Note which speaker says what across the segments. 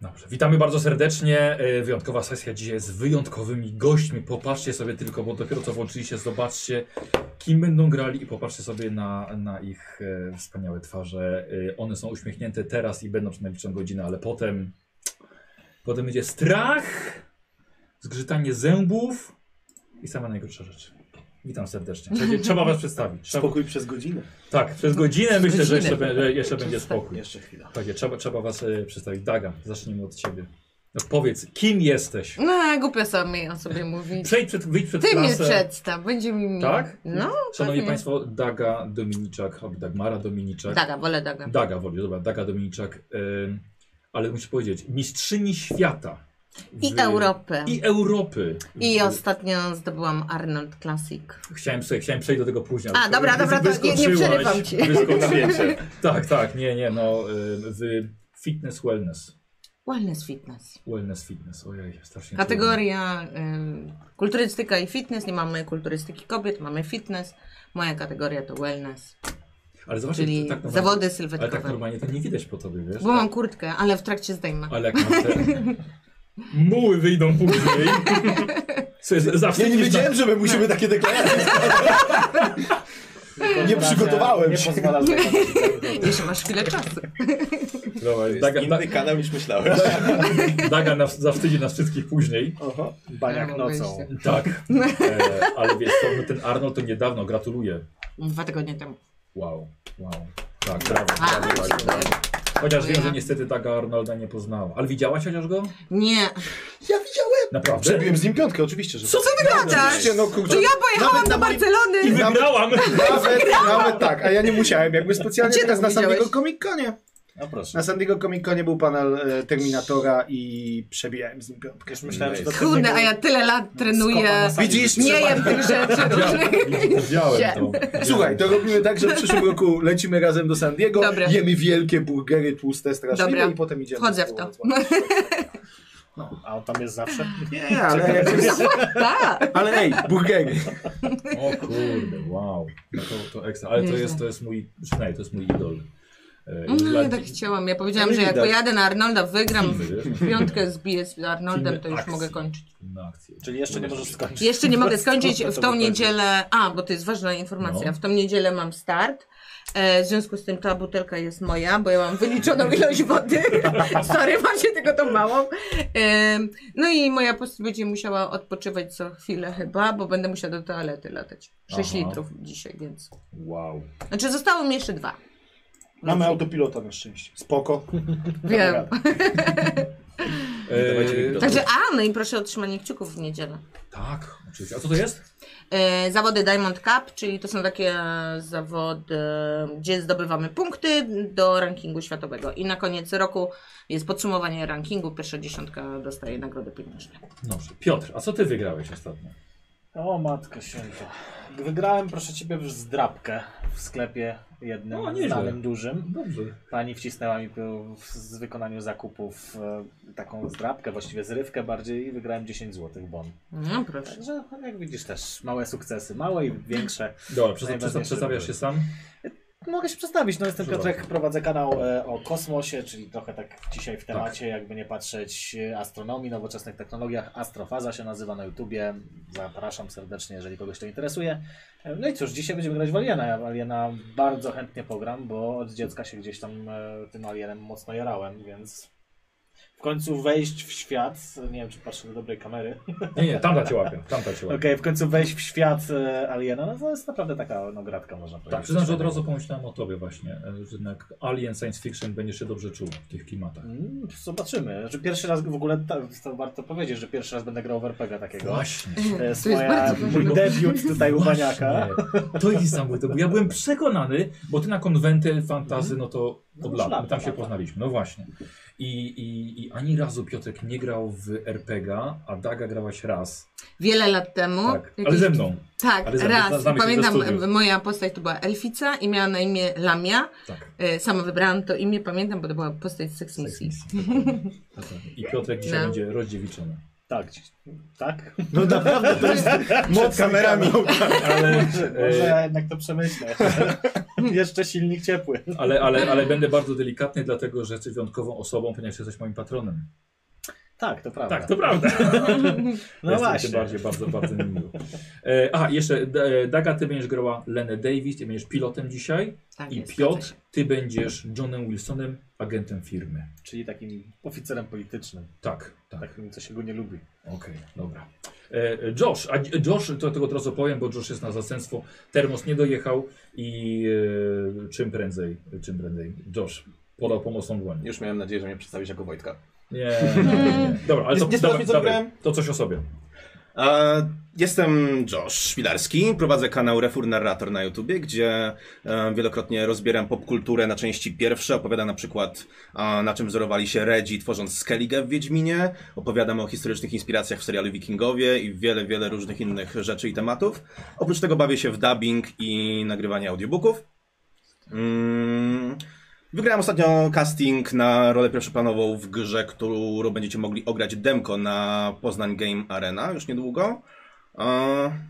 Speaker 1: Dobrze, witamy bardzo serdecznie. E, Wyjątkowa sesja dzisiaj z wyjątkowymi gośćmi. Popatrzcie sobie tylko, bo dopiero co włączyliście, zobaczcie kim będą grali i popatrzcie sobie na, na ich e, wspaniałe twarze. E, one są uśmiechnięte teraz i będą przez najbliższą godzinę, ale potem... Potem będzie strach, zgrzytanie zębów i same najgorsze rzeczy. Witam serdecznie. Trzeba- Trzeba was przedstawić. Trzeba,
Speaker 2: Spokój przez godzinę.
Speaker 1: tak, przez godzinę myślę, że jeszcze,
Speaker 3: godzinę.
Speaker 1: będzie- jeszcze będzie spokój.
Speaker 2: Jeszcze chwila.
Speaker 1: Takie, trzeba, trzeba was e, przedstawić. Daga, zacznijmy od ciebie. No, powiedz, kim jesteś?
Speaker 3: No, głupio sobie on sobie mówi.
Speaker 1: Przejdź przed, wyjdź przed
Speaker 3: Ty mnie
Speaker 1: klasę.
Speaker 3: przedstaw, będzie mi miło.
Speaker 1: Tak?
Speaker 3: No,
Speaker 1: Szanowni
Speaker 3: pewnie.
Speaker 1: Państwo, Daga Dominiczak, albo Dagmara Dominiczak.
Speaker 3: daga, wolę daga.
Speaker 1: Daga w ogóle, dobra, Daga Dominiczak. Ym, ale muszę powiedzieć, mistrzyni świata.
Speaker 3: I
Speaker 1: w-
Speaker 3: Europę. I,
Speaker 1: I Europy. W-
Speaker 3: ostatnio zdobyłam Arnold Classic.
Speaker 1: Chciałem, sobie, chciałem przejść do tego później.
Speaker 3: A,
Speaker 1: ale
Speaker 3: dobra,
Speaker 1: wy-
Speaker 3: dobra, to nie- nie
Speaker 1: wyskoczyłaś,
Speaker 3: przerywam ci.
Speaker 1: wyskoczyłaś.
Speaker 2: Na wiecie.
Speaker 1: tak, tak, nie, nie, no. y, W fitness, wellness.
Speaker 3: Wellness Fitness.
Speaker 1: Wellness, fitness, ojej, strasznie.
Speaker 3: Kategoria ym, kulturystyka i fitness. Nie mamy kulturystyki kobiet, mamy fitness. Moja kategoria to wellness,
Speaker 1: trudno. Ale zobaczcie,
Speaker 3: czyli
Speaker 1: tak normalnie-
Speaker 3: zawody
Speaker 1: Ale tak
Speaker 3: sylwetkowe.
Speaker 1: normalnie to nie widać po tobie, wiesz?
Speaker 3: Bo mam kurtkę, ale w trakcie zdejmę.
Speaker 1: Ale jak masz te... Muły wyjdą później. Słuchaj, z- zawsze
Speaker 2: Ja nie
Speaker 1: jest
Speaker 2: wiedziałem, że my musimy takie deklaracje Nie przygotowałem
Speaker 4: Nie
Speaker 2: się.
Speaker 4: pozwala zdecydować.
Speaker 3: Jeszcze masz chwilę czasu.
Speaker 1: Tak, Dobra,
Speaker 2: To jest
Speaker 1: Daga,
Speaker 2: inny kanał niż myślałem.
Speaker 1: da, Daga nas, zawstydzi nas wszystkich później.
Speaker 2: Aha.
Speaker 4: Baniak nocą.
Speaker 1: Tak. E, ale wiesz co, no ten Arnold to niedawno, gratuluję.
Speaker 3: Dwa tygodnie temu.
Speaker 1: Wow, wow. Tak, brawo, brawo,
Speaker 3: A,
Speaker 1: brawo,
Speaker 3: dziękuję.
Speaker 1: brawo. Chociaż wiem, że
Speaker 3: Dziękuję.
Speaker 1: niestety Daga Arnolda nie poznała. Ale widziałaś chociaż go?
Speaker 3: Nie,
Speaker 2: Ja widziałem.
Speaker 1: Naprawdę?
Speaker 2: Przebiłem z nim piątkę, oczywiście, że. tak.
Speaker 1: Co ty
Speaker 3: gadasz?
Speaker 2: Oczywiście, no kurczę.
Speaker 3: To ja pojechałam
Speaker 2: Nawet
Speaker 3: do
Speaker 2: na moim-
Speaker 3: Barcelony!
Speaker 1: I wygrałam!
Speaker 2: Nawet, nawet tak, a ja nie musiałem, jakby specjalnie
Speaker 3: Gdzie
Speaker 2: teraz
Speaker 3: tak
Speaker 2: na San Diego
Speaker 3: widziałeś?
Speaker 2: Comic Conie.
Speaker 4: No proszę.
Speaker 2: Na San Diego Comic Conie był panel e, Terminatora i przebijałem z nim piątkę.
Speaker 4: Już myślałem, że to
Speaker 3: Kurde, a ja tyle lat trenuję.
Speaker 4: Skopa na
Speaker 2: Widzisz?
Speaker 3: Nie
Speaker 2: Trzeba-
Speaker 3: jem tych rzeczy różnych.
Speaker 1: Widziałem to.
Speaker 2: Słuchaj, to robimy tak, że w przyszłym roku lecimy razem do San Diego,
Speaker 3: Dobra.
Speaker 2: jemy wielkie burgery tłuste, straszliwe
Speaker 3: Dobra.
Speaker 2: i potem idziemy.
Speaker 3: Wchodzę w to.
Speaker 4: No, A on tam jest zawsze?
Speaker 2: Nie, ale, jak-
Speaker 3: Tak.
Speaker 2: ale ej, burgery.
Speaker 1: O kurde, wow. No to, to ekstra. Ale to
Speaker 3: Nieźle.
Speaker 1: jest, to jest mój, przynajmniej to jest mój idol. E,
Speaker 3: No,
Speaker 1: dla-
Speaker 3: ja tak chciałam. Ja powiedziałam,
Speaker 2: Ale
Speaker 3: że jak
Speaker 2: widać.
Speaker 3: pojadę na Arnolda, wygram
Speaker 1: Wiesz?
Speaker 3: w piątkę, zbiję z Arnoldem, to już
Speaker 1: Akcji.
Speaker 3: mogę kończyć.
Speaker 1: Na akcję.
Speaker 4: Czyli jeszcze nie możesz skończyć.
Speaker 3: Jeszcze nie mogę skończyć.
Speaker 4: No
Speaker 3: W
Speaker 4: to
Speaker 3: tą
Speaker 4: wychodzi.
Speaker 3: niedzielę. A, bo to jest ważna informacja.
Speaker 1: No.
Speaker 3: W tą niedzielę mam start. E, W związku z tym ta butelka jest moja, bo ja mam wyliczoną ilość wody. Sorry, mam się tylko tą małą. E, No i moja postać będzie musiała odpoczywać co chwilę chyba, bo będę musiała do toalety latać. 6
Speaker 1: Aha.
Speaker 3: litrów dzisiaj, więc.
Speaker 1: Wow.
Speaker 3: Znaczy zostało mi jeszcze dwa.
Speaker 2: Mamy autopilota na szczęście. Spoko.
Speaker 3: Wiem.
Speaker 1: E,
Speaker 4: No dawajcie mi do-
Speaker 3: Także, a, no i proszę o trzymanie kciuków w niedzielę.
Speaker 1: tak, oczywiście. A co to jest?
Speaker 3: E, Zawody Diamond Cup, czyli to są takie zawody, gdzie zdobywamy punkty do rankingu światowego. I na koniec roku jest podsumowanie rankingu. Pierwsza dziesiątka dostaje nagrody pieniężne.
Speaker 1: Dobrze. Piotr, a co ty wygrałeś ostatnio?
Speaker 4: O matko święta. Wygrałem proszę ciebie w zdrabkę w sklepie jednym,
Speaker 1: O, nieźle.
Speaker 4: znanym dużym.
Speaker 1: Dobrze.
Speaker 4: Pani wcisnęła mi w- w- z wykonaniu zakupów e, taką zdrabkę, właściwie zrywkę bardziej i wygrałem 10 zł bon.
Speaker 3: No proszę.
Speaker 4: Także jak widzisz też małe sukcesy, małe i większe.
Speaker 1: Dobra, przesta- przesta-
Speaker 4: Najważniejsze
Speaker 1: przedstawiasz się sam?
Speaker 4: Mogę się przedstawić, no jestem
Speaker 1: Proszę
Speaker 4: Piotrek, prowadzę kanał e, o kosmosie, czyli trochę tak dzisiaj w temacie, jakby nie patrzeć, e, astronomii, nowoczesnych technologiach. Astrofaza się nazywa na YouTubie, zapraszam serdecznie, jeżeli kogoś to interesuje. E, No i cóż, dzisiaj będziemy grać w Aliena, ja w Aliena bardzo chętnie pogram, bo od dziecka się gdzieś tam e, tym Alienem mocno jarałem, więc w końcu wejść w świat, nie wiem czy patrzę do dobrej kamery,
Speaker 1: Nie, nie, tamta cię łapie. Tamta cię
Speaker 4: okej,
Speaker 1: łapie.
Speaker 4: w końcu wejść w świat e, Aliena, no to jest naprawdę taka no, gratka można powiedzieć.
Speaker 1: Tak, przyznam, że od razu pomyślałem o tobie właśnie, e, że jednak Alien Science Fiction będziesz się dobrze czuł w tych klimatach.
Speaker 4: Mm, Zobaczymy. Znaczy, pierwszy raz w ogóle, ta, to warto powiedzieć, że pierwszy raz będę grał w RPG takiego.
Speaker 1: Właśnie.
Speaker 4: To jest,
Speaker 3: To jest
Speaker 4: moja,
Speaker 3: bardzo
Speaker 4: mój debiut tutaj u
Speaker 1: Właśnie.
Speaker 4: Baniaka.
Speaker 1: To jest niesamowite, bo ja byłem przekonany, bo ty na konwenty fantazy, no to od
Speaker 4: już
Speaker 1: lat,
Speaker 4: lata,
Speaker 1: my tam się
Speaker 4: lata.
Speaker 1: poznaliśmy, no właśnie. I, i, I ani razu Piotrek nie grał w RPG, a Daga grałaś raz.
Speaker 3: Wiele lat temu.
Speaker 1: Tak, ale
Speaker 3: jakiś-
Speaker 1: ze mną.
Speaker 3: Tak,
Speaker 1: ale ze mną,
Speaker 3: raz.
Speaker 1: znamy się ze studiów.
Speaker 3: Pamiętam, moja postać to była Elfica i miała na imię Lamia.
Speaker 1: Tak.
Speaker 3: E, Sama wybrałam to imię, pamiętam, bo to była postać z Sex Misji.
Speaker 1: Sex Misji, dokładnie. Dokładnie. Tak, I Piotrek dzisiaj
Speaker 3: No.
Speaker 1: będzie rozdziewiczony.
Speaker 4: Tak, ci- tak?
Speaker 2: No naprawdę, to jest
Speaker 4: Przed
Speaker 2: mod kamerami.
Speaker 1: Ale, e,
Speaker 4: Może ja jednak to przemyślę. Jeszcze silnik ciepły.
Speaker 1: ale, ale, ale będę bardzo delikatny, dlatego że jesteś wyjątkową osobą, ponieważ jesteś moim patronem.
Speaker 4: Tak, to prawda.
Speaker 1: Tak, to prawda.
Speaker 4: No
Speaker 1: Jestem
Speaker 4: właśnie.
Speaker 1: Tym bardziej, bardzo, bardzo mi miło. E, a, jeszcze e, Daga, ty będziesz grała Lenę Davis, ty będziesz pilotem dzisiaj.
Speaker 3: Tak
Speaker 1: I
Speaker 3: jest,
Speaker 1: Piotr,
Speaker 3: zgadza się.
Speaker 1: ty będziesz Johnem Wilsonem, agentem firmy.
Speaker 4: Czyli takim oficerem politycznym.
Speaker 1: Tak, tak.
Speaker 4: Takim, co się go nie lubi.
Speaker 1: Okej, dobra. E, Josh, a Dzi- Josh, to tego od razu powiem, bo Josh jest na zastępstwo. Termos nie dojechał i e, czym prędzej, czym prędzej. Josh podał pomocną dłoń.
Speaker 5: Już miałem nadzieję, że mnie przedstawisz jako Wojtka.
Speaker 1: Nie, nie, nie. Dobra, ale to,
Speaker 5: Nie- nie
Speaker 1: dobra,
Speaker 5: sprawdź, co
Speaker 1: dobra,
Speaker 5: wybrałem?
Speaker 1: to coś o sobie.
Speaker 5: E, Jestem Josh Szwilarski, prowadzę kanał Refur Narrator na YouTubie, gdzie e, wielokrotnie rozbieram popkulturę na części pierwsze, opowiadam na przykład e, na czym wzorowali się Redzi tworząc Skellige w Wiedźminie, opowiadam o historycznych inspiracjach w serialu Wikingowie i wiele, wiele różnych innych rzeczy i tematów. Oprócz tego bawię się w dubbing i nagrywanie audiobooków. Mm. Wygrałem ostatnio casting na rolę pierwszoplanową w grze, którą będziecie mogli ograć demko na Poznań Game Arena już niedługo. E,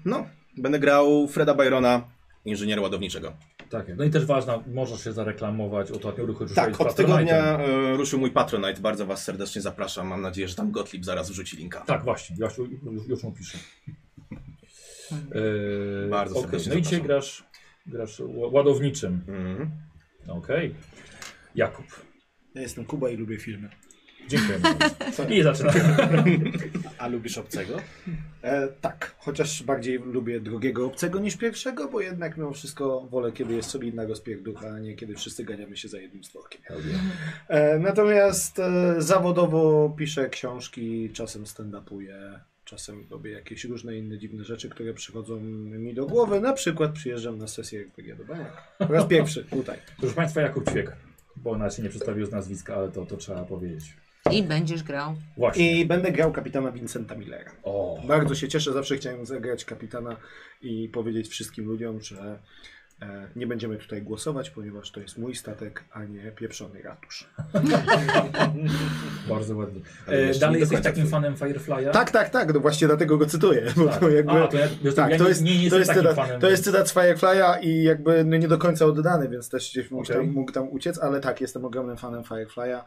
Speaker 5: no, będę grał Freda Byrona, inżyniera ładowniczego.
Speaker 1: Tak, no i też ważna, możesz się zareklamować, ostatnio ruchu
Speaker 5: Tak, od tygodnia e, ruszył mój Patronite, bardzo Was serdecznie zapraszam, mam nadzieję, że tam Gottlieb zaraz wrzuci linka.
Speaker 1: Tak, właśnie, ja już, już, już mu piszę. E,
Speaker 5: Bardzo
Speaker 1: okej,
Speaker 5: serdecznie
Speaker 1: No i dzisiaj
Speaker 5: zapraszam.
Speaker 1: grasz, grasz ł- ładowniczym.
Speaker 5: Mhm.
Speaker 1: Okej. Jakub,
Speaker 2: Ja jestem Kuba i lubię filmy.
Speaker 1: dziękuję. I zaczynamy.
Speaker 4: A lubisz obcego?
Speaker 2: E, tak, chociaż bardziej lubię drugiego obcego niż pierwszego, bo jednak mimo wszystko wolę, kiedy jest solidna rozpierducha, a nie kiedy wszyscy ganiamy się za jednym stworkiem. E, natomiast e, zawodowo piszę książki, czasem stand-upuję, czasem robię jakieś różne inne dziwne rzeczy, które przychodzą mi do głowy. Na przykład przyjeżdżam na sesję RPG do Baniak. Po raz pierwszy, tutaj.
Speaker 1: Proszę Państwa, Jakub Ćwiek, bo ona się nie przedstawił z nazwiska, ale to, to trzeba powiedzieć.
Speaker 3: I będziesz grał.
Speaker 1: Właśnie.
Speaker 2: I będę grał kapitana Vincenta Millera.
Speaker 1: O,
Speaker 2: Bardzo się cieszę, zawsze chciałem zagrać kapitana i powiedzieć wszystkim ludziom, że e, nie będziemy tutaj głosować, ponieważ to jest mój statek, a nie pieprzony ratusz.
Speaker 1: bardzo ładnie.
Speaker 5: Ale
Speaker 1: E,
Speaker 5: jeszcze
Speaker 1: dalej
Speaker 5: nie do
Speaker 1: jesteś
Speaker 5: końca
Speaker 1: takim
Speaker 5: twój.
Speaker 1: fanem Firefly'a?
Speaker 2: Tak, tak, tak, no właśnie dlatego go cytuję. Bo to jakby,
Speaker 1: Tak. A, to ja, to
Speaker 2: tak,
Speaker 1: ja
Speaker 2: to
Speaker 1: nie,
Speaker 2: jest,
Speaker 1: nie, nie jestem
Speaker 2: to jest
Speaker 1: takim
Speaker 2: cytat,
Speaker 1: fanem.
Speaker 2: to jest cytat Firefly'a i jakby no nie do końca oddany, więc też gdzieś mógł,
Speaker 1: Okej.
Speaker 2: tam, mógł tam uciec, ale tak, jestem ogromnym fanem Firefly'a.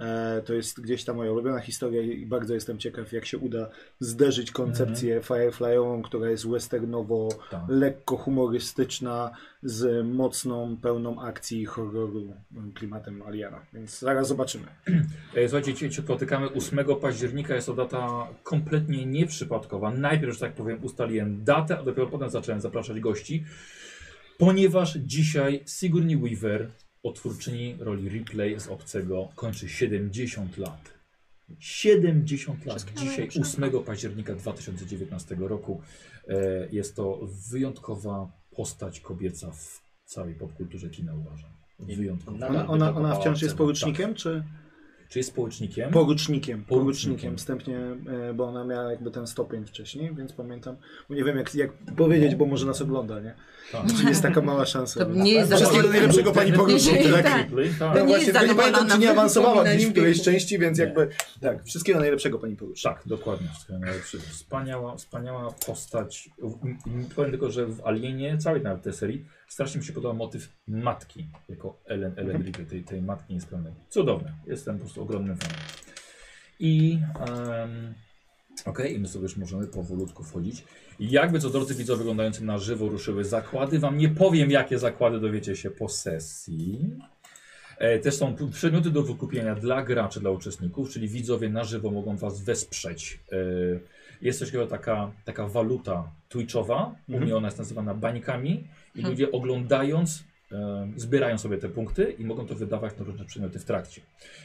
Speaker 2: E, to jest gdzieś ta moja ulubiona historia i bardzo jestem ciekaw, jak się uda zderzyć koncepcję Firefly'ową, która jest westernowo
Speaker 1: Mhm. Tak.
Speaker 2: lekko humorystyczna, z mocną, pełną akcji i horroru m, klimatem Aliana. Więc zaraz zobaczymy.
Speaker 1: E, Słuchajcie, cię, cię spotykamy 8 października, jest to data kompletnie nieprzypadkowa. Najpierw, że tak powiem, ustaliłem datę, a dopiero potem zacząłem zapraszać gości, ponieważ dzisiaj Sigourney Weaver, otwórczyni roli Replay z Obcego, kończy 70 lat. 70 lat. Dzisiaj 8 października 2019 roku. E, Jest to wyjątkowa postać kobieca w całej popkulturze kina, uważam. Wyjątkowa.
Speaker 4: Nadal
Speaker 2: Ona,
Speaker 4: by
Speaker 2: ona,
Speaker 4: to
Speaker 2: ona
Speaker 4: kopała
Speaker 2: wciąż jest
Speaker 4: obcego.
Speaker 2: porucznikiem,
Speaker 1: Tak.
Speaker 2: czy?
Speaker 1: Czy jest społecznikiem?
Speaker 6: Mhm.
Speaker 2: Porucznikiem,
Speaker 1: Porucznikiem.
Speaker 2: porucznikiem wstępnie, e, bo ona miała jakby ten stopień wcześniej, więc pamiętam. Bo nie wiem jak, jak powiedzieć, bo może nas ogląda, nie?
Speaker 1: Tak.
Speaker 2: Czy jest taka mała szansa.
Speaker 3: To nie jest
Speaker 2: Wszystkiego
Speaker 3: zawodnik.
Speaker 2: najlepszego pani porucznik.
Speaker 3: Tak.
Speaker 2: Tak.
Speaker 1: Ripley, tak.
Speaker 3: To nie
Speaker 2: No właśnie,
Speaker 3: jest
Speaker 2: tylko nie pamiętam,
Speaker 3: zadowolona,
Speaker 2: czy nie awansowała
Speaker 3: przypomina
Speaker 2: gdzieś w
Speaker 3: im
Speaker 2: którejś
Speaker 3: wieku.
Speaker 2: części, więc
Speaker 1: Nie.
Speaker 2: jakby tak, wszystkiego najlepszego pani porucznik.
Speaker 1: Tak, dokładnie. wszystkiego najlepszego. Wspaniała, wspaniała postać. W- m- m- Powiem tylko, że w Alienie, całej nawet tej serii, strasznie mi się podoba motyw matki, jako Ellen, Ellen Ripley, tej, tej matki niespełnej. Cudowne. Jestem po prostu ogromnym fanem. I em, okej, i my sobie już możemy powolutku wchodzić. Jakby co drodzy widzowie oglądający na żywo ruszyły zakłady, wam nie powiem jakie zakłady dowiecie się po sesji. E, Też są p- przedmioty do wykupienia dla graczy, dla uczestników, czyli widzowie na żywo mogą Was wesprzeć. E, Jest coś takiego taka, taka waluta twitchowa, u mnie ona jest nazywana bańkami i
Speaker 3: Hmm.
Speaker 1: ludzie oglądając e, zbierają sobie te punkty i mogą to wydawać na różne przedmioty w trakcie.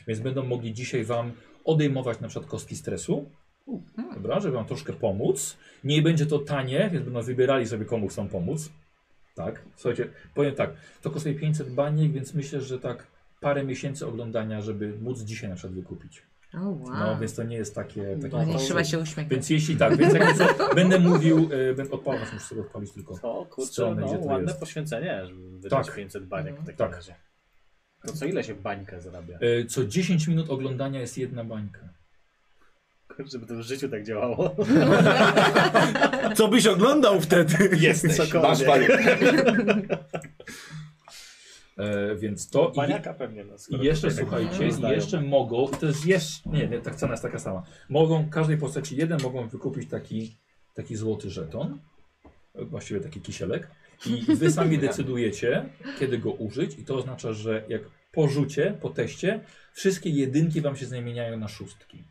Speaker 1: Więc będą mogli dzisiaj Wam odejmować na przykład kostki stresu, dobra, żeby Wam troszkę pomóc. Nie będzie to tanie, więc będą wybierali sobie komu chcą pomóc. Tak, słuchajcie, powiem tak, to kosztuje 500 baniek, więc myślę, że tak parę miesięcy oglądania, żeby móc dzisiaj na przykład wykupić.
Speaker 3: O,
Speaker 1: No,
Speaker 3: wow.
Speaker 1: więc to nie jest takie... takie
Speaker 4: No,
Speaker 3: Nie
Speaker 4: to-
Speaker 3: trzeba się uśmiechać.
Speaker 1: Więc jeśli tak, więc jakby co, będę mówił, e, będę odpalał, muszę sobie odpalić tylko.
Speaker 4: To kurczę,
Speaker 1: Strony,
Speaker 4: no,
Speaker 1: gdzie to
Speaker 4: ładne
Speaker 1: jest.
Speaker 4: poświęcenie, żeby wydać
Speaker 1: Tak.
Speaker 4: 500 baniek w takim
Speaker 1: Tak.
Speaker 4: razie. To co ile się bańka zarabia?
Speaker 1: E, Co 10 minut oglądania jest jedna bańka.
Speaker 4: Żeby to w życiu tak działało.
Speaker 5: Co byś oglądał wtedy?
Speaker 4: Jesteś, masz
Speaker 5: panie.
Speaker 1: E, więc to. i-
Speaker 4: Paniaka pewnie. No, skoro
Speaker 1: I jeszcze,
Speaker 4: tutaj tak
Speaker 1: słuchajcie, i
Speaker 4: rozdają.
Speaker 1: jeszcze mogą, i to jest jeszcze, nie, nie, tak cena jest taka sama. Mogą, każdej postaci jeden mogą wykupić taki, taki złoty żeton, e, właściwie taki kisielek i wy sami decydujecie, kiedy go użyć i to oznacza, że jak po rzucie, po teście, wszystkie jedynki wam się zmieniają na szóstki.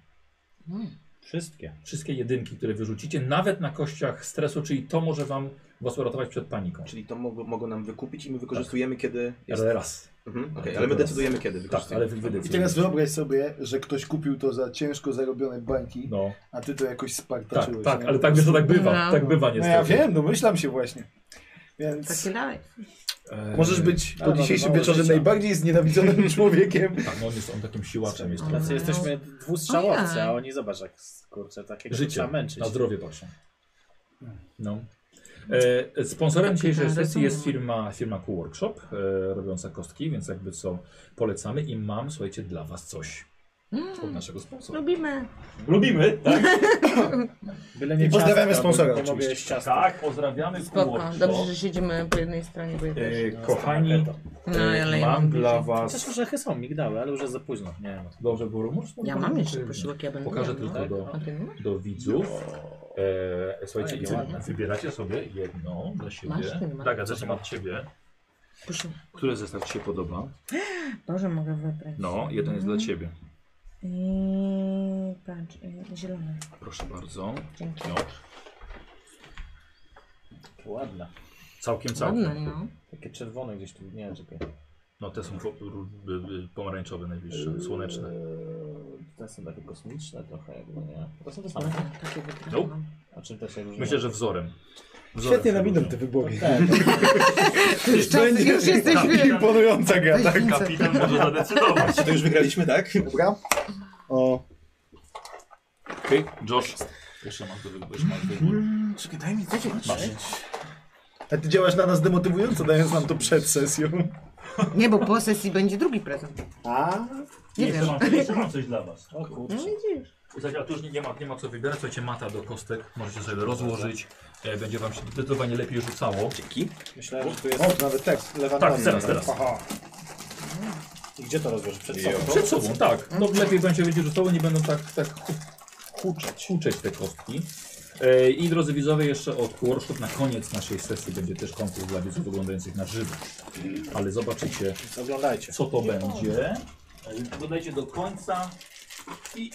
Speaker 4: Wszystkie.
Speaker 1: Wszystkie jedynki, które wyrzucicie, nawet na kościach stresu, czyli to może wam was uratować przed paniką.
Speaker 5: Czyli to mogą, mogą nam wykupić i my wykorzystujemy kiedy jest.
Speaker 1: Tak. Ale raz.
Speaker 5: Mhm, okej,
Speaker 1: Ale
Speaker 5: ale my
Speaker 1: teraz-
Speaker 5: decydujemy kiedy
Speaker 1: Tak,
Speaker 5: wykorzystujemy.
Speaker 1: ale wy, wy
Speaker 6: I teraz
Speaker 1: decydujecie.
Speaker 6: wyobraź sobie, że ktoś kupił to za ciężko zarobione bańki,
Speaker 1: No,
Speaker 6: a ty to jakoś
Speaker 1: tak,
Speaker 6: spartaczyłeś.
Speaker 1: tak,
Speaker 6: nie?
Speaker 1: ale tak, wiesz, to tak bywa,
Speaker 3: No.
Speaker 1: tak bywa
Speaker 6: No
Speaker 1: niestety.
Speaker 6: ja wiem, domyślam się właśnie. Więc
Speaker 3: Taki live.
Speaker 1: E,
Speaker 6: możesz być po
Speaker 4: Ale
Speaker 6: dzisiejszym
Speaker 4: mało
Speaker 6: wieczorze
Speaker 4: życia.
Speaker 6: najbardziej znienawidzonym człowiekiem.
Speaker 1: Tak, no on jest on takim siłaczem jest
Speaker 3: Ale-
Speaker 1: trochę.
Speaker 4: Tacy jesteśmy dwustrzałowcy,
Speaker 3: Ojej.
Speaker 4: a oni zobacz jak, kurczę, takiego
Speaker 1: Życie.
Speaker 4: trzeba męczyć.
Speaker 1: Na zdrowie patrzą. No. E, sponsorem dzisiejszej
Speaker 3: Kapitan,
Speaker 1: sesji jest
Speaker 3: rozumiem.
Speaker 1: firma, firma Cool Workshop, e, robiąca kostki, więc jakby co polecamy i mam, słuchajcie, dla was coś
Speaker 3: Mm.
Speaker 1: od naszego sponsora.
Speaker 3: Lubimy.
Speaker 1: Lubimy, tak?
Speaker 4: Byle nie
Speaker 6: I pozdrawiamy
Speaker 4: ciastka, bo
Speaker 6: sponsora
Speaker 4: Nie mogę jeść
Speaker 1: Oczywiście.
Speaker 4: ciastka.
Speaker 1: Tak, pozdrawiamy Cool
Speaker 3: Spoko.
Speaker 1: Workshop.
Speaker 3: Dobrze, że siedzimy po jednej stronie, bo ja też.
Speaker 1: E, kochani,
Speaker 3: No, ale ja
Speaker 1: mam
Speaker 3: mam
Speaker 1: dla
Speaker 3: bliżej.
Speaker 1: was...
Speaker 4: Chociaż orzechy są, migdały, ale już jest za późno. Nie no, wiem.
Speaker 1: Dobrze było rumusz?
Speaker 3: Ja mam jeszcze posiłek, ja będę
Speaker 1: Pokażę
Speaker 3: miała, no.
Speaker 1: tylko do,
Speaker 3: A ty nie masz?
Speaker 1: do widzów. E, słuchajcie,
Speaker 4: Fajnie,
Speaker 1: i wy-
Speaker 4: ładne.
Speaker 1: wybieracie sobie jedną dla siebie.
Speaker 3: Masz, ty nie masz.
Speaker 1: Tak, a zaczynam od ciebie.
Speaker 3: Posiłek.
Speaker 1: Który zestaw ci się podoba?
Speaker 3: Boże, mogę wybrać.
Speaker 1: No, jeden jest dla
Speaker 3: Mhm.
Speaker 1: ciebie.
Speaker 3: I patrz, y, zielony.
Speaker 1: Proszę bardzo.
Speaker 3: Dzięki.
Speaker 1: No,
Speaker 4: Ładne.
Speaker 1: całkiem, całkiem.
Speaker 3: Ładne, no.
Speaker 4: Takie czerwone gdzieś tu, nie wiem, czekaj.
Speaker 1: No, te są po- r- y, y, pomarańczowe najbliższe,
Speaker 3: Yy.
Speaker 1: słoneczne.
Speaker 4: Eee, Te są takie kosmiczne trochę jakby, nie? To są te same.
Speaker 3: Ładne, Takie wybrałam.
Speaker 1: Nope.
Speaker 4: A czym też się różnią?
Speaker 1: Myślę, że wzorem.
Speaker 6: Świetnie nam idą te wybory.
Speaker 4: Tak,
Speaker 3: Już, czas, już jesteśmy.
Speaker 6: Imponująca gra, tak?
Speaker 3: Kapitan.
Speaker 1: Kapitan może zadecydować.
Speaker 5: To już wygraliśmy, tak?
Speaker 6: Dobra. O,
Speaker 1: Okej, Josh. Jeszcze masz do wyboru. jeszcze masz do wyboru.
Speaker 5: Czekaj, daj mi coś
Speaker 6: a ty działasz na nas demotywująco, dając nam to przed sesją.
Speaker 3: Nie, bo po sesji będzie drugi prezent.
Speaker 2: A,
Speaker 3: Nie wiem.
Speaker 1: mam, jeszcze mam coś dla was.
Speaker 4: o kurczę.
Speaker 3: No widzisz.
Speaker 1: Słuchajcie, a tu już nie, nie, ma, nie ma co wybierać. Słuchajcie, mata do kostek. Możecie sobie rozłożyć. E, będzie wam się zdecydowanie lepiej rzucało.
Speaker 5: Dzięki.
Speaker 4: Myślałem, że tu jest...
Speaker 2: o, to nawet tekst.
Speaker 1: Tak,
Speaker 2: Lewandowski.
Speaker 1: teraz, teraz.
Speaker 4: I gdzie to rozłożysz? Przed
Speaker 5: Jo.
Speaker 4: sobą?
Speaker 1: Przed sobą, tak. No lepiej będzie będzie rzucało, nie będą tak, tak huczeć. huczeć te kostki. E, I drodzy widzowie, jeszcze od workshop na koniec naszej sesji będzie też konkurs dla widzów oglądających na żywo. Ale zobaczycie,
Speaker 4: Oglądajcie.
Speaker 1: co to będzie. E, Dodajcie do końca i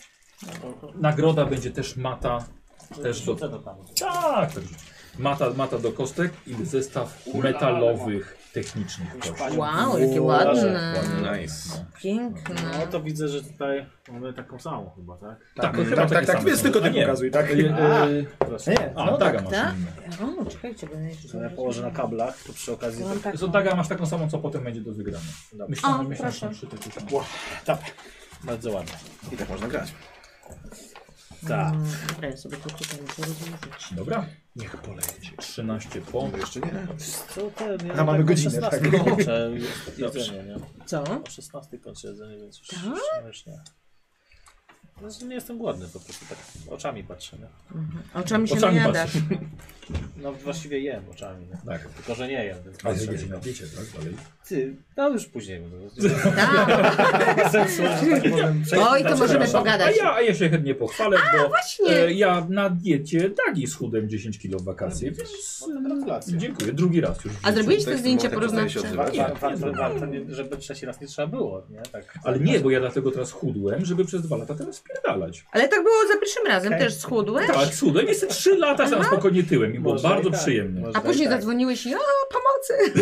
Speaker 1: nagroda będzie też mata. Też do...
Speaker 4: Co to tam?
Speaker 1: Tak, także mata, mata do kostek i zestaw metalowych technicznych Tak, kości.
Speaker 3: Wow, jakie ładne.
Speaker 5: Nice.
Speaker 4: No
Speaker 3: Piękne.
Speaker 4: to widzę, że tutaj mamy taką samą chyba, tak?
Speaker 1: Tak,
Speaker 5: tak,
Speaker 1: chyba
Speaker 6: Tak, tak,
Speaker 1: takie
Speaker 6: tak,
Speaker 1: same
Speaker 6: więc
Speaker 1: są.
Speaker 6: tylko
Speaker 1: A
Speaker 6: ty
Speaker 1: nie.
Speaker 6: pokazuj, tak?
Speaker 1: E, e,
Speaker 4: Proszę.
Speaker 6: Nie,
Speaker 1: A,
Speaker 6: no
Speaker 1: daga
Speaker 6: tak.
Speaker 1: masz
Speaker 3: tak?
Speaker 1: inną.
Speaker 3: O, czekajcie, bo ja jeszcze...
Speaker 4: To ja położę na kablach, to przy okazji...
Speaker 3: Mam taką.
Speaker 1: Zresztą daga masz taką samą, co potem będzie do wygrania.
Speaker 4: Dobra. Tak.
Speaker 1: Myślałem,
Speaker 3: O,
Speaker 1: że myślałem, że
Speaker 3: proszę.
Speaker 1: przy tych już mam.
Speaker 4: Bardzo ładnie.
Speaker 5: I tak można grać.
Speaker 4: Tak.
Speaker 3: Mm, Dobra, ja sobie to tutaj muszę rozłożyć.
Speaker 1: Dobra. Niech poleci. 13 po.
Speaker 5: Jeszcze nie.
Speaker 4: Co ten? Ja
Speaker 6: A mamy
Speaker 4: tak o
Speaker 6: godzinę,
Speaker 4: 16
Speaker 6: tak.
Speaker 4: kończę jedzenie, nie?
Speaker 3: Co?
Speaker 4: O 16 kończę jedzenie, więc
Speaker 3: Tak?
Speaker 4: już, już- już nie. Znaczy nie jestem głodny, po prostu tak oczami patrzę. Nie?
Speaker 3: Oczami Mhm. się
Speaker 1: Oczami
Speaker 3: najadasz.
Speaker 4: No właściwie jem oczami, nie?
Speaker 1: Tak.
Speaker 4: tylko że nie jem, więc
Speaker 1: Ale
Speaker 4: patrzę.
Speaker 1: wiecie, napiecie, tak? Dalej.
Speaker 4: Ty, no już później. bo to-
Speaker 3: Tak.
Speaker 4: Sensualnie, tak powiem, przejdźmy
Speaker 3: Oj,
Speaker 4: dalej.
Speaker 3: to możemy
Speaker 4: Przepraszam.
Speaker 1: A
Speaker 3: pogadać.
Speaker 1: ja, a ja się chętnie pochwalę, bo e,
Speaker 3: Właśnie.
Speaker 1: ja na diecie dagi schudłem 10 kg w wakacje, więc
Speaker 4: No to Gratulacje.
Speaker 1: e, dziękuję. Drugi raz już. w
Speaker 3: A
Speaker 1: życiu.
Speaker 3: zrobiliście to
Speaker 5: Tekst,
Speaker 3: zdjęcie
Speaker 5: bo tak czasami się
Speaker 3: porównawcze?
Speaker 5: odzywa.
Speaker 1: Nie,
Speaker 4: Warto, warto,
Speaker 1: nie.
Speaker 4: warto nie, żeby trzeci raz nie trzeba było, nie? Tak,
Speaker 1: Ale nie, bo ja dlatego teraz chudłem, żeby przez dwa lata teraz spierdalać.
Speaker 3: Ale tak było za pierwszym razem, też schudłeś.
Speaker 1: Tak, schudłem, jestem 3 lata, sam spokojnie tyłem i było
Speaker 4: Może
Speaker 1: bardzo
Speaker 4: i tak,
Speaker 1: przyjemnie.
Speaker 4: może
Speaker 3: A
Speaker 4: i
Speaker 3: później
Speaker 4: tak.
Speaker 3: zadzwoniłeś i o, pomocy.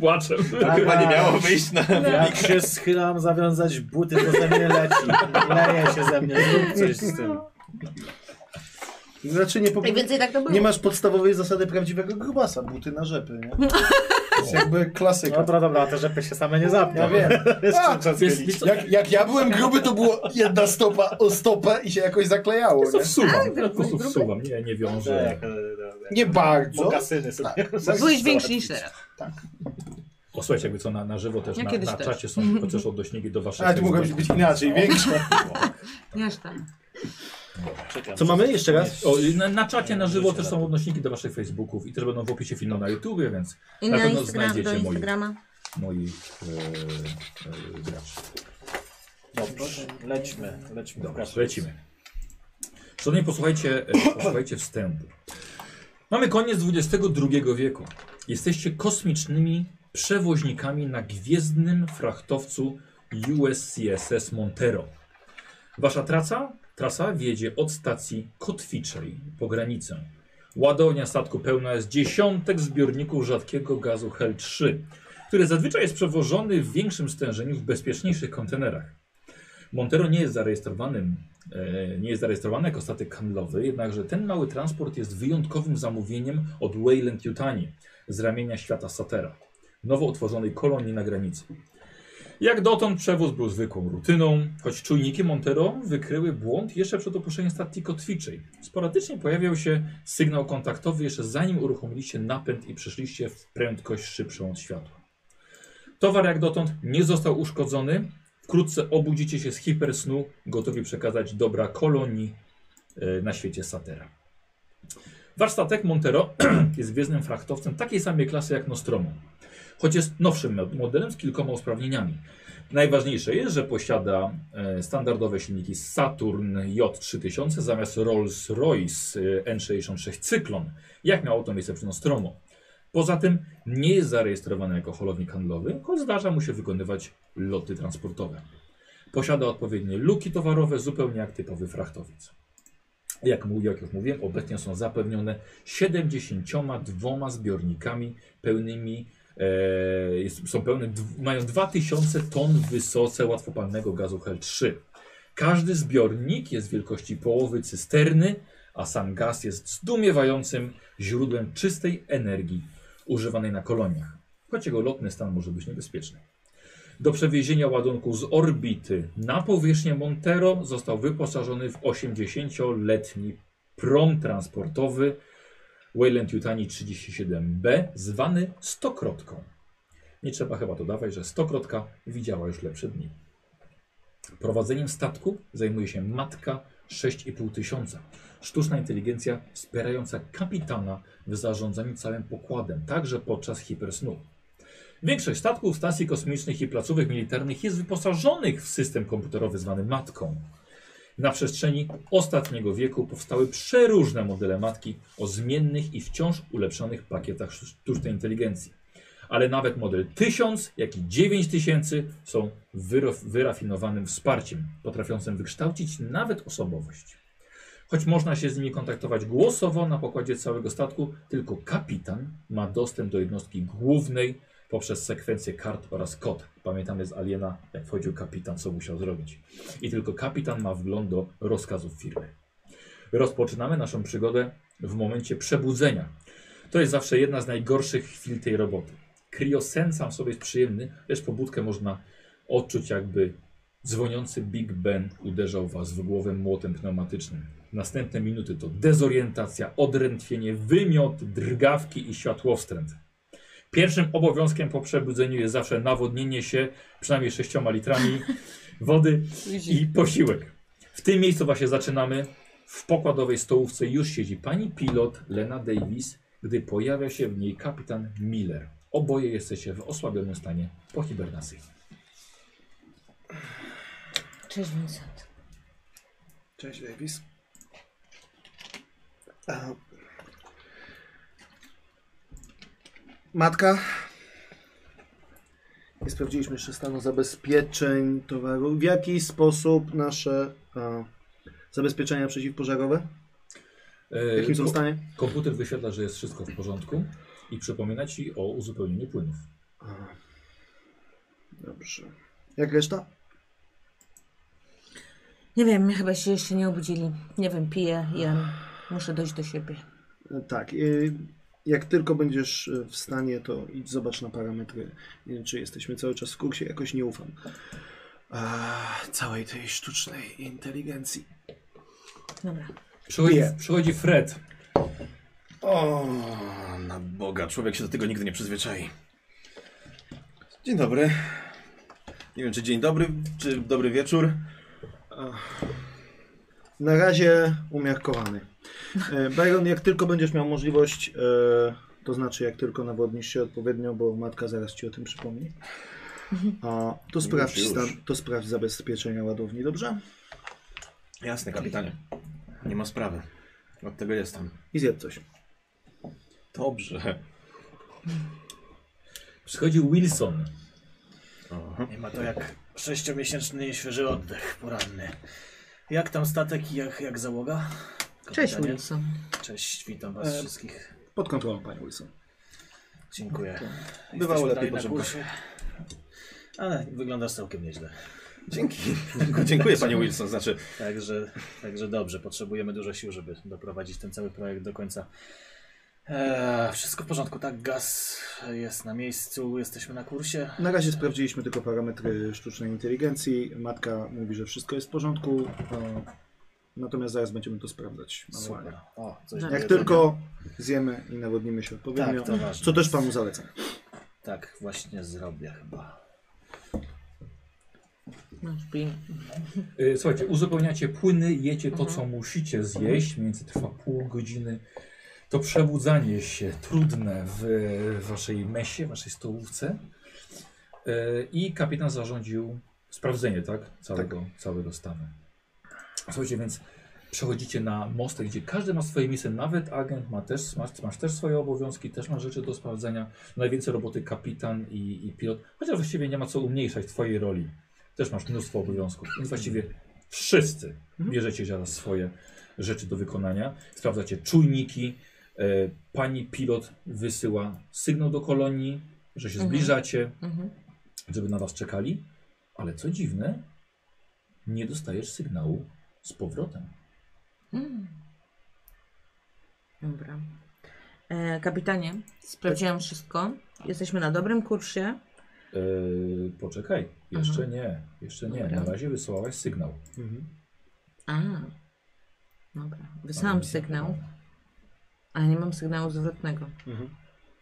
Speaker 1: Płaczę.
Speaker 4: Tak,
Speaker 5: Chyba nie miało wyjść no. na...
Speaker 4: Jak się schylam zawiązać buty, to ze mnie leci. Leje się ze mnie, zrób coś z tym.
Speaker 6: Znaczy nie, po...
Speaker 3: Najwięcej tak to było.
Speaker 6: nie masz podstawowej zasady prawdziwego grubasa, buty na rzepy, nie? To jest jakby klasyka.
Speaker 4: Dobra, dobra, te rzepy się same nie zapną.
Speaker 6: Ja wiem.
Speaker 4: Jeszcze czas
Speaker 1: Jest,
Speaker 4: mieli.
Speaker 1: jest,
Speaker 6: Jak, jak ja byłem gruby, to było jedna stopa o stopę i się jakoś zaklejało,
Speaker 1: jest,
Speaker 6: nie?
Speaker 1: wsuwam,
Speaker 3: Tak,
Speaker 1: po prostu wsuwam, nie, nie wiążę.
Speaker 4: Tak, tak, tak.
Speaker 6: Nie bardzo.
Speaker 4: Mokasyny sobie.
Speaker 6: Tak, tak.
Speaker 3: Byłeś większy niż teraz.
Speaker 1: Posłuchajcie, jakby co na, na żywo też
Speaker 3: Ja
Speaker 1: na,
Speaker 3: kiedyś
Speaker 1: na
Speaker 3: też.
Speaker 1: czacie są chociaż odnośniki do waszych.
Speaker 6: Ale to mogło być, być inaczej, większa.
Speaker 3: Wiesz tam.
Speaker 4: Czekam.
Speaker 5: Co mamy jeszcze raz?
Speaker 1: O, i na, na czacie na żywo też są odnośniki do waszych Facebooków i też będą w opisie filmu na YouTubie, więc
Speaker 3: I
Speaker 1: Na
Speaker 3: na
Speaker 1: pewno
Speaker 3: Instagram, do
Speaker 1: znajdziecie moje.
Speaker 3: Instagrama.
Speaker 1: moich e, e, graczy.
Speaker 4: Dobrze, lećmy, lećmy.
Speaker 1: Dobra,
Speaker 4: Pokaż.
Speaker 1: lecimy. Szanowni, posłuchajcie, e, posłuchajcie wstępu. Mamy koniec XXI wieku. Jesteście kosmicznymi przewoźnikami na gwiezdnym frachtowcu USCSS Montero. Wasza traca, trasa wiedzie od stacji Kotwiczej po granicę. Ładownia statku pełna jest dziesiątek zbiorników rzadkiego gazu Hel 3, który zazwyczaj jest przewożony w większym stężeniu w bezpieczniejszych kontenerach. Montero nie jest zarejestrowanym, e, nie jest zarejestrowany jako statek handlowy, jednakże ten mały transport jest wyjątkowym zamówieniem od Wayland Yutani z ramienia świata Satera, nowo utworzonej kolonii na granicy. Jak dotąd przewóz był zwykłą rutyną, choć czujniki Montero wykryły błąd jeszcze przed opuszczeniem stacji kotwiczej. Sporadycznie pojawiał się sygnał kontaktowy jeszcze zanim uruchomiliście napęd i przeszliście w prędkość szybszą od światła. Towar jak dotąd nie został uszkodzony, Wkrótce obudzicie się z hipersnu, gotowi przekazać dobra kolonii e, na świecie Satera. Wasz statek Montero jest gwiezdnym frachtowcem takiej samej klasy jak Nostromo, choć jest nowszym mo- modelem z kilkoma usprawnieniami. Najważniejsze jest, że posiada e, standardowe silniki Saturn J3000 zamiast Rolls-Royce e, N66 Cyklon, jak miało to miejsce przy Nostromo. Poza tym nie jest zarejestrowany jako holownik handlowy, choć zdarza mu się wykonywać loty transportowe. Posiada odpowiednie luki towarowe, zupełnie jak typowy frachtowiec. Jak, mu- jak już mówiłem, obecnie są zapewnione 72 zbiornikami pełnymi, e, jest, są pełne, d- mają 2000 ton wysoce łatwopalnego gazu HEL-3. Każdy zbiornik jest wielkości połowy cysterny, a sam gaz jest zdumiewającym źródłem czystej energii używanej na koloniach, choć jego lotny stan może być niebezpieczny. Do przewiezienia ładunku z orbity na powierzchnię Montero został wyposażony w 80-letni prom transportowy Wayland Yutani 37B, zwany Stokrotką. Nie trzeba chyba dodawać, że Stokrotka widziała już lepsze dni. Prowadzeniem statku zajmuje się matka 6,5 tysiąca. Sztuczna inteligencja wspierająca kapitana w zarządzaniu całym pokładem, także podczas hipersnu. Większość statków, stacji kosmicznych i placówek militarnych jest wyposażonych w system komputerowy zwany matką. Na przestrzeni ostatniego wieku powstały przeróżne modele matki o zmiennych i wciąż ulepszanych pakietach sztucznej inteligencji. Ale nawet model 1000, jak i 9000 są wyrof- wyrafinowanym wsparciem, potrafiącym wykształcić nawet osobowość. Choć można się z nimi kontaktować głosowo na pokładzie całego statku, tylko kapitan ma dostęp do jednostki głównej poprzez sekwencję kart oraz kod. Pamiętamy z Aliena, jak wchodził kapitan, co musiał zrobić. I tylko kapitan ma wgląd do rozkazów firmy. Rozpoczynamy naszą przygodę w momencie przebudzenia. To jest zawsze jedna z najgorszych chwil tej roboty. Kriosens sam w sobie jest przyjemny, lecz pobudkę można odczuć jakby dzwoniący Big Ben uderzał was w głowę młotem pneumatycznym. Następne minuty to dezorientacja, odrętwienie, wymiot, drgawki i światłowstręt. Pierwszym obowiązkiem po przebudzeniu jest zawsze nawodnienie się przynajmniej sześcioma litrami wody i posiłek. W tym miejscu właśnie zaczynamy. W pokładowej stołówce już siedzi pani pilot Lena Davis, gdy pojawia się w niej kapitan Miller. Oboje jesteście w osłabionym stanie po hibernacji.
Speaker 3: Cześć Vincent.
Speaker 2: Cześć, Davis. A... Matka. Nie sprawdziliśmy jeszcze stanu zabezpieczeń towaru. W jaki sposób nasze e, zabezpieczenia przeciwpożarowe?
Speaker 1: E,
Speaker 2: W
Speaker 1: Yy,
Speaker 2: jakim są stanie?
Speaker 1: komputer wyświetla, że jest wszystko w porządku i przypomina ci o uzupełnieniu płynów.
Speaker 2: A. Dobrze. Jak reszta?
Speaker 3: Nie wiem, chyba się jeszcze nie obudzili. Nie wiem, piję, jem. Muszę dojść do siebie.
Speaker 2: E, Tak. y, Jak tylko będziesz y, w stanie, to idź zobacz na parametry, y, czy jesteśmy cały czas w kursie. Jakoś nie ufam. A, całej tej sztucznej inteligencji.
Speaker 3: Dobra.
Speaker 1: Przychodzi,
Speaker 2: Nie.
Speaker 1: przychodzi Fred.
Speaker 5: O, na Boga, człowiek się do tego nigdy nie przyzwyczai. Dzień dobry. Nie wiem, czy dzień dobry, czy dobry wieczór.
Speaker 6: Na razie umiarkowany. E, Byron, jak tylko będziesz miał możliwość, e, to znaczy jak tylko nawodnisz się odpowiednio, bo matka zaraz ci o tym przypomni, a, to, sprawdź
Speaker 5: już.
Speaker 6: stan, to sprawdź zabezpieczenia ładowni, dobrze?
Speaker 5: Jasne, kapitanie. Nie ma sprawy. Od tego jestem.
Speaker 6: I zjedz coś.
Speaker 5: Dobrze.
Speaker 1: Przychodził Wilson.
Speaker 5: Aha.
Speaker 4: Nie ma to jak sześciomiesięczny świeży oddech poranny. Jak tam statek i jak, jak załoga?
Speaker 3: Cześć
Speaker 4: Kapitanie.
Speaker 3: Wilson.
Speaker 4: Cześć, witam was
Speaker 6: E,
Speaker 4: wszystkich.
Speaker 6: Pod kontrolą, panie Wilson.
Speaker 4: Dziękuję. Jesteśmy
Speaker 5: Bywało lepiej
Speaker 4: dalej na
Speaker 5: po
Speaker 4: kursie. Ale wyglądasz całkiem nieźle.
Speaker 5: Dzięki. Dziękuję, panie Wilson. Znaczy,
Speaker 4: Także, także dobrze, potrzebujemy dużo sił, żeby doprowadzić ten cały projekt do końca. Eee, wszystko w porządku, tak? Gaz jest na miejscu, jesteśmy na kursie.
Speaker 6: Na razie sprawdziliśmy tylko parametry sztucznej inteligencji. Matka mówi, że wszystko jest w porządku. e, Natomiast zaraz będziemy to sprawdzać manualnie.
Speaker 4: Super. O, coś
Speaker 3: Jak
Speaker 4: do
Speaker 6: Jak
Speaker 4: jedzenia.
Speaker 6: tylko zjemy i nawodnimy się odpowiednio,
Speaker 4: Tak, to ważne.
Speaker 6: co też panu zalecam.
Speaker 4: Tak, właśnie zrobię chyba.
Speaker 3: Masz pin.
Speaker 1: Y, Słuchajcie, uzupełniacie płyny, jecie to, co musicie zjeść, między trwa pół godziny. To przebudzanie się trudne w waszej mesie, waszej stołówce. Y, I kapitan zarządził sprawdzenie, tak? Całego, całego stanu. Słuchajcie, więc przechodzicie na mostek, gdzie każdy ma swoje miejsce, nawet agent ma też, masz, masz też swoje obowiązki, też ma rzeczy do sprawdzenia. Najwięcej roboty kapitan i, i pilot, chociaż właściwie nie ma co umniejszać twojej roli też masz mnóstwo obowiązków. Więc właściwie wszyscy
Speaker 3: Mhm.
Speaker 1: bierzecie zaraz swoje rzeczy do wykonania. Sprawdzacie czujniki. E, pani pilot wysyła sygnał do kolonii, że się
Speaker 3: Mhm.
Speaker 1: zbliżacie,
Speaker 3: Mhm.
Speaker 1: żeby na was czekali. Ale co dziwne, nie dostajesz sygnału z powrotem.
Speaker 3: Mm. Dobra. E, kapitanie, sprawdziłam wszystko. Jesteśmy na dobrym kursie.
Speaker 1: E, poczekaj, jeszcze nie, jeszcze nie.
Speaker 3: Dobra.
Speaker 1: Na razie wysłałaś sygnał.
Speaker 6: Mhm.
Speaker 3: A. Dobra. Wysłałam
Speaker 1: Ale-
Speaker 3: sygnał, ale nie mam sygnału zwrotnego.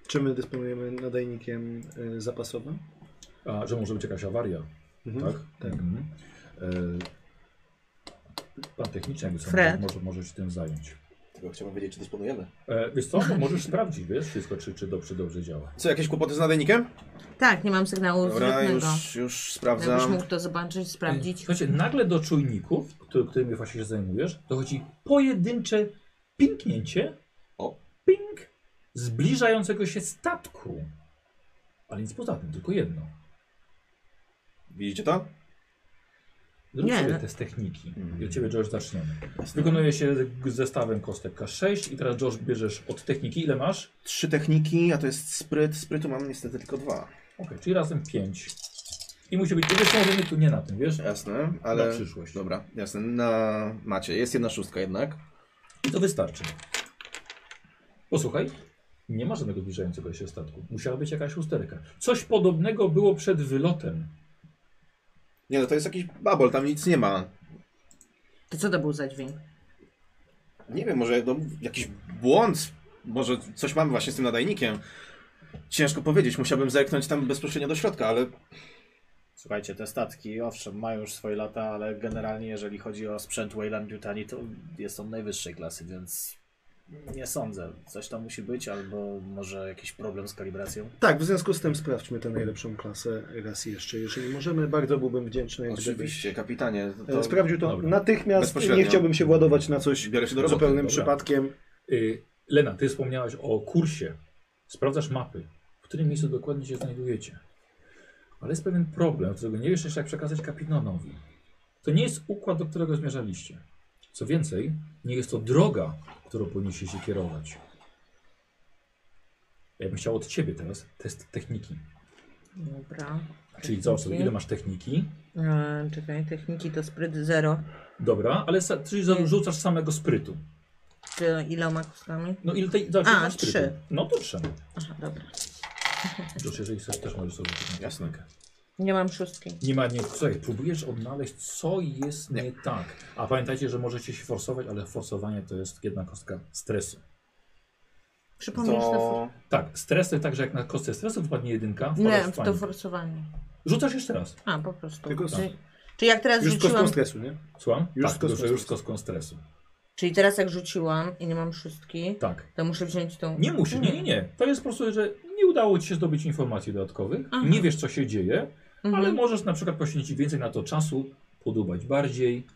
Speaker 6: Czy my dysponujemy nadajnikiem y, zapasowym?
Speaker 1: A, że może być jakaś awaria,
Speaker 6: Mhm.
Speaker 1: tak? Mhm. E, pan techniczny, jakby sobie
Speaker 3: Fred.
Speaker 1: może, może się tym zająć.
Speaker 5: tylko chciałbym wiedzieć, czy dysponujemy.
Speaker 1: E, wiesz co, no, możesz sprawdzić, wiesz, wszystko, czy, czy dobrze, dobrze działa.
Speaker 5: Co, jakieś kłopoty z nadajnikiem?
Speaker 3: Tak, nie mam sygnału
Speaker 5: Dobra,
Speaker 3: zwrotnego.
Speaker 5: już, już
Speaker 3: Jakbyś
Speaker 5: sprawdzam.
Speaker 3: mógł to zobaczyć, sprawdzić.
Speaker 1: E, Słuchajcie, nagle do czujników, który, którymi właśnie się zajmujesz, dochodzi pojedyncze pinknięcie,
Speaker 5: O.
Speaker 1: ping, zbliżającego się statku. Ale nic poza tym, tylko jedno.
Speaker 5: Widzicie to?
Speaker 1: Zrób
Speaker 3: Nie,
Speaker 1: sobie
Speaker 3: no-
Speaker 1: test techniki.
Speaker 5: Mhm.
Speaker 1: I od ciebie, Josh, zaczniemy. Wykonuje się z zestawem kostek K6 i teraz, Josh, bierzesz od techniki. Ile masz?
Speaker 5: Trzy techniki, a to jest spryt. Sprytu mam niestety tylko dwa.
Speaker 1: Okej, czyli razem 5. I musi być, wiesz, co, możemy tu nie na tym, wiesz?
Speaker 5: Jasne, ale...
Speaker 1: Na przyszłość.
Speaker 5: Dobra, jasne. Na macie. Jest jedna szóstka jednak.
Speaker 1: I to wystarczy. Posłuchaj, nie ma żadnego zbliżającego się statku. Musiała być jakaś usterka. Coś podobnego było przed wylotem.
Speaker 5: Nie no, to jest jakiś babol, tam nic nie ma.
Speaker 3: To co to był za dźwięk?
Speaker 5: Nie wiem, może no, jakiś błąd, może coś mamy właśnie z tym nadajnikiem. Ciężko powiedzieć, musiałbym zerknąć tam bezpośrednio do środka, ale
Speaker 4: Słuchajcie, te statki, owszem, mają już swoje lata, ale generalnie jeżeli chodzi o sprzęt Wayland Yutani, to jest on najwyższej klasy, więc nie sądzę. Coś tam musi być, albo może jakiś problem z kalibracją.
Speaker 6: Tak, w związku z tym sprawdźmy tę najlepszą klasę raz jeszcze, jeżeli możemy. Bardzo byłbym wdzięczny, gdybyś
Speaker 5: oczywiście, kapitanie,
Speaker 6: e,
Speaker 5: to
Speaker 6: sprawdził to
Speaker 1: Dobra.
Speaker 6: natychmiast.
Speaker 5: Bezpośrednio.
Speaker 6: Nie chciałbym się władować na coś
Speaker 5: biorę się do roboty.
Speaker 6: zupełnym
Speaker 1: dobra.
Speaker 6: przypadkiem.
Speaker 1: Y, Lena, ty wspomniałaś o kursie. Sprawdzasz mapy, w którym miejscu dokładnie się znajdujecie. Ale jest pewien problem, którego nie wiesz jeszcze jak przekazać kapitanowi. To nie jest układ, do którego zmierzaliście. Co więcej, nie jest to droga, którą powinniście się kierować. Ja bym chciał od ciebie teraz test techniki.
Speaker 3: Dobra.
Speaker 1: Czyli zobacz sobie, ile masz techniki.
Speaker 3: E, czekaj, techniki to spryt 0.
Speaker 1: Dobra, ale sa, czyli zarzucasz samego sprytu.
Speaker 3: Czy iloma kostkami?
Speaker 1: No ile tej zobacz, ile
Speaker 3: A,
Speaker 1: masz sprytu?
Speaker 3: trzy.
Speaker 1: No to trzy.
Speaker 3: Aha, dobra.
Speaker 1: Josh, jeżeli chcesz, też możesz sobie rzucić na
Speaker 5: Jasne.
Speaker 1: technikę.
Speaker 3: Nie mam szóstki.
Speaker 1: Nie ma, nie, słuchaj, próbujesz odnaleźć, co jest nie, tak. A pamiętajcie, że możecie się forsować, ale forsowanie to jest jedna kostka stresu.
Speaker 3: Przypomnisz to.
Speaker 5: to...
Speaker 1: Tak, stres to także jak na kostce stresu wypadnie jedynka.
Speaker 3: Nie,
Speaker 1: wpadasz w
Speaker 3: to
Speaker 1: panik.
Speaker 3: forsowanie.
Speaker 1: Rzucasz jeszcze raz.
Speaker 3: A, po prostu.
Speaker 2: Tylko
Speaker 3: Czy, czy jak teraz
Speaker 2: Już
Speaker 3: rzuciłam.
Speaker 2: kostką stresu, nie?
Speaker 1: Słucham?
Speaker 2: Już z
Speaker 1: tak,
Speaker 2: kostką
Speaker 1: tylko, że już z kostką stresu.
Speaker 3: Czyli teraz jak rzuciłam i nie mam szóstki,
Speaker 1: Tak.
Speaker 3: to muszę wziąć tą.
Speaker 1: Nie musisz, nie, nie, nie. To jest po prostu, że nie udało ci się zdobyć informacji dodatkowych,
Speaker 3: Aha.
Speaker 1: nie wiesz co się dzieje,
Speaker 3: Mhm.
Speaker 1: ale możesz na przykład poświęcić więcej na to czasu, podubać bardziej,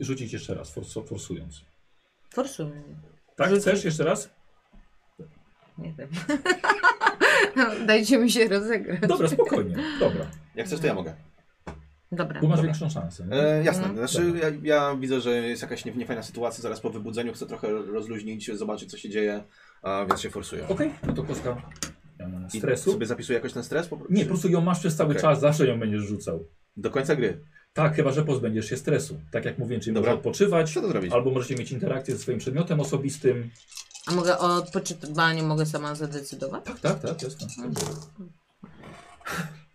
Speaker 1: rzucić jeszcze raz, forsu- forsując.
Speaker 3: Forsuję.
Speaker 1: Tak,
Speaker 3: Rzucić.
Speaker 1: chcesz jeszcze raz?
Speaker 3: Nie wiem. Dajcie mi się rozegrać.
Speaker 1: Dobra, spokojnie. Dobra,
Speaker 5: Jak chcesz, to ja mogę.
Speaker 3: Dobra.
Speaker 1: bo masz
Speaker 5: Dobra.
Speaker 1: większą szansę. nie?
Speaker 5: E, jasne,
Speaker 3: Mhm.
Speaker 5: znaczy ja, ja widzę, że jest jakaś nie- niefajna sytuacja, zaraz po wybudzeniu chcę trochę rozluźnić, zobaczyć co się dzieje, a, więc się forsuję.
Speaker 1: Okej, no to kostka e,
Speaker 5: I
Speaker 1: stresu.
Speaker 5: sobie zapisuję jakoś ten stres? Po prostu?
Speaker 1: Nie, po prostu ją masz przez cały
Speaker 5: Okej.
Speaker 1: czas, zawsze ją będziesz rzucał.
Speaker 5: Do końca gry.
Speaker 1: Tak, chyba że pozbędziesz się stresu. Tak jak mówiłem, czyli
Speaker 5: Dobra.
Speaker 1: możesz odpoczywać,
Speaker 5: Co to zrobić?
Speaker 1: albo możecie mieć interakcję ze swoim przedmiotem osobistym.
Speaker 3: A mogę o odpoczywaniu mogę sama zadecydować?
Speaker 1: Tak, tak, tak, jasne.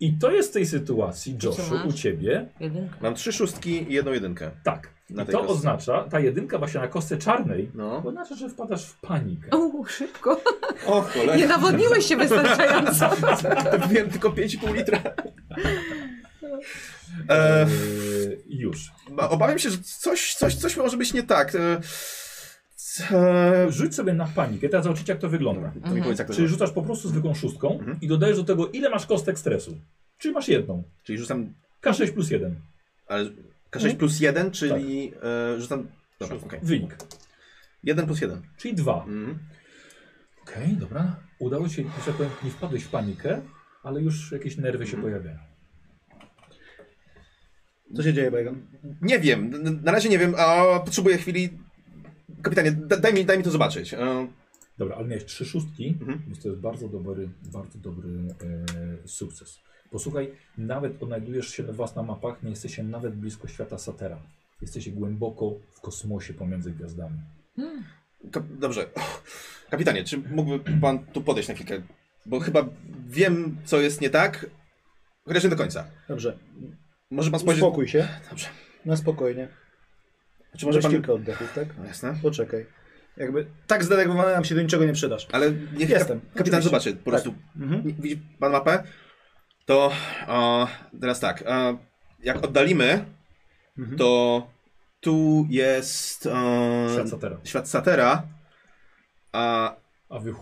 Speaker 1: I to jest w tej sytuacji, Joshu,
Speaker 3: masz?
Speaker 1: u ciebie.
Speaker 3: Jedynka.
Speaker 5: Mam trzy szóstki i jedną jedynkę.
Speaker 1: Tak.
Speaker 5: Na
Speaker 1: I
Speaker 5: tej
Speaker 1: to
Speaker 5: kostce.
Speaker 1: oznacza, ta jedynka właśnie na kostce czarnej,
Speaker 5: No.
Speaker 1: oznacza, że wpadasz w panikę.
Speaker 3: O, szybko.
Speaker 5: O cholera.
Speaker 3: Nie nawodniłeś się wystarczająco.
Speaker 5: Wiem tylko 5,5 litra. E,
Speaker 1: Eee, już.
Speaker 5: obawiam się, że coś, coś, coś może być nie tak. E, e,
Speaker 1: Rzuć sobie na panikę, teraz zobaczycie jak to wygląda.
Speaker 5: to mi powiedz, jak to
Speaker 1: Czyli
Speaker 5: Czyli,
Speaker 1: rzucasz po prostu zwykłą szóstką
Speaker 5: Mhm.
Speaker 1: i dodajesz do tego ile masz kostek stresu. Czyli masz jedną.
Speaker 5: Czyli rzucam
Speaker 1: K6 plus jeden.
Speaker 5: ale K6 plus 1, czyli e, rzucam... Dobra, okej.
Speaker 1: Wynik.
Speaker 5: 1 plus 1.
Speaker 1: Czyli dwa.
Speaker 5: Mhm.
Speaker 1: Okej, dobra. Udało ci się, że tak powiem, nie wpadłeś w panikę, ale już jakieś nerwy się pojawiają.
Speaker 2: Co się dzieje, Bajgon?
Speaker 5: Nie wiem, n- na razie nie wiem, a potrzebuję chwili... Kapitanie, da, daj, mi, daj mi to zobaczyć. E,
Speaker 1: Dobra, ale miałeś trzy szóstki,
Speaker 5: Mhm.
Speaker 1: więc to jest bardzo dobry, bardzo dobry e, sukces. Posłuchaj, nawet odnajdujesz się was na mapach, nie jesteście nawet blisko świata Satera. Jesteście głęboko w kosmosie pomiędzy gwiazdami.
Speaker 5: Kap dobrze. Kapitanie, czy mógłby pan tu podejść na chwilkę? Bo chyba wiem, co jest nie tak, chociaż nie do końca.
Speaker 2: Dobrze,
Speaker 5: Może pan spojrzeć...
Speaker 2: uspokój się.
Speaker 5: Dobrze.
Speaker 2: Na spokojnie.
Speaker 5: Czy
Speaker 2: Może
Speaker 5: może pan...
Speaker 2: kilka oddechów, tak?
Speaker 5: No, jasne.
Speaker 2: Poczekaj. Jakby tak zdenerwowany nam się do niczego nie przydasz.
Speaker 5: Ale niech
Speaker 2: Jestem.
Speaker 5: kap- kapitan zobaczy po prostu.
Speaker 2: Mhm.
Speaker 5: Nie- Widzi pan mapę? To o, teraz tak. e, jak oddalimy,
Speaker 2: Mhm.
Speaker 5: to tu jest e,
Speaker 1: Świat Satera.
Speaker 5: świat Satera, a
Speaker 1: A wy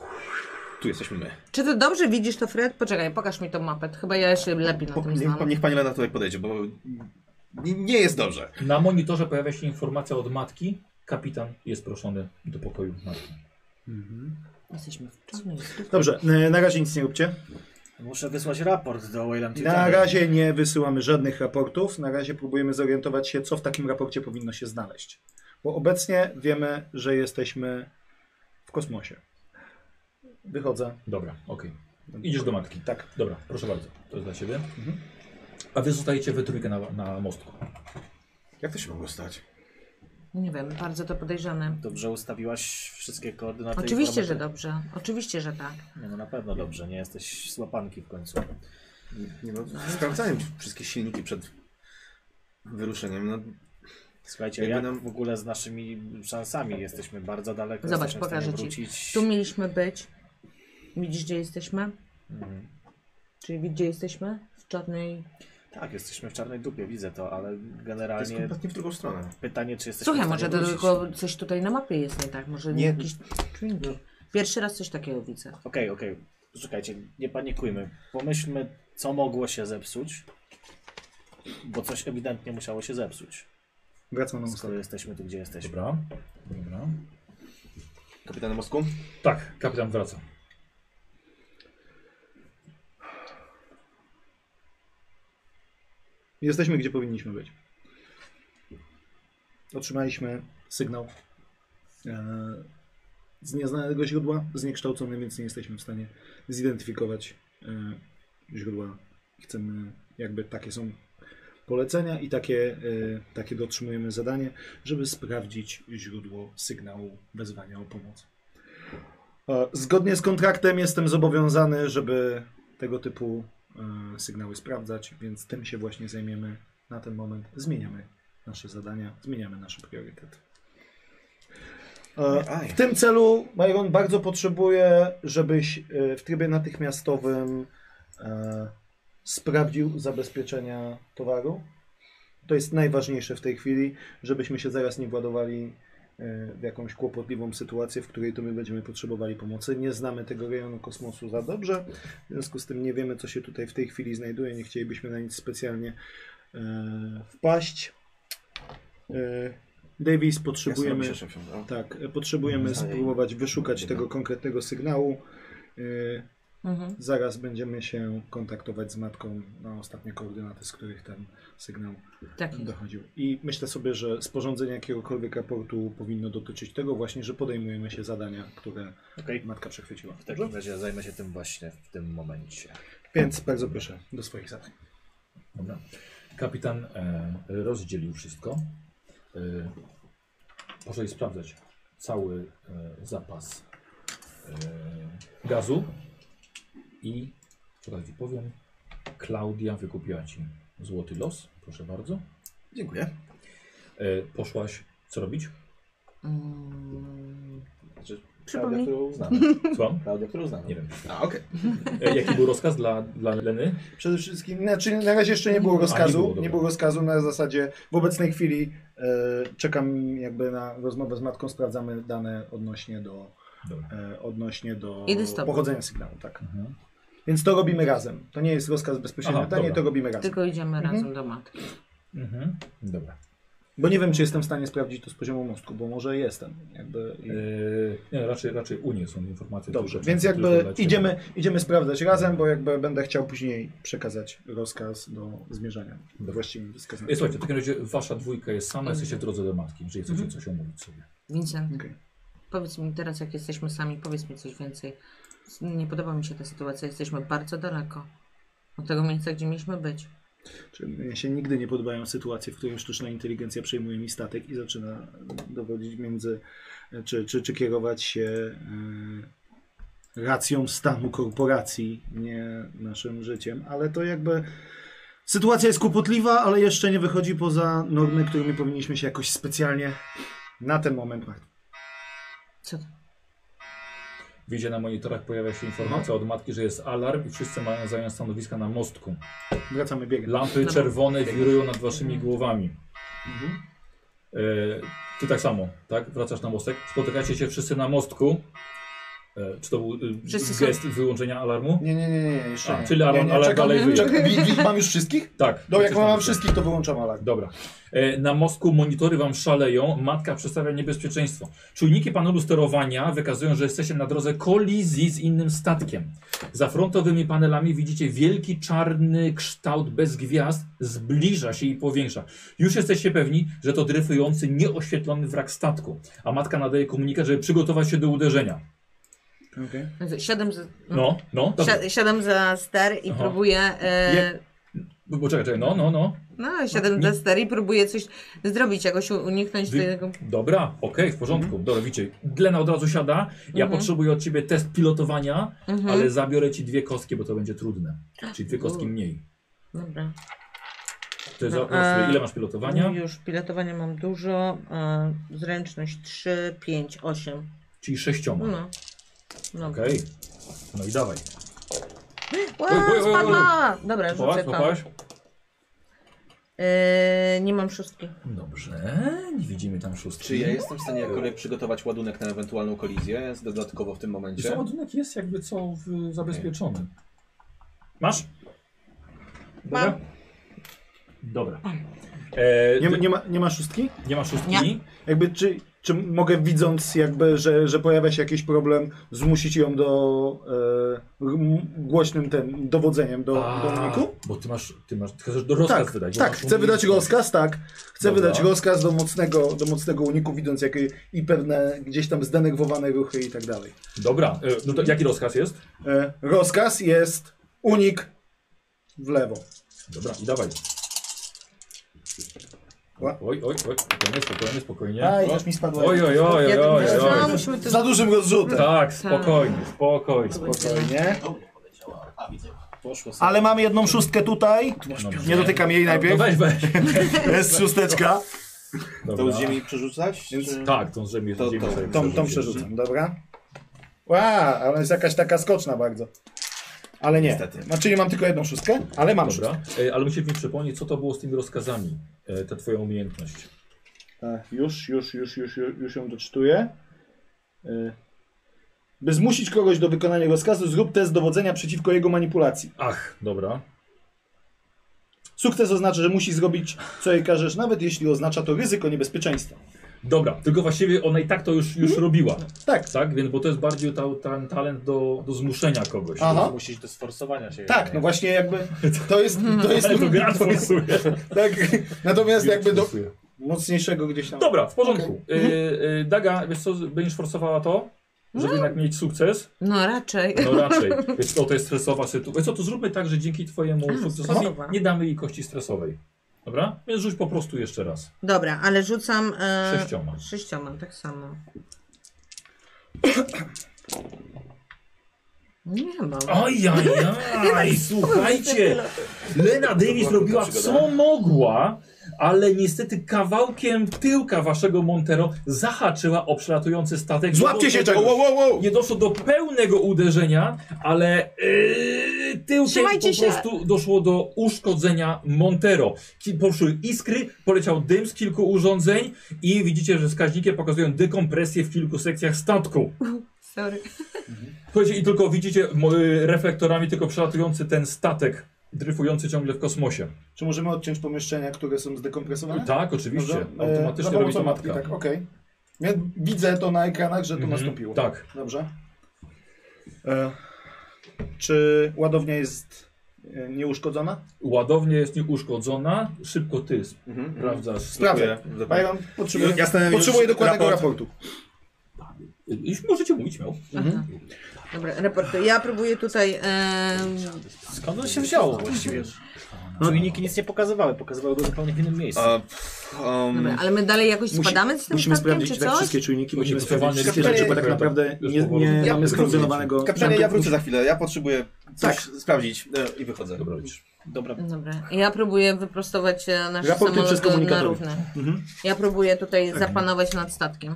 Speaker 5: tu jesteśmy my.
Speaker 3: Czy ty dobrze widzisz to, Fred? Poczekaj, pokaż mi tą mapę. Chyba ja się lepiej na
Speaker 5: Po,
Speaker 3: tym
Speaker 5: niech,
Speaker 3: znam.
Speaker 5: pan- niech pani Lena tutaj podejdzie, bo nie, nie jest dobrze.
Speaker 1: Na monitorze pojawia się informacja od matki. Kapitan jest proszony do pokoju matki.
Speaker 3: Jesteśmy w czarnej stówce.
Speaker 2: Dobrze, e, na razie nic nie róbcie.
Speaker 4: Muszę wysłać raport do Wayland
Speaker 2: Na razie nie wysyłamy żadnych raportów. Na razie próbujemy zorientować się, co w takim raporcie powinno się znaleźć. Bo obecnie wiemy, że jesteśmy w kosmosie. Wychodzę.
Speaker 1: Dobra, okej. Idziesz do matki.
Speaker 2: Tak.
Speaker 1: Dobra, proszę bardzo. To jest dla ciebie. A wy zostajecie we trójkę na, na mostku.
Speaker 5: Jak to się mogło stać?
Speaker 3: No Nie wiem, bardzo to podejrzane.
Speaker 4: Dobrze ustawiłaś wszystkie koordynaty.
Speaker 3: Oczywiście, że
Speaker 4: informatyki?
Speaker 3: dobrze. Oczywiście, że tak.
Speaker 4: Nie, no na pewno dobrze, nie jesteś z łapanki w końcu.
Speaker 5: Nie no, sprawdzałem wszystkie silniki przed wyruszeniem. No,
Speaker 4: Słuchajcie,
Speaker 5: Jakby
Speaker 4: jak
Speaker 5: nam-
Speaker 4: w ogóle z naszymi szansami jesteśmy bardzo daleko.
Speaker 3: Zobacz,
Speaker 4: jesteśmy w stanie
Speaker 3: pokażę ci.
Speaker 4: wrócić.
Speaker 3: Tu mieliśmy być. Widzisz, gdzie jesteśmy?
Speaker 4: Mhm.
Speaker 3: Czyli widzisz, gdzie jesteśmy? W czarnej...
Speaker 4: Tak, jesteśmy w czarnej dupie, widzę to, ale
Speaker 5: to jest
Speaker 4: generalnie
Speaker 5: kompletnie w drugą stronę.
Speaker 4: pytanie, czy jesteśmy
Speaker 3: Słuchaj,
Speaker 4: w
Speaker 3: może
Speaker 4: stanie
Speaker 3: to
Speaker 4: wrócić.
Speaker 3: tylko coś tutaj na mapie jest nie tak. Może
Speaker 5: Nie.
Speaker 3: jakieś czujniki. Pierwszy raz coś takiego widzę.
Speaker 4: Okej, okej. Czekajcie, nie panikujmy. Pomyślmy, co mogło się zepsuć, bo coś ewidentnie musiało się zepsuć.
Speaker 2: Wracam na
Speaker 4: Skoro
Speaker 2: ustawę.
Speaker 4: jesteśmy tu, gdzie jesteśmy.
Speaker 1: Dobra. Dobra.
Speaker 5: Kapitan mostku?
Speaker 1: Tak, kapitan wraca.
Speaker 2: Jesteśmy, gdzie powinniśmy być. Otrzymaliśmy sygnał e, z nieznanego źródła, zniekształcony, więc nie jesteśmy w stanie zidentyfikować e, źródła. Chcemy, jakby takie są polecenia i takie, e, takie dotrzymujemy zadanie, żeby sprawdzić źródło sygnału wezwania o pomoc. E, Zgodnie z kontraktem jestem zobowiązany, żeby tego typu e, sygnały sprawdzać, więc tym się właśnie zajmiemy na ten moment. Zmieniamy nasze zadania, zmieniamy nasze priorytety. E, W tym celu, Byron, bardzo potrzebuję, żebyś e, w trybie natychmiastowym e, sprawdził zabezpieczenia towaru. To jest najważniejsze w tej chwili, żebyśmy się zaraz nie władowali e, w jakąś kłopotliwą sytuację, w której to my będziemy potrzebowali pomocy. Nie znamy tego rejonu kosmosu za dobrze, w związku z tym nie wiemy, co się tutaj w tej chwili znajduje, nie chcielibyśmy na nic specjalnie e, wpaść. E, Davis, potrzebujemy... Tak, e, potrzebujemy spróbować wyszukać tego konkretnego sygnału. Yy,
Speaker 3: Mhm.
Speaker 2: Zaraz będziemy się kontaktować z matką na ostatnie koordynaty, z których ten sygnał
Speaker 3: Tak.
Speaker 2: dochodził. I myślę sobie, że sporządzenie jakiegokolwiek raportu powinno dotyczyć tego właśnie, że podejmujemy się zadania, które
Speaker 4: Okej.
Speaker 2: matka przechwyciła.
Speaker 4: W
Speaker 1: Tak.
Speaker 4: takim razie zajmę się tym właśnie w tym momencie.
Speaker 2: Więc bardzo proszę do swoich zadań.
Speaker 1: Dobra. Kapitan e, rozdzielił wszystko. E, poszedł sprawdzać cały e, zapas e, gazu i, teraz ci powiem, Klaudia wykupiła ci złoty los. Proszę bardzo.
Speaker 5: Dziękuję.
Speaker 1: E, poszłaś, co robić?
Speaker 3: Mm,
Speaker 4: Znaczy, Klaudia,
Speaker 3: Przypomnij.
Speaker 4: którą uznamy.
Speaker 1: Słucham?
Speaker 4: Klaudia, którą uznamy.
Speaker 1: Nie wiem.
Speaker 5: A, okej.
Speaker 1: E, jaki był rozkaz dla, dla Leny?
Speaker 2: Przede wszystkim, znaczy na razie jeszcze nie było
Speaker 1: nie
Speaker 2: rozkazu,
Speaker 1: było,
Speaker 2: nie było,
Speaker 1: dobra.
Speaker 2: rozkazu na zasadzie w obecnej chwili e, czekam jakby na rozmowę z matką, sprawdzamy dane odnośnie do,
Speaker 1: Dobra.
Speaker 2: e, odnośnie do
Speaker 3: Idę z tobą.
Speaker 2: pochodzenia sygnału, tak.
Speaker 1: Mhm.
Speaker 2: Więc to robimy razem. To nie jest rozkaz bezpośrednio,
Speaker 1: Aha,
Speaker 2: to nie,
Speaker 1: dobra.
Speaker 2: to robimy razem.
Speaker 3: Tylko idziemy
Speaker 2: Mhm.
Speaker 3: razem do matki.
Speaker 1: Mhm. Dobra.
Speaker 2: Bo nie wiem, czy jestem w stanie sprawdzić to z poziomu mostku, bo może jestem. Jakby... i-
Speaker 1: Yy, nie, raczej, raczej Unie są informacje.
Speaker 2: Dobrze,
Speaker 1: tylko-
Speaker 2: więc
Speaker 1: tylko
Speaker 2: jakby
Speaker 1: dla ciebie.
Speaker 2: idziemy, idziemy sprawdzać razem, bo jakby będę chciał później przekazać rozkaz do zmierzania.
Speaker 1: Dobra.
Speaker 2: Właściwym wskazaniom.
Speaker 1: E, Słuchajcie, w takim razie wasza dwójka jest sama, jesteście w drodze do matki, jeżeli chcecie coś omówić sobie.
Speaker 3: Vincent,
Speaker 2: Okej.
Speaker 3: powiedz mi teraz, jak jesteśmy sami, powiedz mi coś więcej. Nie podoba mi się ta sytuacja. Jesteśmy bardzo daleko od tego miejsca, gdzie mieliśmy być.
Speaker 2: Czy mnie się nigdy nie podobają sytuacje, w których sztuczna inteligencja przejmuje mi statek i zaczyna dowodzić między, czy, czy, czy kierować się y, racją stanu korporacji, nie naszym życiem, ale to jakby sytuacja jest kłopotliwa, ale jeszcze nie wychodzi poza normy, którymi powinniśmy się jakoś specjalnie na ten moment martwić.
Speaker 3: Co to?
Speaker 1: Widzicie na monitorach pojawia się informacja od matki, że jest alarm i wszyscy mają zająć stanowiska na mostku.
Speaker 2: Wracamy biegiem.
Speaker 1: Lampy
Speaker 3: No.
Speaker 1: czerwone wirują nad waszymi głowami. E, ty tak samo, tak? Wracasz na mostek. Spotykacie się wszyscy na mostku. E, czy to był e,
Speaker 3: Wszyscy są-
Speaker 1: gest wyłączenia alarmu?
Speaker 2: Nie, nie, nie, nie, jeszcze
Speaker 1: A,
Speaker 2: nie.
Speaker 1: czyli alarm-
Speaker 2: nie, nie,
Speaker 1: alarm
Speaker 2: czekam,
Speaker 1: dalej wyje.
Speaker 2: czekam. Wi- wi- Mam już wszystkich?
Speaker 1: Tak.
Speaker 2: Do No, jak
Speaker 1: Jesteś na
Speaker 2: mam
Speaker 1: mostku.
Speaker 2: wszystkich, to wyłączam alarm.
Speaker 1: Dobra. E, Na mostku monitory wam szaleją, matka przedstawia niebezpieczeństwo. Czujniki panelu sterowania wykazują, że jesteście na drodze kolizji z innym statkiem. Za frontowymi panelami widzicie wielki czarny kształt bez gwiazd, zbliża się i powiększa. Już jesteście pewni, że to dryfujący, nieoświetlony wrak statku, a matka nadaje komunikat, żeby przygotować się do uderzenia.
Speaker 3: Siadam za,
Speaker 1: No, no, dobra.
Speaker 3: si- siadam za ster i
Speaker 1: Aha.
Speaker 3: próbuję. E,
Speaker 1: Bo- bo Czekaj, czekaj, no, no, no.
Speaker 3: no, siadam za ster i próbuję coś zrobić, jakoś u- uniknąć
Speaker 1: Wy-
Speaker 3: tego.
Speaker 1: Dobra, okej, w porządku. Dobra, widzicie, Glena od razu siada. Ja
Speaker 3: Mhm.
Speaker 1: potrzebuję od ciebie test pilotowania.
Speaker 3: Mhm.
Speaker 1: Ale zabiorę ci dwie kostki, bo to będzie trudne. Czyli dwie kostki
Speaker 3: U.
Speaker 1: mniej.
Speaker 3: Dobra.
Speaker 1: Ty
Speaker 3: No,
Speaker 1: za,
Speaker 3: a-
Speaker 1: ile masz pilotowania?
Speaker 3: No Już pilotowania mam dużo. E, zręczność 3, 5, 8.
Speaker 1: Czyli sześcioma.
Speaker 3: No. No.
Speaker 1: Okej. No i dawaj.
Speaker 3: Ła,
Speaker 1: Oj, oj, oj,
Speaker 3: spadła! Dobra,
Speaker 1: Popatrz,
Speaker 3: rzucę to.
Speaker 1: popatrz.
Speaker 3: E, nie mam szóstki.
Speaker 1: Dobrze, nie widzimy tam szóstki.
Speaker 5: Czy ja jestem w stanie jakkolwiek przygotować ładunek na ewentualną kolizję z- dodatkowo w tym
Speaker 1: Wiesz co,
Speaker 5: momencie?
Speaker 1: ładunek jest jakby co w, zabezpieczony. Masz?
Speaker 3: Mam.
Speaker 1: Dobra. E,
Speaker 2: Nie,
Speaker 1: nie,
Speaker 2: ma- nie, ma, nie ma szóstki?
Speaker 1: ma szóstki?
Speaker 3: Nie.
Speaker 2: Jakby, czy, czy mogę widząc jakby, że, że pojawia się jakiś problem, zmusić ją do e, m- głośnym tym dowodzeniem do, do uniku?
Speaker 1: bo ty masz, ty masz, ty chcesz do rozkaz
Speaker 2: Tak,
Speaker 1: wydać. bo
Speaker 2: tak,
Speaker 1: masz
Speaker 2: chcę wydać
Speaker 1: umiejętność.
Speaker 2: rozkaz, tak. Chcę
Speaker 1: Dobra.
Speaker 2: wydać rozkaz do mocnego, do mocnego uniku, widząc jakie i pewne gdzieś tam zdenerwowane ruchy i tak dalej.
Speaker 1: Dobra, e, no to jaki rozkaz jest?
Speaker 2: E, rozkaz jest unik w lewo.
Speaker 1: Dobra, i dawaj.
Speaker 2: Ła.
Speaker 1: Oj, oj, oj, spokojnie, spokojnie, spokojnie.
Speaker 2: Aj, też mi spadło.
Speaker 1: Oj, oj, oj,
Speaker 3: Ja
Speaker 1: oj, oj,
Speaker 3: wiesz co,
Speaker 1: oj.
Speaker 3: musimy to
Speaker 2: Za dużym rozrzutem.
Speaker 1: Tak, spokojnie, spokojnie.
Speaker 2: Spokojnie.
Speaker 4: Poszło sobie.
Speaker 2: Ale mam jedną szóstkę tutaj.
Speaker 1: Dobrze.
Speaker 2: Nie dotykam jej najpierw.
Speaker 1: No weź, weź.
Speaker 2: Jest szósteczka.
Speaker 5: To z ziemi przerzucać? Czy...
Speaker 1: Tak, tą ziemię.
Speaker 5: To-
Speaker 1: ziemię
Speaker 5: to-
Speaker 1: sobie
Speaker 2: Tą, tą
Speaker 1: przerzucić.
Speaker 2: przerzucam, dobra? Ła, ale jest jakaś taka skoczna bardzo. Ale nie.
Speaker 5: Niestety.
Speaker 2: No, czyli mam tylko jedną szóstkę, ale mam szóstkę.
Speaker 1: Dobra, E, ale musisz mi przypomnieć, co to było z tymi rozkazami, e, ta twoja umiejętność.
Speaker 2: E, Już, już, już, już, już, już ją doczytuję. E, By zmusić kogoś do wykonania rozkazu, zrób test dowodzenia przeciwko jego manipulacji.
Speaker 1: Ach, dobra.
Speaker 2: Sukces oznacza, że musi zrobić, co jej każesz, nawet jeśli oznacza to ryzyko niebezpieczeństwa.
Speaker 1: Dobra, tylko właściwie ona i tak to już, już robiła.
Speaker 2: Tak.
Speaker 1: Tak, więc bo to jest bardziej ta, ten talent do, do zmuszenia kogoś.
Speaker 2: Aha.
Speaker 4: Aha. Musisz do sforsowania się.
Speaker 2: Tak, no właśnie jakby to jest... To jest,
Speaker 1: Ale to gra
Speaker 2: to jest
Speaker 1: forsuje.
Speaker 2: tak, natomiast jakby do mocniejszego gdzieś tam...
Speaker 1: Dobra, w porządku. E,
Speaker 2: Mhm.
Speaker 1: e, Daga, wiesz co, będziesz forsowała to?
Speaker 2: No.
Speaker 1: Żeby jednak mieć sukces?
Speaker 3: No raczej.
Speaker 1: No raczej. Wiesz co, to jest stresowa sytuacja. Co, to zróbmy tak, że dzięki twojemu
Speaker 3: A,
Speaker 1: sukcesowi
Speaker 3: stresowa.
Speaker 1: nie damy jej kości stresowej. Dobra? Więc rzuć po prostu jeszcze raz.
Speaker 3: Dobra, ale rzucam... E,
Speaker 1: Sześcioma.
Speaker 3: Sześcioma, tak samo. Nie mam.
Speaker 1: Ajajaj, słuchajcie! Lena Davis robiła
Speaker 6: tak
Speaker 1: co mogła, ale niestety kawałkiem tyłka waszego Montero zahaczyła o przelatujący statek. Nie
Speaker 6: Złapcie
Speaker 1: doszło
Speaker 6: się
Speaker 1: do-
Speaker 6: czegoś! Wow, wow, wow!
Speaker 1: Nie doszło do pełnego uderzenia, ale yy, tyłkiem
Speaker 3: Trzymajcie
Speaker 1: po
Speaker 3: się.
Speaker 1: prostu doszło do uszkodzenia Montero. Ki- Poszły iskry, poleciał dym z kilku urządzeń i widzicie, że wskaźniki pokazują dekompresję w kilku sekcjach statku.
Speaker 3: Sorry.
Speaker 1: Słuchajcie, i tylko widzicie mo- y, reflektorami tylko przelatujący ten statek, dryfujący ciągle w kosmosie.
Speaker 2: Czy możemy odciąć pomieszczenia, które są zdekompresowane?
Speaker 1: Tak, oczywiście.
Speaker 2: Mhm. Dobrze. E, za
Speaker 1: Automatycznie
Speaker 2: pomocą
Speaker 1: robi to
Speaker 2: mapki,
Speaker 1: matka.
Speaker 2: Tak, okej. Ja widzę to na ekranach, że to
Speaker 1: Mhm,
Speaker 2: nastąpiło.
Speaker 1: tak.
Speaker 2: Dobrze. E, czy ładownia jest e, nieuszkodzona?
Speaker 1: Ładownia jest nieuszkodzona. Szybko ty
Speaker 2: Mhm,
Speaker 1: sprawdzasz.
Speaker 2: Sprawdzę.
Speaker 5: Dziękuję.
Speaker 2: Byron, potrzebuję,
Speaker 5: Jasne,
Speaker 2: potrzebuję
Speaker 5: już
Speaker 2: dokładnego
Speaker 5: raport.
Speaker 2: raportu.
Speaker 1: Już możecie mówić miał. Mhm.
Speaker 3: Dobra, raporty. Ja próbuję tutaj... E,
Speaker 4: Skąd on się wziął właściwie? No i nikt nic nie pokazywały, pokazywały go zupełnie w innym miejscu.
Speaker 5: A, pff, um,
Speaker 3: dobra, ale my dalej jakoś
Speaker 6: Musi-
Speaker 3: spadamy z tym
Speaker 6: Musimy
Speaker 3: statkiem,
Speaker 6: sprawdzić
Speaker 3: czy
Speaker 6: tak
Speaker 3: coś?
Speaker 6: wszystkie czujniki, musimy
Speaker 1: Podziękowany
Speaker 6: sprawdzić wszystkie
Speaker 2: kapitanie.
Speaker 6: rzeczy, bo tak naprawdę
Speaker 1: Już
Speaker 6: nie,
Speaker 1: powoli.
Speaker 6: nie
Speaker 2: Ja
Speaker 6: mamy
Speaker 2: wrócę.
Speaker 6: skoordynowanego...
Speaker 2: Kapitanie, ja wrócę.
Speaker 5: za chwilę, ja potrzebuję coś
Speaker 2: Tak.
Speaker 5: sprawdzić e, i wychodzę.
Speaker 1: Dobra, robisz.
Speaker 4: Dobra.
Speaker 3: Dobra, ja próbuję wyprostować e, nasz
Speaker 6: Raporty
Speaker 3: samolot
Speaker 6: przez Mhm. Tak.
Speaker 3: do- na
Speaker 6: komunikatory.
Speaker 3: równe. Ja próbuję tutaj zapanować nad statkiem.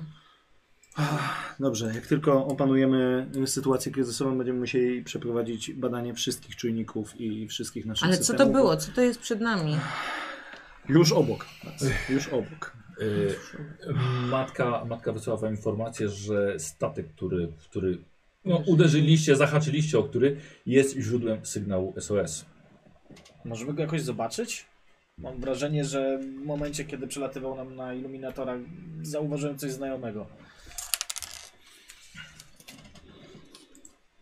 Speaker 6: Dobrze, jak tylko opanujemy y, sytuację kryzysową, będziemy musieli przeprowadzić badanie wszystkich czujników i wszystkich naszych
Speaker 3: Ale co
Speaker 6: systemów.
Speaker 3: to było? Co to jest przed nami?
Speaker 6: Już obok nas, już obok.
Speaker 1: Y, matka, matka wysłała wam informację, że statek, który, który no, uderzyliście, zahaczyliście o który, jest źródłem sygnału SOS.
Speaker 4: Możemy go jakoś zobaczyć? Mam wrażenie, że w momencie, kiedy przelatywał nam na iluminatorach, zauważyłem coś znajomego.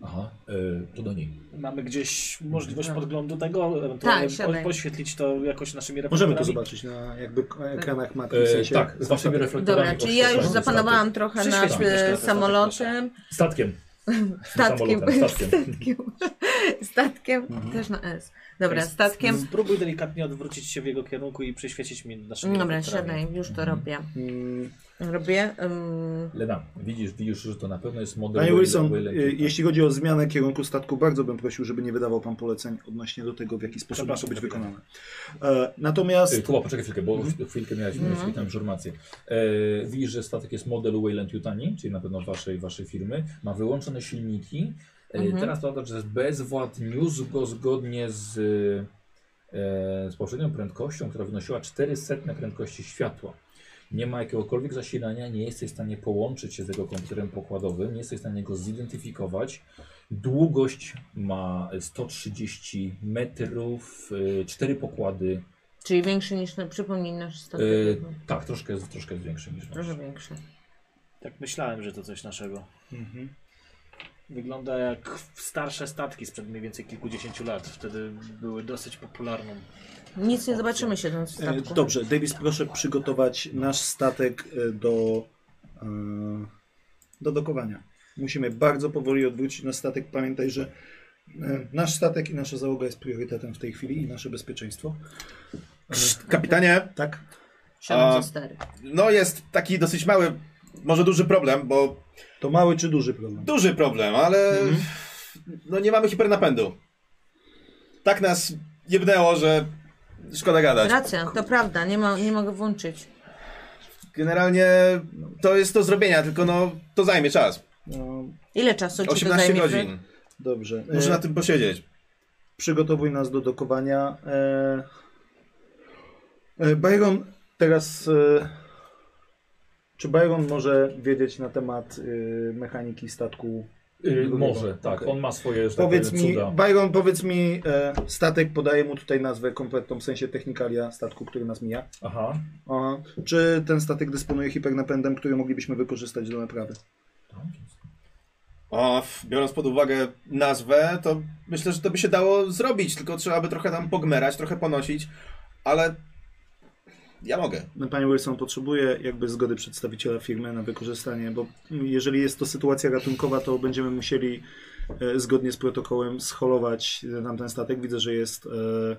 Speaker 1: Aha, y, to do niej.
Speaker 4: Mamy gdzieś możliwość
Speaker 6: Mhm.
Speaker 4: podglądu tego, ewentualnie po-
Speaker 3: Tak, siadaj.
Speaker 4: poświetlić to jakoś naszymi
Speaker 6: Możemy
Speaker 4: reflektorami.
Speaker 6: to zobaczyć na jakby k- ekranach matki,
Speaker 1: Y,
Speaker 6: w sensie...
Speaker 1: tak, z waszymi reflektorami.
Speaker 3: Dobra, czyli ja już
Speaker 1: oświetlacie
Speaker 3: zapanowałam trochę nad
Speaker 4: Przyświećmy troszkę
Speaker 3: e,
Speaker 4: na statek,
Speaker 3: samolotem,
Speaker 1: Statek. Statkiem.
Speaker 3: statkiem,
Speaker 1: Samolotem, statkiem.
Speaker 6: Mhm.
Speaker 3: statkiem, statkiem, też na S. Dobra,
Speaker 4: Więc
Speaker 3: statkiem.
Speaker 4: Spróbuj delikatnie odwrócić się w jego kierunku i przyświecić mi naszymi
Speaker 3: Dobra,
Speaker 4: reflektorami.
Speaker 3: siadaj, już to robię.
Speaker 6: Mhm. Mm,
Speaker 3: Robię, ym,
Speaker 1: Lena, widzisz, widzisz, że to na pewno jest model
Speaker 6: Panie
Speaker 1: Whale-
Speaker 6: Wilson,
Speaker 1: Whale'a,
Speaker 6: y,
Speaker 1: tak?
Speaker 6: jeśli chodzi o zmianę kierunku statku, bardzo bym prosił, żeby nie wydawał pan poleceń odnośnie do tego, w jaki sposób ma to być wykonane. E,
Speaker 1: Ty,
Speaker 6: Natomiast
Speaker 1: Kuba, poczekaj chwilkę, bo chwilkę miałeś, miałeś mm. informację. E, widzisz, że statek jest model Wayland Yutani, czyli na pewno waszej, waszej firmy. Ma wyłączone silniki. E,
Speaker 3: Mhm.
Speaker 1: Teraz to że bezwład niósł go zgodnie z, e, z poprzednią prędkością, która wynosiła 400 prędkości światła. Nie ma jakiegokolwiek zasilania, nie jesteś w stanie połączyć się z jego komputerem pokładowym, nie jesteś w stanie go zidentyfikować. Długość ma 130 metrów, e, cztery pokłady,
Speaker 3: czyli większy niż, na- przypomnij nasz statek.
Speaker 1: Yy, tak, troszkę, jest- troszkę jest większy niż nasz.
Speaker 3: Trochę większy.
Speaker 4: Tak myślałem, że to coś naszego.
Speaker 6: Mhm.
Speaker 4: Wygląda jak starsze statki sprzed mniej więcej kilkudziesięciu lat. Wtedy były dosyć popularną.
Speaker 3: Nic nie zobaczymy siedząc w
Speaker 2: yy,
Speaker 6: e,
Speaker 3: statku.
Speaker 6: dobrze, Davis, proszę przygotować nasz statek e, do, e, do dokowania. Musimy bardzo powoli odwrócić nasz statek. Pamiętaj, że e, nasz statek i nasza załoga jest priorytetem w tej chwili i nasze bezpieczeństwo.
Speaker 5: Krzt, kapitanie,
Speaker 6: Tak?
Speaker 3: Siadam
Speaker 5: a-
Speaker 3: za stery.
Speaker 5: no jest taki dosyć mały, może duży problem, bo
Speaker 6: To mały czy duży problem?
Speaker 5: duży problem, ale
Speaker 2: Mhm.
Speaker 5: no nie mamy hipernapędu. Tak nas jebnęło, że szkoda gadać.
Speaker 3: Racja, to prawda, nie, ma, nie mogę włączyć.
Speaker 5: generalnie to jest do zrobienia, tylko no to zajmie czas.
Speaker 2: No,
Speaker 3: Ile czasu ci to
Speaker 5: 18
Speaker 3: zajmie? tak?
Speaker 5: godzin.
Speaker 2: dobrze. E,
Speaker 5: Muszę na tym posiedzieć.
Speaker 2: Przygotowuj nas do dokowania. E, e, Byron teraz... E, czy Byron może wiedzieć na temat e, mechaniki statku?
Speaker 1: Y,
Speaker 2: Drugiego.
Speaker 1: może, tak.
Speaker 2: Okej.
Speaker 1: On ma swoje, że tak
Speaker 2: Powiedz
Speaker 1: powiem,
Speaker 2: mi,
Speaker 1: cuda.
Speaker 2: Byron, powiedz mi, e, statek, podaję mu tutaj nazwę kompletną, w sensie technikalia statku, który nas mija.
Speaker 1: Aha.
Speaker 2: Aha. Czy ten statek dysponuje hipernapędem, który moglibyśmy wykorzystać do naprawy?
Speaker 5: O, f- biorąc pod uwagę nazwę, to myślę, że to by się dało zrobić, tylko trzeba by trochę tam pogmerać, trochę ponosić, ale ja mogę.
Speaker 2: No, Panie Wilson, potrzebuje jakby zgody przedstawiciela firmy na wykorzystanie, bo jeżeli jest to sytuacja ratunkowa, to będziemy musieli e, zgodnie z protokołem scholować e, tamten statek. Widzę, że jest e, w tej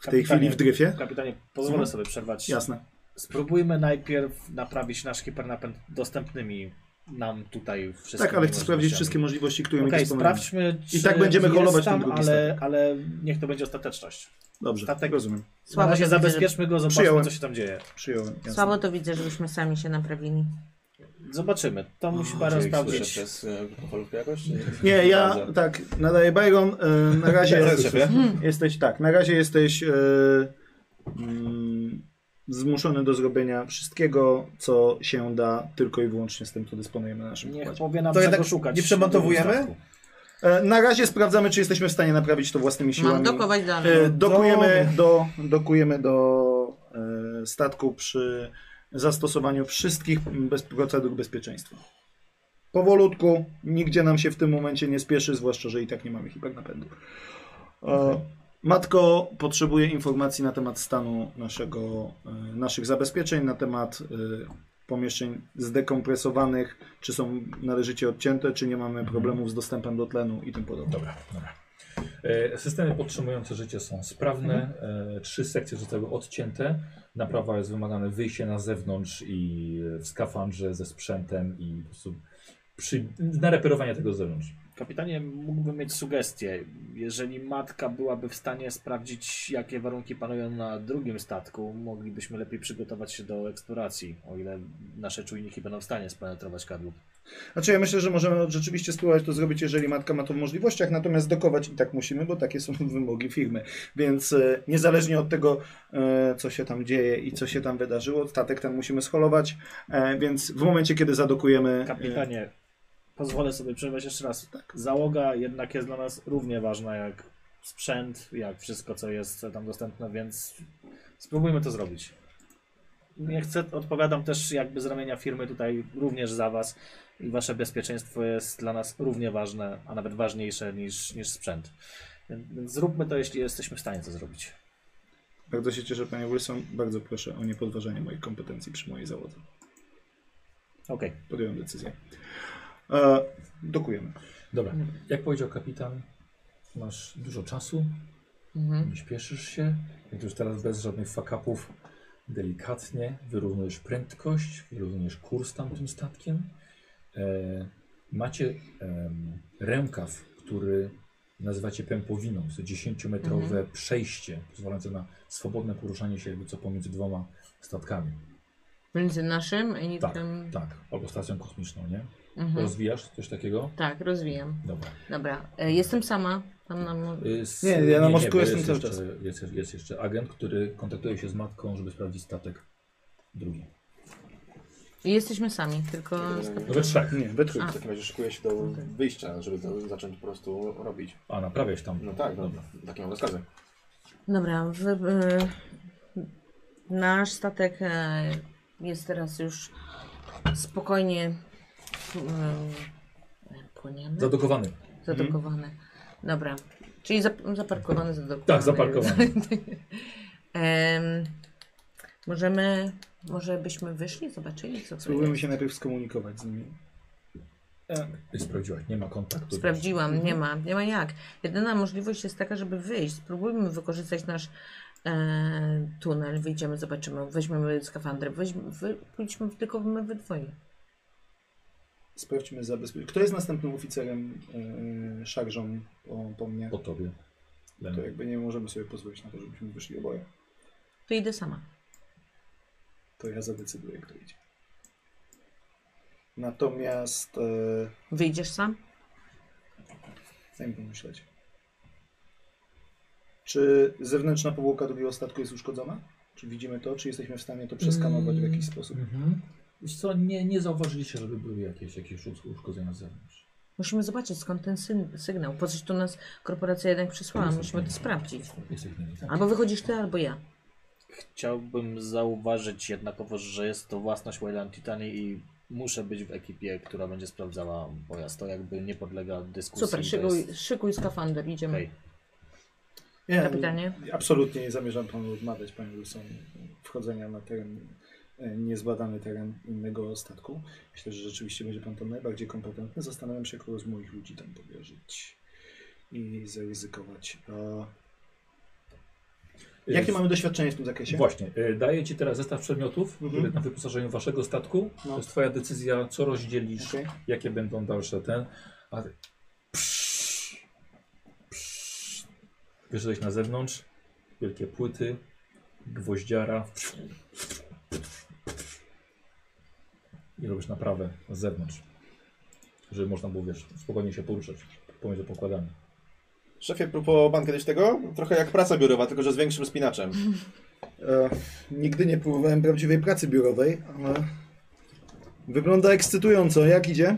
Speaker 4: Kapitanie.
Speaker 2: chwili w dryfie.
Speaker 4: Kapitanie, pozwolę
Speaker 2: Mhm.
Speaker 4: sobie przerwać.
Speaker 6: Tak,
Speaker 2: Jasne.
Speaker 4: Spróbujmy najpierw naprawić nasz hipernapęd dostępnymi nam tutaj wszystkimi
Speaker 2: Tak, ale chcę sprawdzić
Speaker 4: możliwościami.
Speaker 2: wszystkie możliwości, które mi
Speaker 4: Okej,
Speaker 2: dysponują.
Speaker 4: sprawdźmy, czy
Speaker 2: tak będziemy
Speaker 4: jest
Speaker 2: holować ten
Speaker 4: tam,
Speaker 2: drugi
Speaker 4: ale, ale niech to będzie ostateczność.
Speaker 2: Dobrze,
Speaker 4: statek.
Speaker 2: rozumiem.
Speaker 4: Na
Speaker 3: Słabo
Speaker 4: razie
Speaker 3: to, widzę,
Speaker 4: zabezpieczmy go, zobaczmy
Speaker 2: Przyjąłem.
Speaker 4: co się tam dzieje.
Speaker 2: Przyjąłem. Jasne.
Speaker 3: że... Słabo to widzę, żebyśmy sami się naprawili.
Speaker 4: Zobaczymy.
Speaker 2: No,
Speaker 4: To musi bardzo sprawdzić.
Speaker 5: przez folkę jakoś?
Speaker 2: Nie, ja tak, nadaję Byron. E, na razie
Speaker 5: Cześć, szefie.
Speaker 2: jesteś tak, na razie jesteś e, mm, zmuszony do zrobienia wszystkiego, co się da, tylko i wyłącznie z tym, co dysponujemy na naszym
Speaker 4: Niech
Speaker 2: pokładzie.
Speaker 4: powie nam
Speaker 5: To
Speaker 4: czego
Speaker 5: jednak
Speaker 4: szukać.
Speaker 5: nie przemontowujemy?
Speaker 4: na tym statku.
Speaker 2: E, na razie sprawdzamy, czy jesteśmy w stanie naprawić to własnymi
Speaker 3: Mam
Speaker 2: siłami.
Speaker 3: dokować dalej.
Speaker 2: E, dokujemy do, dokujemy do e, statku przy zastosowaniu wszystkich bez, procedur bezpieczeństwa. Powolutku, nigdzie nam się w tym momencie nie spieszy, zwłaszcza, że i tak nie mamy hipernapędu. E, matko potrzebuje informacji na temat stanu naszego, e, naszych zabezpieczeń, na temat e, pomieszczeń zdekompresowanych, czy są należycie odcięte, czy nie mamy problemów z dostępem do tlenu i tym podobne.
Speaker 1: Dobra, dobra. E, Systemy podtrzymujące życie są sprawne. E, Trzy sekcje zostały odcięte. Naprawa jest wymagane wyjście na zewnątrz i e, w skafandrze ze sprzętem i po prostu przy, na reperowanie tego z zewnątrz.
Speaker 4: Kapitanie, mógłbym mieć sugestię. Jeżeli matka byłaby w stanie sprawdzić, jakie warunki panują na drugim statku, moglibyśmy lepiej przygotować się do eksploracji, o ile nasze czujniki będą w stanie spenetrować kadłub.
Speaker 2: Znaczy ja myślę, że możemy rzeczywiście spróbować to zrobić, jeżeli matka ma to w możliwościach, natomiast dokować i tak musimy, bo takie są wymogi firmy. Więc e, niezależnie od tego, e, co się tam dzieje i co się tam wydarzyło, statek ten musimy scholować, e, więc w momencie, kiedy zadokujemy... e,
Speaker 4: Kapitanie, pozwolę sobie przerwać jeszcze raz. Załoga jednak jest dla nas równie ważna jak sprzęt, jak wszystko, co jest tam dostępne, więc spróbujmy to zrobić. Nie chcę, odpowiadam też jakby z ramienia firmy tutaj również za Was i Wasze bezpieczeństwo jest dla nas równie ważne, a nawet ważniejsze niż, niż sprzęt. Więc więc zróbmy to, jeśli jesteśmy w stanie to zrobić.
Speaker 2: Bardzo się cieszę, panie Wilson, bardzo proszę o niepodważanie moich kompetencji przy mojej załodze.
Speaker 4: Okej.
Speaker 2: Podjąłem decyzję. E, dokujemy.
Speaker 1: Dobra, jak powiedział kapitan, masz dużo czasu,
Speaker 3: Mhm.
Speaker 1: nie śpieszysz się, jak już teraz bez żadnych fakapów, delikatnie wyrównujesz prędkość, wyrównujesz kurs tamtym statkiem. E, macie em, rękaw, który nazywacie pępowiną, jest to 10-metrowe
Speaker 3: Mhm.
Speaker 1: przejście pozwalające na swobodne poruszanie się jakby co pomiędzy dwoma statkami.
Speaker 3: Między naszym i
Speaker 1: Tak,
Speaker 3: tym...
Speaker 1: tak, albo stacją kosmiczną, nie?
Speaker 3: Mhm.
Speaker 1: Rozwijasz coś takiego?
Speaker 3: Tak, rozwijam.
Speaker 1: Dobra.
Speaker 3: Dobra, e, jestem sama. Tam nam...
Speaker 1: Jest,
Speaker 2: Nie, ja na morsku
Speaker 1: bo Y,
Speaker 2: jestem
Speaker 1: jest
Speaker 2: cały
Speaker 1: jeszcze, Jest, jest jeszcze agent, który kontaktuje się z matką, żeby sprawdzić statek drugi.
Speaker 3: Jesteśmy sami, tylko...
Speaker 5: Yy.
Speaker 1: No we trzech.
Speaker 2: Nie, we trójkę.
Speaker 3: A.
Speaker 7: W takim razie szykuję się do wyjścia, żeby to zacząć po prostu robić.
Speaker 1: A, naprawiać tam.
Speaker 7: No tak, no, takie mam rozkazy.
Speaker 3: Dobra, w, e, nasz statek e, jest teraz już spokojnie e, płyniemy,
Speaker 1: Zadokowany.
Speaker 3: zadokowany. Dobra, czyli zap, zaparkowany, zadokowany.
Speaker 1: Tak, zaparkowany.
Speaker 3: Em, możemy, może byśmy wyszli, zobaczyli co tu
Speaker 2: Spróbujemy
Speaker 3: jest.
Speaker 2: się najpierw skomunikować z nimi.
Speaker 1: Ty Sprawdziłaś, nie ma kontaktu.
Speaker 3: Sprawdziłam, nie ma, nie ma jak. Jedyna możliwość jest taka, żeby wyjść. Spróbujmy wykorzystać nasz e, tunel, wyjdziemy, zobaczymy, weźmiemy skafandry, weźmy, wy, pójdźmy tylko my we dwoje.
Speaker 2: Sprawdźmy zabezpieczenie. Kto jest następnym oficerem yy, szarżą po, po mnie?
Speaker 1: Po tobie. Len.
Speaker 2: To jakby nie możemy sobie pozwolić na to, żebyśmy wyszli oboje.
Speaker 3: To idę sama.
Speaker 8: to ja zadecyduję, kto idzie. Natomiast e,
Speaker 3: Wyjdziesz sam?
Speaker 8: daj mi pomyśleć. Czy zewnętrzna powłoka drugiego statku jest uszkodzona? Czy widzimy to? Czy jesteśmy w stanie to przeskanować w jakiś sposób?
Speaker 1: Mhm. Wiesz co, nie, nie zauważyliście, żeby były jakieś, jakieś usz- uszkodzenia z zewnątrz.
Speaker 3: Musimy zobaczyć skąd ten syn, sygnał. Po coś to nas korporacja jednak przysłała, Tak, musimy to sprawdzić.
Speaker 1: Jesteśmy nie tak.
Speaker 3: Albo wychodzisz ty, albo ja.
Speaker 4: Chciałbym zauważyć jednakowo, że jest to własność Wayland Titanii i muszę być w ekipie, która będzie sprawdzała pojazd. To jakby nie podlega dyskusji.
Speaker 3: Super,
Speaker 4: to
Speaker 3: szykuj,
Speaker 4: jest...
Speaker 3: szykuj skafander, idziemy.
Speaker 4: Okej.
Speaker 8: Nie,
Speaker 3: Kapitanie?
Speaker 8: Absolutnie nie zamierzam panu odmawiać, panie Wilson, wchodzenia na teren, e, niezbadany teren innego statku. Myślę, że rzeczywiście będzie pan tam najbardziej kompetentny. Zastanawiam się, kogo z moich ludzi tam powierzyć i zaryzykować. A... Jakie
Speaker 1: Y,
Speaker 8: mamy doświadczenie w tym zakresie?
Speaker 1: Właśnie, y, daję ci teraz zestaw przedmiotów,
Speaker 8: Mhm.
Speaker 1: które na wyposażeniu waszego statku.
Speaker 8: No.
Speaker 1: To jest twoja decyzja, co rozdzielisz,
Speaker 8: Okej.
Speaker 1: jakie będą dalsze ten. A ty... Wyszedłeś na zewnątrz, wielkie płyty, gwoździara. I robisz naprawę z zewnątrz, żeby można było, wiesz, spokojnie się poruszać pomiędzy pokładami.
Speaker 5: Szefie, próbował pan kiedyś tego? Trochę jak praca biurowa, tylko że z większym spinaczem.
Speaker 2: E, nigdy nie próbowałem prawdziwej pracy biurowej, ale wygląda ekscytująco. Jak idzie?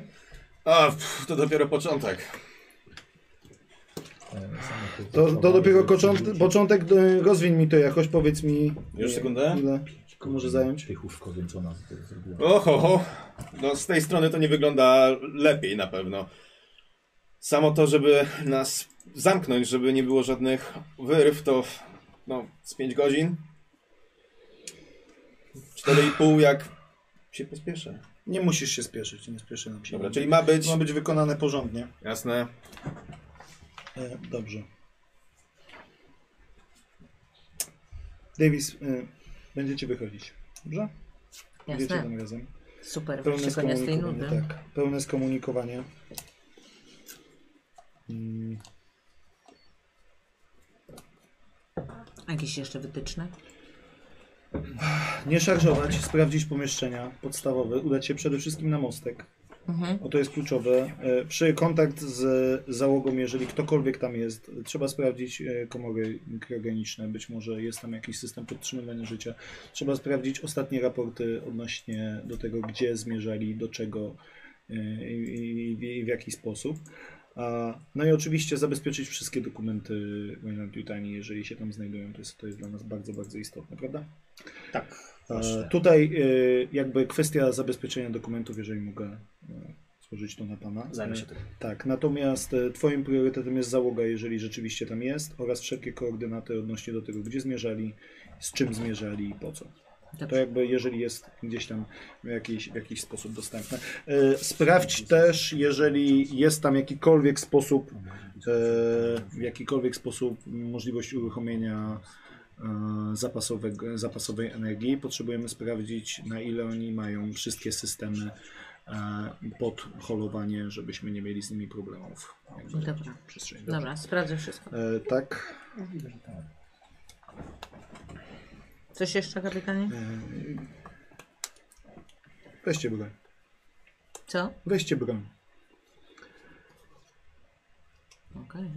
Speaker 5: A, pff, to dopiero początek.
Speaker 1: E, samochód
Speaker 2: To, to
Speaker 1: zablokowany,
Speaker 2: dopiero
Speaker 1: żeby
Speaker 2: kocząt,
Speaker 1: wrócić.
Speaker 2: początek, e, rozwiń mi to jakoś, powiedz mi
Speaker 5: Już sekundę?
Speaker 2: ile to może zająć.
Speaker 1: Tych uszkodzeń, co nas tutaj zrobiło.
Speaker 5: Oho, ho. No z tej strony to nie wygląda lepiej na pewno. Samo to, żeby nas zamknąć, żeby nie było żadnych wyrw, to no, z 5 godzin. 4,5 jak się pospieszę.
Speaker 8: Nie musisz się spieszyć, nie spieszy nam się.
Speaker 5: Dobra, czyli ma być.
Speaker 8: Ma być wykonane porządnie.
Speaker 5: Jasne.
Speaker 8: E, dobrze.
Speaker 2: Davis, e, będziecie wychodzić. Dobrze? Idziecie
Speaker 3: Jasne.
Speaker 2: tym razem.
Speaker 3: Super,
Speaker 2: Pełne
Speaker 3: wyjdziesz koniec tej nudy.
Speaker 2: skomunikowanie, tak. Pełne skomunikowanie. Mm,
Speaker 3: A Jakieś jeszcze wytyczne?
Speaker 2: Nie szarżować, sprawdzić pomieszczenia podstawowe, udać się przede wszystkim na mostek.
Speaker 3: Mhm.
Speaker 2: Bo to jest kluczowe. E, Przy kontakt z załogą, jeżeli ktokolwiek tam jest, trzeba sprawdzić e, komory kriogeniczne. Być może jest tam jakiś system podtrzymywania życia. Trzeba sprawdzić ostatnie raporty odnośnie do tego, gdzie zmierzali, do czego e, i, i, i w jaki sposób. A, no i oczywiście zabezpieczyć wszystkie dokumenty Wayland Yutani, jeżeli się tam znajdują. To jest, to jest dla nas bardzo, bardzo istotne, prawda?
Speaker 4: Tak.
Speaker 2: E,
Speaker 4: Właśnie.
Speaker 2: Tutaj e, jakby kwestia zabezpieczenia dokumentów, jeżeli mogę e, złożyć to na pana.
Speaker 4: Zajmę się
Speaker 2: E,
Speaker 4: tym.
Speaker 2: Tak, natomiast e, twoim priorytetem jest załoga, jeżeli rzeczywiście tam jest, oraz wszelkie koordynaty odnośnie do tego, gdzie zmierzali, z czym zmierzali i po co. To
Speaker 3: Dobrze.
Speaker 2: jakby jeżeli jest gdzieś tam w jakiś, w jakiś sposób dostępne. E, Sprawdź też, jeżeli jest tam jakikolwiek sposób, e, w jakikolwiek sposób możliwość uruchomienia e, zapasowego, zapasowej energii. Potrzebujemy sprawdzić, na ile oni mają wszystkie systemy e, pod holowanie, żebyśmy nie mieli z nimi problemów. jakby
Speaker 3: Dobra.
Speaker 2: w przestrzeni.
Speaker 3: Dobra, sprawdzę wszystko.
Speaker 2: E, tak.
Speaker 3: Coś jeszcze, kapitanie?
Speaker 2: E, Weźcie broń.
Speaker 3: Co?
Speaker 2: Weźcie broń.
Speaker 3: Okej.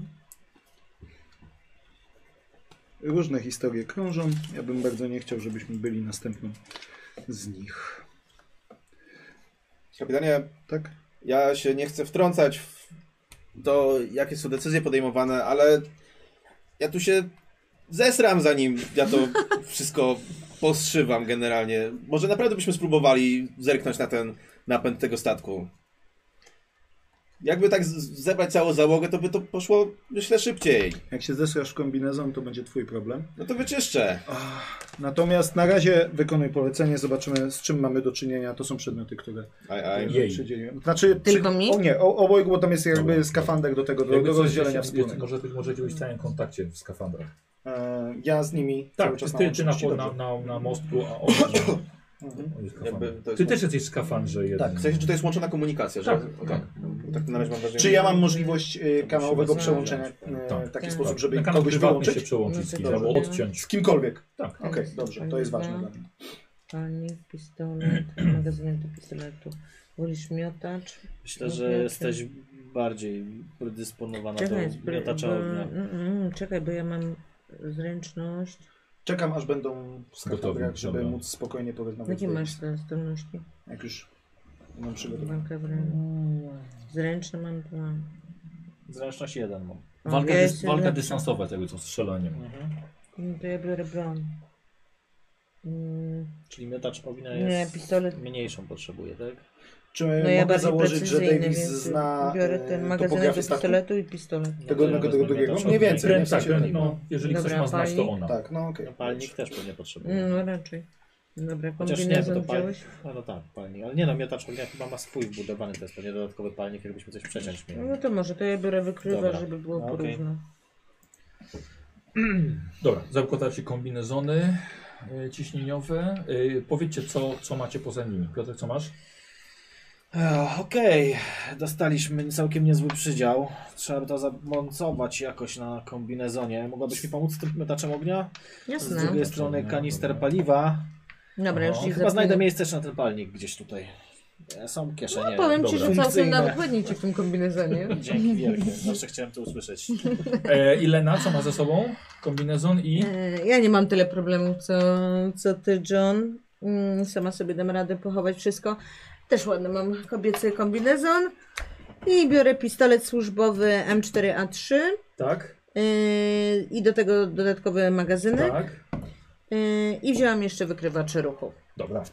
Speaker 2: Różne historie krążą. Ja bym bardzo nie chciał, żebyśmy byli następną z nich.
Speaker 5: Kapitanie,
Speaker 2: Tak?
Speaker 5: ja się nie chcę wtrącać w to, jakie są decyzje podejmowane, ale ja tu się zesram zanim ja to wszystko powstrzywam generalnie. Może naprawdę byśmy spróbowali zerknąć na ten napęd tego statku. Jakby tak z- zebrać całą załogę, to by to poszło, myślę, szybciej.
Speaker 2: Jak się zesrasz w kombinezon, to będzie twój problem.
Speaker 5: No to wyczyszczę.
Speaker 2: Natomiast na razie wykonuj polecenie, zobaczymy z czym mamy do czynienia. To są przedmioty, które
Speaker 5: Aj, aj.
Speaker 1: Jej.
Speaker 2: przydzieliłem. Znaczy,
Speaker 3: Tylko mi?
Speaker 2: O nie, o, obojgu, bo tam jest
Speaker 1: Dobra.
Speaker 2: jakby skafander do tego, do,
Speaker 1: Jakby
Speaker 2: do
Speaker 1: coś
Speaker 2: rozdzielenia
Speaker 1: jeszcze-
Speaker 2: wspólnego.
Speaker 1: Może, może być w stałym kontakcie w skafandrach.
Speaker 2: E, ja z nimi
Speaker 1: Tak,
Speaker 2: cały
Speaker 1: ty,
Speaker 2: czas
Speaker 1: ty, ty na,
Speaker 2: łączności,
Speaker 1: na,
Speaker 2: dobrze. Mhm.
Speaker 1: na, na mostku, a on, on jest
Speaker 5: Jakby
Speaker 1: skafander.
Speaker 5: to jest-
Speaker 1: Ty też jesteś w skafandrze jednym.
Speaker 5: Tak, w sensie, czy to jest łączona komunikacja, że...
Speaker 1: Tak,
Speaker 5: Okej. Bo tak na razie mam wrażenie...
Speaker 2: Czy ja mam możliwość e, kanałowego
Speaker 5: się
Speaker 2: przełączenia
Speaker 5: rozwiązać.
Speaker 2: e,
Speaker 1: Tak.
Speaker 2: w taki
Speaker 3: Tak.
Speaker 2: sposób, żeby
Speaker 1: na kanał
Speaker 2: kogoś
Speaker 1: prywatny
Speaker 2: wyłączyć?
Speaker 5: No
Speaker 1: się przełączyć z kimś
Speaker 2: Dobrze.
Speaker 1: albo odciąć.
Speaker 2: Z kimkolwiek.
Speaker 1: Tak.
Speaker 2: Okej, dobrze, to jest ważne dla mnie.
Speaker 3: Palnik, pistolet, magazyn do pistoletu. Wolisz miotacz?
Speaker 4: Myślę, że jesteś bardziej predysponowana do
Speaker 3: bry-
Speaker 4: No miotacza
Speaker 3: bo-
Speaker 4: ognia.
Speaker 3: mm, mm, czekaj, bo ja mam zręczność.
Speaker 2: Czekam aż będą w skafadrach, żeby
Speaker 1: dobra.
Speaker 2: móc spokojnie porozmawiać.
Speaker 3: Jakie masz te zdolności?
Speaker 2: Jak już mam przygotowane.
Speaker 3: Walka wręcz. Zręczne mam dwa.
Speaker 4: Zręczność jeden mam.
Speaker 3: O,
Speaker 1: Walka,
Speaker 3: ja
Speaker 1: dys,
Speaker 3: jestem
Speaker 1: walka
Speaker 3: lepsza.
Speaker 1: dystansowa, tego co strzelaniem.
Speaker 2: Mhm.
Speaker 3: Mm, To ja biorę broń.
Speaker 2: E,
Speaker 3: Mm,
Speaker 4: Czyli miotacz ognia
Speaker 3: nie,
Speaker 4: jest
Speaker 3: pistolet.
Speaker 4: mniejszą potrzebuje, tak?
Speaker 2: Czy
Speaker 3: No ja
Speaker 2: mogę
Speaker 3: bardziej
Speaker 2: założyć, że
Speaker 3: precyzyjny,
Speaker 2: Davis
Speaker 3: więc
Speaker 2: zna
Speaker 3: biorę ten
Speaker 2: e,
Speaker 3: magazyn do
Speaker 2: topografię statku?
Speaker 3: pistoletu i pistolet.
Speaker 2: Tego
Speaker 4: Ja
Speaker 2: jednego,
Speaker 4: też
Speaker 2: tego
Speaker 4: mam
Speaker 2: drugiego?
Speaker 4: No, miotacz
Speaker 2: Mniej
Speaker 4: ognia.
Speaker 2: więcej.
Speaker 1: Brem,
Speaker 2: w sensie
Speaker 1: tak, brem,
Speaker 2: tak,
Speaker 1: no, jeżeli
Speaker 3: Dobra,
Speaker 1: ktoś ma znać, to
Speaker 3: palnik.
Speaker 1: ona.
Speaker 2: Tak, no okej.
Speaker 4: No, palnik też pewnie potrzebuje.
Speaker 3: No raczej. Dobra,
Speaker 4: Chociaż nie, bo to
Speaker 3: kombinezon
Speaker 4: palnik.
Speaker 3: wziąłeś?
Speaker 4: No, no tak, palnik. Ale nie no, miotacz ognia chyba ma swój wbudowany, to jest pewnie dodatkowy palnik, jakbyśmy coś przeciąć mieli.
Speaker 3: No to może, to ja biorę wykrywa,
Speaker 4: Dobra.
Speaker 3: żeby było
Speaker 4: No, okej.
Speaker 3: porówno.
Speaker 1: Dobra, zakładacie kombinezony y, ciśnieniowe. Y, powiedzcie, co, co macie poza nimi. Piotr, co masz?
Speaker 4: Ech, Okej, dostaliśmy całkiem niezły przydział. Trzeba by to zamontować jakoś na kombinezonie. Mogłabyś mi pomóc z tym miotaczem ognia? Z
Speaker 3: Jasne.
Speaker 4: drugiej strony kanister
Speaker 1: Dobra.
Speaker 4: paliwa.
Speaker 3: Dobra, już
Speaker 1: O,
Speaker 3: ci
Speaker 4: No. Chyba znajdę
Speaker 3: zapinam.
Speaker 4: miejsce jeszcze na ten palnik gdzieś tutaj. E, Są kieszenie.
Speaker 3: No, powiem ci,
Speaker 1: Dobra.
Speaker 3: że całkiem
Speaker 4: funkcyjne.
Speaker 3: nawet ładnie ci w tym kombinezonie.
Speaker 4: Dzięki wielkie, zawsze chciałem to usłyszeć.
Speaker 1: E, Ilena, co ma ze sobą? Kombinezon i...
Speaker 3: E, Ja nie mam tyle problemów, co, co ty, John. Mm, Sama sobie dam radę pochować wszystko. Też ładny mam kobiecy kombinezon. I biorę pistolet służbowy M4A3
Speaker 1: Tak,
Speaker 3: e, i do tego dodatkowe magazyny.
Speaker 1: tak.
Speaker 3: E, I wzięłam jeszcze wykrywaczy ruchu.
Speaker 1: Dobra.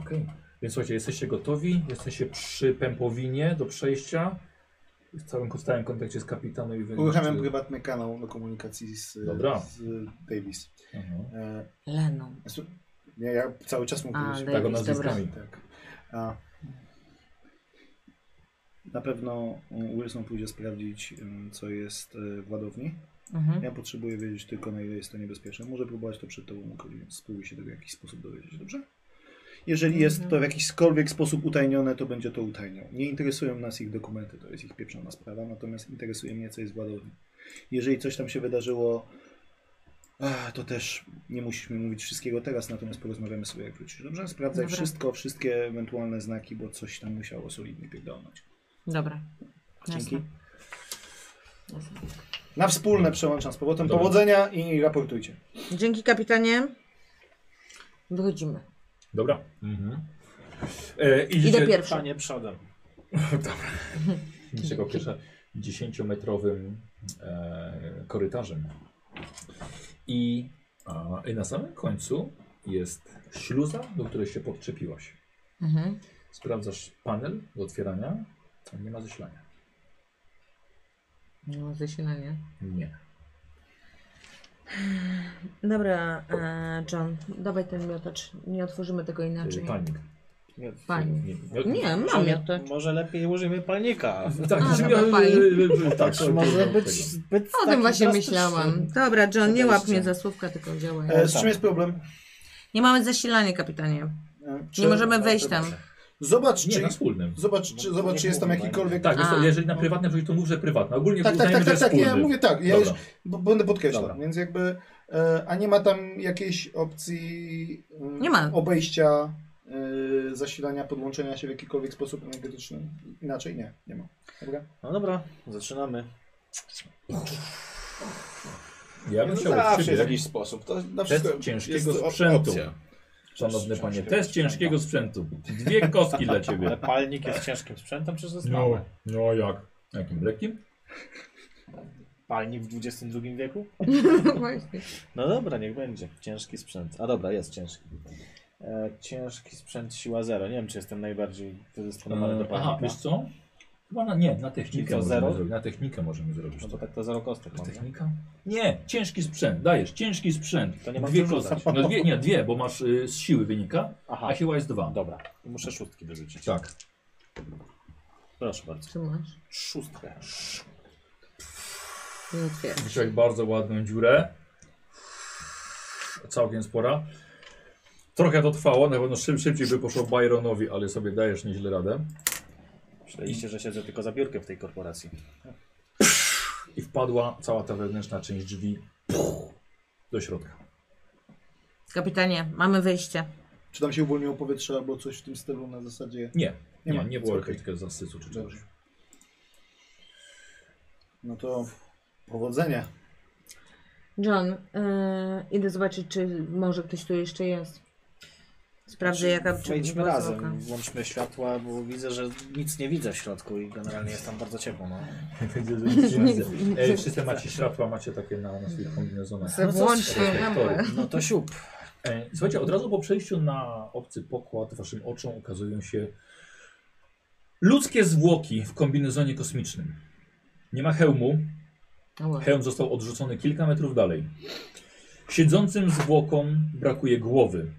Speaker 1: Okej. Więc słuchajcie, jesteście gotowi, jesteście przy pępowinie do przejścia. W całym stałym kontakcie z kapitanem i wy-
Speaker 2: Uruchamiam
Speaker 1: czy-
Speaker 2: prywatny kanał do komunikacji z,
Speaker 1: Dobra.
Speaker 2: z Davis.
Speaker 1: Aha.
Speaker 2: E,
Speaker 3: Leną.
Speaker 2: su- nie, ja cały czas mówię.
Speaker 3: A,
Speaker 2: że-
Speaker 1: Tak, o
Speaker 3: Davis, dobra.
Speaker 1: nazwiskami.
Speaker 2: Tak. A, na pewno mm, Wilson pójdzie sprawdzić, mm, co jest e, w ładowni.
Speaker 3: Mhm.
Speaker 2: Ja potrzebuję wiedzieć tylko, na ile jest to niebezpieczne. Może próbować to przed tobą ukryć, więc spróbuj się tego w jakiś sposób dowiedzieć, dobrze? Jeżeli jest to w
Speaker 3: Mhm.
Speaker 2: jakiśkolwiek sposób utajnione, to będzie to utajniał. Nie interesują nas ich dokumenty, to jest ich pieprzona sprawa, natomiast interesuje mnie, co jest w ładowni. Jeżeli coś tam się wydarzyło, ach, to też nie musisz mi mówić wszystkiego teraz, natomiast porozmawiamy sobie, jak wrócisz, dobrze? Sprawdzaj
Speaker 3: Dobra.
Speaker 2: wszystko, wszystkie ewentualne znaki, bo coś tam musiało solidnie pierdolnąć.
Speaker 3: Dobra.
Speaker 2: Dzięki.
Speaker 3: Jasne. Jasne.
Speaker 2: Na wspólne przełączam z powrotem.
Speaker 1: Dobra.
Speaker 2: Powodzenia i raportujcie.
Speaker 3: Dzięki kapitanie. Wychodzimy.
Speaker 1: Dobra. Mhm. E,
Speaker 3: Idę
Speaker 1: idziecie
Speaker 3: pierwsza.
Speaker 4: Panie przodem.
Speaker 1: niczego pierwsza 10-metrowym e, korytarzem. I, a, I na samym końcu jest śluza, do której się podczepiłaś.
Speaker 3: Mhm.
Speaker 1: Sprawdzasz panel do otwierania, nie ma zasilania.
Speaker 3: No, zasilanie.
Speaker 1: Nie.
Speaker 3: Dobra, e, John, dawaj ten miotacz. Nie otworzymy tego inaczej.
Speaker 1: Palnik.
Speaker 4: Nie,
Speaker 3: Fajnie.
Speaker 1: Nie,
Speaker 3: Znaczy, Nie, mam
Speaker 4: Może,
Speaker 3: miotacz.
Speaker 4: może lepiej użyjmy palnika.
Speaker 1: Tak,
Speaker 3: A,
Speaker 1: że-
Speaker 3: dobra, fajnie.
Speaker 1: tak,
Speaker 4: To może być zbyt
Speaker 3: O
Speaker 4: taki
Speaker 3: tym właśnie
Speaker 4: drastyczny.
Speaker 3: myślałam. Dobra, John, nie łap
Speaker 4: Podejście.
Speaker 3: mnie za słówka, tylko działaj.
Speaker 2: E, z
Speaker 4: tak.
Speaker 2: czym jest problem?
Speaker 3: Nie mamy zasilania, kapitanie.
Speaker 2: E,
Speaker 3: Nie możemy wejść tam.
Speaker 2: Zobacz,
Speaker 1: Nie, no.
Speaker 2: czy,
Speaker 1: na wspólnym.
Speaker 2: zobacz, czy,
Speaker 4: No,
Speaker 2: zobacz, czy
Speaker 4: nie
Speaker 2: jest tam
Speaker 4: mówię,
Speaker 2: jakikolwiek...
Speaker 1: Tak,
Speaker 3: A. no.
Speaker 1: jest to, jeżeli na prywatnym wchodzi, to mów, że prywatne. Ogólnie
Speaker 2: tak, tak,
Speaker 1: uznajmy,
Speaker 2: tak,
Speaker 1: że
Speaker 2: tak,
Speaker 1: jest
Speaker 2: tak, ja
Speaker 1: wspólny.
Speaker 2: mówię tak, ja już
Speaker 1: Dobra.
Speaker 2: b- będę podkreślał,
Speaker 4: Dobra.
Speaker 2: więc jakby, e, a nie ma tam jakiejś opcji e,
Speaker 3: Nie ma.
Speaker 2: obejścia e, zasilania, podłączenia się w jakikolwiek sposób energetyczny? Inaczej nie, nie ma. Dobra?
Speaker 4: No dobra, zaczynamy.
Speaker 1: Ja bym
Speaker 5: No
Speaker 1: chciał
Speaker 5: zawsze
Speaker 1: od
Speaker 5: jest
Speaker 1: siebie.
Speaker 5: jakiś sposób. To na
Speaker 1: Test
Speaker 5: wszystko
Speaker 1: ciężkiego
Speaker 5: jest op-
Speaker 1: sprzętu.
Speaker 5: opcja.
Speaker 1: Szanowny panie,
Speaker 4: Ciężkiego
Speaker 1: test ciężkiego sprzętu. Dwie kostki dla
Speaker 4: Ale
Speaker 1: ciebie.
Speaker 4: palnik jest ciężkim sprzętem, czy to jest
Speaker 1: No,
Speaker 4: małe?
Speaker 1: no jak? Jakim lekkim?
Speaker 4: Palnik w XXI wieku?
Speaker 3: Właśnie.
Speaker 4: No dobra, niech będzie. Ciężki sprzęt. A dobra, jest ciężki. E, ciężki sprzęt siła 0. Nie wiem, czy jestem najbardziej predysponowany do
Speaker 1: E, Aha,
Speaker 4: palnika.
Speaker 1: wiesz co? Chyba na, nie, na technikę
Speaker 4: co,
Speaker 1: możemy
Speaker 4: zero?
Speaker 1: zrobić. Na technikę możemy zrobić.
Speaker 4: No bo
Speaker 1: to.
Speaker 4: tak to 0 kostek mam. nie?
Speaker 1: Technika? Nie, ciężki sprzęt, dajesz, ciężki sprzęt.
Speaker 4: To nie mam
Speaker 1: dwie
Speaker 4: co
Speaker 1: kostki.
Speaker 4: rzucać.
Speaker 1: No dwie, nie, dwie, bo masz y, z siły wynika,
Speaker 4: Aha,
Speaker 1: a siła jest dwa.
Speaker 4: dobra. I Muszę szóstki wyrzucić.
Speaker 1: Tak.
Speaker 4: Proszę bardzo.
Speaker 3: Co masz?
Speaker 4: Szóstkę.
Speaker 3: Nie otwieram.
Speaker 1: Wyciąłeś bardzo ładną dziurę. Całkiem spora. Trochę to trwało, na pewno szyb, szybciej by poszło Byronowi, ale sobie dajesz nieźle radę.
Speaker 4: Myśleliście, że siedzę tylko za biurkiem w tej korporacji.
Speaker 1: I wpadła cała ta wewnętrzna część drzwi puch, do środka.
Speaker 3: Kapitanie, mamy wyjście.
Speaker 9: Czy tam się uwolniło powietrze albo coś w tym stylu na zasadzie?
Speaker 1: Nie, nie, nie,
Speaker 9: ma,
Speaker 1: nie było
Speaker 9: okej.
Speaker 1: jakiegoś takiego zasysu czy czegoś.
Speaker 9: No to powodzenia.
Speaker 3: John, e, idę zobaczyć, czy może ktoś tu jeszcze jest. Sprawdzę, jaka czy
Speaker 4: Znaczy, Wejdźmy
Speaker 3: była
Speaker 4: razem,
Speaker 3: zwłoka.
Speaker 4: włączmy światła, bo widzę, że nic nie widzę w środku i generalnie jest tam bardzo ciepło. No.
Speaker 1: Widzę, że nic nie widzę. E, wszyscy macie światła, macie takie na, na swoich kombinezonach.
Speaker 3: Se włączmy.
Speaker 1: Reflektory.
Speaker 4: No to siup.
Speaker 1: E, Słuchajcie, od razu po przejściu na obcy pokład waszym oczom ukazują się ludzkie zwłoki w kombinezonie kosmicznym. Nie ma hełmu.
Speaker 3: No
Speaker 1: Hełm został odrzucony kilka metrów dalej. Siedzącym zwłokom brakuje głowy.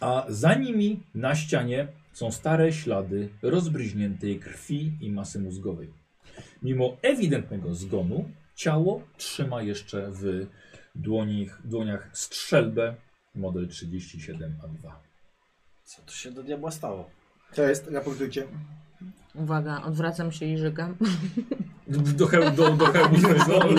Speaker 1: A za nimi na ścianie są stare ślady rozbryźniętej krwi i masy mózgowej. Mimo ewidentnego zgonu, ciało trzyma jeszcze w dłoni, dłoniach strzelbę model 37A2.
Speaker 4: Co tu się do diabła stało?
Speaker 9: To jest, raportujcie.
Speaker 3: Uwaga, odwracam się i żygam.
Speaker 1: Do, heł, do, do hełmu swojego.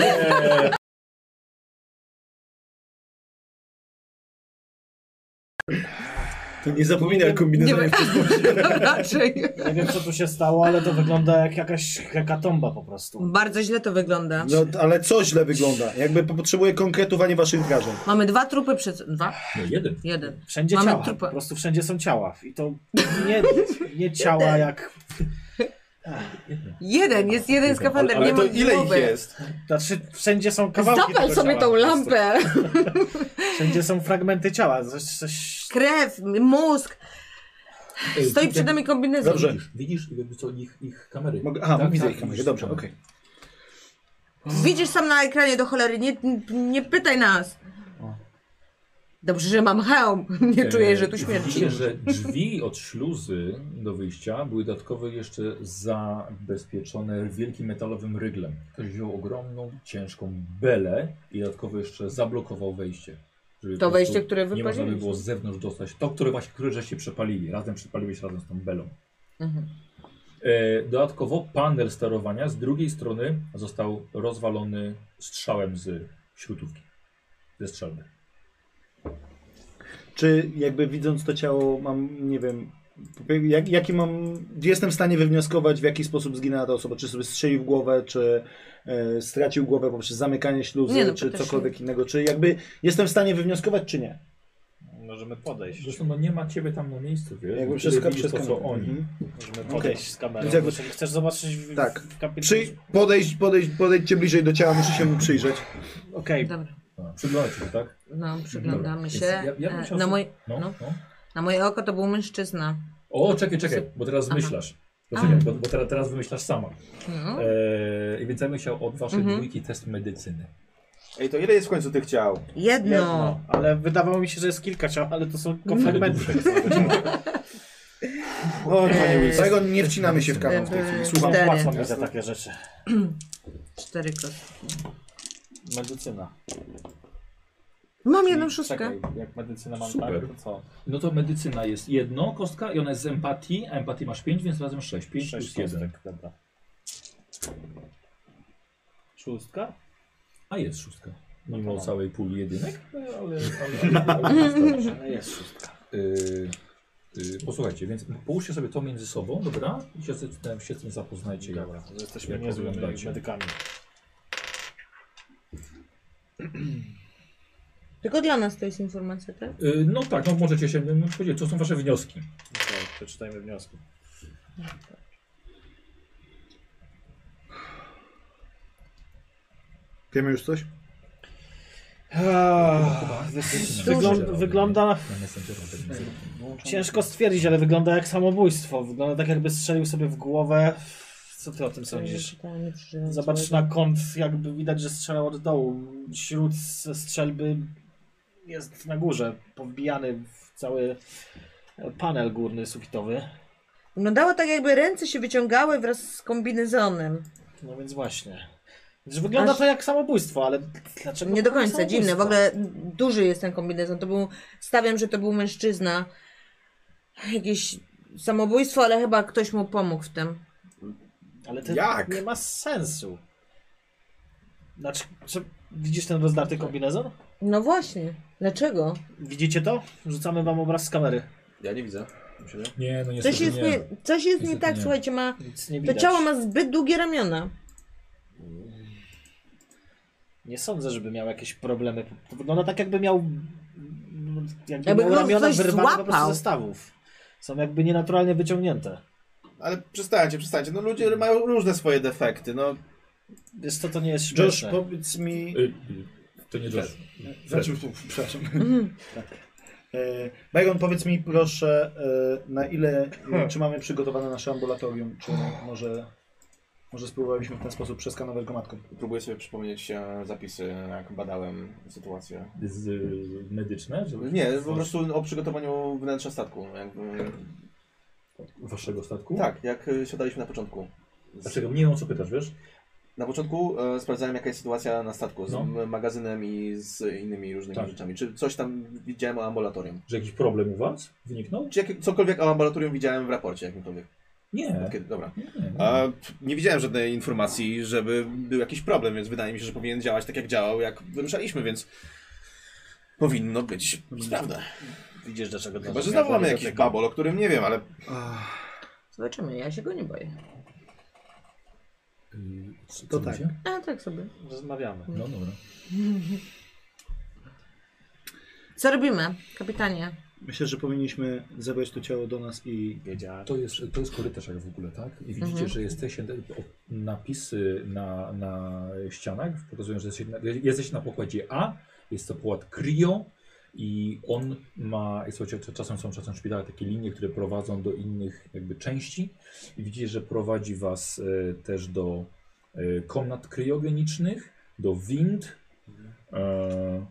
Speaker 5: To nie zapominaj o kombinezonach.
Speaker 3: Raczej.
Speaker 4: Nie wiem, co tu się stało, ale to wygląda jak jakaś hekatomba po prostu.
Speaker 3: Bardzo źle to wygląda.
Speaker 2: No, ale co źle wygląda? Jakby potrzebuję konkretów, a nie waszych wrażeń.
Speaker 3: Mamy dwa trupy przed... Dwa?
Speaker 1: No jeden.
Speaker 3: Jeden.
Speaker 4: Wszędzie
Speaker 3: Mamy
Speaker 4: ciała,
Speaker 3: trupa.
Speaker 4: po prostu wszędzie są ciała. I to nie, nie ciała jak...
Speaker 3: Jeden, jest jeden skafander, nie
Speaker 5: Ale
Speaker 3: ma
Speaker 5: to ile ich
Speaker 3: głowy.
Speaker 5: jest?
Speaker 4: Znaczy, wszędzie są kawałki
Speaker 3: Zapal
Speaker 4: tego
Speaker 3: sobie
Speaker 4: ciała
Speaker 3: tą
Speaker 4: po prostu.
Speaker 3: lampę.
Speaker 4: Wszędzie są fragmenty ciała, coś, coś
Speaker 3: Krew, mózg.
Speaker 1: Ej,
Speaker 3: Stoi
Speaker 1: widzę-
Speaker 3: przed nami kombinezon.
Speaker 2: Dobrze.
Speaker 1: Widzisz, widzisz jakby co ich, ich kamery.
Speaker 2: Mogę, aha,
Speaker 1: Tak,
Speaker 2: widzę
Speaker 1: tak,
Speaker 2: ich kamerę,
Speaker 1: widzisz
Speaker 2: dobrze,
Speaker 1: kamery.
Speaker 2: okej.
Speaker 3: Widzisz sam na ekranie do cholery, nie, nie pytaj nas. Dobrze, że mam hełm. Nie czuję, że tu
Speaker 1: Eee,
Speaker 3: śmierci.
Speaker 1: E, Widzicie, że drzwi od śluzy do wyjścia były dodatkowo jeszcze zabezpieczone wielkim metalowym ryglem. Ktoś wziął ogromną, ciężką belę i dodatkowo jeszcze zablokował wejście. żeby po
Speaker 3: To
Speaker 1: prostu
Speaker 3: wejście, które
Speaker 1: Nie można by
Speaker 3: wypaliliśmy.
Speaker 1: było z zewnątrz dostać. To, które właśnie, które żeście przepalili. Razem przepaliłeś razem z tą belą.
Speaker 3: Mhm.
Speaker 1: E, Dodatkowo panel sterowania z drugiej strony został rozwalony strzałem z śrutówki. Ze strzelby.
Speaker 2: Czy jakby widząc to ciało mam, nie wiem, jak, jaki mam, jestem w stanie wywnioskować w jaki sposób zginęła ta osoba, czy sobie strzelił w głowę, czy e, stracił głowę poprzez zamykanie śluzy,
Speaker 3: Nie, no,
Speaker 2: czy
Speaker 3: to też
Speaker 2: cokolwiek innego, czy jakby jestem w stanie wywnioskować, czy nie?
Speaker 4: możemy podejść.
Speaker 1: Zresztą no nie ma ciebie tam na miejscu, wiesz?
Speaker 2: Jakby
Speaker 1: Tyle
Speaker 2: wszystko
Speaker 1: widzisz to, co oni.
Speaker 2: Mhm.
Speaker 4: Możemy
Speaker 2: Okej.
Speaker 4: podejść z kamerą.
Speaker 2: Więc jakby-
Speaker 4: Jeżeli chcesz zobaczyć w,
Speaker 2: Tak.
Speaker 4: w kapitan...
Speaker 2: Przy, podejść, podejść, podejdźcie bliżej do ciała, muszę się mu przyjrzeć.
Speaker 4: Okej,
Speaker 3: Dobra,
Speaker 1: A, Przyglądacie się, tak?
Speaker 3: no przyglądamy
Speaker 1: Dobra.
Speaker 3: się.
Speaker 1: Więc ja- ja bym
Speaker 3: E,
Speaker 1: chciał
Speaker 3: na,
Speaker 1: sobie-
Speaker 3: moj,
Speaker 1: No, no.
Speaker 3: No. na moje oko to był mężczyzna.
Speaker 1: O, czekaj, czekaj, bo teraz
Speaker 3: Aha.
Speaker 1: wymyślasz.
Speaker 3: A.
Speaker 1: Poczekaj, bo, bo teraz, teraz wymyślasz sama.
Speaker 3: No.
Speaker 1: Eee, I więc ja bym chciał od waszej
Speaker 3: Mhm.
Speaker 1: dwójki test medycyny.
Speaker 5: Ej, to ile jest w końcu tych ciał?
Speaker 3: Jedno.
Speaker 4: jedno. no. Ale wydawało mi się, że jest kilka ciał, ale to są
Speaker 2: No.
Speaker 4: tylko fragmenty tego samego ciała.
Speaker 2: O,
Speaker 3: Eee,
Speaker 2: Dlatego nie wcinamy się w kawę w tej chwili. Słucham.
Speaker 3: Cztery.
Speaker 4: Płacą mi za takie rzeczy.
Speaker 3: Cztery kostki.
Speaker 4: Medycyna.
Speaker 3: Mam jedną
Speaker 4: Czyli-
Speaker 3: szóstkę.
Speaker 4: Czekaj, jak medycyna mam
Speaker 1: Super.
Speaker 4: tak, to co?
Speaker 1: No to medycyna jest jedno kostka i ona jest z empatii, a empatii masz 5, więc razem 6. 5
Speaker 4: Sześć
Speaker 1: plus 1.
Speaker 4: kostek, dobra. Szóstka?
Speaker 1: A jest szóstka. Mimo
Speaker 4: to mam.
Speaker 1: całej puli jedynek.
Speaker 4: No, ale, ale, ale, ale jest szóstka.
Speaker 1: Yy, yy, posłuchajcie, więc połóżcie sobie to między sobą, dobra? I się z tym, się z tym zapoznajcie. jak-
Speaker 4: Dobra, to jesteśmy
Speaker 1: Jak
Speaker 4: niezłymi
Speaker 1: wyglądacie?
Speaker 4: medykami.
Speaker 3: Tylko dla nas to jest informacja, tak?
Speaker 1: Yy, no tak, no możecie się mm, podzielić. To są wasze wnioski.
Speaker 4: Okej, No przeczytajmy wnioski.
Speaker 2: Wiemy już coś?
Speaker 4: Wygląda, wygląda
Speaker 1: Ja nie jestem ciekaw, tak nie wiem.
Speaker 4: Ciężko stwierdzić, ale wygląda jak samobójstwo. Wygląda tak, jakby strzelił sobie w głowę. Co ty o tym sądzisz? Zobacz na kąt, jakby widać, że strzelał od dołu. Śród ze strzelby jest na górze, powbijany w cały panel górny, sufitowy.
Speaker 3: Wyglądało tak, jakby ręce się wyciągały wraz z kombinezonem.
Speaker 4: No więc właśnie. Że wygląda
Speaker 3: Aż-
Speaker 4: to jak samobójstwo, ale dlaczego?
Speaker 3: Znaczy, Nie do końca,
Speaker 4: samobójstwo?
Speaker 3: dziwne. W ogóle duży jest ten kombinezon. To był, stawiam, że to był mężczyzna. Jakieś samobójstwo, ale chyba ktoś mu pomógł w tym.
Speaker 4: Ale to
Speaker 5: Jak?
Speaker 4: nie ma sensu. Znaczy, czy widzisz ten rozdarty kombinezon?
Speaker 3: No właśnie.
Speaker 10: Dlaczego?
Speaker 4: Widzicie to? Rzucamy wam obraz z kamery.
Speaker 11: Ja nie widzę. Musimy.
Speaker 1: Nie, no niestety
Speaker 10: Coś jest
Speaker 1: nie.
Speaker 10: nie, coś jest nie
Speaker 1: Niestety
Speaker 10: tak,
Speaker 1: nie.
Speaker 10: słuchajcie, ma...
Speaker 4: Nic nie
Speaker 10: To
Speaker 4: widać.
Speaker 10: ciało ma zbyt długie ramiona.
Speaker 4: Nie sądzę, żeby miał jakieś problemy. To Wygląda tak, jakby miał. mm, Jakby,
Speaker 10: Jakby
Speaker 4: miał
Speaker 10: go
Speaker 4: ramiona
Speaker 10: ktoś
Speaker 4: wyrwane po prostu
Speaker 10: złapał.
Speaker 4: ze stawów. Są jakby nienaturalnie wyciągnięte.
Speaker 5: Ale przestańcie, przestańcie. No ludzie mają różne swoje defekty. No
Speaker 4: Wiesz co, to nie jest
Speaker 2: Josh,
Speaker 4: śmieszne.
Speaker 2: powiedz mi...
Speaker 1: Y, y, To nie Josh.
Speaker 2: Znaczy, uf, przepraszam. E, Byron, powiedz mi proszę, e, na ile, e, czy mamy przygotowane nasze ambulatorium, czy może, może spróbowaliśmy w ten sposób przeskanować go matką?
Speaker 11: Próbuję sobie przypomnieć e, zapisy, jak badałem sytuację.
Speaker 1: Z, y, medyczne?
Speaker 5: Mhm.
Speaker 1: Żeby...
Speaker 11: Nie, po prostu o przygotowaniu wnętrza statku. Jakby,
Speaker 1: Waszego statku?
Speaker 11: tak, jak e, siadaliśmy na początku. Z-
Speaker 1: Dlaczego? Nie wiem, o co pytasz, wiesz?
Speaker 11: Na początku e, sprawdzałem, jaka jest sytuacja na statku z
Speaker 1: No.
Speaker 11: m- magazynem i z innymi różnymi
Speaker 1: Tak.
Speaker 11: rzeczami. Czy coś tam widziałem o ambulatorium?
Speaker 1: Że jakiś problem u was wyniknął?
Speaker 11: Czy jakie, cokolwiek o ambulatorium widziałem w raporcie jakimkolwiek?
Speaker 1: Nie.
Speaker 11: Kiedy, dobra.
Speaker 1: Nie, nie.
Speaker 5: Tak. a nie widziałem żadnej informacji, żeby był jakiś problem, więc wydaje mi się, że powinien działać tak jak działał, jak wyruszaliśmy, więc powinno być sprawne.
Speaker 4: Widzisz, do czego to
Speaker 5: Chyba, że znowu mamy
Speaker 4: do
Speaker 5: jakiś
Speaker 11: tak.
Speaker 4: tego.
Speaker 5: babol, o którym nie wiem, ale
Speaker 3: Zobaczymy, ja się go nie boję.
Speaker 1: Y, co-
Speaker 2: To
Speaker 1: co
Speaker 2: tak.
Speaker 1: mówicie?
Speaker 3: A tak sobie.
Speaker 4: Rozmawiamy.
Speaker 1: No dobra.
Speaker 3: Co robimy, kapitanie?
Speaker 2: Myślę, że powinniśmy zabrać to ciało do nas i...
Speaker 4: Wiedziałem.
Speaker 1: To jest, to jest korytarz jak w ogóle, tak? I widzicie, że jesteście, o- napisy na, na ścianach pokazują, że jesteś na, jesteś na pokładzie A, jest to pokład Cryo i on ma, słuchajcie, to czasem są czasem w szpitalach takie linie, które prowadzą do innych jakby części i widzicie, że prowadzi was e, też do e, komnat kryogenicznych, do wind. E,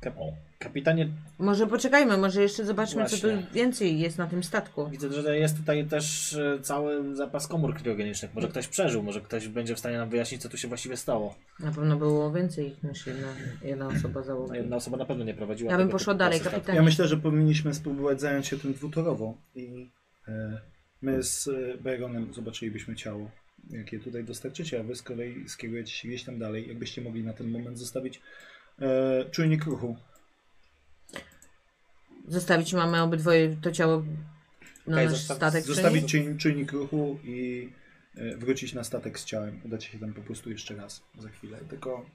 Speaker 4: Kap-
Speaker 1: o,
Speaker 4: Kapitanie,
Speaker 3: Może poczekajmy, może jeszcze zobaczmy, co
Speaker 4: Właśnie.
Speaker 3: tu więcej jest na tym statku.
Speaker 4: widzę, że jest tutaj też e, cały zapas komór kriogenicznych. Może ktoś przeżył, może ktoś będzie w stanie nam wyjaśnić, co tu się właściwie stało.
Speaker 3: Na pewno było więcej ich niż jedna, jedna osoba
Speaker 4: No,
Speaker 3: załogi.
Speaker 4: jedna osoba na pewno nie prowadziła.
Speaker 3: Ja bym
Speaker 4: tego
Speaker 3: poszła
Speaker 4: typu
Speaker 3: dalej,
Speaker 4: procesu.
Speaker 2: Ja
Speaker 3: kapitanie.
Speaker 2: myślę, że powinniśmy spróbować zająć się tym dwutorowo i e, my z e, Byronem zobaczylibyśmy ciało, jakie tutaj dostarczycie, a wy z kolei skierujecie się gdzieś tam dalej, jakbyście mogli na ten moment zostawić e, czujnik ruchu.
Speaker 3: Zostawić mamy obydwoje to ciało na
Speaker 4: Okej,
Speaker 3: nasz
Speaker 4: zostaw-
Speaker 3: statek
Speaker 2: Zostawić
Speaker 3: przenieść?
Speaker 2: czyn, czynnik ruchu i e, wrócić na statek z ciałem. Udacie się tam po prostu jeszcze raz za chwilę. Tylko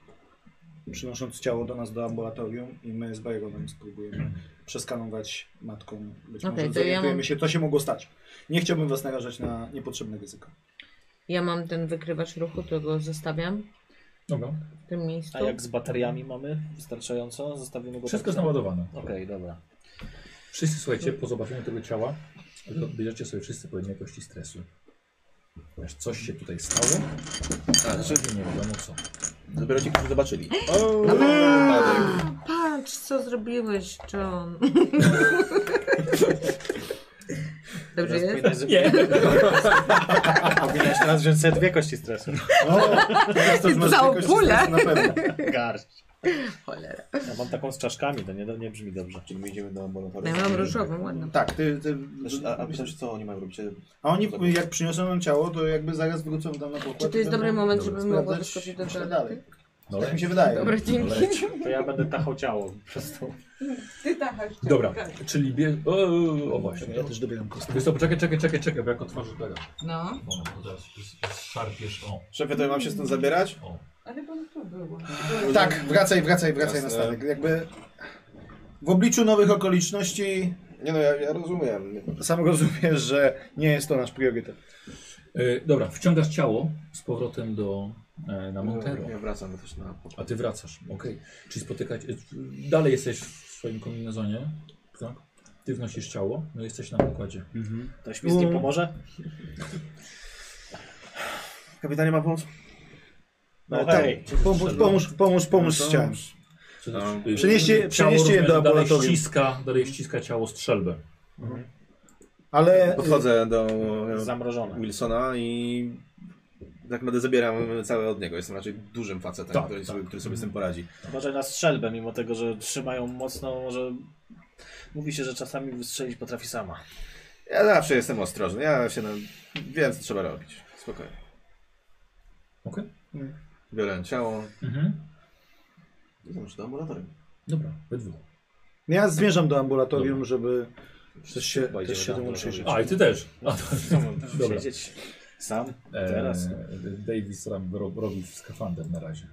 Speaker 2: przynosząc ciało do nas do ambulatorium i my z Byronem spróbujemy przeskanować matką. Być
Speaker 3: Okej, to
Speaker 2: może
Speaker 3: ja
Speaker 2: zorientujemy
Speaker 3: mam-
Speaker 2: się, co się mogło stać. Nie chciałbym was narażać na niepotrzebne ryzyko.
Speaker 3: Ja mam ten wykrywacz ruchu, to go zostawiam
Speaker 1: dobra.
Speaker 3: w tym miejscu.
Speaker 4: A jak z bateriami mamy wystarczająco? Zostawimy go.
Speaker 1: Wszystko jest
Speaker 4: tak-
Speaker 1: naładowane.
Speaker 4: Okej, dobra.
Speaker 1: Wszyscy słuchajcie, po zobaczeniu tego ciała, to bierzecie sobie wszyscy po jednej kości stresu. Wiesz, coś się tutaj stało,
Speaker 2: Tak,
Speaker 1: ale nie wiadomo co.
Speaker 11: Dopiero ci, którzy zobaczyli. No tak,
Speaker 3: Patrz, co zrobiłeś, John. Dobrze
Speaker 4: Teraz
Speaker 3: jest?
Speaker 4: powinnaś
Speaker 1: Nie.
Speaker 4: Powinnaś teraz wziąć sobie dwie kości stresu.
Speaker 2: Teraz to już masz
Speaker 3: Całą
Speaker 2: jakoś
Speaker 3: pulę.
Speaker 2: stres Na pewno.
Speaker 4: Garść.
Speaker 3: Cholera.
Speaker 4: Ja mam taką z czaszkami, to nie, nie brzmi dobrze.
Speaker 11: tak. Czyli my idziemy do
Speaker 3: No Ja
Speaker 11: ambulatorium.
Speaker 3: mam różową, ładną.
Speaker 2: Tak, ty, ty,
Speaker 11: Znaczy, A, a myślałem, że co oni mają robić?
Speaker 2: a oni jak przyniosą nam ciało, to jakby zaraz wrócą tam na pokład.
Speaker 3: Czy to jest
Speaker 2: i
Speaker 3: dobry
Speaker 2: będą
Speaker 3: moment,
Speaker 1: Dobra,
Speaker 3: żebym mogła
Speaker 2: sprawdzać
Speaker 3: wyskoczyć do
Speaker 2: myślę
Speaker 3: toalety?
Speaker 2: dalej.
Speaker 1: No,
Speaker 2: Tak mi się wydaje.
Speaker 3: Dobra, dzięki.
Speaker 1: leci.
Speaker 4: To ja będę tachał ciało przez to.
Speaker 3: Ty tachasz.
Speaker 1: Dobra, czyli bie... O, o właśnie.
Speaker 2: Ja też dobieram kostkę.
Speaker 1: Wiesz co, poczekaj, czekaj, czekaj, czekaj, bo jak otworzysz tego.
Speaker 3: No,
Speaker 1: O, to teraz szarpiesz, o,
Speaker 5: Szefie, to ja mam się stąd zabierać?
Speaker 1: o.
Speaker 3: ale bo to było.
Speaker 2: Tak, wracaj, wracaj, wracaj
Speaker 5: Jasne.
Speaker 2: na statek. Jakby w obliczu nowych okoliczności
Speaker 5: Nie no, ja, ja rozumiem.
Speaker 2: sam rozumiesz, że nie jest to nasz priorytet.
Speaker 1: E, dobra, wciągasz ciało z powrotem do... E, na Montero.
Speaker 11: Ja wracam też na pokład.
Speaker 1: A ty wracasz, okej. Czyli spotykać... e, Dalej jesteś w swoim kombinezonie, tak? Ty wnosisz ciało, no jesteś na pokładzie.
Speaker 4: To śmiz nie pomoże?
Speaker 5: Kapitanie, mam pomóc?
Speaker 4: No
Speaker 2: tak.
Speaker 4: hej.
Speaker 2: Pomóż, pomóż, pomóż, pomóż z ciałem.
Speaker 1: Czy
Speaker 5: No.
Speaker 1: to- y,
Speaker 2: Przenieście-
Speaker 1: ciało
Speaker 2: przenieście je
Speaker 1: rozumiem,
Speaker 2: do
Speaker 1: dalej
Speaker 2: laboratorium.
Speaker 1: ściska, dalej ściska ciało strzelbę.
Speaker 2: Ale
Speaker 5: Podchodzę do e,
Speaker 4: Zamrożone.
Speaker 5: Wilsona i tak naprawdę zabieram całe od niego. Jestem raczej dużym facetem,
Speaker 1: Tak,
Speaker 5: który,
Speaker 1: tak.
Speaker 5: Sobie, który sobie z tym poradzi.
Speaker 4: Uważaj na strzelbę, mimo tego, że trzymają mocno, może... Mówi się, że czasami wystrzelić potrafi sama.
Speaker 5: Ja zawsze jestem ostrożny, ja się na... wiem co trzeba robić. Spokojnie.
Speaker 1: Okej.
Speaker 5: Biorę ciało,
Speaker 1: Mhm.
Speaker 5: Nie znam, czy to ambulatorium.
Speaker 1: Dobra, we dwóch.
Speaker 2: No Ja zmierzam do ambulatorium, żeby też się,
Speaker 4: Pojedziemy
Speaker 2: też się
Speaker 4: do
Speaker 2: temu
Speaker 4: ambulatorium.
Speaker 2: przyjrzeć.
Speaker 1: A, i ty też. A, to,
Speaker 4: Dobra.
Speaker 1: dobra.
Speaker 4: Siedzieć sam teraz.
Speaker 1: Teraz. Davis ro- ro- robi skafander na razie.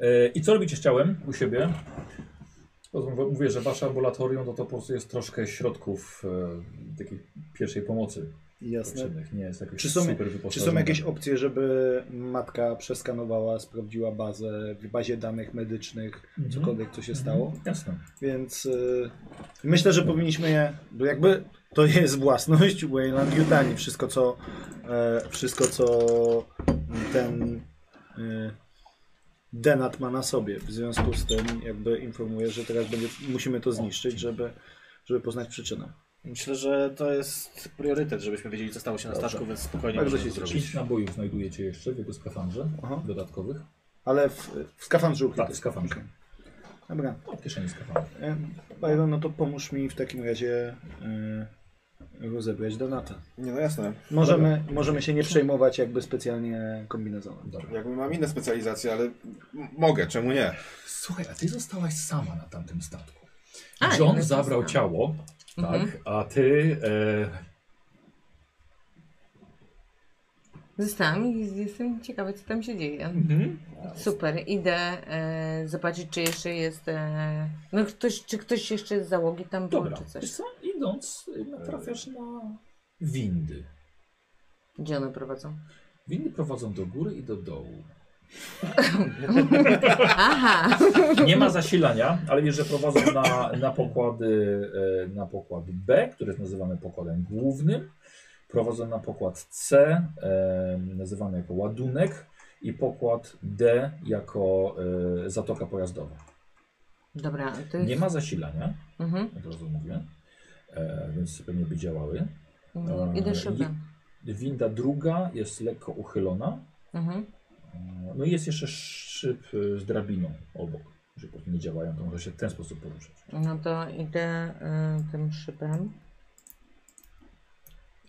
Speaker 1: E, I co robicie z ciałem u siebie? Bo to mówię- Mówię, że wasze ambulatorium to, to po prostu jest troszkę środków e, takiej pierwszej pomocy
Speaker 2: Jasne.
Speaker 1: potrzebnych. Nie jest jakoś
Speaker 2: Czy są-
Speaker 1: super
Speaker 2: Czy
Speaker 1: wyposażone.
Speaker 2: są jakieś opcje, żeby matka przeskanowała, sprawdziła bazę, w bazie danych medycznych,
Speaker 1: Mhm.
Speaker 2: cokolwiek co się stało?
Speaker 1: Jasne.
Speaker 2: Więc y, myślę, że powinniśmy je, bo jakby to jest własność Wayland Yutani. Wszystko co, e, wszystko co ten e, denat ma na sobie. W związku z tym jakby informuję, że teraz będzie, musimy to zniszczyć, żeby, żeby poznać przyczynę.
Speaker 4: Myślę, że to jest priorytet, żebyśmy wiedzieli, co stało się na Staszku, więc spokojnie
Speaker 2: Tak,
Speaker 4: możemy
Speaker 2: że
Speaker 4: to
Speaker 2: się
Speaker 4: zrobić.
Speaker 1: Pięć nabojów znajdujecie jeszcze w jego skafandrze
Speaker 2: Aha.
Speaker 1: dodatkowych.
Speaker 2: Ale w, w skafandrze ukryte.
Speaker 1: Tak, w skafandrze.
Speaker 2: Dobra.
Speaker 1: No, w kieszeni skafandra.
Speaker 2: E, Byron, no to pomóż mi w takim razie y, rozebrać donata.
Speaker 5: Nie, no jasne.
Speaker 2: Możemy, możemy się nie przejmować jakby specjalnie kombinezonem.
Speaker 1: Dobra.
Speaker 5: Jakby mam inne specjalizacje, ale m- mogę, czemu nie?
Speaker 1: Słuchaj, a ty zostałaś sama na tamtym statku.
Speaker 3: A, nie
Speaker 1: John
Speaker 3: wiem,
Speaker 1: zabrał
Speaker 3: co znam.
Speaker 1: ciało, tak,
Speaker 3: Mhm.
Speaker 1: a ty e,
Speaker 3: Zostałam i jestem ciekawa, co tam się dzieje. Super, idę e, zobaczyć, czy jeszcze jest. E, no ktoś, czy ktoś jeszcze z załogi tam był,
Speaker 1: Dobra,
Speaker 3: czy
Speaker 1: wiesz
Speaker 3: coś.
Speaker 1: co, idąc y, natrafiasz na windy.
Speaker 3: Gdzie one prowadzą?
Speaker 1: Windy prowadzą do góry i do dołu.
Speaker 3: Aha!
Speaker 1: Nie ma zasilania, ale wiesz, że prowadzą na, na, pokłady, e, na pokład B, który jest nazywany pokładem głównym. Prowadzą na pokład C, e, nazywany jako ładunek. I pokład D jako e, zatoka pojazdowa.
Speaker 3: Dobra, to jest.
Speaker 1: Nie ma zasilania,
Speaker 3: Mhm.
Speaker 1: od razu mówię, e, więc pewnie by działały.
Speaker 3: Mhm.
Speaker 1: E,
Speaker 3: Idę szybę.
Speaker 1: Winda druga jest lekko uchylona,
Speaker 3: Mhm.
Speaker 1: No i jest jeszcze szyb y, z drabiną obok. Jeżeli po prostu nie działają, to może się w ten sposób poruszać.
Speaker 3: No to idę e, tym szybem.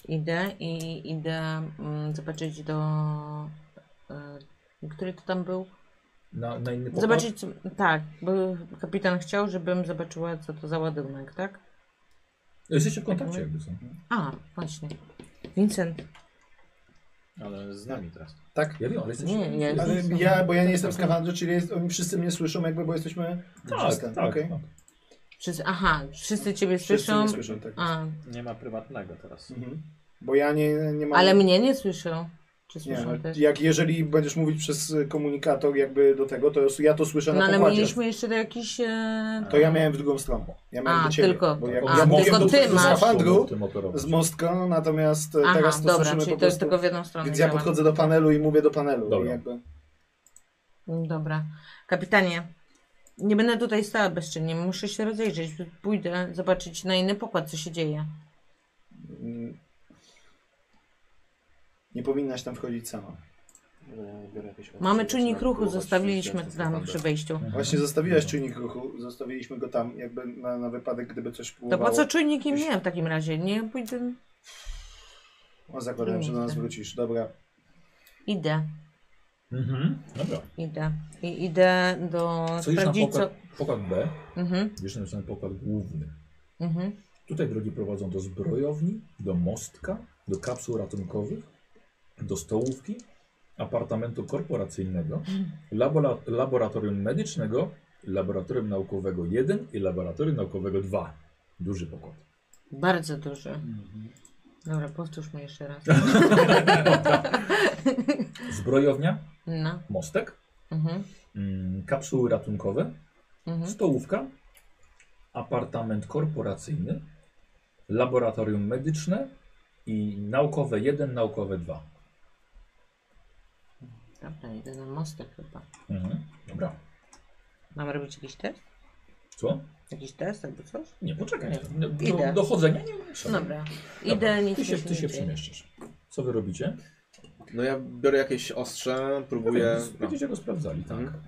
Speaker 3: Idę i idę mm, zobaczyć do. E, który to tam był?
Speaker 1: Na, na inny pokład?
Speaker 3: Zobaczyć, co- tak, bo kapitan chciał, żebym zobaczyła, co to za ładunek, tak?
Speaker 1: Jesteście w kontakcie jakby są.
Speaker 3: A, właśnie. Vincent.
Speaker 4: Ale z nami teraz.
Speaker 1: Tak? Ja wiem, ale jesteście...
Speaker 3: Nie, nie.
Speaker 2: Ale ja, bo ja nie jestem w skafandrze, czyli jest, oni wszyscy mnie słyszą jakby, bo jesteśmy...
Speaker 1: Tak, tak, tak.
Speaker 2: okej.
Speaker 3: Wszyscy, aha, wszyscy ciebie
Speaker 12: Wszyscy
Speaker 3: słyszą.
Speaker 12: mnie słyszą, tak.
Speaker 3: A,
Speaker 4: Nie ma prywatnego teraz.
Speaker 2: Mhm. Bo ja nie, nie mam...
Speaker 3: ale mnie nie słyszą. Czy
Speaker 2: No. Nie, no,
Speaker 3: słyszą też?
Speaker 2: jak jeżeli będziesz mówić przez y, komunikator jakby do tego, to ja to słyszę
Speaker 3: No
Speaker 2: na
Speaker 3: ale
Speaker 2: pokładzie.
Speaker 3: mieliśmy jeszcze do jakichś. E...
Speaker 2: To ja miałem w drugą stronę. Ja miałem
Speaker 3: A,
Speaker 2: do ciebie.
Speaker 3: tylko-
Speaker 2: Bo jak,
Speaker 3: A,
Speaker 2: ja
Speaker 3: tylko
Speaker 2: mówiłem do
Speaker 3: ty
Speaker 2: twojego
Speaker 3: masz.
Speaker 2: skafandru
Speaker 1: Tym operować.
Speaker 2: z mostka, natomiast y,
Speaker 3: Aha,
Speaker 2: teraz to
Speaker 3: dobra,
Speaker 2: słyszymy
Speaker 3: czyli
Speaker 2: po
Speaker 3: to jest
Speaker 2: prostu.
Speaker 3: tylko w jedną stronę.
Speaker 2: Więc ja
Speaker 3: działa.
Speaker 2: podchodzę do panelu i mówię do panelu. i
Speaker 1: Dobra.
Speaker 2: Jakby...
Speaker 3: Mm, Dobra. Kapitanie, nie będę tutaj stała bezczynnie, muszę się rozejrzeć. Pójdę zobaczyć na inny pokład, co się dzieje.
Speaker 2: Mm. Nie powinnaś tam wchodzić sama.
Speaker 3: Mamy czujnik ruchu, zostawiliśmy tam przy wejściu.
Speaker 1: Mhm.
Speaker 2: Właśnie zostawiłaś czujnik ruchu, zostawiliśmy go tam jakby na, na wypadek, gdyby coś
Speaker 3: To
Speaker 2: próbowało.
Speaker 3: po co czujnikiem nie w takim razie? Nie pójdę.
Speaker 2: O, zakładałem, że do nas
Speaker 3: Miejsce.
Speaker 2: wrócisz. Dobra.
Speaker 3: Idę,
Speaker 1: Mhm. Dobra.
Speaker 3: idę. I idę do.
Speaker 1: Co już na
Speaker 3: sprawdzić co.
Speaker 1: pokład, pokład B,
Speaker 3: Mhm,
Speaker 1: wiesz, na ten pokład główny.
Speaker 3: mhm.
Speaker 1: Tutaj drogi prowadzą do zbrojowni, do mostka, do kapsuł ratunkowych, do stołówki, apartamentu korporacyjnego, labora laboratorium medycznego, laboratorium naukowego 1 i laboratorium naukowego 2. Duży pokład.
Speaker 3: Bardzo duży. Dobra, powtórzmy jeszcze raz.
Speaker 1: Zbrojownia,
Speaker 3: No,
Speaker 1: mostek,
Speaker 3: mhm,
Speaker 1: mm, kapsuły ratunkowe,
Speaker 3: mhm.
Speaker 1: stołówka, apartament korporacyjny, laboratorium medyczne i naukowe 1, naukowe 2.
Speaker 3: Dobra, idę na mostek chyba.
Speaker 1: Mhm. Dobra.
Speaker 3: Mam robić jakiś test?
Speaker 1: Co?
Speaker 3: Jakiś test albo coś?
Speaker 1: Nie, poczekaj.
Speaker 3: Nie. no,
Speaker 1: Do,
Speaker 3: Idę. No
Speaker 1: do chodzenia nie nie trzeba.
Speaker 3: Dobra, idę,
Speaker 1: Dobra,
Speaker 3: nic
Speaker 1: ty
Speaker 3: mi
Speaker 1: się,
Speaker 3: się
Speaker 1: ty
Speaker 3: nie
Speaker 1: się
Speaker 3: dzieje.
Speaker 1: przemieszczasz. Co wy robicie?
Speaker 13: No ja biorę jakieś ostrze, próbuję...
Speaker 1: Będziecie-
Speaker 13: No.
Speaker 1: Będziecie go sprawdzali, tak?
Speaker 13: Mhm.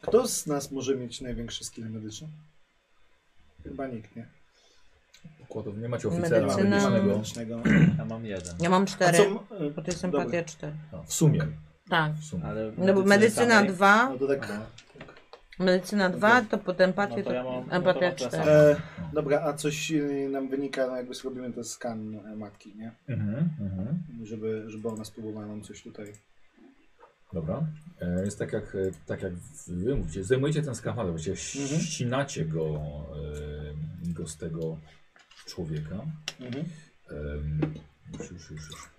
Speaker 2: Kto z nas może mieć największe skill medyczne? Chyba nikt, nie?
Speaker 1: Pokładowy, nie macie oficera
Speaker 3: Medycyna.
Speaker 1: medycznego.
Speaker 2: Medycznego.
Speaker 4: Ja mam jeden.
Speaker 3: Ja mam
Speaker 2: A
Speaker 3: cztery,
Speaker 2: co... e,
Speaker 3: bo to jest empatia cztery.
Speaker 1: A, No, W sumie.
Speaker 3: Tak.
Speaker 1: W sumie.
Speaker 4: Ale
Speaker 3: No bo medycyna
Speaker 4: samej-
Speaker 3: dwa,
Speaker 2: No to tak...
Speaker 3: Medycyna 2, to potem patriot,
Speaker 4: to ja mam-
Speaker 3: a
Speaker 4: no to
Speaker 3: patria
Speaker 4: mam to
Speaker 3: 4.
Speaker 4: samo.
Speaker 2: E, dobra, a coś e, nam wynika, no jakby zrobimy ten skan e, matki, nie?
Speaker 1: Mhm, mhm.
Speaker 2: Żeby, żeby ona spróbowała nam coś tutaj.
Speaker 1: Dobra. E, Jest tak jak, e, tak jak wy mówicie, zdejmujecie ten skafander, właściwie
Speaker 2: Mhm.
Speaker 1: ścinacie go, e, go z tego człowieka.
Speaker 2: Mhm.
Speaker 1: Em, Już, już, już, już.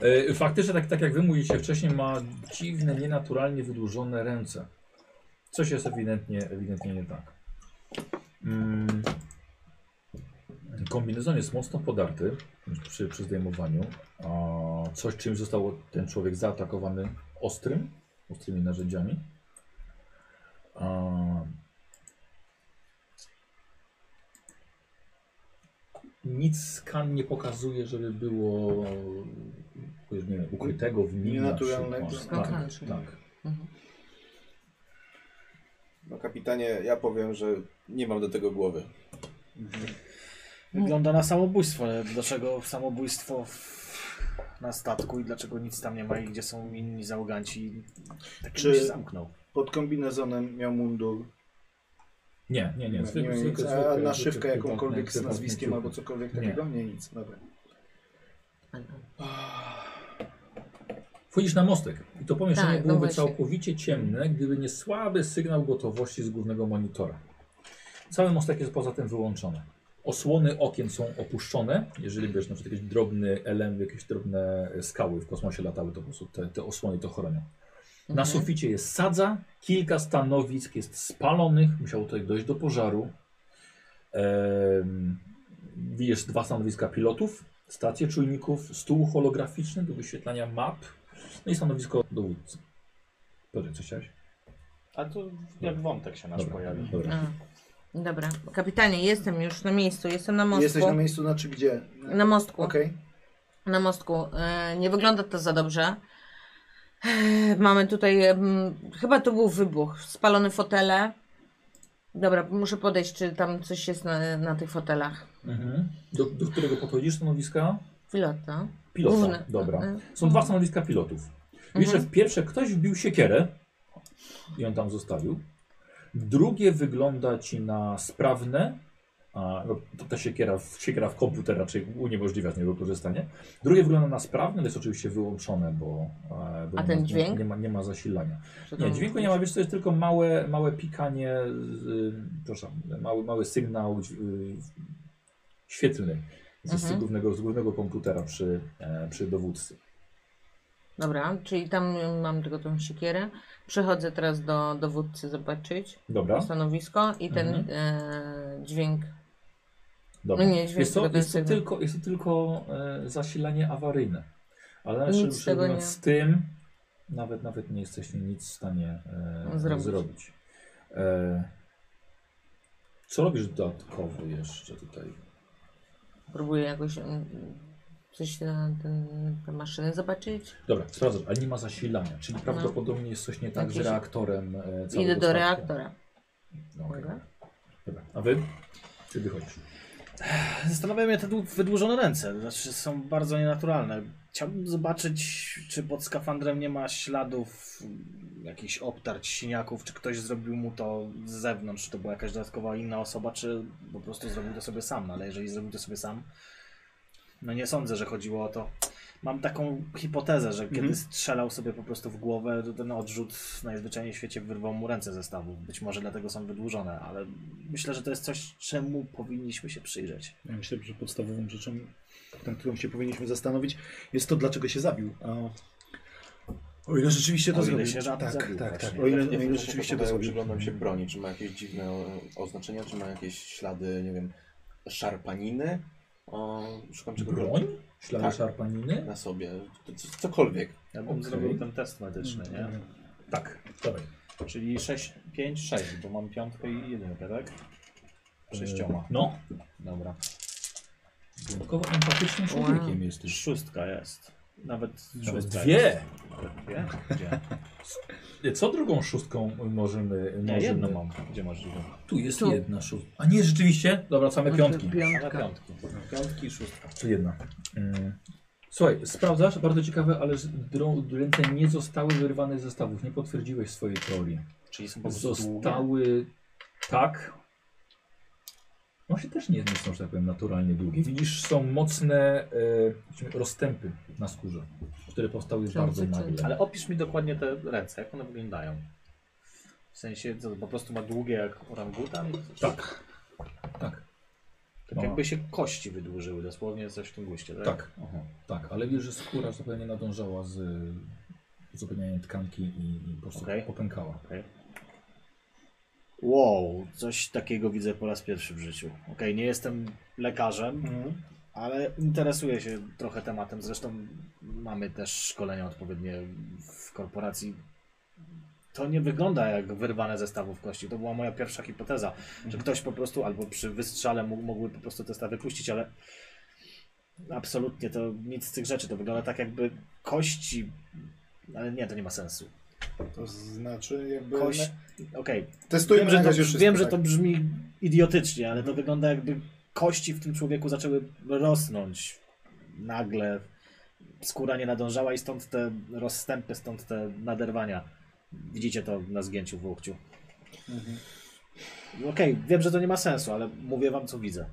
Speaker 1: E, Faktycznie, tak, tak jak wy mówicie wcześniej, ma dziwne, nienaturalnie wydłużone ręce. Coś jest ewidentnie, ewidentnie nie tak. Mm. Kombinezon jest mocno podarty przy, przy zdejmowaniu. A coś, czym został ten człowiek zaatakowany ostrym, ostrymi narzędziami. A... Nic skan nie pokazuje, żeby było nie wiem, ukrytego w nim. na
Speaker 2: Nienaturalnego.
Speaker 1: przykład. Tak,
Speaker 14: Skąd?
Speaker 1: tak.
Speaker 3: Mhm.
Speaker 5: No kapitanie, ja powiem, że nie mam do tego głowy.
Speaker 4: Wygląda na samobójstwo. ale Dlaczego samobójstwo w... na statku i dlaczego nic tam nie ma i gdzie są inni załoganci? Tak
Speaker 2: Czy-
Speaker 4: Czy... się zamknął.
Speaker 2: Pod kombinezonem miał mundur.
Speaker 1: Nie, nie, nie.
Speaker 2: nie,
Speaker 1: Zwykły,
Speaker 2: nic.
Speaker 1: zwykły,
Speaker 2: a
Speaker 1: zwykły,
Speaker 2: naszywkę
Speaker 1: zwykły
Speaker 2: jakąkolwiek
Speaker 1: prywatny-
Speaker 2: z nazwiskiem
Speaker 1: prywatny
Speaker 2: albo
Speaker 1: ciuch.
Speaker 2: cokolwiek
Speaker 1: Nie.
Speaker 2: takiego? Nie, nic. Dobra.
Speaker 1: Wchodzisz na mostek i to pomieszczenie
Speaker 14: Tak, no
Speaker 1: byłoby
Speaker 14: właśnie.
Speaker 1: całkowicie ciemne, gdyby nie słaby sygnał gotowości z głównego monitora. Cały mostek jest poza tym wyłączony. Osłony okien są opuszczone. Jeżeli wiesz, na przykład jakiś drobny element, jakieś drobne skały w kosmosie latały, to po prostu te, te osłony to chronią.
Speaker 3: Mhm.
Speaker 1: Na suficie jest sadza, kilka stanowisk jest spalonych, musiało tutaj dojść do pożaru. Em, Widzisz dwa stanowiska pilotów, stację czujników, stół holograficzny do wyświetlania map, no i stanowisko dowódcy. Piotrek, co chciałeś?
Speaker 4: A to jak wątek się nasz pojawi.
Speaker 1: dobra.
Speaker 3: A, Dobra, kapitanie, jestem już na miejscu, jestem na mostku.
Speaker 2: Jesteś na miejscu, znaczy gdzie?
Speaker 3: Na mostku.
Speaker 2: Okej.
Speaker 3: Na mostku. E, Nie wygląda to za dobrze. Ech, Mamy tutaj, em, chyba to był wybuch, spalone fotele. Dobra, muszę podejść, czy tam coś jest na, na tych fotelach.
Speaker 1: Mhm. Do, do którego podchodzisz stanowiska?
Speaker 3: Pilota.
Speaker 1: Pilota,
Speaker 3: no. Główny.
Speaker 1: dobra.
Speaker 3: E,
Speaker 1: Są dwa stanowiska pilotów. Widzisz, że w
Speaker 3: Mhm.
Speaker 1: pierwsze ktoś wbił siekierę i on tam zostawił. Drugie wygląda ci na sprawne, a, no, to ta siekiera, w- siekiera w komputer raczej uniemożliwia z niego korzystanie. Drugie wygląda na sprawne, ale jest oczywiście wyłączone, bo, e, bo
Speaker 3: A
Speaker 1: nie
Speaker 3: ten
Speaker 1: ma,
Speaker 3: dźwięk?
Speaker 1: Nie, nie, ma, nie ma zasilania.
Speaker 3: Czy
Speaker 1: Nie,
Speaker 3: tam-
Speaker 1: dźwięku nie ma, wiesz, to jest tylko małe, małe pikanie, z, y, przepraszam, mały, mały sygnał dź- y, świetlny z, z,
Speaker 3: Mhm.
Speaker 1: głównego, z głównego komputera przy, e, przy dowódcy.
Speaker 3: Dobra, czyli tam mam tylko tą siekierę. Przechodzę teraz do dowódcy zobaczyć
Speaker 1: Dobra,
Speaker 3: stanowisko i ten
Speaker 1: No. Mhm.
Speaker 3: e, dźwięk.
Speaker 1: dobra.
Speaker 3: No nie, dźwięk
Speaker 1: jest, to,
Speaker 3: tylko ten
Speaker 1: jest, to
Speaker 3: sygnał.
Speaker 1: tylko, jest to tylko e, zasilanie awaryjne, ale nawet
Speaker 3: Nic
Speaker 1: szczerze
Speaker 3: z tego
Speaker 1: mówiąc,
Speaker 3: nie-
Speaker 1: z tym nawet, nawet nie jesteśmy nic w stanie e,
Speaker 3: No, Zrobić.
Speaker 1: zrobić. E, co robisz dodatkowo jeszcze tutaj?
Speaker 3: Próbuję jakoś mm, coś na ten, te maszyny zobaczyć.
Speaker 1: Dobra, sprawdzasz, ale nie ma zasilania, czyli prawdopodobnie jest coś nie tak
Speaker 3: No.
Speaker 1: z
Speaker 3: Jakieś-
Speaker 1: reaktorem e, całego
Speaker 3: Idę do
Speaker 1: statku.
Speaker 3: reaktora.
Speaker 1: No, okej.
Speaker 3: Dobra.
Speaker 1: Dobra, a wy? Czy wychodzisz?
Speaker 4: Zastanawiam mnie te dłu- wydłużone ręce. Znaczy są bardzo nienaturalne. Chciałbym zobaczyć, czy pod skafandrem nie ma śladów mm, jakichś obtarć, siniaków, czy ktoś zrobił mu to z zewnątrz, czy to była jakaś dodatkowa inna osoba, czy po prostu zrobił to sobie sam. No, Ale jeżeli zrobił to sobie sam, no nie sądzę, że chodziło o to. Mam taką hipotezę, że kiedy strzelał sobie po prostu w głowę, to ten odrzut najzwyczajniej w świecie wyrwał mu ręce ze stawu. Być może dlatego są wydłużone, ale myślę, że to jest coś, czemu powinniśmy się przyjrzeć.
Speaker 2: Ja myślę, że podstawową rzeczą, nad którą się powinniśmy zastanowić, jest to, dlaczego się zabił. A... O ile rzeczywiście to
Speaker 4: O ile
Speaker 2: zrobił.
Speaker 4: się żaden
Speaker 2: tak,
Speaker 4: zabił
Speaker 2: tak, tak.
Speaker 4: właśnie.
Speaker 2: O ile,
Speaker 5: Ja
Speaker 2: o
Speaker 5: Znaczy, nie wiem,
Speaker 2: ile
Speaker 5: jak
Speaker 2: rzeczywiście to
Speaker 5: podają,
Speaker 2: zrobił.
Speaker 5: Przyglądam się broni, czy ma jakieś dziwne e, oznaczenia, czy ma jakieś ślady, nie wiem, szarpaniny. O, szukam czegoś
Speaker 1: Broń? Ślady
Speaker 5: Tak.
Speaker 1: szarpaniny?
Speaker 5: na sobie, c- c- cokolwiek.
Speaker 4: Ja bym
Speaker 1: Okej.
Speaker 4: zrobił ten test medyczny, nie?
Speaker 1: Tak, dawaj.
Speaker 4: Czyli 6, 5, 6, bo mam piątkę i jedynkę, tak? Sześcioma.
Speaker 1: No,
Speaker 4: Dobra.
Speaker 1: wyjątkowo empatycznym człowiekiem jesteś.
Speaker 4: Szóstka jest. Nawet
Speaker 1: Nawet
Speaker 4: szóstka
Speaker 1: dwie!
Speaker 4: Jest. Nawet dwie? Gdzie?
Speaker 1: Co drugą szóstką możemy...
Speaker 4: Nie,
Speaker 1: możemy...
Speaker 4: jedną No, mam. Gdzie masz drugą?
Speaker 1: Tu jest
Speaker 3: Tu.
Speaker 1: jedna szóstka. A nie, rzeczywiście? Dobra, same piątki.
Speaker 4: Same piątki. Piątki i szóstka.
Speaker 1: Tu jedna. Mm. Słuchaj, sprawdzasz, bardzo ciekawe, ale z- drą- ręce nie zostały wyrwane z zestawów. Nie potwierdziłeś swojej teorii.
Speaker 4: Czyli są po prostu długie?
Speaker 1: Zostały tak. Właśnie też nie, nie są, że tak powiem, naturalnie długie. Widzisz, są mocne e, rozstępy na skórze, które powstały bardzo nagle.
Speaker 4: Ale opisz mi dokładnie te ręce, jak one wyglądają. W sensie, co, po prostu ma długie jak orangutan?
Speaker 1: Tak. Tak.
Speaker 4: Tak
Speaker 1: Ma-
Speaker 4: jakby się kości wydłużyły dosłownie, coś w tym guście, tak?
Speaker 1: Tak.
Speaker 4: Aha.
Speaker 1: Tak, ale wiesz, że skóra zupełnie nie nadążała z uzupełnianiem tkanki i, i po prostu
Speaker 4: Okej.
Speaker 1: popękała.
Speaker 4: Wow, coś takiego widzę po raz pierwszy w życiu. Okej, nie jestem lekarzem, ale interesuję się trochę tematem. Zresztą mamy też szkolenia odpowiednie w korporacji. To nie wygląda jak wyrwane ze stawów kości. To była moja pierwsza hipoteza, że ktoś po prostu albo przy wystrzale mógł, mogły po prostu te stawy puścić, ale absolutnie to nic z tych rzeczy. To wygląda tak jakby kości, ale nie, to nie ma sensu.
Speaker 2: To znaczy jakby...
Speaker 4: Kość, okej,
Speaker 2: Testujemy
Speaker 4: Wiem, że,
Speaker 2: na
Speaker 4: to,
Speaker 2: razie wszystko,
Speaker 4: wiem że
Speaker 2: tak.
Speaker 4: to brzmi idiotycznie, ale to wygląda jakby kości w tym człowieku zaczęły rosnąć nagle. Skóra nie nadążała i stąd te rozstępy, stąd te naderwania. Widzicie to na zgięciu w łokciu.
Speaker 2: Mhm.
Speaker 4: Okej, wiem, że to nie ma sensu, ale mówię wam, co widzę.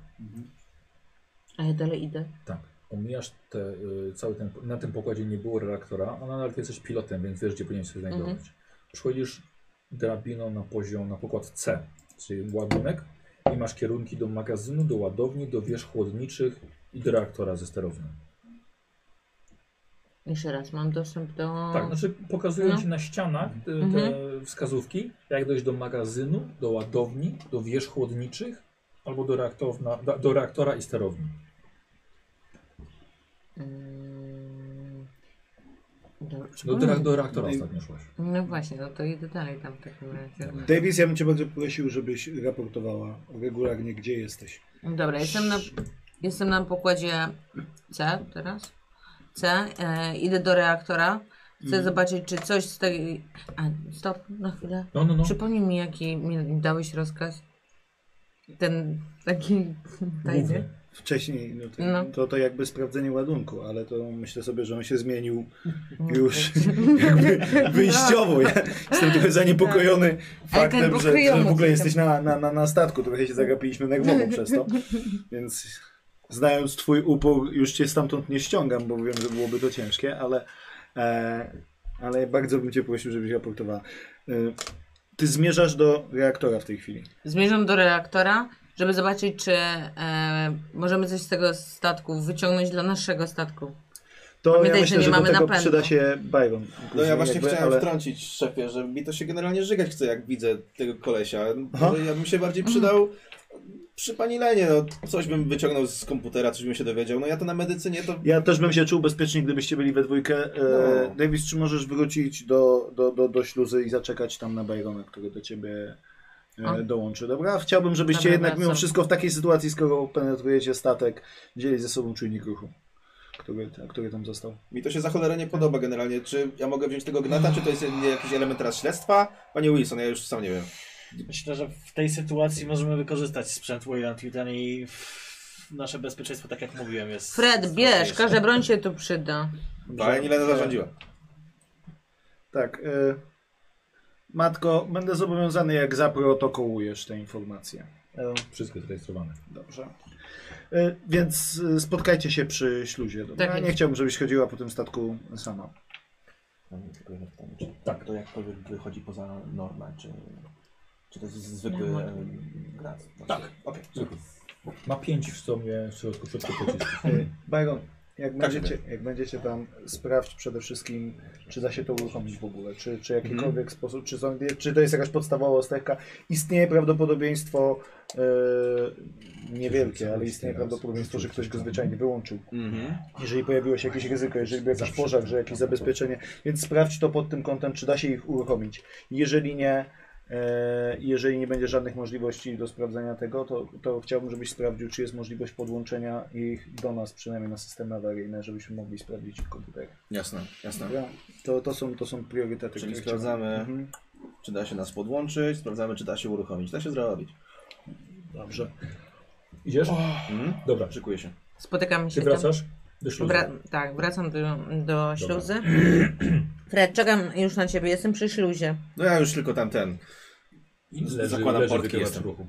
Speaker 3: A ja dalej idę.
Speaker 1: Tak. Omijasz te, y, cały ten, na tym pokładzie nie było reaktora, a nadal ty jesteś pilotem, więc wiesz, gdzie powinien się znajdować. Przychodzisz drabiną na poziom, na pokład C, czyli ładunek i masz kierunki do magazynu, do ładowni, do wież chłodniczych i do reaktora ze sterownym.
Speaker 3: Jeszcze raz, mam dostęp do...
Speaker 1: Tak, znaczy pokazują
Speaker 3: No.
Speaker 1: ci na ścianach te, te wskazówki, jak dojść do magazynu, do ładowni, do wież chłodniczych albo do, reaktorna, do, do reaktora i sterowni.
Speaker 3: Mm, do-
Speaker 1: No, Do, do, do reaktora ostatnio szłaś.
Speaker 3: No właśnie, no to idę dalej tam w takim razie.
Speaker 2: Davis, ja bym cię bardzo prosił, żebyś raportowała regularnie, gdzie jesteś.
Speaker 3: Dobra, jestem na, jestem na pokładzie C teraz. C. E, idę do reaktora. Chcę
Speaker 1: Mm.
Speaker 3: zobaczyć, czy coś z tej. A, stop, na chwilę.
Speaker 1: No, no, no.
Speaker 3: Przypomnij mi, jaki mi dałeś rozkaz. Ten taki tajny.
Speaker 1: Główny.
Speaker 2: Wcześniej, no to,
Speaker 3: No.
Speaker 2: to to jakby sprawdzenie ładunku, ale to myślę sobie, że on się zmienił
Speaker 3: No,
Speaker 2: już jakby wyjściowo. Ja jestem trochę zaniepokojony
Speaker 3: Tak.
Speaker 2: faktem,
Speaker 3: był
Speaker 2: że, że w
Speaker 3: kryjomów
Speaker 2: ogóle
Speaker 3: jestem.
Speaker 2: jesteś na, na, na, na statku. Trochę się zagapiliśmy na głowę przez to. Więc znając twój upór, już cię stamtąd nie ściągam, bo wiem, że byłoby to ciężkie, ale, e, ale bardzo bym cię prosił, żebyś raportowała. E, ty zmierzasz do reaktora w tej chwili.
Speaker 3: Zmierzam do reaktora, żeby zobaczyć, czy e, możemy coś z tego statku wyciągnąć dla naszego statku.
Speaker 2: To
Speaker 3: Pamiętaj,
Speaker 2: ja
Speaker 3: że
Speaker 2: myślę, że,
Speaker 3: nie
Speaker 2: do
Speaker 3: mamy
Speaker 2: tego
Speaker 3: napędu.
Speaker 2: przyda się Byron.
Speaker 5: No ja właśnie
Speaker 2: jakby,
Speaker 5: chciałem
Speaker 2: ale-
Speaker 5: wtrącić szefie, że mi to się generalnie żygać chce, jak widzę tego kolesia.
Speaker 2: Aha.
Speaker 5: Ja bym się bardziej przydał przy pani Lenie, no coś bym wyciągnął z komputera, coś bym się dowiedział. No ja to na medycynie to...
Speaker 2: Ja też bym się czuł bezpiecznie, gdybyście byli we dwójkę. E,
Speaker 5: No.
Speaker 2: Davis, czy możesz wrócić do, do, do, do śluzy i zaczekać tam na Byrona, który do ciebie
Speaker 3: O.
Speaker 2: e, dołączy, dobra? Chciałbym, żebyście
Speaker 3: Dobra,
Speaker 2: jednak
Speaker 3: wracam.
Speaker 2: mimo wszystko w takiej sytuacji, skoro penetrujecie statek, wzięli ze sobą czujnik ruchu, który, który tam został.
Speaker 5: Mi to się za cholerę nie podoba generalnie. Czy ja mogę wziąć tego gnata, czy to jest jakiś element teraz śledztwa? Panie Wilson, ja już sam nie wiem.
Speaker 4: Myślę, że w tej sytuacji możemy wykorzystać sprzęt Wayland Titan i nasze bezpieczeństwo, tak jak mówiłem, jest...
Speaker 3: Fred, bierz, każda broń się tu przyda.
Speaker 5: Pani Lena zarządziła.
Speaker 2: Tak. E, matko, będę zobowiązany, jak zaprotokołujesz te informacje. E,
Speaker 1: Wszystko jest rejestrowane.
Speaker 2: Dobrze. E, Więc e, spotkajcie się przy śluzie. Dobra?
Speaker 3: Tak jest.
Speaker 2: nie chciałbym, żebyś chodziła po tym statku sama. Y,
Speaker 5: Mam tylko jedno pytanie. Czy tak. to jakkolwiek wychodzi poza normę, czy, czy to jest zwykły
Speaker 3: Norma.
Speaker 5: e, grat? Tak. Okej.
Speaker 1: Zwykły. Ma pięć w sumie w środku szybko pocisku.
Speaker 2: E, Byron, jak,
Speaker 5: Tak,
Speaker 2: będziecie, jak będziecie tam, sprawdź przede wszystkim, czy da się to uruchomić w ogóle, czy, czy jakikolwiek sposób, czy, są, czy to jest jakaś podstawowa ostreka. Istnieje prawdopodobieństwo, e, niewielkie, ale istnieje prawdopodobieństwo, że ktoś go zwyczajnie wyłączył.
Speaker 5: Mhm.
Speaker 2: Jeżeli pojawiło się jakieś ryzyko, jeżeli był jakiś pożar, że jakieś zabezpieczenie, więc sprawdź to pod tym kątem, czy da się ich uruchomić. Jeżeli nie, e, jeżeli nie będzie żadnych możliwości do sprawdzenia tego, to, to chciałbym, żebyś sprawdził, czy jest możliwość podłączenia ich do nas, przynajmniej na systemy awaryjne, żebyśmy mogli sprawdzić ich komputer.
Speaker 5: Jasne, jasne.
Speaker 2: Dobra? To, to, są, to są priorytety.
Speaker 5: Czyli
Speaker 2: które chciałbym-
Speaker 5: sprawdzamy.
Speaker 2: Mhm.
Speaker 5: Czy da się nas podłączyć, sprawdzamy, czy da się uruchomić. Da się zrobić.
Speaker 2: Dobrze.
Speaker 1: Idziesz?
Speaker 5: Mhm.
Speaker 1: Dobra.
Speaker 5: Szykuję się.
Speaker 3: Spotykamy się
Speaker 1: Ty
Speaker 3: tam.
Speaker 1: wracasz? Do śluzy.
Speaker 3: Wra- tak, wracam do, do śluzy. Fred, czekam już na ciebie, jestem przy śluzie.
Speaker 5: No ja już tylko tamten.
Speaker 1: Leży,
Speaker 5: zakładam
Speaker 1: leży
Speaker 5: portki
Speaker 1: wykrywacz
Speaker 5: jestem.
Speaker 1: ruchu,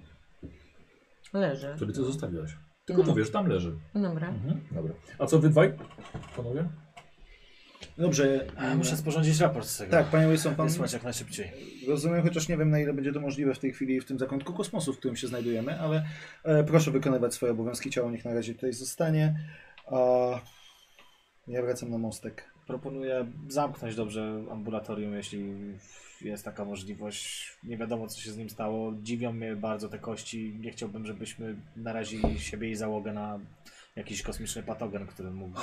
Speaker 3: Leżę.
Speaker 1: który ty zostawiłeś. Tylko
Speaker 3: No.
Speaker 1: mówisz, tam leży.
Speaker 3: Dobra.
Speaker 1: Mhm, dobra. A co wy dwaj, panowie?
Speaker 2: Dobrze.
Speaker 4: A, muszę sporządzić raport z tego.
Speaker 2: Tak, panie Wilson, pan
Speaker 4: Wysłać jak najszybciej.
Speaker 2: rozumiem, chociaż nie wiem na ile będzie to możliwe w tej chwili w tym zakątku kosmosu, w którym się znajdujemy, ale e, proszę wykonywać swoje obowiązki, ciało niech na razie tutaj zostanie. A, ja wracam na mostek.
Speaker 4: Proponuję zamknąć dobrze ambulatorium, jeśli jest taka możliwość. Nie wiadomo, co się z nim stało. Dziwią mnie bardzo te kości. Nie chciałbym, żebyśmy narazili siebie i załogę na jakiś kosmiczny patogen, który mógł go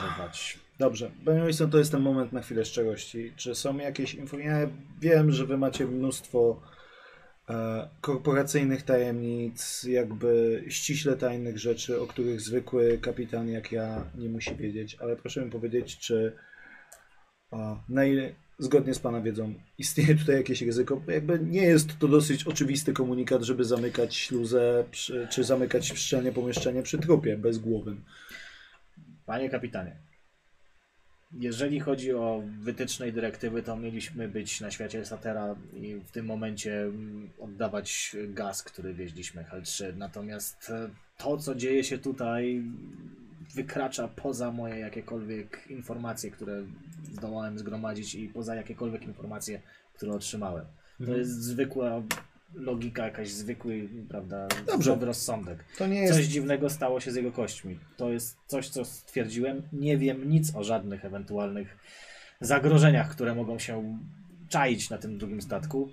Speaker 4: wyrywać.
Speaker 2: Dobrze, panie Wilson, to jest ten moment na chwilę szczerości. Czy są jakieś informacje? Ja wiem, że wy macie mnóstwo e, korporacyjnych tajemnic, jakby ściśle tajnych rzeczy, o których zwykły kapitan jak ja nie musi wiedzieć, ale proszę mi powiedzieć, czy a, na ile, zgodnie z pana wiedzą, istnieje tutaj jakieś ryzyko? Bo Jakby nie jest to dosyć oczywisty komunikat, żeby zamykać śluzę, przy, czy zamykać szczelnie pomieszczenie przy trupie bez głowy.
Speaker 4: Panie kapitanie, jeżeli chodzi o wytyczne i dyrektywy, to mieliśmy być na świecie Satera i w tym momencie mm, oddawać gaz, który wieźliśmy, H3. Natomiast e, to, co dzieje się tutaj, wykracza poza moje jakiekolwiek informacje, które zdołałem zgromadzić i poza jakiekolwiek informacje, które otrzymałem. To jest zwykła logika, jakaś zwykły, prawda,
Speaker 2: Dobrze.
Speaker 4: zdrowy rozsądek.
Speaker 2: To nie jest
Speaker 4: Coś dziwnego stało się z jego kośćmi. To jest coś, co stwierdziłem. Nie wiem nic o żadnych ewentualnych zagrożeniach, które mogą się czaić na tym drugim statku.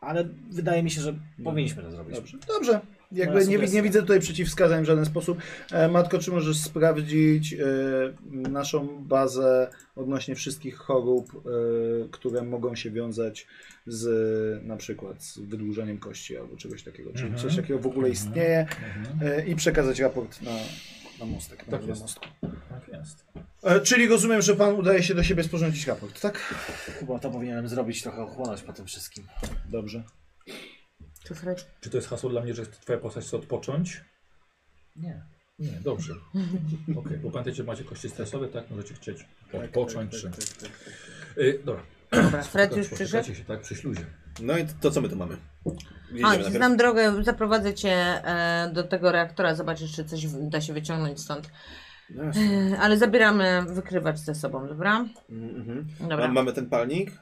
Speaker 4: Ale wydaje mi się, że powinniśmy to zrobić.
Speaker 2: Dobrze. Dobrze. Jakby
Speaker 1: No
Speaker 4: Moja
Speaker 2: nie, wi-
Speaker 4: sugestia.
Speaker 2: nie widzę tutaj przeciwwskazań w żaden sposób. E, Matko, czy możesz sprawdzić e, naszą bazę odnośnie wszystkich chorób, e, które mogą się wiązać z na przykład z wydłużeniem kości albo czegoś takiego. Czy
Speaker 1: Mhm.
Speaker 2: coś takiego w ogóle istnieje e, i przekazać raport na, na mostek. Na
Speaker 1: Tak
Speaker 2: na
Speaker 1: jest.
Speaker 2: mostku.
Speaker 1: Tak jest.
Speaker 2: E, czyli rozumiem, że pan udaje się do siebie sporządzić raport, tak?
Speaker 4: Chyba to powinienem zrobić, trochę ochłonąć po tym wszystkim.
Speaker 2: Dobrze.
Speaker 3: Czy Fred?
Speaker 1: Czy to jest hasło dla mnie, że twoja postać chce odpocząć?
Speaker 4: Nie.
Speaker 1: Nie, dobrze. Okej, bo pamiętajcie, macie kości stresowe, tak? Możecie chcieć odpocząć.
Speaker 5: tak,
Speaker 1: czy- Y, Dobra.
Speaker 3: Dobra, Fred
Speaker 1: Spotykać-
Speaker 3: już przyszedł.
Speaker 1: spotykacie się, tak, przy śluzie.
Speaker 5: No i to co my tu mamy?
Speaker 3: Chodź,
Speaker 5: najpierw.
Speaker 3: znam drogę, zaprowadzę cię e, do tego reaktora, zobaczysz, czy coś w- da się wyciągnąć stąd.
Speaker 5: No jasne.
Speaker 3: E, Ale zabieramy wykrywacz ze sobą, dobra?
Speaker 5: Mm, mhm. Ma-
Speaker 3: Dobra.
Speaker 5: Mamy ten palnik?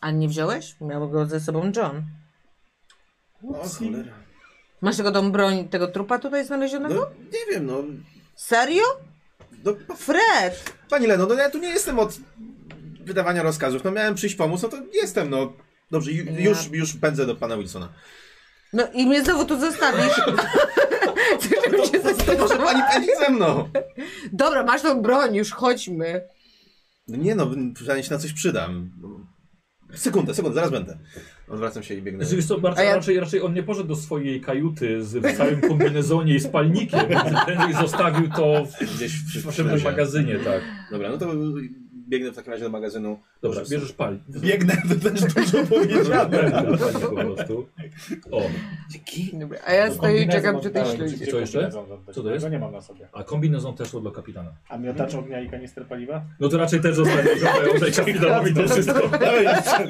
Speaker 3: A nie wziąłeś? Miał go ze sobą John.
Speaker 5: O cholera.
Speaker 3: Masz tego tą broń, tego trupa tutaj znalezionego?
Speaker 5: No nie wiem, no.
Speaker 3: Serio?
Speaker 5: no
Speaker 3: Fred!
Speaker 5: pani Leno, no ja tu nie jestem od wydawania rozkazów. No miałem przyjść pomóc, no to jestem, no. Dobrze, ju,
Speaker 3: Ja-
Speaker 5: już, już pędzę do pana Wilsona.
Speaker 3: No i mnie znowu tu zostawisz. Chcesz, żebym się
Speaker 5: Może
Speaker 3: zastanawiała?
Speaker 5: pani pędzi ze mną.
Speaker 3: Dobra, masz tą broń, już chodźmy.
Speaker 5: No nie no, przynajmniej się na coś przydam. Sekundę, sekundę, zaraz będę. Odwracam się i biegnę.
Speaker 1: Znaczy, wiesz co,
Speaker 3: A
Speaker 1: bardziej,
Speaker 3: ja-
Speaker 1: raczej, raczej on nie poszedł do swojej kajuty z w całym kombinezonie i spalnikiem. Ten i zostawił to w,
Speaker 5: Gdzieś w,
Speaker 1: w
Speaker 5: w,
Speaker 1: naszym
Speaker 5: lesie.
Speaker 1: magazynie, tak.
Speaker 5: Dobra, no to biegnę w takim razie do magazynu.
Speaker 1: Dobra, bierzesz pali.
Speaker 5: Biegnę, to też dużo powiedziane.
Speaker 1: Bierzesz pali po prostu. O,
Speaker 3: Dobra, a ja stoję i czekam przy tej śluzie.
Speaker 1: Co jeszcze? Co to jest?
Speaker 4: nie mam na sobie.
Speaker 1: a kombinezon też był dla kapitana.
Speaker 4: A miotacz
Speaker 2: Mhm.
Speaker 4: ognia i kanister paliwa?
Speaker 1: No to raczej też zostanie, że kapitanowi to wszystko. Tak,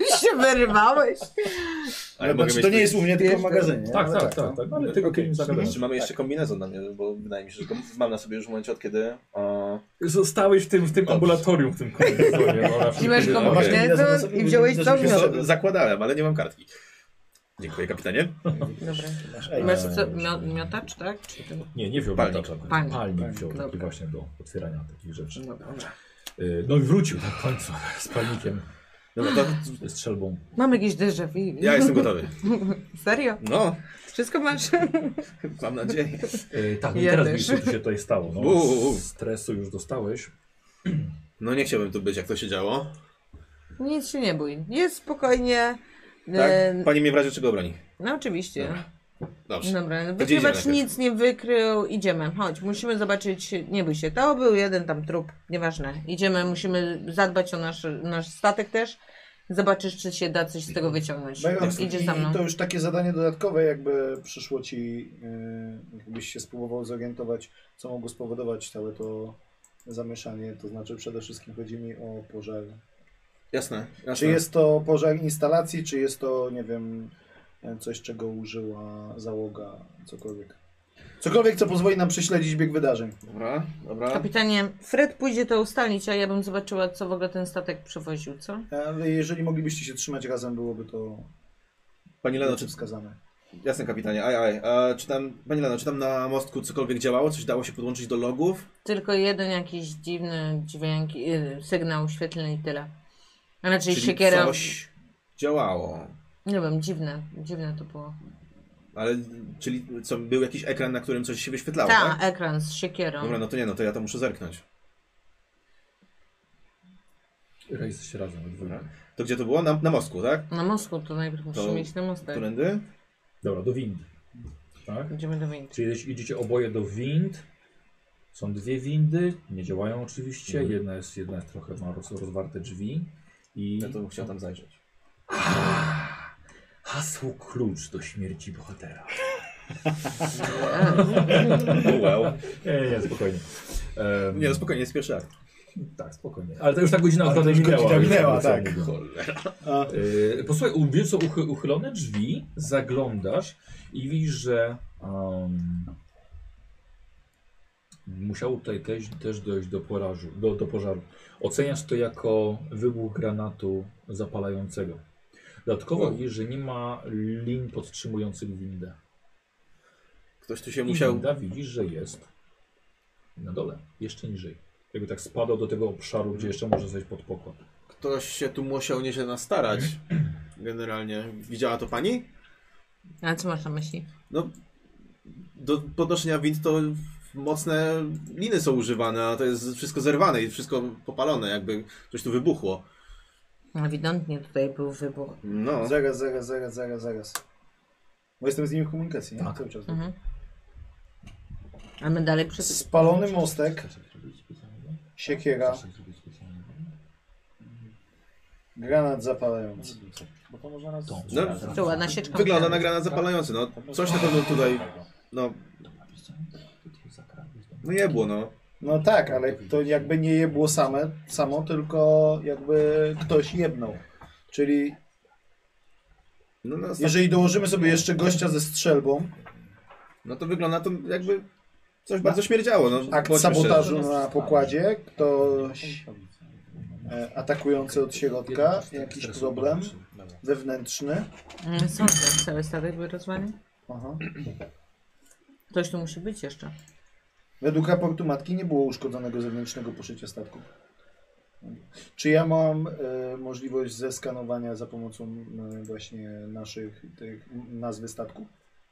Speaker 3: Już się wyrywałeś.
Speaker 5: Ale mogę
Speaker 2: Znaczy,
Speaker 5: mieć
Speaker 2: to nie jest u mnie Mhm. tylko w
Speaker 3: Jeszcze-
Speaker 2: magazynie.
Speaker 1: Tak,
Speaker 2: ale
Speaker 1: tak, tak, tak. Ale tylko okay. zagadamy.
Speaker 5: Czy mamy jeszcze kombinezon na mnie, bo wydaje mi się, że go mam na sobie już w momencie od kiedy... e,
Speaker 1: Zostałeś w tym, w tym ambulatorium, w tym kombinezonie. no, na
Speaker 3: I masz
Speaker 1: wszelki
Speaker 3: go
Speaker 1: wypadek.
Speaker 5: Okej.
Speaker 3: magnezu i
Speaker 2: No
Speaker 3: wziąłeś co
Speaker 5: Wiesz co,
Speaker 3: miał.
Speaker 5: zakładałem, ale nie mam kartki. Dziękuję kapitanie.
Speaker 3: Dobra.
Speaker 2: Ej,
Speaker 3: Masz co, mio, miotacz, tak? Czy to...
Speaker 1: Nie, nie wziął
Speaker 5: Palnik.
Speaker 1: miotacza.
Speaker 3: Palnik.
Speaker 1: Palnik wziął,
Speaker 3: Dobra.
Speaker 1: taki właśnie do otwierania takich rzeczy.
Speaker 3: No, dobra.
Speaker 1: Y, No i wrócił na końcu z palnikiem,
Speaker 5: Dobra, to
Speaker 1: ze strzelbą.
Speaker 3: Mam jakieś déjà vu.
Speaker 5: ja jestem gotowy.
Speaker 3: Serio?
Speaker 5: No,
Speaker 3: Wszystko masz?
Speaker 5: mam nadzieję.
Speaker 1: E, tak, no i
Speaker 3: Ja
Speaker 1: teraz
Speaker 3: też.
Speaker 1: widzisz, co tu się tutaj stało. No,
Speaker 5: U, u, u.
Speaker 1: stresu już dostałeś.
Speaker 5: No nie chciałbym tu być, jak to się działo.
Speaker 3: Nic się nie bój. Jest spokojnie.
Speaker 5: Tak?
Speaker 3: E,
Speaker 5: Pani mnie w razie czego broni.
Speaker 3: no oczywiście.
Speaker 5: Dobrze.
Speaker 3: Dobra,
Speaker 5: gdzie idziemy
Speaker 3: wykrywacz
Speaker 5: najpierw?
Speaker 3: nic nie wykrył. Idziemy, chodź. Musimy zobaczyć, nie bój się, to był jeden tam trup, nieważne. Idziemy, musimy zadbać o nasz, nasz statek też. Zobaczysz, czy się da coś z tego wyciągnąć. Tak,
Speaker 2: Bajron,
Speaker 3: Idzie za mną.
Speaker 2: No I to już takie zadanie dodatkowe, jakby przyszło ci, yy, jakbyś się spróbował zorientować, co mogło spowodować całe to zamieszanie, to znaczy przede wszystkim chodzi mi o pożar.
Speaker 5: Jasne,
Speaker 2: Czy
Speaker 5: jasne.
Speaker 2: jest to pożar instalacji, czy jest to, nie wiem, coś, czego użyła załoga, cokolwiek. Cokolwiek, co pozwoli nam prześledzić bieg wydarzeń.
Speaker 5: Dobra, dobra.
Speaker 3: Kapitanie, Fred pójdzie to ustalić, a ja bym zobaczyła, co w ogóle ten statek przewoził, co?
Speaker 2: Ale E, jeżeli moglibyście się trzymać razem, byłoby to
Speaker 5: Pani Leno, czy...
Speaker 2: wskazane.
Speaker 5: Jasne, kapitanie, aj, aj. A, czy tam, pani Leno, czy tam na mostku cokolwiek działało? Coś dało się podłączyć do logów?
Speaker 3: Tylko jeden jakiś dziwny dźwięk, y, sygnał świetlny i tyle. A raczej
Speaker 5: Czyli
Speaker 3: siekiera.
Speaker 5: coś działało.
Speaker 3: Nie wiem, dziwne, dziwne to było.
Speaker 5: Ale, czyli co, był jakiś ekran, na którym coś się wyświetlało,
Speaker 3: Ta,
Speaker 5: tak?
Speaker 3: ekran z siekierą.
Speaker 5: Dobra, no to nie, no to ja to muszę zerknąć.
Speaker 1: Jesteście razem. we dwójkę.
Speaker 5: To gdzie to było? Na, na mostku, tak?
Speaker 3: Na mostku to najpierw musimy
Speaker 5: To-
Speaker 3: iść na
Speaker 5: Tak.
Speaker 3: mostek.
Speaker 5: Którędy?
Speaker 1: Dobra, do windy. Tak?
Speaker 3: Będziemy do windy.
Speaker 1: Czyli jeśli idziecie oboje do wind, są dwie windy, nie działają oczywiście.
Speaker 5: Mhm.
Speaker 1: Jedna, jest, jedna jest trochę ma roz, rozwarte drzwi i
Speaker 5: Ja No to bym chciał tam zajrzeć.
Speaker 1: hasło klucz do śmierci bohatera.
Speaker 5: Wow.
Speaker 1: Nie, nie, spokojnie. Em,
Speaker 5: Oh, Nie, no spokojnie, jest pierwszy akt.
Speaker 1: tak, spokojnie. Ale to już ta godzina akurat
Speaker 2: już
Speaker 1: minęła.
Speaker 2: godzina
Speaker 1: więc
Speaker 2: minęła,
Speaker 1: jakby co
Speaker 2: tak.
Speaker 1: mówię. E, posłuchaj, u- wiesz co, uchy, uchylone drzwi, zaglądasz i widzisz, że um, musiało tutaj też, też dojść do, porażu, do, do pożaru. Oceniasz to jako wybuch granatu zapalającego. Dodatkowo widzisz, że nie ma lin podtrzymujących windę.
Speaker 5: Ktoś tu się
Speaker 1: I
Speaker 5: musiał...
Speaker 1: winda widzisz, że jest na dole, jeszcze niżej. Jakby tak spadał do tego obszaru, gdzie jeszcze może zejść pod pokład.
Speaker 5: Ktoś się tu musiał nieźle nastarać. Generalnie. Widziała to pani?
Speaker 3: A co masz na myśli?
Speaker 5: No, do podnoszenia wind to mocne liny są używane, a to jest wszystko zerwane i wszystko popalone, jakby coś tu wybuchło.
Speaker 3: Ewidentnie tutaj był wybuch.
Speaker 5: No,
Speaker 2: Zaraz, zaraz, zaraz, zaraz, zaraz. Bo jestem z nimi w komunikacji, nie?
Speaker 1: Tak.
Speaker 2: Cały czas.
Speaker 3: Mhm. A my dalej przez...
Speaker 2: Spalony mostek, siekiera, granat zapalający.
Speaker 4: Bo to można raz...
Speaker 1: To.
Speaker 5: No.
Speaker 3: To ładna sieczka.
Speaker 5: wygląda na granat zapalający, no. Coś na pewno tutaj, no, no nie było, no.
Speaker 2: No tak, ale to jakby nie je było same, samo, tylko jakby ktoś jednął. Czyli
Speaker 5: No, no, sta-
Speaker 2: jeżeli dołożymy sobie jeszcze gościa ze strzelbą,
Speaker 5: no to wygląda to jakby coś bardzo śmierdziało, no.
Speaker 2: akt
Speaker 5: bądźmy szczerzy.
Speaker 2: Tak, sabotażu na pokładzie, ktoś e, atakujący od środka, jakiś problem wewnętrzny.
Speaker 3: Mm, Sądzę, że cały statek był rozwalony.
Speaker 2: Aha.
Speaker 3: Ktoś tu musi być jeszcze.
Speaker 2: Według raportu matki nie było uszkodzonego zewnętrznego poszycia statku. Czy ja mam e, możliwość zeskanowania za pomocą e, właśnie naszych tych nazwy statku?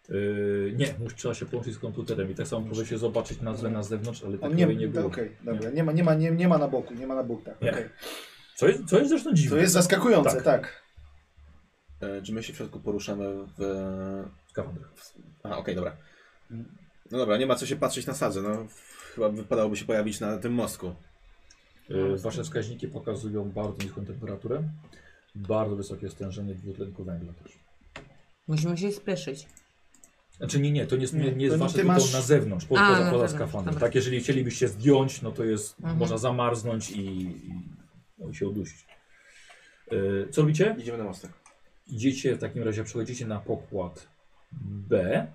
Speaker 1: Yy, nie, mus- trzeba się połączyć z komputerem i tak samo może się zobaczyć nazwę na zewnątrz, ale
Speaker 2: On
Speaker 1: takiej
Speaker 2: nie,
Speaker 1: nie, nie było.
Speaker 2: Okej, dobra. Nie ma, nie, ma, nie, nie ma na boku, nie ma na boku, tak.
Speaker 1: Nie.
Speaker 2: okej.
Speaker 1: Co, jest, co jest zresztą dziwne.
Speaker 2: To jest zaskakujące,
Speaker 1: Tak.
Speaker 2: tak.
Speaker 5: E, Czy my się w środku poruszamy w...
Speaker 1: Skafander.
Speaker 5: Aha, okej, dobra. No dobra, nie ma co się patrzeć na sadzę, no. Chyba wypadałoby się pojawić na tym mostku.
Speaker 1: Yy, wasze wskaźniki pokazują bardzo niską temperaturę, bardzo wysokie stężenie dwutlenku węgla też.
Speaker 3: Musimy się spieszyć.
Speaker 1: Znaczy nie, nie, to nie, jest- nie, nie jest
Speaker 2: To
Speaker 1: wasze,
Speaker 2: ty
Speaker 1: tylko
Speaker 2: masz-
Speaker 1: na zewnątrz, po,
Speaker 3: A,
Speaker 1: poza,
Speaker 3: na
Speaker 1: poza
Speaker 3: zewnątrz,
Speaker 1: skafandrem.
Speaker 3: dobra.
Speaker 1: Tak, jeżeli chcielibyście zdjąć, no to jest,
Speaker 3: Mhm.
Speaker 1: można zamarznąć i, i, no, i się udusić. Yy, co robicie?
Speaker 5: Idziemy na mostek.
Speaker 1: Idziecie w takim razie, przechodzicie na pokład B.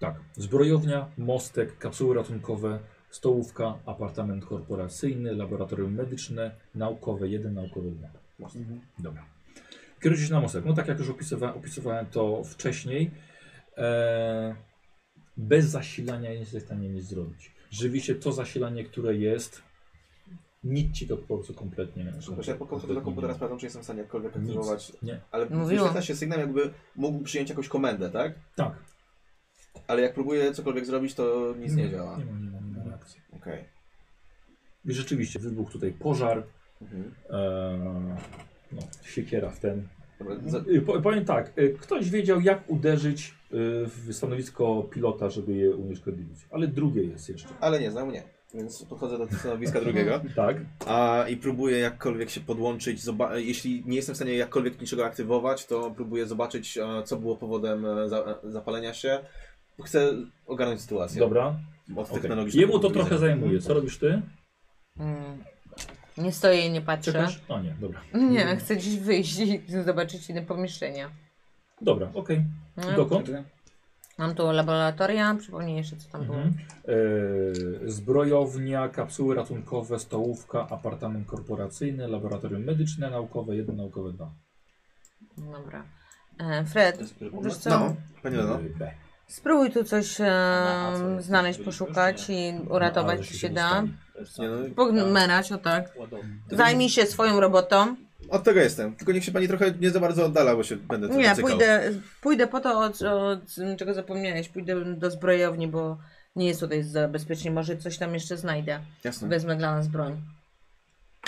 Speaker 1: Tak, zbrojownia, mostek, kapsuły ratunkowe, stołówka, apartament korporacyjny, laboratorium medyczne, naukowe 1, naukowe 2. Dobra. Kierujcie się na mostek. No tak jak już opisywa, opisywałem to wcześniej, e, bez zasilania nie jesteś w stanie nic zrobić. Rzeczywiście to zasilanie, które jest, nic ci to po prostu kompletnie...
Speaker 5: Właśnie po kontrolę do komputera sprawdzam, czy jestem w stanie jakkolwiek
Speaker 1: Nic.
Speaker 5: aktywować.
Speaker 1: Nie.
Speaker 5: Ale
Speaker 3: Mówiłam.
Speaker 5: wyświetla się sygnał, jakby mógł przyjąć jakąś komendę, tak?
Speaker 1: Tak.
Speaker 5: Ale jak próbuję cokolwiek zrobić, to nic nie, działa.
Speaker 1: Nie ma, nie ma, nie ma reakcji.
Speaker 5: Okej.
Speaker 1: I rzeczywiście wybuchł tutaj pożar,
Speaker 5: Mhm.
Speaker 1: e, no, siekiera w ten.
Speaker 5: Dobra, za...
Speaker 1: Y, po- Powiem tak, y, ktoś wiedział jak uderzyć y, w stanowisko pilota, żeby je unieszkodliwić, ale drugie jest jeszcze.
Speaker 5: Ale nie znam, nie. Więc podchodzę do stanowiska drugiego
Speaker 1: Tak?
Speaker 5: a, i próbuję jakkolwiek się podłączyć. Zoba- jeśli nie jestem w stanie jakkolwiek niczego aktywować, to próbuję zobaczyć, e, co było powodem e, za- e, zapalenia się.
Speaker 15: Chcę ogarnąć sytuację.
Speaker 1: Dobra.
Speaker 15: Od
Speaker 1: okej.
Speaker 15: technologicznego
Speaker 1: Jemu to
Speaker 15: punktu
Speaker 1: trochę
Speaker 15: widzenia.
Speaker 1: zajmuje. Co robisz ty?
Speaker 3: Mm. Nie stoję i nie patrzę.
Speaker 1: Czekasz? O nie, dobra.
Speaker 3: Nie, chcę gdzieś wyjść i zobaczyć inne pomieszczenia.
Speaker 1: Dobra, okej.
Speaker 3: Mm.
Speaker 1: Dokąd?
Speaker 3: Mam tu laboratoria, przypomnij jeszcze co tam było.
Speaker 1: Mhm. Yy, zbrojownia, kapsuły ratunkowe, stołówka, apartament korporacyjny, laboratorium medyczne, naukowe, jedno naukowe, dwa.
Speaker 3: Dobra. E, Fred, wiesz co?
Speaker 5: No, panie Leno.
Speaker 1: Yy, B.
Speaker 3: Spróbuj tu coś
Speaker 4: A co,
Speaker 3: e,
Speaker 4: jest
Speaker 3: znaleźć,
Speaker 4: byli
Speaker 3: poszukać
Speaker 4: goście?
Speaker 3: i
Speaker 1: No,
Speaker 3: uratować,
Speaker 1: ale
Speaker 3: czy
Speaker 1: się
Speaker 3: się
Speaker 1: nie
Speaker 3: da.
Speaker 1: dostali.
Speaker 5: Nie, no,
Speaker 3: Pogmerać, o tak.
Speaker 4: Ładownie.
Speaker 3: Zajmij się swoją robotą.
Speaker 5: od tego jestem. Tylko niech się pani trochę nie za bardzo oddala, bo się będę trochę
Speaker 3: Nie,
Speaker 5: cykał.
Speaker 3: pójdę, pójdę po to, od, od, czego zapomniałeś. Pójdę do zbrojowni, bo nie jest tutaj za bezpiecznie. Może coś tam jeszcze znajdę.
Speaker 5: Jasne.
Speaker 3: Wezmę dla nas broń.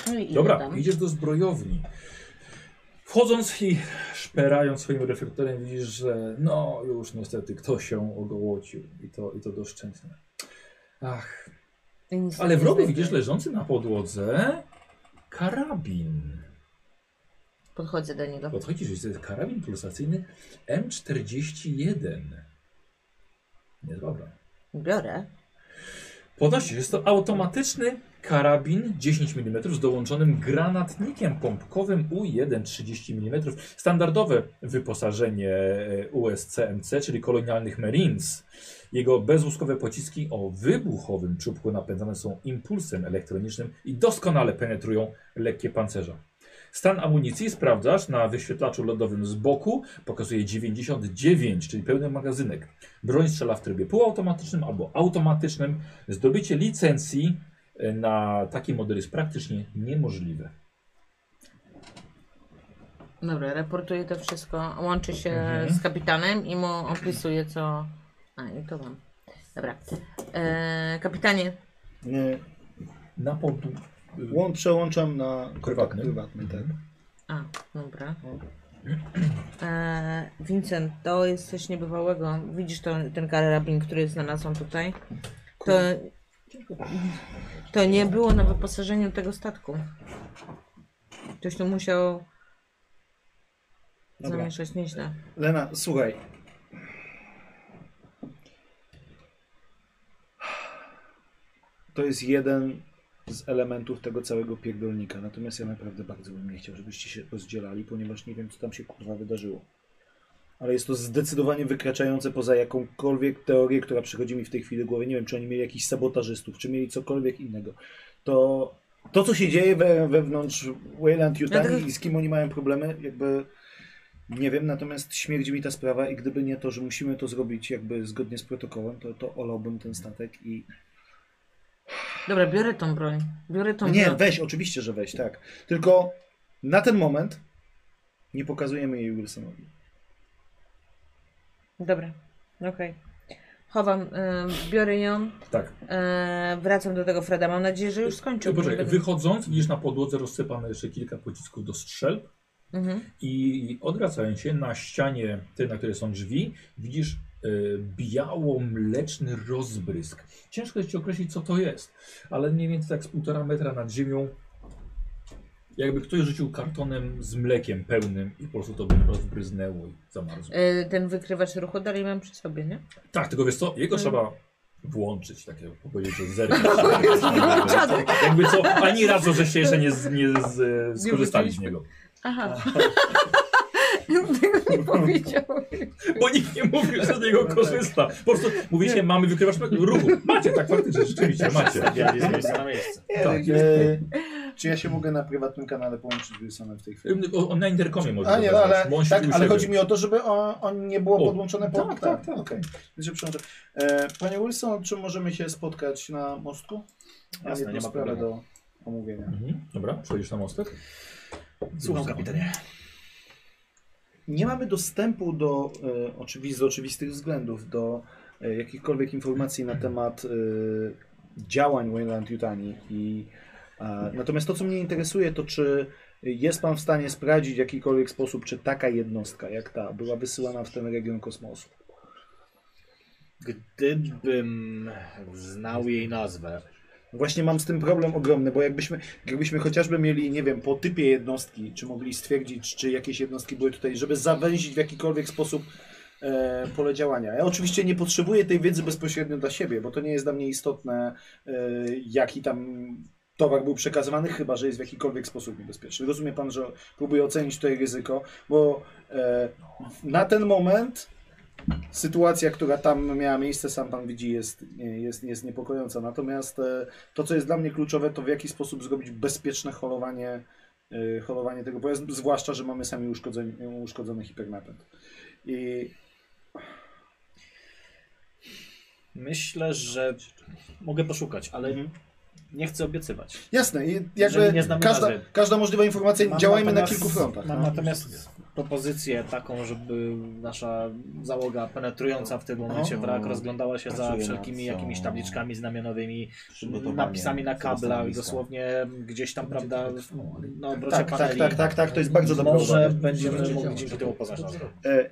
Speaker 3: No i idę
Speaker 1: Dobra,
Speaker 3: tam.
Speaker 1: idziesz do zbrojowni. Wchodząc i szperając swoim reflektorem widzisz, że no już niestety ktoś się ogołocił i to, i to doszczętnie. Ach,
Speaker 3: I nic
Speaker 1: ale w
Speaker 3: nie
Speaker 1: rogu
Speaker 3: znajdę.
Speaker 1: widzisz leżący na podłodze karabin.
Speaker 3: Podchodzę do niego.
Speaker 1: Podchodzisz, że to jest karabin pulsacyjny M41. Nie dobra.
Speaker 3: Biorę.
Speaker 1: Podnosi się, jest to automatyczny karabin 10 mm z dołączonym granatnikiem pompkowym U1 30 mm. Standardowe wyposażenie e, USCMC, czyli kolonialnych Marines. Jego bezuskowe pociski o wybuchowym czubku napędzane są impulsem elektronicznym i doskonale penetrują lekkie pancerza. Stan amunicji sprawdzasz na wyświetlaczu lodowym z boku, pokazuje 99, czyli pełny magazynek. Broń strzela w trybie półautomatycznym albo automatycznym. Zdobycie licencji e, na taki model jest praktycznie niemożliwe.
Speaker 3: Dobra, reportuję to wszystko. Łączy się
Speaker 1: Mhm.
Speaker 3: z kapitanem i mu opisuję, co. A, i to mam. Dobra. E, kapitanie,
Speaker 2: Nie,
Speaker 1: Na e, podu...
Speaker 2: E, łą, przełączam na kontakt
Speaker 1: Prywatny. Mhm.
Speaker 2: prywatny. prywatny tak.
Speaker 3: A, dobra. E, Vincent, to jest coś niebywałego. Widzisz to, ten karabin, który znalazłam tutaj? To, to nie było na wyposażeniu tego statku. Ktoś tu musiał
Speaker 2: Dobra.
Speaker 3: zamieszać nieźle.
Speaker 2: Lena, słuchaj. To jest jeden z elementów tego całego pierdolnika. Natomiast ja naprawdę bardzo bym nie chciał, żebyście się rozdzielali, ponieważ nie wiem, co tam się kurwa wydarzyło. Ale jest to zdecydowanie wykraczające poza jakąkolwiek teorię, która przychodzi mi w tej chwili do głowy. Nie wiem, czy oni mieli jakichś sabotażystów, czy mieli cokolwiek innego. To, to co się dzieje we, wewnątrz Wayland Utah
Speaker 3: Dlatego-
Speaker 2: i z kim oni mają problemy, jakby nie wiem, natomiast śmierdzi mi ta sprawa i gdyby nie to, że musimy to zrobić jakby zgodnie z protokołem, to, to olałbym ten statek i
Speaker 3: Dobra, biorę tą broń. Biorę tą
Speaker 2: nie,
Speaker 3: broń.
Speaker 2: weź, oczywiście, że weź, tak. Tylko na ten moment nie pokazujemy jej Wilsonowi.
Speaker 3: Dobra, okej. Chowam, e, biorę ją,
Speaker 1: Tak.
Speaker 3: e, wracam do tego Freda. Mam nadzieję, że już skończył. bo nie
Speaker 1: E, Poczekaj,
Speaker 3: będę-
Speaker 1: wychodząc widzisz na podłodze rozsypane jeszcze kilka pocisków do strzelb
Speaker 3: Mhm.
Speaker 1: i odwracając się na ścianie, tej, na której są drzwi, widzisz e, biało-mleczny rozbrysk. Ciężko jest ci określić, co to jest, ale mniej więcej tak z półtora metra nad ziemią, jakby ktoś rzucił kartonem z mlekiem pełnym i po prostu to by rozbryznęło i zamarzło.
Speaker 3: E, ten wykrywacz ruchu dalej mam przy sobie, nie?
Speaker 1: Tak, tylko wiesz co, jego trzeba włączyć, tak jak powiedzieć, że zerknąć.
Speaker 3: Włączony.
Speaker 1: Jakby co, ani razu, że się jeszcze nie, z, nie z, e, skorzystali z
Speaker 3: wycięliśmy.
Speaker 1: niego.
Speaker 3: Aha. Tego nie powiedziałem.
Speaker 1: Bo nikt nie mówił, że z niego korzysta. Po prostu mówicie, mamy wykrywacz ruchu. Macie, tak faktycznie, rzeczywiście macie.
Speaker 4: Ja jest miejsce na miejsce.
Speaker 1: Tak.
Speaker 16: Tak, E, czy ja się mogę na prywatnym kanale połączyć z Wilsonem w tej chwili?
Speaker 1: Ym, o- On na interkomie może
Speaker 16: A nie, no,
Speaker 1: wezwać,
Speaker 16: ale,
Speaker 1: bo on
Speaker 16: tak,
Speaker 1: siedzi u
Speaker 16: ale
Speaker 1: siebie.
Speaker 16: chodzi mi o to, żeby on, on nie było
Speaker 1: O,
Speaker 16: podłączone po...
Speaker 1: tak, tak, tak.
Speaker 16: okej. Więc się przełączę. E, panie Wilson, czy możemy się spotkać na mostku? Mam
Speaker 4: Jasne,
Speaker 16: jedną
Speaker 4: nie ma
Speaker 16: sprawę
Speaker 4: problemu.
Speaker 16: do omówienia.
Speaker 1: Mhm. Dobra, przechodzisz na mostek.
Speaker 4: Słucham kapitanie.
Speaker 2: Nie mamy dostępu do, e, oczywi- z oczywistych względów, do e, jakichkolwiek informacji na temat e, działań Wayland Yutani. I, e, natomiast to, co mnie interesuje, to czy jest Pan w stanie sprawdzić w jakikolwiek sposób, czy taka jednostka jak ta była wysyłana w ten region kosmosu?
Speaker 4: Gdybym znał jej nazwę,
Speaker 2: Właśnie mam z tym problem ogromny, bo jakbyśmy, jakbyśmy chociażby mieli, nie wiem, po typie jednostki, czy mogli stwierdzić, czy jakieś jednostki były tutaj, żeby zawęzić w jakikolwiek sposób e, pole działania. Ja oczywiście nie potrzebuję tej wiedzy bezpośrednio dla siebie, bo to nie jest dla mnie istotne, e, jaki tam towar był przekazywany, chyba że jest w jakikolwiek sposób niebezpieczny. Rozumie pan, że próbuję ocenić tutaj ryzyko, bo e, na ten moment sytuacja, która tam miała miejsce, sam pan widzi, jest, jest, jest niepokojąca. Natomiast e, to, co jest dla mnie kluczowe, to w jaki sposób zrobić bezpieczne holowanie, e, holowanie tego pojazdu, zwłaszcza, że mamy sami uszkodzony, uszkodzony hipernapęd. I
Speaker 4: Myślę, że mogę poszukać, ale
Speaker 11: Mhm.
Speaker 4: nie chcę obiecywać.
Speaker 2: jasne, i
Speaker 4: Jeżeli
Speaker 2: jakby
Speaker 4: nie znamy
Speaker 2: każda,
Speaker 4: nazwy.
Speaker 2: każda możliwa informacja,
Speaker 4: Mam
Speaker 2: działajmy na
Speaker 4: natomiast-
Speaker 2: kilku frontach.
Speaker 4: Mam
Speaker 2: no.
Speaker 4: natomiast propozycję taką, żeby nasza załoga penetrująca w tym momencie wrak rozglądała się za
Speaker 11: Pracuje
Speaker 4: wszelkimi
Speaker 11: nad-
Speaker 4: jakimiś tabliczkami znamionowymi,
Speaker 11: Przygotowanie
Speaker 4: napisami na
Speaker 11: tego
Speaker 4: kablach,
Speaker 11: stanowiska.
Speaker 4: dosłownie gdzieś tam, prawda, na obrocie
Speaker 2: Tak, tak,
Speaker 4: paneli.
Speaker 2: tak, tak, tak, to jest bardzo
Speaker 1: Mhm.
Speaker 2: dobre
Speaker 4: Może
Speaker 2: uwagi.
Speaker 4: będziemy mogli dzięki temu poznać nazwę.
Speaker 2: E,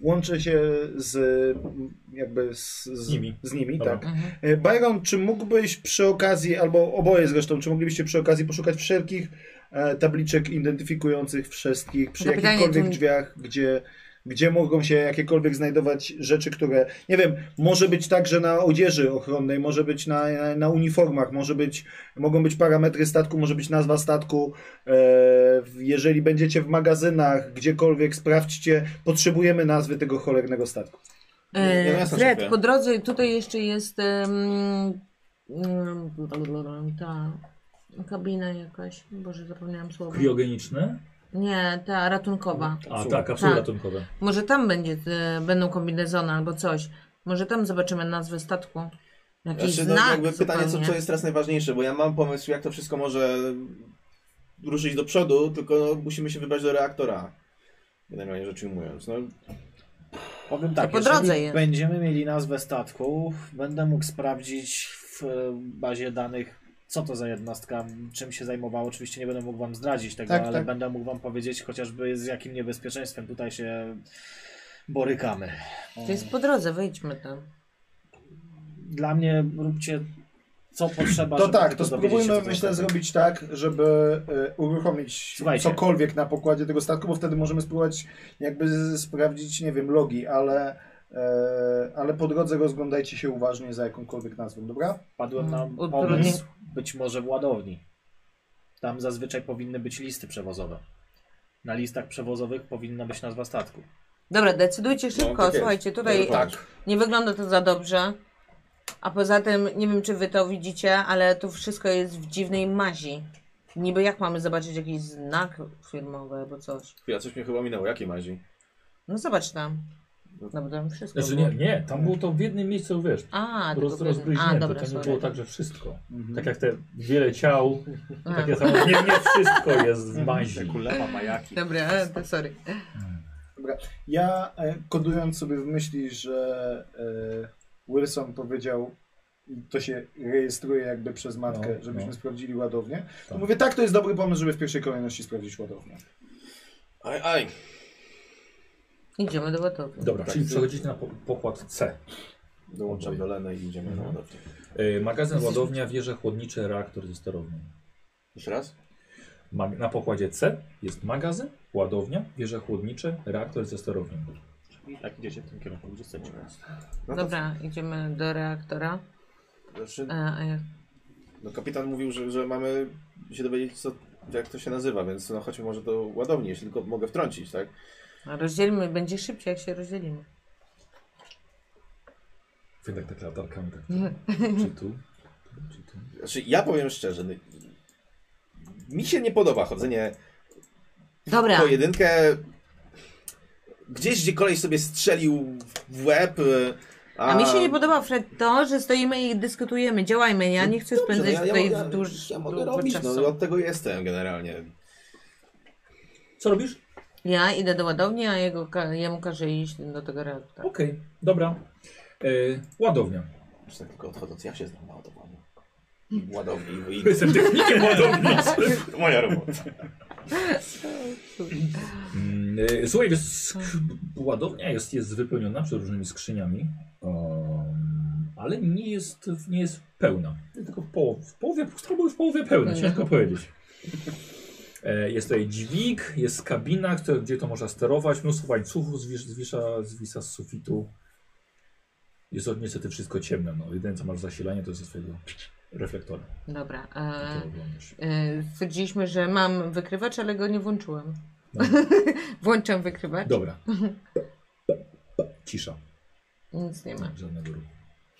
Speaker 2: łączę się z m, jakby z, z,
Speaker 1: Z nimi.
Speaker 2: Z nimi
Speaker 1: Dobra.
Speaker 3: Y,
Speaker 2: tak. E, Byron, czy mógłbyś przy okazji, albo oboje zresztą, czy moglibyście przy okazji poszukać wszelkich e, tabliczek identyfikujących wszystkich przy
Speaker 3: To pytanie,
Speaker 2: jakichkolwiek
Speaker 3: czy-
Speaker 2: drzwiach, gdzie, gdzie mogą się jakiekolwiek znajdować rzeczy, które, nie wiem, może być także na odzieży ochronnej, może być na, na, na uniformach, może być, mogą być parametry statku, może być nazwa statku. E, jeżeli będziecie w magazynach, gdziekolwiek, sprawdźcie, potrzebujemy nazwy tego cholernego statku.
Speaker 5: Nie, no
Speaker 3: E,
Speaker 5: jasne,
Speaker 3: Fred,
Speaker 5: szefie.
Speaker 3: po drodze tutaj jeszcze jest em, em, blablabla, ta kabina jakaś. Boże, zapomniałam słowa.
Speaker 1: Kriogeniczne?
Speaker 3: Nie, ta ratunkowa.
Speaker 1: A tak, kapsuły
Speaker 3: Tak.
Speaker 1: ratunkowe.
Speaker 3: Może tam będzie, e, będą kombinezony albo coś. Może tam zobaczymy nazwę statku. Jakiś
Speaker 11: Znaczy, no,
Speaker 3: znak
Speaker 11: jakby pytanie, co,
Speaker 3: zupełnie.
Speaker 11: co jest teraz najważniejsze, bo ja mam pomysł, jak to wszystko może ruszyć do przodu, tylko no, musimy się wybrać do reaktora. Generalnie rzecz ujmując. No,
Speaker 4: Powiem tak,
Speaker 3: po
Speaker 4: jeżeli
Speaker 3: drodze je.
Speaker 4: będziemy mieli nazwę statku, będę mógł sprawdzić w e, bazie danych, co to za jednostka, czym się zajmowała. Oczywiście nie będę mógł wam zdradzić tego,
Speaker 2: Tak,
Speaker 4: ale
Speaker 2: tak.
Speaker 4: będę mógł wam powiedzieć chociażby z jakim niebezpieczeństwem tutaj się borykamy.
Speaker 3: To jest po drodze, wejdźmy tam.
Speaker 4: Dla mnie róbcie co potrzeba,
Speaker 2: To
Speaker 4: żeby
Speaker 2: tak,
Speaker 4: tylko
Speaker 2: to
Speaker 4: dowiedzieć się, co
Speaker 2: spróbujmy
Speaker 4: to znaczy.
Speaker 2: myślę
Speaker 4: jest.
Speaker 2: zrobić tak, żeby e, uruchomić
Speaker 4: Słuchajcie.
Speaker 2: cokolwiek na pokładzie tego statku, bo wtedy możemy spróbować jakby z- sprawdzić, nie wiem, logi, ale, e, ale po drodze rozglądajcie się uważnie za jakąkolwiek nazwą, dobra?
Speaker 4: Padłem na
Speaker 3: Mm, utrudnienie.
Speaker 4: pomysł, być może w ładowni. Tam zazwyczaj powinny być listy przewozowe. Na listach przewozowych powinna być nazwa statku.
Speaker 3: Dobra, decydujcie szybko.
Speaker 11: tak jest.
Speaker 3: Słuchajcie, tutaj
Speaker 11: tak.
Speaker 3: nie wygląda to za dobrze. A poza tym, nie wiem czy wy to widzicie, ale tu wszystko jest w dziwnej mazi. Niby jak mamy zobaczyć jakiś znak firmowy albo coś.
Speaker 11: Chwila, coś mnie chyba minęło. Jakiej mazi?
Speaker 3: No zobacz tam. Dobra, tam wszystko
Speaker 1: Znaczy
Speaker 3: było.
Speaker 1: nie, nie, tam było to w jednym miejscu, wiesz,
Speaker 3: A, tylko
Speaker 1: roz,
Speaker 3: pewnie-
Speaker 1: rozbryźnięte,
Speaker 3: A, dobra,
Speaker 1: to nie
Speaker 3: sorry.
Speaker 1: było tak, że wszystko. Tak jak te wiele ciał,
Speaker 3: A,
Speaker 1: takie samo, nie, nie wszystko jest w mazi.
Speaker 4: Kulepa, majaki.
Speaker 3: Dobra, e, to sorry.
Speaker 2: Ja e, kodując sobie w myśli, że e, Wilson powiedział, i to się rejestruje jakby przez matkę,
Speaker 1: No,
Speaker 2: żebyśmy
Speaker 1: no.
Speaker 2: sprawdzili ładownię, to
Speaker 1: Tak.
Speaker 2: mówię, tak, to jest dobry pomysł, żeby w pierwszej kolejności sprawdzić ładownię.
Speaker 11: Aj, aj.
Speaker 3: Idziemy do gotowy.
Speaker 1: Dobra, czyli przechodzicie na po, pokład C.
Speaker 11: Dołączam do Leny i idziemy No, na ładownię.
Speaker 1: Y, magazyn, ładownia, wieże chłodnicze, reaktor ze sterownią.
Speaker 11: Jeszcze raz?
Speaker 1: Mag- na pokładzie C jest magazyn, ładownia, wieże chłodnicze, reaktor ze sterownią.
Speaker 4: Tak idziecie w tym kierunku, gdzie chcecie.
Speaker 11: No to,
Speaker 3: Dobra, idziemy do reaktora.
Speaker 11: znaczy,
Speaker 3: E, a jak-
Speaker 11: no, kapitan mówił, że, że mamy się dowiedzieć, co, jak to się nazywa, więc no, chodźmy może do ładowni, jeśli tylko mogę wtrącić, tak?
Speaker 3: a rozdzielmy, będzie szybciej jak się rozdzielimy.
Speaker 1: Wy tak, tak latarkami, tak. Czy tu? Czy tu?
Speaker 11: Znaczy, ja powiem szczerze, no, mi się nie podoba chodzenie
Speaker 3: Dobra,
Speaker 11: pojedynkę. Gdzieś, gdzie koleś sobie strzelił w łeb. y,
Speaker 3: a mi się nie podoba Fred to, że stoimy i dyskutujemy, działajmy. Ja nie chcę
Speaker 11: Dobrze,
Speaker 3: spędzać
Speaker 11: no
Speaker 3: tutaj
Speaker 11: ja,
Speaker 3: dużo
Speaker 11: ja mogę robić,
Speaker 3: czasu.
Speaker 11: no od tego jestem generalnie.
Speaker 1: Co robisz?
Speaker 3: Ja idę do ładowni, a jego, ka- jemu każę iść do tego reaktora.
Speaker 1: Okej, dobra. Y, ładownia.
Speaker 11: Już tak tylko odchodząc, ja się znam na ładowaniu. I w Ładowni i
Speaker 1: Jestem technikiem
Speaker 3: Tak
Speaker 1: ładowniczym.
Speaker 11: to moja robota.
Speaker 1: Mm, y, Słuchaj, wiesz, sk- ładownia jest, jest wypełniona przed różnymi skrzyniami, um, ale nie jest, nie jest pełna. Tylko w, poł- w połowie, w połowie, w połowie pełna, ciężko powiedzieć. E, Jest tutaj dźwig, jest kabina, które- gdzie to można sterować, mnóstwo łańcuchów zwisz- zwisza, zwisa z sufitu. Jest od niestety wszystko ciemne. No, jedyne co masz zasilanie to jest ze swojego reflektora.
Speaker 3: Dobra.
Speaker 1: który
Speaker 3: E,
Speaker 1: oglądasz.
Speaker 3: e, stwierdziliśmy, że mam wykrywacz, ale go nie włączyłam.
Speaker 1: No.
Speaker 3: Włączam wykrywacz.
Speaker 1: Dobra. Cisza.
Speaker 3: Nic nie ma.
Speaker 1: Żadnego ruchu.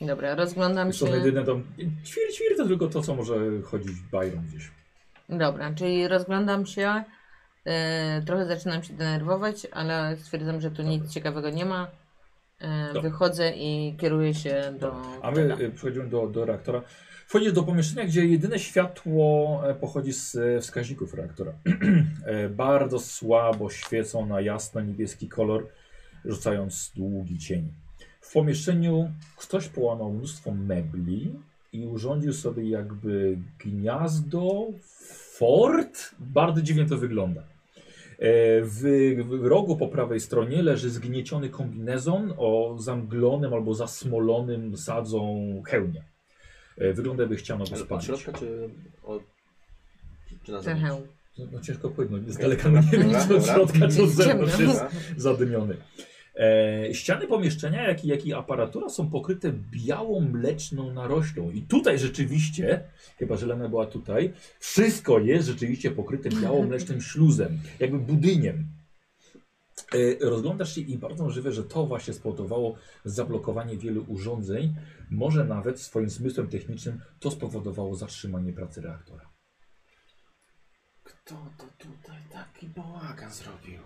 Speaker 3: Dobra, rozglądam się.
Speaker 1: Są jedyne tam. Ćwir, ćwir to tylko to, co może chodzić bajrą gdzieś.
Speaker 3: Dobra, czyli rozglądam się. e, trochę zaczynam się denerwować, ale stwierdzam, że tu nic ciekawego nie ma. E,
Speaker 1: Dobra.
Speaker 3: Wychodzę i kieruję się do.
Speaker 1: A my
Speaker 3: Teda.
Speaker 1: y, przechodzimy do, do reaktora. Wchodzisz do pomieszczenia, gdzie jedyne światło e, pochodzi z e, wskaźników reaktora. E, Bardzo słabo świecą na jasno niebieski kolor, rzucając długi cień. W pomieszczeniu ktoś połamał mnóstwo mebli i urządził sobie jakby gniazdo, fort. Bardzo dziwnie to wygląda. E, W, w rogu po prawej stronie leży zgnieciony kombinezon o zamglonym albo zasmolonym sadzą hełmie. E, Wygląda jakby chciano go
Speaker 11: Ale Od
Speaker 1: spalić.
Speaker 11: środka czy od... Czy na zewnątrz?
Speaker 3: Trochę.
Speaker 1: No, no ciężko powiedzieć, z daleka no nie wiem,
Speaker 11: Dobra,
Speaker 1: czy od
Speaker 11: dobra.
Speaker 1: środka, czy od
Speaker 3: Jest
Speaker 1: zewnątrz
Speaker 3: ciemno.
Speaker 1: jest zadymiony. E, ściany pomieszczenia, jak i, jak i aparatura są pokryte białą, mleczną naroślą. I tutaj rzeczywiście, chyba że Lena była tutaj, wszystko jest rzeczywiście pokryte białą, mlecznym śluzem, jakby budyniem. E, rozglądasz się i bardzo możliwe, że to właśnie spowodowało zablokowanie wielu urządzeń. Może nawet swoim zmysłem technicznym to spowodowało zatrzymanie pracy reaktora.
Speaker 11: Kto to tutaj taki bałagan zrobił?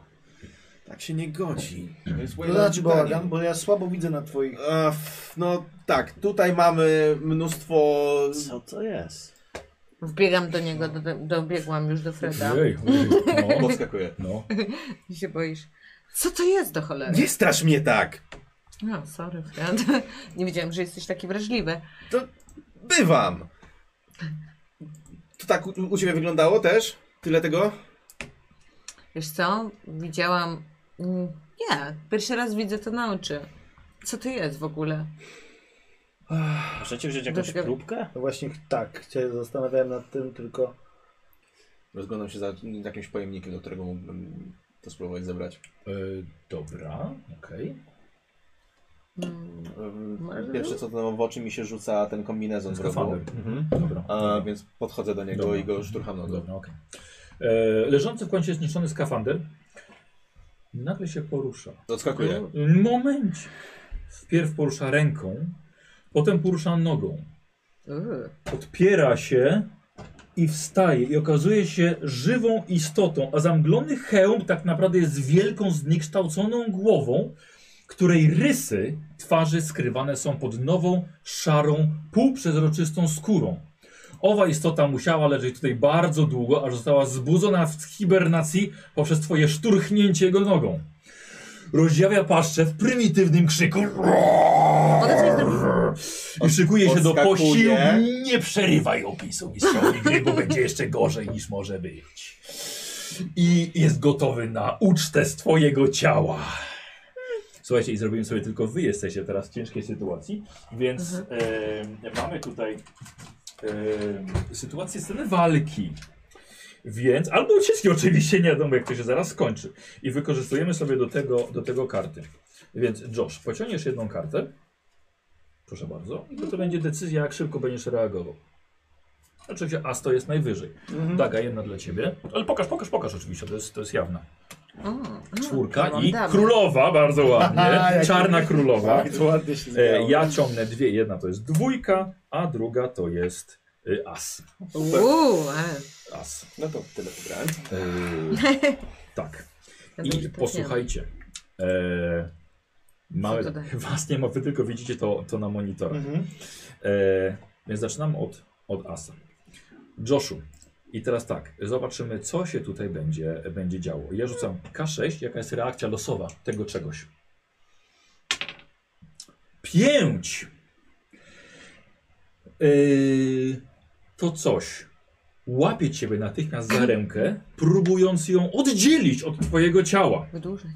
Speaker 11: Tak się nie godzi. To jest
Speaker 2: To znaczy bałagan, bo ja słabo widzę na twoich...
Speaker 5: A, f- no tak, tutaj mamy mnóstwo...
Speaker 4: Co to jest?
Speaker 3: Wbiegam do niego, do, dobiegłam już do Freda.
Speaker 1: Ojej, ojej, no.
Speaker 11: Podskakuje.
Speaker 1: No,
Speaker 3: Ty się boisz. Co to jest do cholery?
Speaker 5: Nie strasz mnie tak!
Speaker 3: No, sorry, Fred. Nie wiedziałem, że jesteś taki wrażliwy.
Speaker 5: Bywam! To tak u, u ciebie wyglądało też? Tyle tego?
Speaker 3: Wiesz co? Widziałam. mm, Nie, pierwszy raz widzę to na oczy. Co to jest w ogóle?
Speaker 4: Możecie wziąć jakąś
Speaker 3: Dlaczego-
Speaker 4: próbkę?
Speaker 2: No właśnie tak, się zastanawiałem nad tym, tylko...
Speaker 11: Rozglądam się za jakimś pojemnikiem, do którego mógłbym to spróbować zebrać.
Speaker 1: Y, dobra, okej.
Speaker 3: Mm,
Speaker 11: Ym, Pierwsze co to w oczy mi się rzuca ten kombinezon w rogu.
Speaker 1: Skafander. Mhm. Dobra.
Speaker 11: A, więc podchodzę do niego
Speaker 1: Dobra.
Speaker 11: i go szturcham nogą.
Speaker 1: Dobra, okej. E, Leżący w kącie zniszczony skafander nagle się porusza. No,
Speaker 11: Odskakuję.
Speaker 1: Moment. Wpierw porusza ręką, potem porusza nogą.
Speaker 3: Uuu.
Speaker 1: Podpiera się i wstaje i okazuje się żywą istotą, a zamglony hełm tak naprawdę jest wielką, zniekształconą głową, której rysy twarzy skrywane są pod nową, szarą, półprzezroczystą skórą. Owa istota musiała leżeć tutaj bardzo długo, aż została zbudzona w hibernacji poprzez twoje szturchnięcie jego nogą. Rozdziawia paszczę w prymitywnym krzyku
Speaker 3: Mogę coś zrobić?
Speaker 1: i szykuje się do
Speaker 11: Odskakuje.
Speaker 1: posiłku. Nie przerywaj opisu mistrzowi gry, bo będzie jeszcze gorzej niż może być. I jest gotowy na ucztę z twojego ciała. Słuchajcie, i zrobimy sobie tylko wy jesteście teraz w ciężkiej sytuacji, więc em, mamy tutaj em, sytuację sceny walki. Więc, albo ucieczki oczywiście, nie wiadomo jak to się zaraz skończy. I wykorzystujemy sobie do tego, do tego karty. Więc Josh, pociągniesz jedną kartę. Proszę bardzo. I to będzie decyzja, jak szybko będziesz reagował. Oczywiście As to jest najwyżej. Daga jedna dla ciebie. Ale pokaż, pokaż, pokaż oczywiście, to jest, to jest jawna.
Speaker 3: O, o,
Speaker 1: Czwórka
Speaker 3: No, mam
Speaker 1: i
Speaker 3: damę.
Speaker 1: królowa, bardzo ładnie.
Speaker 2: jak-
Speaker 1: Czarna królowa.
Speaker 2: to ładnie się
Speaker 1: E,
Speaker 2: zgrało.
Speaker 1: ja ciągnę dwie. Jedna to jest dwójka, a druga to jest y, As.
Speaker 3: Uuu, ale.
Speaker 1: As.
Speaker 11: No to tyle wygrałem.
Speaker 1: Y, tak.
Speaker 3: Ja dobrze
Speaker 1: I
Speaker 3: to
Speaker 1: posłuchajcie. E,
Speaker 3: Co to
Speaker 1: mamy,
Speaker 3: daje?
Speaker 1: was nie ma, wy tylko widzicie to, to na monitorach.
Speaker 2: Mhm.
Speaker 1: E, więc zaczynam od, od Asa. Joshu. I teraz tak, zobaczymy, co się tutaj będzie, będzie działo. Ja rzucam K6, jaka jest reakcja losowa tego czegoś. 5! E, to coś łapie ciebie natychmiast za rękę, próbując ją oddzielić od twojego ciała.
Speaker 3: Wydłużać.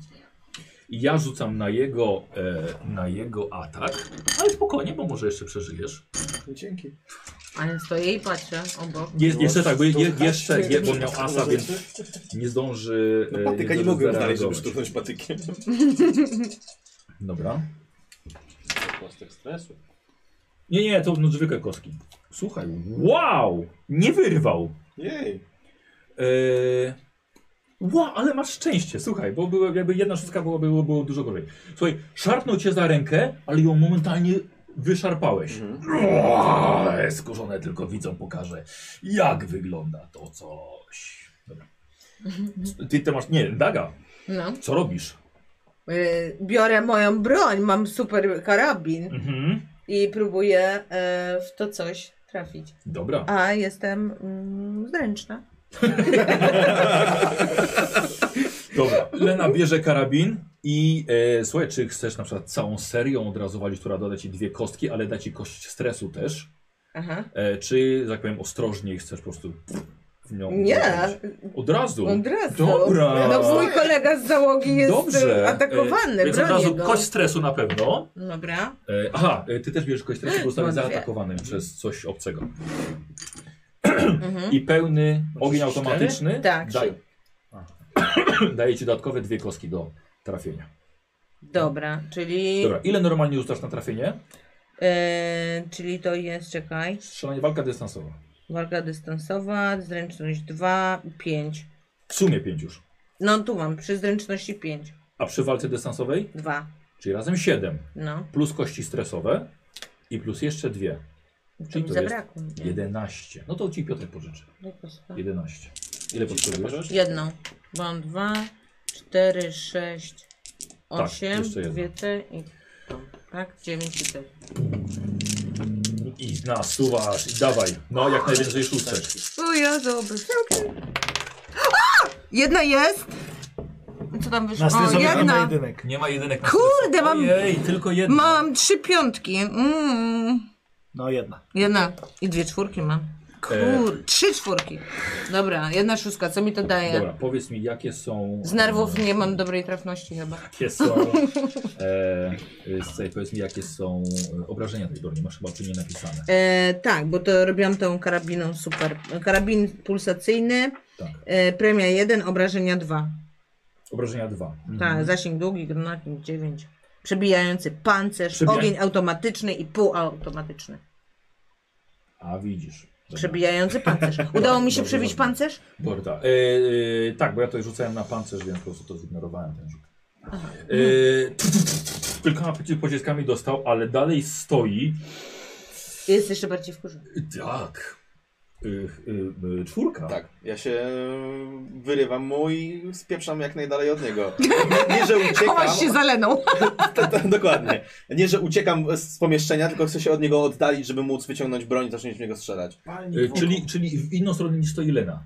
Speaker 1: Ja rzucam na jego, e, na jego atak, ale spokojnie, bo może jeszcze przeżyjesz.
Speaker 2: Dzięki.
Speaker 3: A ja stoję i patrzę obok.
Speaker 1: Jest, jeszcze tak, bo je, je, jeszcze, je, bo miał asa, więc nie zdąży. e,
Speaker 11: No patyka nie
Speaker 1: zdąży
Speaker 11: mogłem znaleźć, żeby
Speaker 1: zareagować.
Speaker 11: szturchnąć patykiem.
Speaker 1: Dobra.
Speaker 4: Kostek stresu.
Speaker 1: Nie, nie, to no, zwykłe kostki. Słuchaj, wow! Nie wyrwał!
Speaker 11: Jej.
Speaker 1: Eee, wow, ale masz szczęście, słuchaj, bo była, jakby jedna szóstka była, było, było dużo gorzej. Słuchaj, szarpnął cię za rękę, ale ją momentalnie wyszarpałeś. Eee, Skurzone tylko widzą pokażę, jak wygląda to coś. Dobra. Ty, ty masz, nie, Daga,
Speaker 3: No.
Speaker 1: co robisz?
Speaker 10: Y, Biorę moją broń, mam super karabin
Speaker 1: Mhm.
Speaker 10: i próbuję y, w to coś trafić.
Speaker 1: Dobra.
Speaker 10: A jestem mm, zręczna.
Speaker 1: Dobra, Lena bierze karabin i e, słuchaj, czy chcesz na przykład całą serią od razu walić, która doda ci dwie kostki, ale da ci kość stresu też?
Speaker 10: Aha.
Speaker 1: E, czy, że tak powiem, ostrożniej chcesz po prostu w nią
Speaker 10: Nie,
Speaker 1: wejść? Od razu?
Speaker 10: od razu.
Speaker 1: Dobra.
Speaker 10: No, mój kolega z załogi jest
Speaker 1: Dobrze.
Speaker 10: Dobrze. atakowany,
Speaker 1: E, Więc od
Speaker 10: bronię
Speaker 1: razu
Speaker 10: go.
Speaker 1: kość stresu na pewno.
Speaker 3: Dobra.
Speaker 1: E, aha, e, ty też bierzesz kość stresu, bo zostałeś
Speaker 3: Mam dwie.
Speaker 1: zaatakowany przez coś obcego.
Speaker 3: Mhm.
Speaker 1: I pełny ogień automatyczny
Speaker 3: Tak.
Speaker 1: daje, daje ci dodatkowe dwie kostki do trafienia.
Speaker 3: Dobra, czyli,
Speaker 1: Dobra, ile normalnie rzucasz na trafienie?
Speaker 3: e, czyli to jest, czekaj,
Speaker 1: Strzelanie, walka dystansowa.
Speaker 3: walka dystansowa, zręczność 2, 5.
Speaker 1: W sumie pięć już.
Speaker 3: No tu mam, przy zręczności 5,
Speaker 1: A przy walce dystansowej,
Speaker 3: 2,
Speaker 1: czyli razem 7,
Speaker 3: no.
Speaker 1: plus kości stresowe i plus jeszcze dwie,
Speaker 3: To
Speaker 1: Czyli
Speaker 3: mi
Speaker 1: to
Speaker 3: zabrakło. No
Speaker 1: 11. No to ci Piotr pożyczy. 11. Ile potrzebujesz?
Speaker 3: Jedną. Mam 2, 4, 6,
Speaker 1: Tak,
Speaker 3: 8,
Speaker 1: jeszcze jedna.
Speaker 3: dwie te i tą, tak? 9 i te.
Speaker 1: I nasuwasz i dawaj. No jak najwięcej szóstek.
Speaker 3: O ja zobacz. Jedna jest! Co tam wyszło? O, jedna.
Speaker 6: jedynek.
Speaker 1: Nie ma jedynek na
Speaker 3: Kurde, mam,
Speaker 1: Ojej, tylko jedna.
Speaker 3: mam trzy piątki. Mm.
Speaker 6: No jedna.
Speaker 3: Jedna i dwie czwórki mam.
Speaker 1: E.
Speaker 3: Kur, trzy czwórki. Dobra, jedna szóstka, co mi to daje?
Speaker 1: Dobra, powiedz mi jakie są...
Speaker 3: Z nerwów nie mam dobrej trafności chyba.
Speaker 1: Jakie są... E, e, słuchaj, powiedz mi jakie są e, obrażenia tej broni. Masz chyba czy nie napisane.
Speaker 10: E, tak, bo to robiłam tą karabiną super. Karabin pulsacyjny,
Speaker 1: Tak.
Speaker 10: e, premia 1, obrażenia 2.
Speaker 1: Obrażenia dwa.
Speaker 10: Tak, zasięg długi, granatnik 9. Przebijający pancerz,
Speaker 1: Przebija-
Speaker 10: ogień automatyczny i półautomatyczny.
Speaker 1: A widzisz. Dobra.
Speaker 10: Przebijający pancerz. Udało mi się
Speaker 1: Dobrze,
Speaker 10: przebić
Speaker 1: dobrze.
Speaker 10: pancerz?
Speaker 1: Borda. E, e, tak, bo ja to rzucałem na pancerz, więc po prostu to zignorowałem ten rzut. E, tu, tu, tu, tu, Kilkoma poci- pociskami dostał, ale dalej stoi.
Speaker 10: Jest jeszcze bardziej wkurzony.
Speaker 1: Tak. E, e, e, czwórka.
Speaker 11: Tak, ja się wyrywam mu i spieprzam jak najdalej od niego. Nie, nie że uciekam,
Speaker 3: Chowasz się za Leną.
Speaker 11: dokładnie. Nie, że uciekam z pomieszczenia, tylko chcę się od niego oddalić, żeby móc wyciągnąć broń i zacząć w niego strzelać.
Speaker 1: E, czyli, czyli w inną stronę niż stoi Lena.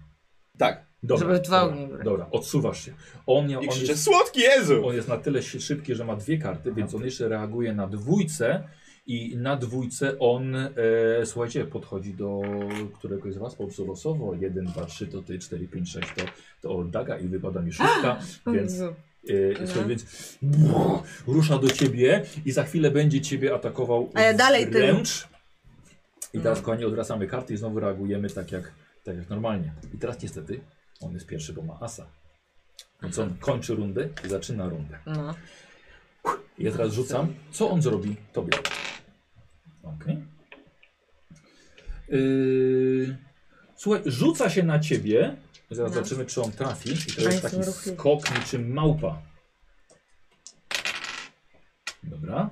Speaker 11: Tak.
Speaker 1: Dobra,
Speaker 3: Żeby dwa ognie
Speaker 1: dobra,
Speaker 3: brać.
Speaker 1: dobra, odsuwasz się. On, miał,
Speaker 11: I
Speaker 1: on,
Speaker 11: krzyczę,
Speaker 1: jest,
Speaker 11: słodki Jezu!
Speaker 1: on jest na tyle si- szybki, że ma dwie karty, więc on jeszcze reaguje na dwójce. I na dwójce on, e, słuchajcie, podchodzi do któregoś z was po prostu losowo. 1, 2, 3 to ty, 4, 5, 6 to, to Oldaga i wypada mi szóstka, więc Yy,
Speaker 10: No.
Speaker 1: słuchaj, więc brrr, rusza do ciebie i za chwilę będzie ciebie atakował
Speaker 10: A ja dalej tym. Mm.
Speaker 1: wręcz. I teraz kochani odwracamy karty i znowu reagujemy tak jak, tak jak normalnie. I teraz niestety on jest pierwszy, bo ma asa. Więc on kończy rundę i zaczyna rundę.
Speaker 3: No.
Speaker 1: I ja teraz rzucam, co on zrobi tobie. Okej. Yy, słuchaj, rzuca się na ciebie. Zaraz
Speaker 3: No.
Speaker 1: zobaczymy, czy on trafi. I to
Speaker 3: A
Speaker 1: jest
Speaker 3: jestem
Speaker 1: taki
Speaker 3: ruchliwa.
Speaker 1: skok niczym małpa. Dobra.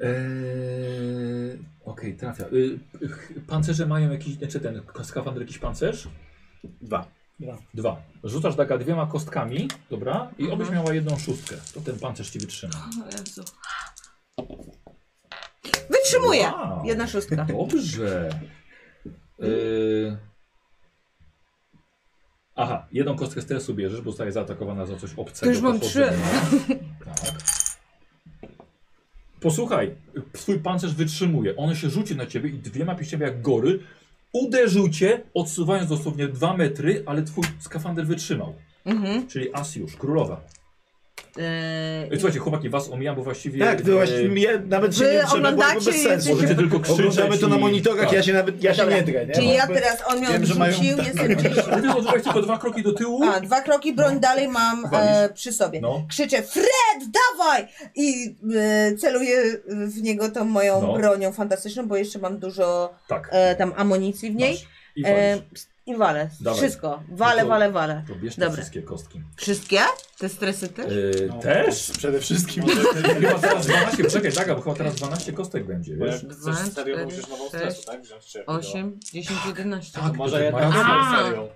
Speaker 1: Yy, Okej, trafia. Yy, ch- pancerze mają jakiś, znaczy ten skafander jakiś pancerz?
Speaker 11: Dwa.
Speaker 1: Dwa. Rzucasz taka dwiema kostkami, dobra? I obyś miała jedną szóstkę. To ten pancerz ci wytrzyma.
Speaker 10: Wytrzymuję!
Speaker 1: Wow.
Speaker 10: Jedna szóstka.
Speaker 1: Dobrze. Y... Aha, jedną kostkę stresu bierzesz, bo zostaje zaatakowana za coś obcego.
Speaker 3: To już mam trzy.
Speaker 1: pochodzenia. Tak. Posłuchaj, twój pancerz wytrzymuje. On się rzuci na ciebie i dwiema pięściami jak gory uderzył cię, odsuwając dosłownie dwa metry, ale twój skafander wytrzymał.
Speaker 3: Mhm.
Speaker 1: Czyli Asjusz, królowa.
Speaker 10: E,
Speaker 1: Ej, Słuchajcie, chłopaki, was omijam, bo właściwie...
Speaker 6: Tak, to
Speaker 1: e,
Speaker 6: właśnie mnie nawet się
Speaker 10: Wy
Speaker 6: nie trzeba, bo to
Speaker 10: oglądacie
Speaker 6: bez
Speaker 10: i
Speaker 6: sensu.
Speaker 1: Możecie tylko krzyczeć
Speaker 6: Oglądamy to na
Speaker 1: i-
Speaker 6: monitorach,
Speaker 1: tak.
Speaker 6: ja się nawet, ja się
Speaker 10: Dobra.
Speaker 6: nie drę, nie?
Speaker 10: Czy ja
Speaker 6: Bo-
Speaker 10: teraz on ją
Speaker 6: Wiem, że
Speaker 10: rzucił,
Speaker 6: mają-
Speaker 10: jestem gdzieś...
Speaker 1: Ty tylko odbyłeś tylko dwa kroki do tyłu?
Speaker 10: A, dwa kroki
Speaker 4: No.
Speaker 10: broń dalej mam e,
Speaker 1: Walisz.
Speaker 10: przy sobie.
Speaker 1: No.
Speaker 10: Krzyczę, Fred, dawaj! I e, celuję w niego tą moją
Speaker 1: No.
Speaker 10: bronią fantastyczną, bo jeszcze mam dużo
Speaker 1: Tak.
Speaker 10: e, tam amunicji w niej.
Speaker 1: Masz. I
Speaker 10: E,
Speaker 1: walisz.
Speaker 10: I walę.
Speaker 1: Dawaj.
Speaker 10: Wszystko. Walę,
Speaker 1: No to-
Speaker 10: walę, walę.
Speaker 1: To bierz te
Speaker 10: dobra.
Speaker 1: wszystkie kostki.
Speaker 3: Wszystkie? Te stresy też?
Speaker 1: E, też?
Speaker 2: Przede wszystkim.
Speaker 1: Chyba teraz 12, czekaj, Daga, bo chyba teraz 12 kostek będzie,
Speaker 4: Bo
Speaker 1: wiesz?
Speaker 4: jak chcesz
Speaker 3: Dwa,
Speaker 4: z serią, to
Speaker 3: cztery,
Speaker 4: musisz nową
Speaker 3: sześć,
Speaker 4: stresę, tak? Wziąć czy jakiego?
Speaker 3: 8, 10, 11.
Speaker 1: Tak,
Speaker 4: To może
Speaker 1: to
Speaker 4: jednak
Speaker 1: ma
Speaker 4: z tą
Speaker 3: rację.
Speaker 4: serią.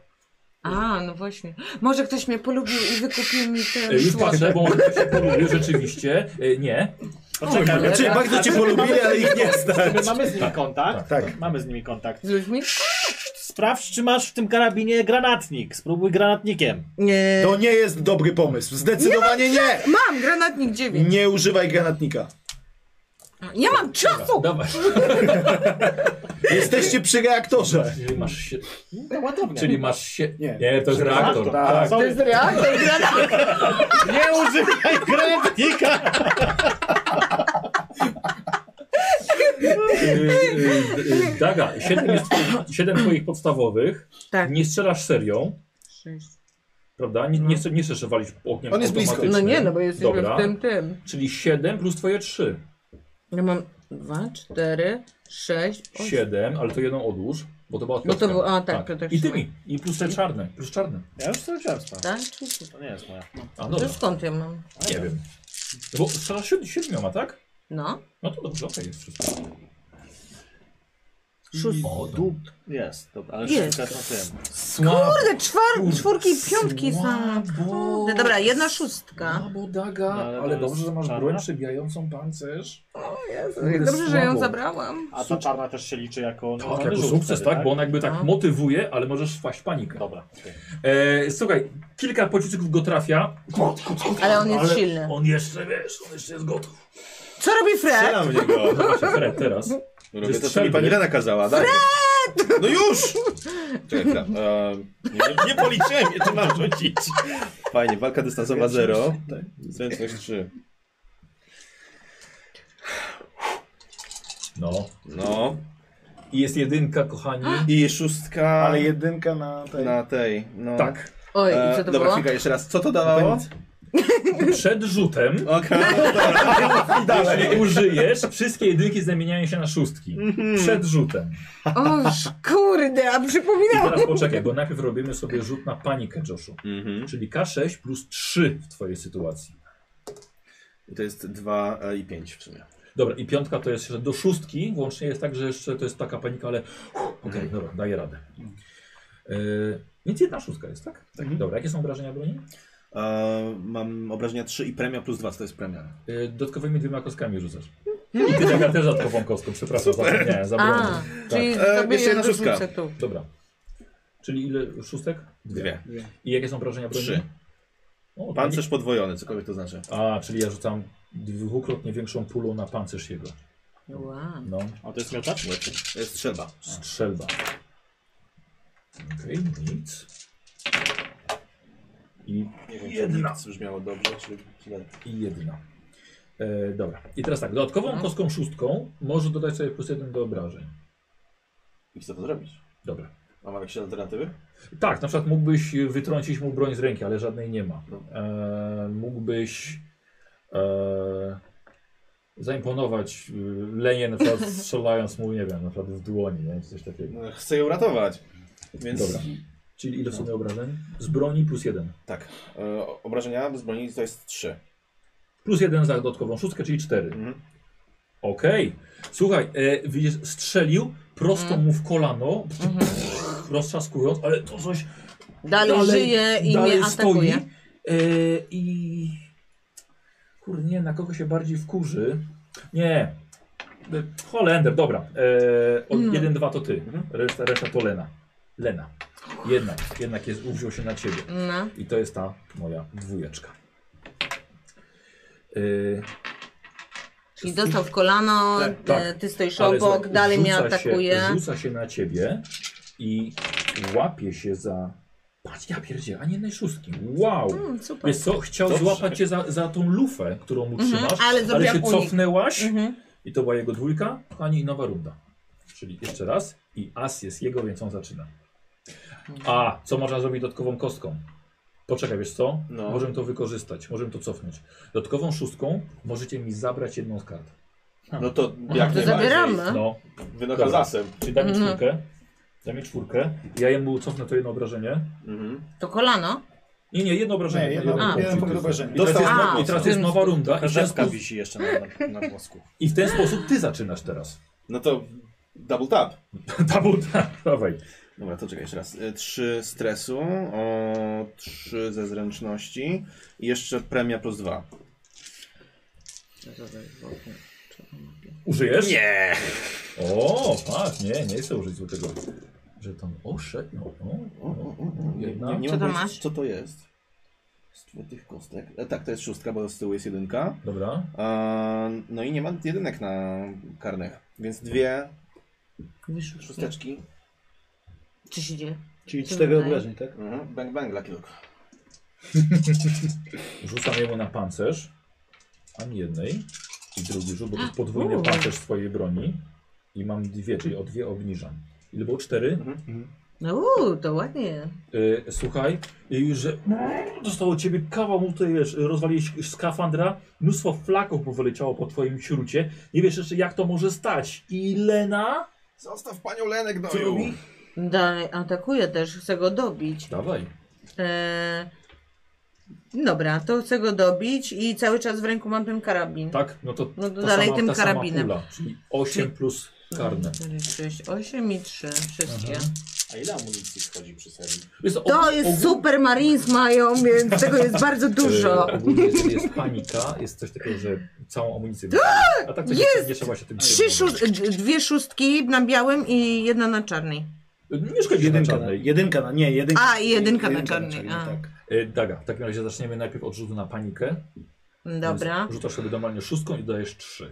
Speaker 3: A, no właśnie. Może ktoś mnie polubił i wykupił mi
Speaker 1: E,
Speaker 3: ten
Speaker 1: Już
Speaker 3: szłaczek.
Speaker 1: patrzę, bo może ktoś się polubił, rzeczywiście. E, Nie.
Speaker 4: Poczekaj,
Speaker 2: znaczy,
Speaker 3: Oj,
Speaker 5: Czyli
Speaker 4: ale-
Speaker 5: bardzo cię polubili, ale ich nie stać.
Speaker 4: My mamy z nimi kontakt.
Speaker 2: tak.
Speaker 4: Mamy z nimi kontakt.
Speaker 3: Z ludźmi?
Speaker 4: Sprawdź, czy masz w tym karabinie granatnik. Spróbuj granatnikiem.
Speaker 10: Nie.
Speaker 6: To nie jest dobry pomysł, zdecydowanie nie!
Speaker 3: Mam granatnik 9.
Speaker 6: Nie używaj granatnika.
Speaker 3: Ja mam czasu!
Speaker 1: Dawaj.
Speaker 6: Jesteście przy reaktorze.
Speaker 1: Czyli masz się...
Speaker 4: No ładownie.
Speaker 1: Czyli masz się...
Speaker 2: Nie.
Speaker 1: Nie, to jest reaktor. e,
Speaker 2: Tak.
Speaker 3: To jest reaktor granatnik.
Speaker 4: Nie używaj granatnika!
Speaker 1: Y, y, y, Daga, 7 jest twoich, siedem twoich podstawowych.
Speaker 3: Tak.
Speaker 1: Nie strzelasz serią, prawda? Nie, nie, chcesz- nie chcesz walić ogniem
Speaker 6: On jest blisko.
Speaker 1: automatycznym.
Speaker 3: No nie, no bo jesteśmy
Speaker 1: Dobra.
Speaker 3: w tym, tym.
Speaker 1: Czyli 7 plus twoje 3.
Speaker 3: Ja mam 2, 4, 6, 8.
Speaker 1: 7, ale to jedną odłóż, bo to była
Speaker 3: No to
Speaker 1: piątka.
Speaker 3: było- a, tak, to tak
Speaker 1: I
Speaker 3: trzymaj.
Speaker 1: tymi, i plus te czarne, plus czarne.
Speaker 4: Ja już sobie wziąłem sprawę.
Speaker 3: Tak? Czy się-
Speaker 4: To nie jest moja.
Speaker 1: A no
Speaker 3: To
Speaker 1: dobra,
Speaker 3: skąd ja mam?
Speaker 1: nie wiem. No bo strzelasz siód- siedmioma, tak?
Speaker 3: No.
Speaker 1: No to dobrze, okej, jest wszystko.
Speaker 3: Szóst...
Speaker 1: O,
Speaker 4: Jest, dobra, ale
Speaker 3: Jest.
Speaker 4: jest. też na tym.
Speaker 1: Słabo.
Speaker 3: Kurde, czwar...
Speaker 1: Kurde,
Speaker 3: czwórki i piątki są.
Speaker 1: słabo.
Speaker 3: Kurde, Dobra, jedna szóstka.
Speaker 1: Słabo, Daga,
Speaker 4: No, ale
Speaker 1: ale,
Speaker 4: to jest
Speaker 1: dobrze, że masz
Speaker 4: czarna?
Speaker 1: broń przebijającą pancerz.
Speaker 3: Jak Dobrze, że ją zabrałam.
Speaker 4: A ta czarna też się liczy jako...
Speaker 1: Tak,
Speaker 4: jako
Speaker 1: jako sukces, tak? Bo ona jakby
Speaker 3: No.
Speaker 1: tak motywuje, ale możesz wpaść w panikę.
Speaker 4: Dobra, okej.
Speaker 1: E, słuchaj, kilka pocisków go trafia.
Speaker 3: Ale on jest silny.
Speaker 1: On jeszcze, wiesz, on jeszcze jest gotów.
Speaker 3: Co robi Fred?
Speaker 5: Strzelam w niego.
Speaker 1: Zobaczcie, Fred, teraz.
Speaker 5: Robię to, co
Speaker 1: strzelby.
Speaker 5: mi pani Rena kazała. Fred! No już! Czekaj, chwila. E, nie, nie policzyłem, czy mam rzucić. Fajnie, walka dystansowa 0. Tak. Zręczność 3.
Speaker 1: No.
Speaker 5: No.
Speaker 1: I jest jedynka, kochani.
Speaker 5: I szóstka
Speaker 6: Ale jedynka na tej.
Speaker 5: na tej. No.
Speaker 1: Tak.
Speaker 3: Oj,
Speaker 5: E,
Speaker 3: i co to
Speaker 5: dobra,
Speaker 3: było?
Speaker 5: chwilka, jeszcze raz. Co to dawało?
Speaker 1: Przed rzutem,
Speaker 5: Okej, no dobra. I dalej.
Speaker 1: jeśli użyjesz, wszystkie jedynki zamieniają się na szóstki. Przed rzutem.
Speaker 3: O, kurde, a
Speaker 1: I
Speaker 3: przypominam.
Speaker 1: teraz poczekaj, bo najpierw robimy sobie rzut na panikę, Joshu.
Speaker 5: Mhm.
Speaker 1: Czyli K6 plus 3 w twojej sytuacji.
Speaker 5: I To jest 2 i 5 w sumie.
Speaker 1: Dobra, i piątka to jest jeszcze do szóstki, włącznie jest tak, że jeszcze to jest taka panika, ale uff, okej, dobra, daję radę. Yy, więc jedna szóstka jest, tak? tak. Dobra, jakie są obrażenia broni?
Speaker 5: E, mam obrażenia 3 i premia plus 2, co to jest premia.
Speaker 1: Yy, dodatkowymi dwiema kostkami rzucasz. I ty taka też dodatkową kostką, przepraszam, zapomniałem,
Speaker 3: A,
Speaker 1: zabrałem.
Speaker 3: czyli
Speaker 5: E,
Speaker 3: sobie
Speaker 5: jeszcze jedna
Speaker 3: ją dorzucę
Speaker 5: szóstka.
Speaker 3: tu.
Speaker 1: Dobra. Czyli ile szóstek?
Speaker 5: Dwie.
Speaker 1: I jakie są obrażenia broni?
Speaker 5: Trzy.
Speaker 1: O,
Speaker 5: Pancerz podwojony, cokolwiek to znaczy.
Speaker 1: A, czyli ja rzucam dwukrotnie większą pulą na pancerz jego.
Speaker 3: Wow.
Speaker 1: No,
Speaker 4: A to jest miotacz?
Speaker 5: To jest strzelba.
Speaker 1: strzelba. Okej, nic. I
Speaker 5: Nie wiem,
Speaker 1: Jedna.
Speaker 5: Jedna. czy to brzmiało dobrze, czy źle.
Speaker 1: I jedna. E, dobra. I teraz tak, dodatkową kostką szóstką może dodać sobie plus jeden do obrażeń.
Speaker 5: I chcę to zrobić.
Speaker 1: Dobra.
Speaker 5: A mam jakieś alternatywy?
Speaker 1: Tak, na przykład mógłbyś wytrącić mu broń z ręki, ale żadnej nie ma. E, mógłbyś e, zaimponować e, Lenie na przykład strzelając mu, nie wiem, na przykład w dłoni, nie? Czy coś takiego. No.
Speaker 5: No, chcę ją ratować. Więc
Speaker 1: Dobra. Czyli ile w sumie obrażeń? Z broni plus jeden.
Speaker 5: tak, e, obrażenia z broni to jest 3.
Speaker 1: Plus jeden za dodatkową szóstkę, czyli cztery.
Speaker 5: Mhm.
Speaker 1: Okej. Słuchaj, e, widzisz, strzelił prosto mu w kolano, roztrzaskując, ale to coś
Speaker 3: Dalej, żyje i mnie atakuje.
Speaker 1: E, I... Kurde, nie, na kogo się bardziej wkurzy? Nie. E, Holender, dobra. E, od
Speaker 3: No.
Speaker 1: 1-2 to ty. Mhm. Reszta, reszta to Lena. Lena. Jednak, jednak jest, uwziął się na ciebie.
Speaker 3: No.
Speaker 1: I to jest ta moja dwójeczka. E,
Speaker 3: Czyli dostał w kolano,
Speaker 1: Tak, tak.
Speaker 3: e, ty stoisz
Speaker 1: ale
Speaker 3: obok,
Speaker 1: słuchaj,
Speaker 3: dalej mnie
Speaker 1: rzuca się-
Speaker 3: atakuje.
Speaker 1: Rzuca się na ciebie i łapie się za Patrz, ja pierdzie, a nie jednej szóstki. Wow.
Speaker 17: Mm, super.
Speaker 1: Wiesz co, chciał
Speaker 5: Tak. Dobrze.
Speaker 1: złapać cię za, za tą lufę, którą mu
Speaker 3: Mhm,
Speaker 1: trzymasz,
Speaker 3: ale
Speaker 1: ale
Speaker 3: zrobiłam
Speaker 1: się
Speaker 3: unik.
Speaker 1: cofnęłaś
Speaker 3: Mhm.
Speaker 1: i to była jego dwójka, ani nowa runda. Czyli jeszcze raz i as jest jego, więc on zaczyna. A, co można zrobić dodatkową kostką? Poczekaj, wiesz co?
Speaker 5: No.
Speaker 1: Możemy to wykorzystać, możemy to cofnąć. Dodatkową szóstką możecie mi zabrać jedną z kart.
Speaker 5: No to
Speaker 3: to
Speaker 5: jak najbardziej.
Speaker 3: zabieramy. A?
Speaker 1: No,
Speaker 5: Wynocha zasem.
Speaker 1: czyli daj mi
Speaker 3: Mhm.
Speaker 1: czwórkę. Daj mi czwórkę. Ja jemu cofnę to jedno obrażenie.
Speaker 5: Mhm.
Speaker 3: To kolano?
Speaker 1: Nie, nie, jedno obrażenie.
Speaker 18: Nie,
Speaker 1: to
Speaker 18: jedno-
Speaker 1: jeden
Speaker 18: a,
Speaker 1: punkt
Speaker 18: jeden punkt
Speaker 1: jest.
Speaker 18: obrażenia.
Speaker 1: I teraz
Speaker 5: Dostał
Speaker 1: jest-
Speaker 5: na
Speaker 1: I
Speaker 5: głos.
Speaker 1: teraz jest nowa runda i w ten
Speaker 4: Rzepka
Speaker 1: sposób,
Speaker 4: wisi jeszcze na, na, na włosku.
Speaker 1: i w ten sposób ty zaczynasz teraz.
Speaker 5: No to double tap.
Speaker 1: Tabu, tak, dawaj.
Speaker 5: Dobra, to czekaj jeszcze raz. E, Trzy stresu, o, trzy ze zręczności i jeszcze premia plus dwa.
Speaker 1: Użyjesz?
Speaker 5: Nie!
Speaker 1: O, patrz, nie, nie chcę użyć złotego. Że tam oszedł, no,
Speaker 5: O,
Speaker 1: no,
Speaker 5: o,
Speaker 1: no.
Speaker 5: o, o. Nie, nie, nie
Speaker 1: Jedna.
Speaker 3: Co
Speaker 5: mam
Speaker 3: to
Speaker 5: pojęcia,
Speaker 3: masz?
Speaker 5: Co to jest? Z tych kostek. E, tak, to jest szóstka, bo z tyłu jest jedynka.
Speaker 1: Dobra.
Speaker 5: A, no i nie ma jedynek na karnych, więc dwie szósteczki.
Speaker 3: Czy się dzieje?
Speaker 2: Czyli
Speaker 3: Co
Speaker 2: cztery
Speaker 3: wydaje?
Speaker 2: obrażeń, tak?
Speaker 5: Mhm. Bang bang dla kilku.
Speaker 1: Rzucam jemu na pancerz. Ani jednej. I drugi rzut, bo to jest podwójny
Speaker 3: Uuu.
Speaker 1: pancerz swojej broni. I mam dwie, czyli o dwie obniżam. Ile było? Cztery?
Speaker 3: No uuu, to ładnie.
Speaker 1: Y, słuchaj, y, że zostało od ciebie kawał, mu tutaj wiesz, rozwaliłeś skafandra, mnóstwo flaków mu wyleciało po twoim śrucie. Nie wiesz jeszcze jak to może stać. I Lena?
Speaker 5: Zostaw panią Lenek no do
Speaker 1: Co robi?
Speaker 3: Dalej atakuje też, chcę go dobić.
Speaker 1: Dawaj.
Speaker 3: E... Dobra, to chcę go dobić i cały czas w ręku mam ten karabin.
Speaker 1: Tak, no to,
Speaker 3: No to
Speaker 1: ta
Speaker 3: dalej
Speaker 1: sama,
Speaker 3: tym
Speaker 1: ta
Speaker 3: karabinem.
Speaker 1: Sama pula, czyli 8 plus karne.
Speaker 3: 4, 6, 8 i 3. Wszystkie.
Speaker 1: Aha.
Speaker 4: A ile amunicji schodzi przy serii?
Speaker 1: Jest
Speaker 3: To jest super Marines mają, więc tego jest bardzo dużo.
Speaker 1: E, Ogólnie jest, jest panika, jest coś takiego, że całą amunicję wysyła. A tak to nie- nie trzeba się tym
Speaker 3: Trzy
Speaker 1: przejmować.
Speaker 3: szóst- d- dwie szóstki na białym i jedna na czarnej.
Speaker 1: E, Nie szkodzi na
Speaker 2: Jedynka na,
Speaker 1: czarnej.
Speaker 2: jedynka na, nie, jedynka.
Speaker 3: A, i jedynka na czarnej, a.
Speaker 2: Tak.
Speaker 1: E, Daga, w takim razie zaczniemy najpierw od rzutu na panikę.
Speaker 3: Dobra,
Speaker 1: Więc Rzucasz sobie normalnie szóstką i dajesz trzy.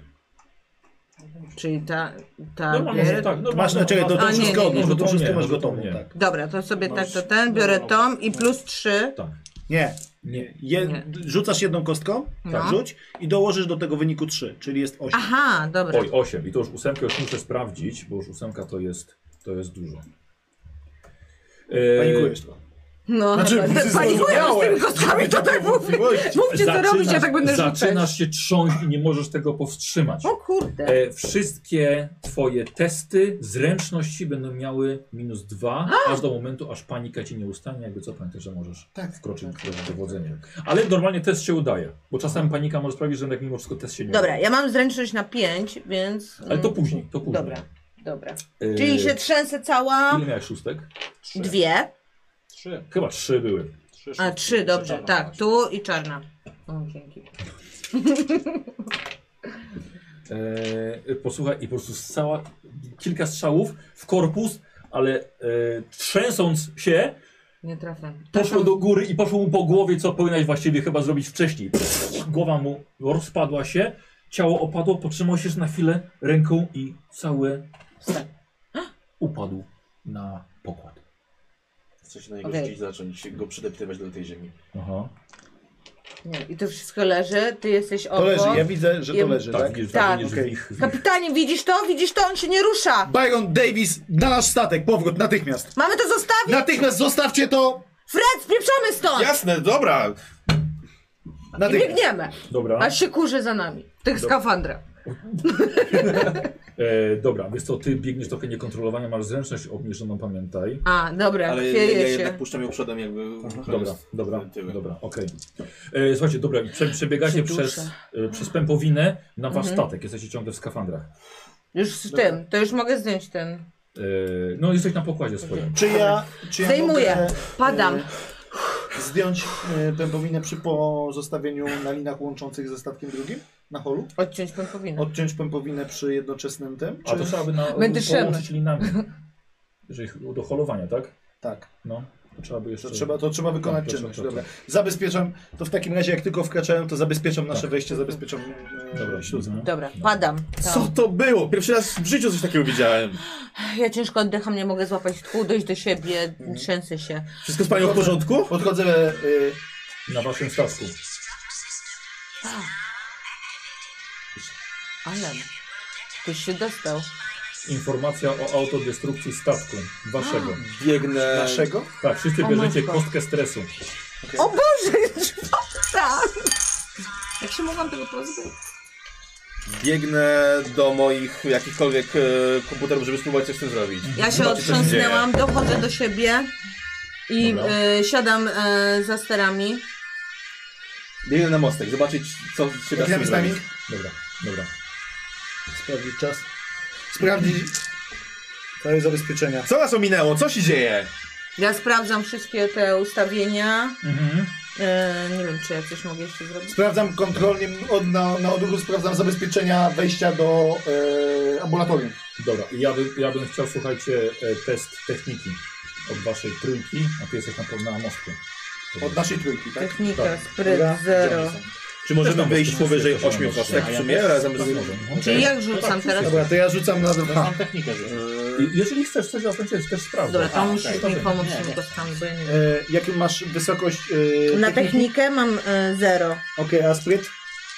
Speaker 3: czyli ta... ta
Speaker 1: Normalnie,
Speaker 3: biorę-
Speaker 1: że tak. normalnie,
Speaker 2: Masz, no, czekaj, to, to
Speaker 3: A, nie,
Speaker 2: wszystko
Speaker 3: nie,
Speaker 2: odłóż,
Speaker 1: nie,
Speaker 6: no,
Speaker 2: bo
Speaker 1: to
Speaker 2: to wszystko
Speaker 1: nie, no
Speaker 2: masz
Speaker 1: to
Speaker 2: gotowe.
Speaker 1: nie.
Speaker 2: Tak.
Speaker 3: Dobra, to sobie
Speaker 4: Masz
Speaker 3: tak, to ten, biorę tom i plus trzy.
Speaker 1: Tak.
Speaker 2: Nie,
Speaker 1: Nie.
Speaker 2: je,
Speaker 3: Nie.
Speaker 2: rzucasz jedną kostką, tak,
Speaker 3: No.
Speaker 2: rzuć i dołożysz do tego wyniku 3, czyli jest 8.
Speaker 3: Aha,
Speaker 2: Tak.
Speaker 3: dobra.
Speaker 1: Oj, osiem. I to już ósemkę już muszę sprawdzić, bo już ósemka to jest, to jest dużo. E,
Speaker 2: Panikujesz to.
Speaker 3: No,
Speaker 2: Znaczy,
Speaker 3: chyba-
Speaker 2: wszyscy
Speaker 3: panikuję z tymi kostkami, to tak mówię. Mówcie co robić, ja
Speaker 1: zaczynasz-
Speaker 3: tak będę rzucać.
Speaker 1: Zaczynasz się trząść i nie możesz tego powstrzymać.
Speaker 3: O kurde.
Speaker 1: E, wszystkie twoje testy zręczności będą miały minus dwa, aż do momentu, aż panika cię nie ustanie, jakby co pamiętaj, że możesz
Speaker 3: Tak,
Speaker 1: wkroczyć w twoje dowodzenie. Ale normalnie test się udaje, bo czasem panika może sprawić, że jednak mimo wszystko test się nie
Speaker 3: Dobra,
Speaker 1: uda.
Speaker 3: ja mam zręczność na pięć, więc...
Speaker 1: Ale to
Speaker 3: mm,
Speaker 1: później, to później.
Speaker 3: Dobra, dobra.
Speaker 1: E,
Speaker 3: Czyli się trzęsę cała...
Speaker 1: Ile miałeś szóstek?
Speaker 3: Dwie.
Speaker 4: Trzy.
Speaker 1: Chyba trzy były.
Speaker 4: trzy
Speaker 3: A,
Speaker 4: szóstki.
Speaker 3: trzy, dobrze,
Speaker 4: Czarna
Speaker 3: tak,
Speaker 4: chodzi.
Speaker 3: tu i czarna. O, dzięki.
Speaker 1: E, posłuchaj, i po prostu cała, kilka strzałów w korpus, ale e, trzęsąc się,
Speaker 3: Nie Tak, trafię.
Speaker 1: poszło do góry i poszło mu po głowie, co powinnaś właściwie chyba zrobić wcześniej. Pff, Głowa mu rozpadła się, ciało opadło, potrzymał się jeszcze na chwilę ręką i cały
Speaker 3: Tak.
Speaker 1: upadł na pokład.
Speaker 5: Chce się na niego
Speaker 3: Okej.
Speaker 5: rzucić, zacząć go przydeptywać do tej ziemi.
Speaker 1: Aha.
Speaker 3: Nie, I to wszystko leży, ty jesteś
Speaker 2: To
Speaker 3: obok.
Speaker 2: leży, ja widzę, że to
Speaker 3: Jem-
Speaker 2: leży,
Speaker 1: Tak,
Speaker 2: tak?
Speaker 1: widzisz,
Speaker 3: Tak.
Speaker 1: tak. widzisz
Speaker 2: Okej.
Speaker 1: w ich... W ich...
Speaker 3: Kapitanie, widzisz to? Widzisz to? On się nie rusza!
Speaker 2: Byron Davis na nasz statek, powrót, natychmiast.
Speaker 3: Mamy to zostawić!
Speaker 2: Natychmiast zostawcie to!
Speaker 3: Fred, spieprzamy stąd!
Speaker 5: Jasne, dobra!
Speaker 3: Tak, I
Speaker 2: Natychmiast.
Speaker 3: biegniemy!
Speaker 5: No.
Speaker 1: Dobra,
Speaker 3: Aż się kurzy za nami. Tych skafandra.
Speaker 1: e, dobra, więc to ty biegniesz trochę niekontrolowanie, masz zręczność obniżoną, pamiętaj.
Speaker 3: A, dobra,
Speaker 5: Ale ja,
Speaker 3: chwieje
Speaker 5: ja
Speaker 3: się.
Speaker 5: jednak puszczam ją przodem jakby...
Speaker 1: Dobra, dobra,
Speaker 5: Tyłem.
Speaker 1: dobra, okej. E, Słuchajcie, dobra, prze, przebiegacie
Speaker 3: Się duszę.
Speaker 1: przez, e, przez pępowinę na wasz
Speaker 3: Mhm.
Speaker 1: statek, jesteście ciągle w skafandrach.
Speaker 3: Już z
Speaker 5: No
Speaker 3: tym, to już mogę zdjąć ten.
Speaker 1: E, no, jesteś na pokładzie swoim.
Speaker 2: Czy ja, czy ja
Speaker 3: Zdejmuję.
Speaker 2: mogę,
Speaker 3: Padam.
Speaker 2: e, zdjąć e, pępowinę przy pozostawieniu na linach łączących ze statkiem drugim na holu?
Speaker 3: Odciąć pępowinę.
Speaker 2: Odciąć pępowinę przy jednoczesnym tym?
Speaker 1: A to trzeba by na,
Speaker 3: Będę
Speaker 1: połączyć linami. Jeżeli do holowania, tak?
Speaker 2: Tak.
Speaker 1: No. Trzeba by jeszcze...
Speaker 2: To trzeba, to trzeba wykonać
Speaker 1: Tak,
Speaker 2: czynność.
Speaker 1: proszę, proszę.
Speaker 2: Dobra. Zabezpieczam, to w takim razie jak tylko wkraczałem, to zabezpieczam nasze wejście, zabezpieczam e,
Speaker 1: Tak. Dobra,
Speaker 2: śluzę.
Speaker 1: mhm.
Speaker 3: Dobra, padam.
Speaker 5: Co to było? Pierwszy raz w życiu coś takiego widziałem.
Speaker 3: Ja ciężko oddycham, nie mogę złapać tchu, dojść do siebie, trzęsę się.
Speaker 5: Wszystko z panią w porządku?
Speaker 2: Podchodzę, y,
Speaker 1: Na waszym statku.
Speaker 3: Ale ktoś się dostał.
Speaker 1: Informacja o autodestrukcji statku. Waszego.
Speaker 5: Biegnę.
Speaker 2: naszego?
Speaker 1: Tak, wszyscy
Speaker 3: O
Speaker 1: bierzecie
Speaker 3: matko.
Speaker 1: kostkę stresu.
Speaker 3: O Boże, tak!
Speaker 19: Jak się mogłam tego pozbyć?
Speaker 5: Biegnę do moich jakichkolwiek e, komputerów, żeby spróbować coś z tym zrobić.
Speaker 3: Ja się
Speaker 5: Zobaczyć, co się
Speaker 3: otrząsnęłam, dochodzę do siebie i
Speaker 1: Dobra.
Speaker 3: y, siadam y, za sterami.
Speaker 5: Biegnę na mostek, zobaczyć co się da z
Speaker 2: Gramy
Speaker 5: tym
Speaker 2: z nami?
Speaker 5: zrobić.
Speaker 1: Dobra, dobra.
Speaker 20: Sprawdzić czas.
Speaker 2: Sprawdzić całe zabezpieczenia.
Speaker 5: Co nas ominęło? Co się dzieje?
Speaker 3: Ja sprawdzam wszystkie te ustawienia.
Speaker 1: Mhm.
Speaker 3: E, nie wiem, czy ja coś mogę jeszcze zrobić.
Speaker 2: Sprawdzam kontrolnie, od, na, na odruchu sprawdzam zabezpieczenia wejścia do e, ambulatorium.
Speaker 1: Dobra, i ja, by, ja bym chciał, słuchajcie, e, test techniki od waszej trójki, a ty jesteś na, pewno na mostku.
Speaker 2: Od naszej trójki, tak?
Speaker 3: Technika,
Speaker 1: Tak.
Speaker 3: spryt,
Speaker 2: Dobra.
Speaker 3: zero.
Speaker 5: Czy możemy
Speaker 1: tam
Speaker 5: wyjść
Speaker 1: mostek
Speaker 5: powyżej
Speaker 1: jest, też
Speaker 5: 8
Speaker 1: tam mostek.
Speaker 5: kostek w sumie razem
Speaker 1: Tak,
Speaker 5: z...
Speaker 1: może, no.
Speaker 3: Czyli jak rzucam teraz?
Speaker 2: Dobra, to ja rzucam na
Speaker 4: To
Speaker 2: dwa.
Speaker 4: mam technikę,
Speaker 5: E,
Speaker 4: że...
Speaker 1: I- Jeżeli chcesz coś zakończyć, też sprawdzę.
Speaker 3: Dobra, to
Speaker 4: A,
Speaker 2: Tak,
Speaker 3: musisz
Speaker 4: okej.
Speaker 3: mi pomóc
Speaker 4: Nie,
Speaker 3: z tymi
Speaker 4: nie.
Speaker 3: kostkami, bo ja nie wiem.
Speaker 2: E, jaką masz wysokość e,
Speaker 3: Na
Speaker 2: techniki?
Speaker 3: technikę mam e, zero,
Speaker 2: Okej, a spryt?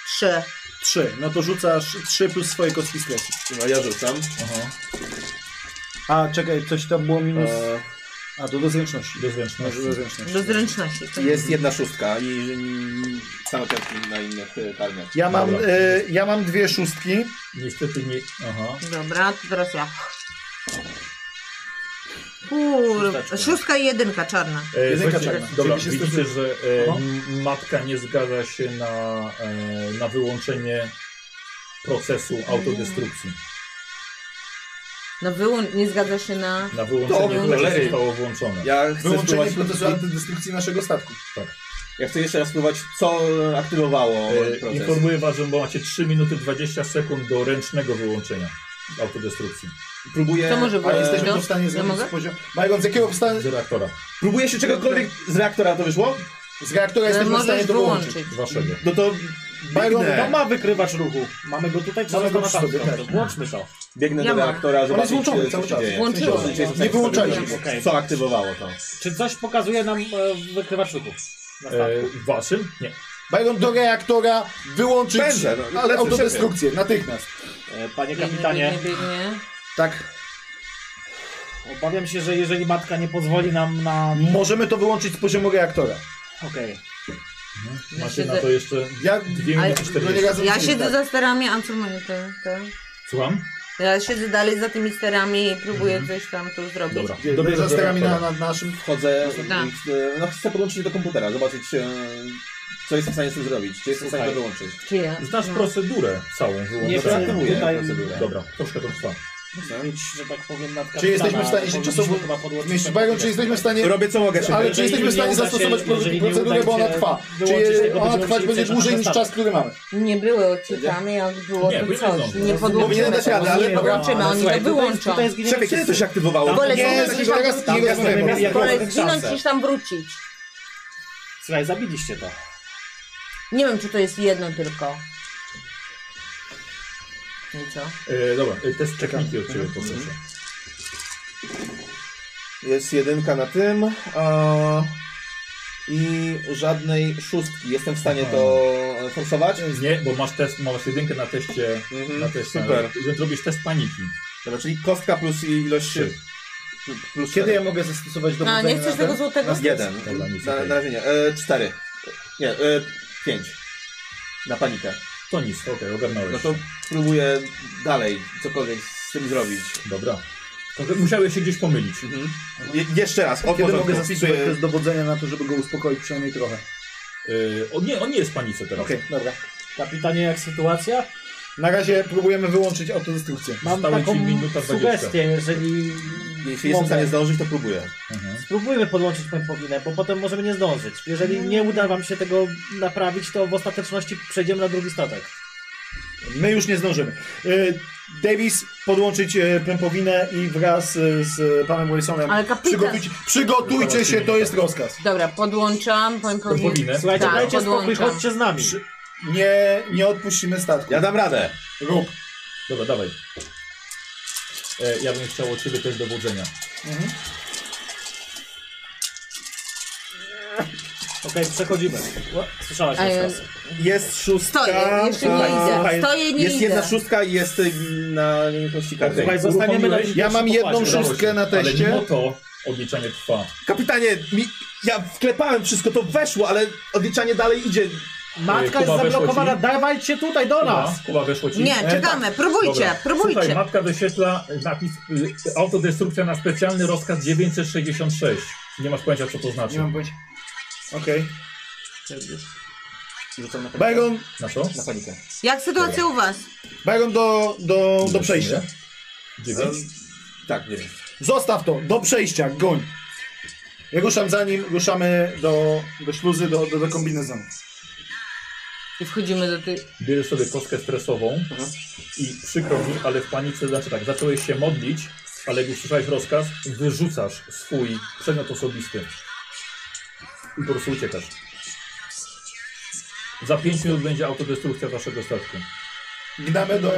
Speaker 3: trzy.
Speaker 2: Trzy. No to rzucasz trzy plus swoje kostki stresu.
Speaker 5: No ja rzucam.
Speaker 1: Aha,
Speaker 2: A czekaj, coś tam było minus...
Speaker 5: E,
Speaker 2: A, to do zręczności.
Speaker 1: do
Speaker 2: No,
Speaker 1: zręczności.
Speaker 2: do zręczności.
Speaker 3: Do zręczności. to
Speaker 5: Jest jedna szóstka i mm, same piątki na innych e, karmiach.
Speaker 2: Ja mam,
Speaker 1: Dobra.
Speaker 2: e, ja mam dwie szóstki.
Speaker 1: Niestety nie... Aha.
Speaker 3: Dobra, to teraz ja. Kurwa, szóstka i jedynka czarna.
Speaker 1: E,
Speaker 2: Jedynka
Speaker 1: słuchajcie,
Speaker 2: czarna.
Speaker 1: Dobra,
Speaker 2: Czyli się
Speaker 1: widzicie,
Speaker 2: stosuję.
Speaker 1: że e, m- matka nie zgadza się na, e, na wyłączenie procesu autodestrukcji.
Speaker 3: No wyłącz, nie zgadza się na...
Speaker 1: Na wyłączenie,
Speaker 5: To
Speaker 1: które
Speaker 5: cholery.
Speaker 1: zostało włączone.
Speaker 5: Ja chcę
Speaker 2: Wyłączenie
Speaker 5: spróbować...
Speaker 2: procesu antydestrukcji naszego statku.
Speaker 5: Ja chcę jeszcze raz spróbować, co aktywowało
Speaker 1: E,
Speaker 5: proces.
Speaker 1: Informuję was, że macie 3 minuty 20 sekund do ręcznego wyłączenia autodestrukcji
Speaker 5: Próbuję,
Speaker 3: To może
Speaker 2: A
Speaker 3: być
Speaker 2: jesteśmy
Speaker 3: do...
Speaker 2: w stanie zrobić
Speaker 3: mogę?
Speaker 2: poziom... Bajon, z jakiego wsta-
Speaker 1: z reaktora
Speaker 5: próbuję się czegokolwiek z reaktora to wyszło?
Speaker 2: z reaktora
Speaker 3: Ale
Speaker 2: jesteśmy w stanie
Speaker 3: możesz
Speaker 2: to wyłączyć?
Speaker 3: wyłączyć.
Speaker 1: waszego.
Speaker 5: No to
Speaker 2: Byron,
Speaker 5: biegnę,
Speaker 4: No ma wykrywacz ruchu. Mamy go tutaj, czy
Speaker 2: Mamy go
Speaker 4: został na
Speaker 2: przy sobie,
Speaker 4: tamtym?
Speaker 2: tak.
Speaker 4: Włączmy to.
Speaker 5: biegnę
Speaker 3: Ja
Speaker 5: do
Speaker 3: mam.
Speaker 5: reaktora,
Speaker 2: On jest
Speaker 5: zobaczyć
Speaker 2: włączony
Speaker 5: co
Speaker 2: cały
Speaker 5: się
Speaker 2: czas.
Speaker 5: dzieje.
Speaker 3: Włączyłem.
Speaker 5: W sensie,
Speaker 2: Nie wyłączaliśmy.
Speaker 4: Okej.
Speaker 5: Co aktywowało to?
Speaker 4: Czy coś pokazuje nam e, wykrywacz ruchu? Na statku?
Speaker 1: E, w waszym? Nie.
Speaker 2: Byron do reaktora wyłączyć
Speaker 5: Będę, no,
Speaker 2: ale
Speaker 5: lecę
Speaker 2: autodestrukcję natychmiast.
Speaker 4: E, Panie
Speaker 3: Biegnie,
Speaker 4: kapitanie,
Speaker 3: biegnie, biegnie.
Speaker 2: Tak.
Speaker 4: obawiam się, że jeżeli matka nie pozwoli nam na...
Speaker 2: Możemy to wyłączyć z poziomu reaktora.
Speaker 4: Okej.
Speaker 1: Macie
Speaker 3: siedzę-
Speaker 1: na to jeszcze
Speaker 2: Ja
Speaker 1: 2
Speaker 3: Ale- no
Speaker 1: minuty 40.
Speaker 2: razem
Speaker 3: Ja
Speaker 2: z nim,
Speaker 3: siedzę
Speaker 2: tak.
Speaker 3: za sterami, a co moje te, te?
Speaker 1: Słucham?
Speaker 3: Ja siedzę dalej za tymi sterami i próbuję coś tam tu zrobić.
Speaker 1: Dobra.
Speaker 2: Gdzie-
Speaker 1: Dobiegam
Speaker 2: za
Speaker 1: do
Speaker 2: sterami na,
Speaker 1: reaktora.
Speaker 2: na naszym.
Speaker 5: Wchodzę,
Speaker 3: Da.
Speaker 5: i- e, no chcę podłączyć się do komputera, zobaczyć e, co jestem w stanie z tym zrobić, czy jestem w stanie to
Speaker 4: Słuchaj.
Speaker 5: wyłączyć.
Speaker 3: Czy ja? No.
Speaker 1: Znasz procedurę całą
Speaker 4: Nie
Speaker 5: Dobra,
Speaker 1: wyłączenia.
Speaker 5: aktywuję
Speaker 4: tutaj-
Speaker 5: procedurę.
Speaker 1: Dobra, troszkę to trwa.
Speaker 4: Mieć, że tak powiem, nad
Speaker 2: Czy jesteśmy
Speaker 4: kapitana,
Speaker 2: w stanie się
Speaker 4: powinniśmy
Speaker 2: czasowo
Speaker 4: chyba podłączyć
Speaker 2: zmieścić?
Speaker 4: ten
Speaker 2: Byron,
Speaker 4: komputer.
Speaker 2: czy jesteśmy w stanie...
Speaker 5: Robię co mogę,
Speaker 2: Ale
Speaker 5: szybko.
Speaker 2: czy
Speaker 4: Jeżeli
Speaker 2: jesteśmy w
Speaker 4: nie
Speaker 2: stanie
Speaker 4: uda się-
Speaker 2: zastosować
Speaker 4: jeżeli nie
Speaker 2: procedurę,
Speaker 4: uda
Speaker 2: bo ona
Speaker 4: się
Speaker 2: trwa.
Speaker 4: wyłączyć
Speaker 2: Czy
Speaker 4: tego,
Speaker 2: ona
Speaker 4: będziemy
Speaker 2: trwać
Speaker 4: musieli
Speaker 2: będzie
Speaker 4: przejść na
Speaker 2: dłużej niż
Speaker 4: następny.
Speaker 2: czas, który mamy?
Speaker 3: Nie były odczytane, jak było
Speaker 1: Nie,
Speaker 3: to
Speaker 1: były
Speaker 3: coś.
Speaker 1: zdążone.
Speaker 3: Nie
Speaker 5: Powinienem
Speaker 3: podłączymy
Speaker 5: dać
Speaker 3: tego,
Speaker 5: radę, ale
Speaker 3: nie
Speaker 5: dobra.
Speaker 3: podłączymy, oni to
Speaker 5: Słuchaj, tutaj-
Speaker 3: wyłączą.
Speaker 4: Tutaj zginęli
Speaker 5: Szefie, kiedy to się
Speaker 4: wszyscy.
Speaker 5: aktywowało?
Speaker 3: Wolę
Speaker 2: Nie,
Speaker 3: zginąć
Speaker 2: jesteśmy
Speaker 3: niż tam
Speaker 2: teraz-
Speaker 3: wrócić.
Speaker 2: nie
Speaker 5: rozmawiamy.
Speaker 3: Wolę
Speaker 5: Ja
Speaker 3: Wolę
Speaker 5: mam
Speaker 3: zginąć
Speaker 5: szansę.
Speaker 3: niż tam wrócić.
Speaker 4: Słuchaj, zabiliście to.
Speaker 3: Nie wiem, czy to jest jedno tylko. No I co?
Speaker 1: E, dobra, e, test techniki od
Speaker 5: Mhm.
Speaker 1: ciebie poproszę.
Speaker 5: Jest jedynka na tym a... i żadnej szóstki. Jestem w stanie to e, forsować.
Speaker 1: Nie, bo masz test, masz jedynkę na teście.
Speaker 5: Mhm,
Speaker 1: Na teście
Speaker 5: Super.
Speaker 1: Że zrobisz test paniki.
Speaker 5: Dobra, czyli kostka plus ilość...
Speaker 1: Trzy.
Speaker 5: Plus
Speaker 2: Kiedy ja
Speaker 5: cztery.
Speaker 2: mogę zastosować do
Speaker 3: A, nie chcesz tego złotego?
Speaker 5: No, Jeden.
Speaker 1: Dobra, nic,
Speaker 5: Na,
Speaker 1: okej.
Speaker 5: na razie nie. E, cztery. Nie, e, pięć. Na panikę.
Speaker 1: To nic, okej, ogarnąłeś.
Speaker 5: No to próbuję dalej cokolwiek z tym zrobić. Mhm.
Speaker 1: Dobra. To musiałeś się gdzieś pomylić.
Speaker 5: Je, jeszcze raz, od
Speaker 2: Kiedy
Speaker 5: porządku.
Speaker 2: mogę zastosować test dowodzenia na to, żeby go uspokoić przynajmniej trochę?
Speaker 1: E, on, nie, on nie jest w panice teraz.
Speaker 2: Okej, dobra.
Speaker 4: Kapitanie, jak sytuacja?
Speaker 2: Na razie próbujemy wyłączyć autodestrukcję.
Speaker 4: Mam
Speaker 1: Zostały
Speaker 4: taką
Speaker 1: ci minuta
Speaker 4: sugestię, jeżeli
Speaker 5: Jeśli jestem w stanie zdążyć, to próbuję.
Speaker 1: Mhm.
Speaker 4: Spróbujmy podłączyć pępowinę, bo potem możemy nie zdążyć. Jeżeli nie uda wam się tego naprawić, to w ostateczności przejdziemy na drugi statek.
Speaker 2: My już nie zdążymy. E, Davis podłączyć e, pępowinę i wraz e, z panem Wilsonem
Speaker 3: Ale kapitan-
Speaker 2: przygotujcie, przygotujcie się, to jest rozkaz.
Speaker 3: Dobra, podłączam, powiem powiem.
Speaker 1: Powinę.
Speaker 4: Słuchajcie,
Speaker 3: Tak,
Speaker 4: dajcie spokój,
Speaker 3: podłączam.
Speaker 4: chodźcie z nami.
Speaker 2: Nie, nie odpuścimy statku.
Speaker 5: Ja dam radę.
Speaker 2: Rób.
Speaker 1: Dobra, dawaj. E, ja bym chciał od ciebie też dowodzenia.
Speaker 4: Okej, przechodzimy. Słyszałaś
Speaker 3: A
Speaker 4: nas
Speaker 3: ja-
Speaker 4: raz.
Speaker 5: Jest szóstka.
Speaker 3: Stoję, jeszcze nie
Speaker 5: a,
Speaker 3: idę.
Speaker 5: Tak, słuchaj,
Speaker 3: Stoję i nie
Speaker 5: Jest
Speaker 3: idę.
Speaker 5: jedna szóstka i jest y, na nieruchomości karty.
Speaker 4: Słuchaj, Tak, zostaniemy na
Speaker 1: Uruchomiłeś?
Speaker 4: Ja mam jedną
Speaker 1: szóstkę na teście. Ale mimo to odliczanie trwa.
Speaker 5: Kapitanie, mi, ja wklepałem wszystko, to weszło, ale odliczanie dalej idzie.
Speaker 4: Matka jest
Speaker 1: E, Kuba, weszło
Speaker 4: zablokowana,
Speaker 1: ci?
Speaker 4: dawajcie tutaj do
Speaker 1: Kuba,
Speaker 4: nas.
Speaker 1: Kuba weszło ci?
Speaker 3: Nie,
Speaker 1: E,
Speaker 3: czekamy, próbujcie,
Speaker 1: Dobra. Słuchaj,
Speaker 3: próbujcie.
Speaker 1: matka doświetla napis y, autodestrukcja na specjalny rozkaz 966. Nie masz pojęcia, co to znaczy.
Speaker 2: pojęcia. Okej.
Speaker 4: Rzucam na panikę.
Speaker 2: Byron,
Speaker 1: Na co?
Speaker 4: Na panikę.
Speaker 3: Jak sytuacja u was?
Speaker 2: Byron do, do, do przejścia.
Speaker 1: Dziewięć.
Speaker 5: Tak, nie wiem.
Speaker 2: Zostaw to, do przejścia, goń. Ja ruszam za nim, ruszamy do, do śluzy, do, do, do kombinezonu.
Speaker 3: I wchodzimy do tych...
Speaker 1: Bierzesz sobie kostkę stresową i przykro mi, ale w panice, znaczy tak, zacząłeś się modlić, ale jak usłyszałeś rozkaz, wyrzucasz swój przedmiot osobisty. I po prostu uciekasz. Za 5 minut będzie autodestrukcja waszego statku.
Speaker 2: Gnamy do...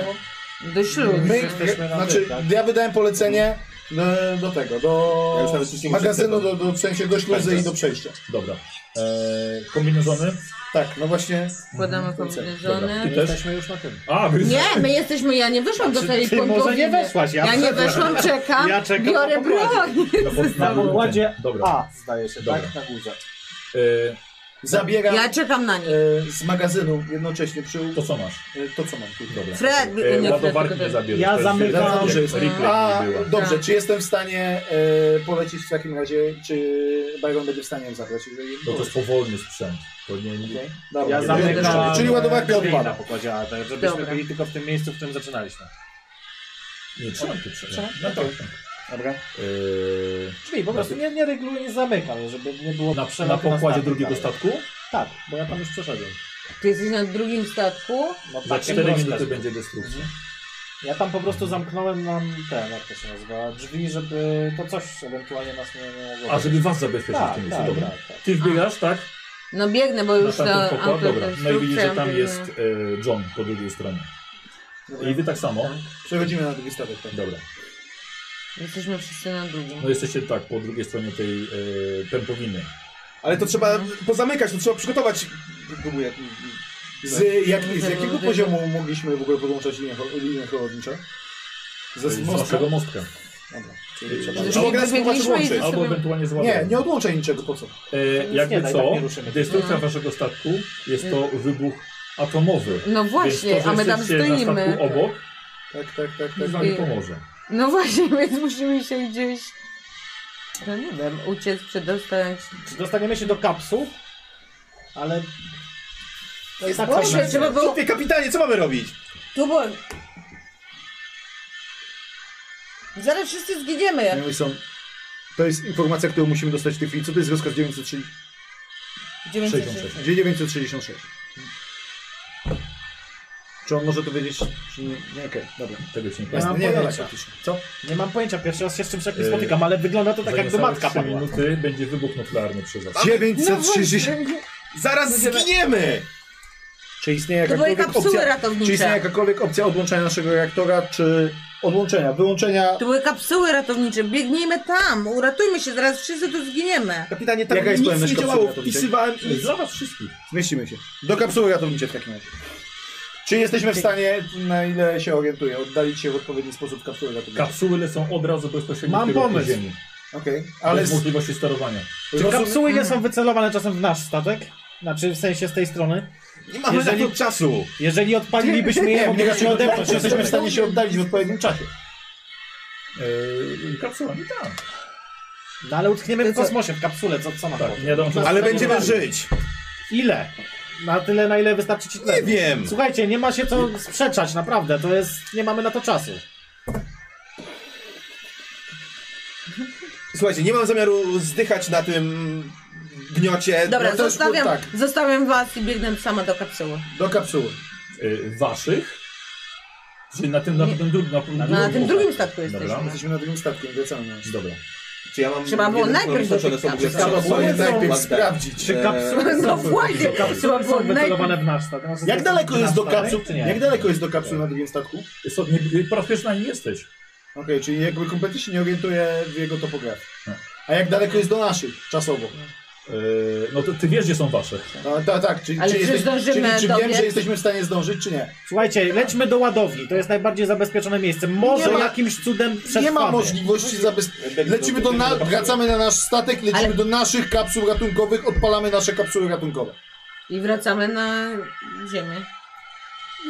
Speaker 3: do śluzy.
Speaker 2: My,
Speaker 4: jesteśmy na
Speaker 2: znaczy,
Speaker 4: wy, tak?
Speaker 2: ja wydałem polecenie do, do tego,
Speaker 11: Mhm. Ja już
Speaker 2: do
Speaker 11: nawet nic nie muszę
Speaker 2: magazynu, do,
Speaker 11: czytać.
Speaker 2: do, w sensie do śluzy i do przejścia.
Speaker 1: Dobra. Eee, kombinezony?
Speaker 2: Tak, no właśnie,
Speaker 3: Wkładamy
Speaker 1: Dobra. Ty
Speaker 3: kombinezony.
Speaker 1: też?
Speaker 4: Jesteśmy już na tym.
Speaker 1: A, wy...
Speaker 3: Nie, my jesteśmy, ja nie wyszłam do tej
Speaker 4: Ty może nie
Speaker 3: pąkowiny.
Speaker 4: weszłaś, ja
Speaker 3: Ja nie
Speaker 4: wszedłem.
Speaker 3: weszłam, czekam,
Speaker 4: Ja czekam
Speaker 3: biorę
Speaker 4: na pokładzie.
Speaker 3: broń.
Speaker 1: Na, pod-
Speaker 4: Na pokładzie
Speaker 1: Dobra.
Speaker 4: A, zdaje się, tak?
Speaker 1: Dobra.
Speaker 4: Na górze.
Speaker 1: Eee,
Speaker 2: zabieram
Speaker 3: Ja czekam na nie.
Speaker 2: e, z magazynu jednocześnie przy,
Speaker 1: to co masz?
Speaker 2: e, to, co mam tu.
Speaker 1: Dobra.
Speaker 3: Fred, nie,
Speaker 1: Eee,
Speaker 3: Fred,
Speaker 1: ładowarki
Speaker 3: tylko
Speaker 1: nie
Speaker 3: ten.
Speaker 1: zabierzesz.
Speaker 4: Ja
Speaker 1: to jest
Speaker 4: zamykam.
Speaker 1: wielka-
Speaker 2: Dobrze,
Speaker 1: Replay nie
Speaker 2: A,
Speaker 1: była.
Speaker 2: dobrze,
Speaker 3: Tak.
Speaker 2: czy jestem w stanie e, polecić w takim razie, czy Byron będzie w stanie ją zabrać? Jeżeli...
Speaker 1: No to jest powolny sprzęt. To nie, nie...
Speaker 2: Okej, dobra.
Speaker 4: Ja zamykam.
Speaker 2: Czyli ładowarka
Speaker 4: drzwi
Speaker 2: odpada.
Speaker 4: na pokładzie A, tak żebyśmy
Speaker 3: Dobra.
Speaker 4: byli tylko w tym miejscu, w którym zaczynaliśmy.
Speaker 1: Nie trzymam ty trzymam. No to.
Speaker 2: Dobra.
Speaker 1: Yy,
Speaker 4: Drzwi po prostu nie, nie reguluję, nie zamykam, żeby nie było
Speaker 1: na, na
Speaker 4: przelotu
Speaker 1: pokładzie
Speaker 4: statek
Speaker 1: drugiego
Speaker 4: dalej.
Speaker 1: statku
Speaker 4: Tak, bo ja tam już przeszedłem.
Speaker 3: Ty jesteś na drugim statku.
Speaker 4: No,
Speaker 1: za
Speaker 4: tak,
Speaker 1: 4
Speaker 4: rozkaz
Speaker 1: minuty
Speaker 4: był.
Speaker 1: będzie destrukcja.
Speaker 4: Mhm. Ja tam po prostu zamknąłem nam ten, jak to się nazywa, drzwi, żeby to coś ewentualnie nas nie nie mogło.
Speaker 1: A żeby was zabezpieczyć w
Speaker 4: tak,
Speaker 1: tym miejscu,
Speaker 4: tak,
Speaker 1: dobra.
Speaker 4: tak, tak.
Speaker 1: Ty wbiegasz, tak?
Speaker 3: No biegnę, bo
Speaker 1: Na
Speaker 3: już e,
Speaker 1: tamten
Speaker 3: ta
Speaker 1: pokład, dobra. No i widzisz, że tam
Speaker 3: autodestrukcja,
Speaker 1: jest
Speaker 3: biegnę.
Speaker 1: yy, John po drugiej stronie. I wy tak samo.
Speaker 2: Przechodzimy na drugi statek. tak.
Speaker 1: Dobra.
Speaker 3: Jesteśmy wszyscy na drugim.
Speaker 1: No jesteście tak, po drugiej stronie tej yy, pępowiny.
Speaker 5: Ale to trzeba pozamykać, to trzeba przygotować. Próbuję.
Speaker 2: Z, jak, z jakiego poziomu mogliśmy w ogóle podłączać linię, cho- linię chłodniczą? Ze
Speaker 1: Z
Speaker 2: z mostka?
Speaker 1: waszego mostka.
Speaker 2: Dobra.
Speaker 1: Yy,
Speaker 3: Czyli
Speaker 5: mogę
Speaker 3: jak
Speaker 5: nas
Speaker 3: wybiegliśmy
Speaker 5: spróbować
Speaker 3: i
Speaker 1: Albo
Speaker 3: sobie...
Speaker 1: ewentualnie z
Speaker 2: Nie,
Speaker 1: ładowarką.
Speaker 2: nie odłączaj niczego, po co?
Speaker 1: E,
Speaker 4: Nic
Speaker 1: jakby
Speaker 4: nie da i
Speaker 1: co,
Speaker 4: tak nie ruszymy.
Speaker 1: destrukcja
Speaker 3: No.
Speaker 1: waszego statku jest to wybuch atomowy.
Speaker 3: No
Speaker 1: Więc
Speaker 3: właśnie,
Speaker 1: to,
Speaker 3: a
Speaker 1: że
Speaker 3: my tam
Speaker 1: jesteście Na
Speaker 3: stoimy.
Speaker 1: statku obok
Speaker 2: Tak, tak, tak,
Speaker 1: nic
Speaker 2: tak.
Speaker 1: wam nie pomoże.
Speaker 3: No właśnie, więc musimy się gdzieś... No nie wiem, uciec, przedostać.
Speaker 4: Czy dostaniemy się do kapsuł? Ale... To jest tak
Speaker 3: Boże,
Speaker 4: fajne.
Speaker 2: No.
Speaker 3: trzeba było...
Speaker 5: Ty, kapitanie, co mamy robić?
Speaker 3: Tu było... Zaraz wszyscy zginiemy.
Speaker 2: Anyway, są- To jest informacja, którą musimy dostać w tej chwili. Co to jest rozkaz 906?
Speaker 1: 66.
Speaker 2: Gdzie 966? Czy on może to wiedzieć? Czy nie? Nie, okej, dobra.
Speaker 1: Tego ci nie
Speaker 4: Ja
Speaker 1: powiem.
Speaker 4: mam
Speaker 2: nie, tak nie,
Speaker 4: pojęcia.
Speaker 2: Co?
Speaker 4: Nie mam pojęcia, pierwszy raz się z czymś takim
Speaker 1: Yy,
Speaker 4: spotykam, ale wygląda to tak
Speaker 1: Za
Speaker 4: jak do
Speaker 1: niecałe
Speaker 4: matka
Speaker 1: trzy
Speaker 4: padła.
Speaker 1: minuty będzie wybuch nuklearny przy was.
Speaker 3: No
Speaker 2: 960! No
Speaker 5: Zaraz zginiemy!
Speaker 2: Czy istnieje
Speaker 3: To były
Speaker 2: jakakolwiek
Speaker 3: kapsuły
Speaker 2: opcja, czy istnieje
Speaker 3: ratownicze.
Speaker 2: jakakolwiek opcja odłączenia naszego reaktora, czy odłączenia, wyłączenia?
Speaker 3: To były kapsuły ratownicze. Biegnijmy tam, uratujmy się, zaraz wszyscy tu zginiemy.
Speaker 5: Kapitanie, tam
Speaker 2: Jaka jest
Speaker 5: nic
Speaker 2: pojemność
Speaker 5: nie
Speaker 2: kapsuły
Speaker 5: działało.
Speaker 2: ratowniczej?
Speaker 5: Wpisywałem i...
Speaker 1: Dla was wszystkich.
Speaker 2: Zmieścimy się. Do kapsuły ratowniczej w takim razie. Czy jesteśmy w stanie, na ile się orientuję, oddalić się w odpowiedni sposób kapsuły ratowniczej?
Speaker 1: Kapsuły lecą od razu bezpośrednio
Speaker 4: Mam
Speaker 1: w kierunku
Speaker 4: pomysł.
Speaker 1: Ziemi.
Speaker 2: Okej,
Speaker 1: Ale
Speaker 2: ale
Speaker 1: z
Speaker 2: z,
Speaker 1: możliwości sterowania.
Speaker 4: Czy
Speaker 2: rozum-
Speaker 4: kapsuły nie są wycelowane czasem w nasz statek? Znaczy w sensie z tej strony.
Speaker 5: Nie mamy
Speaker 4: Jeżeli-
Speaker 5: na to czasu.
Speaker 4: Jeżeli odpalilibyśmy je,
Speaker 2: nie, nie,
Speaker 4: moglibyśmy
Speaker 2: nie,
Speaker 4: odepchnąć.
Speaker 2: czy jesteśmy w
Speaker 4: Jesteśmy
Speaker 2: stanie się oddalić w odpowiednim czasie.
Speaker 1: Yy, kapsułami tak.
Speaker 4: No ale utkniemy w kosmosie, w kapsule, co, co ma
Speaker 1: tak
Speaker 4: to?
Speaker 1: nie wiadomo, co
Speaker 5: Ale
Speaker 1: co
Speaker 5: będziemy
Speaker 1: robić.
Speaker 5: żyć.
Speaker 4: Ile? Na tyle, na ile wystarczy ci
Speaker 5: Nie
Speaker 4: tlenu.
Speaker 5: wiem.
Speaker 4: Słuchajcie, nie ma się co sprzeczać, naprawdę, to jest... nie mamy na to czasu.
Speaker 5: Słuchajcie, nie mam zamiaru zdychać na tym gniocie.
Speaker 3: Dobra,
Speaker 5: No to już było
Speaker 3: zostawiam,
Speaker 5: tak.
Speaker 3: zostawiam was i biegnę sama do kapsuły.
Speaker 2: Do kapsuły.
Speaker 1: Yy, waszych Czyli na tym, na tym drugim. Na, na,
Speaker 3: No, na tym drugim statku
Speaker 1: Dobra.
Speaker 3: jesteśmy.
Speaker 2: Jesteśmy na drugim statkiem, wracamy.
Speaker 1: Dobra.
Speaker 11: Czy ja mam
Speaker 3: Trzeba było
Speaker 11: jeden
Speaker 3: najpierw
Speaker 11: kolor oznaczony,
Speaker 3: dotyka-
Speaker 11: co w ogóle
Speaker 3: Trzeba
Speaker 11: są?
Speaker 2: było
Speaker 11: Są
Speaker 2: najpierw
Speaker 5: tak
Speaker 11: ładne.
Speaker 2: sprawdzić.
Speaker 11: Eee,
Speaker 3: No właśnie, trzeba
Speaker 4: Kapsuły
Speaker 3: było
Speaker 4: są
Speaker 3: najpierw...
Speaker 4: wycelowane w nasz stan.
Speaker 2: Jak daleko jest do kapsuł?
Speaker 4: Czy nie?
Speaker 2: Jak daleko jest do kapsuł na drugim statku?
Speaker 1: Jest to, nie, po raz pierwszy na nim jesteś.
Speaker 2: Okej, czyli jakby kompletnie się nie orientuję w jego topografii.
Speaker 1: Tak.
Speaker 2: A jak daleko jest do naszych czasowo?
Speaker 1: Yy, no to ty wiesz, gdzie są wasze.
Speaker 2: No, tak, tak. Czyli,
Speaker 3: Ale
Speaker 2: czy,
Speaker 3: czy
Speaker 2: jesteś, czyli,
Speaker 3: zdążymy
Speaker 2: czy wiem,
Speaker 3: dobiec?
Speaker 2: że jesteśmy w stanie zdążyć, czy nie?
Speaker 4: Słuchajcie, lećmy do ładowni. To jest najbardziej zabezpieczone miejsce. Może
Speaker 2: Nie ma-
Speaker 4: jakimś cudem przetrwamy.
Speaker 2: Nie ma możliwości
Speaker 11: Jak
Speaker 2: zabezpieczenia.
Speaker 11: daleko-
Speaker 2: Lecimy do na... Wracamy na nasz statek, lecimy
Speaker 3: Ale-
Speaker 2: do naszych kapsuł ratunkowych, odpalamy nasze kapsuły ratunkowe.
Speaker 3: I wracamy na ziemię.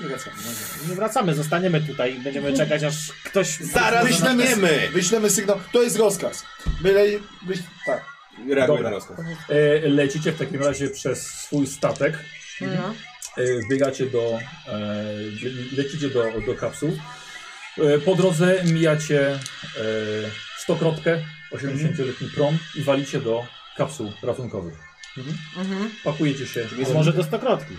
Speaker 2: I wracamy. no dobra.
Speaker 4: Nie wracamy, zostaniemy tutaj i będziemy
Speaker 2: Mhm.
Speaker 4: czekać, aż ktoś...
Speaker 11: Zaraz
Speaker 2: Wyślemy,
Speaker 11: zaczniemy!
Speaker 2: wyślemy sygnał. To jest rozkaz. Byle... Wyś... Tak.
Speaker 11: Reaguję
Speaker 1: Dobra.
Speaker 11: na rozkaz.
Speaker 1: E, lecicie w takim razie przez swój statek.
Speaker 3: No.
Speaker 1: E, Wbiegacie do. E, lecicie do, do kapsuł. E, po drodze mijacie e, stokrotkę, 80-letni prom i walicie do kapsuł ratunkowych.
Speaker 3: Mhm.
Speaker 1: Pakujecie się.
Speaker 4: Więc może do stokrotki.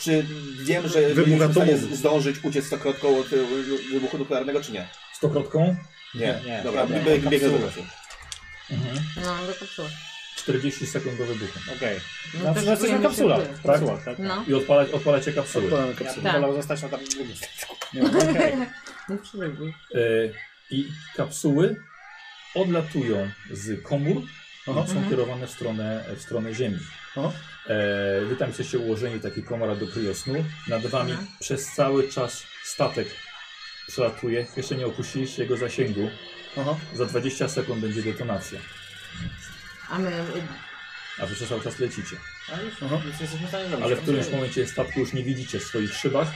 Speaker 11: Czy wiem, że
Speaker 6: Wybuch
Speaker 11: jesteśmy w stanie
Speaker 6: atomu.
Speaker 11: zdążyć uciec stokrotką
Speaker 5: e,
Speaker 11: od y, y, wybuchu nuklearnego, czy nie?
Speaker 1: Stokrotką.
Speaker 11: Nie.
Speaker 4: Nie.
Speaker 11: Dobra,
Speaker 4: Nie.
Speaker 11: bie- biegnę do
Speaker 4: Kapsuły.
Speaker 11: kapsuł.
Speaker 1: Mhm.
Speaker 3: No, do kapsuły.
Speaker 1: 40 sekund do wybuchu.
Speaker 4: Okej.
Speaker 3: No
Speaker 4: No, to
Speaker 3: to
Speaker 4: jesteśmy
Speaker 3: szykujemy
Speaker 4: w
Speaker 3: się
Speaker 4: kapsulach.
Speaker 3: w
Speaker 1: dół.
Speaker 4: Kapsułach, tak?
Speaker 3: No.
Speaker 1: I odpalać, odpalacie kapsuły.
Speaker 2: Odpalamy
Speaker 4: Ja
Speaker 2: kapsuły.
Speaker 4: bym
Speaker 3: Tak.
Speaker 4: wolał zostać na tam drugim statku.
Speaker 3: No, przeżył.
Speaker 1: E, I kapsuły odlatują z komór i są
Speaker 3: Mhm.
Speaker 1: kierowane w stronę, w stronę Ziemi. E, wy tam jesteście ułożeni, taki komara do kryosnu. Nad wami
Speaker 3: Mhm.
Speaker 1: przez cały czas statek przelatuje. Jeszcze nie opuściliście jego zasięgu. Za 20 sekund będzie detonacja,
Speaker 3: A my...
Speaker 1: a wy przez cały czas lecicie.
Speaker 4: A już, już jesteśmy w stanie zrobić.
Speaker 1: Ale w którymś momencie statku już nie widzicie w swoich szybach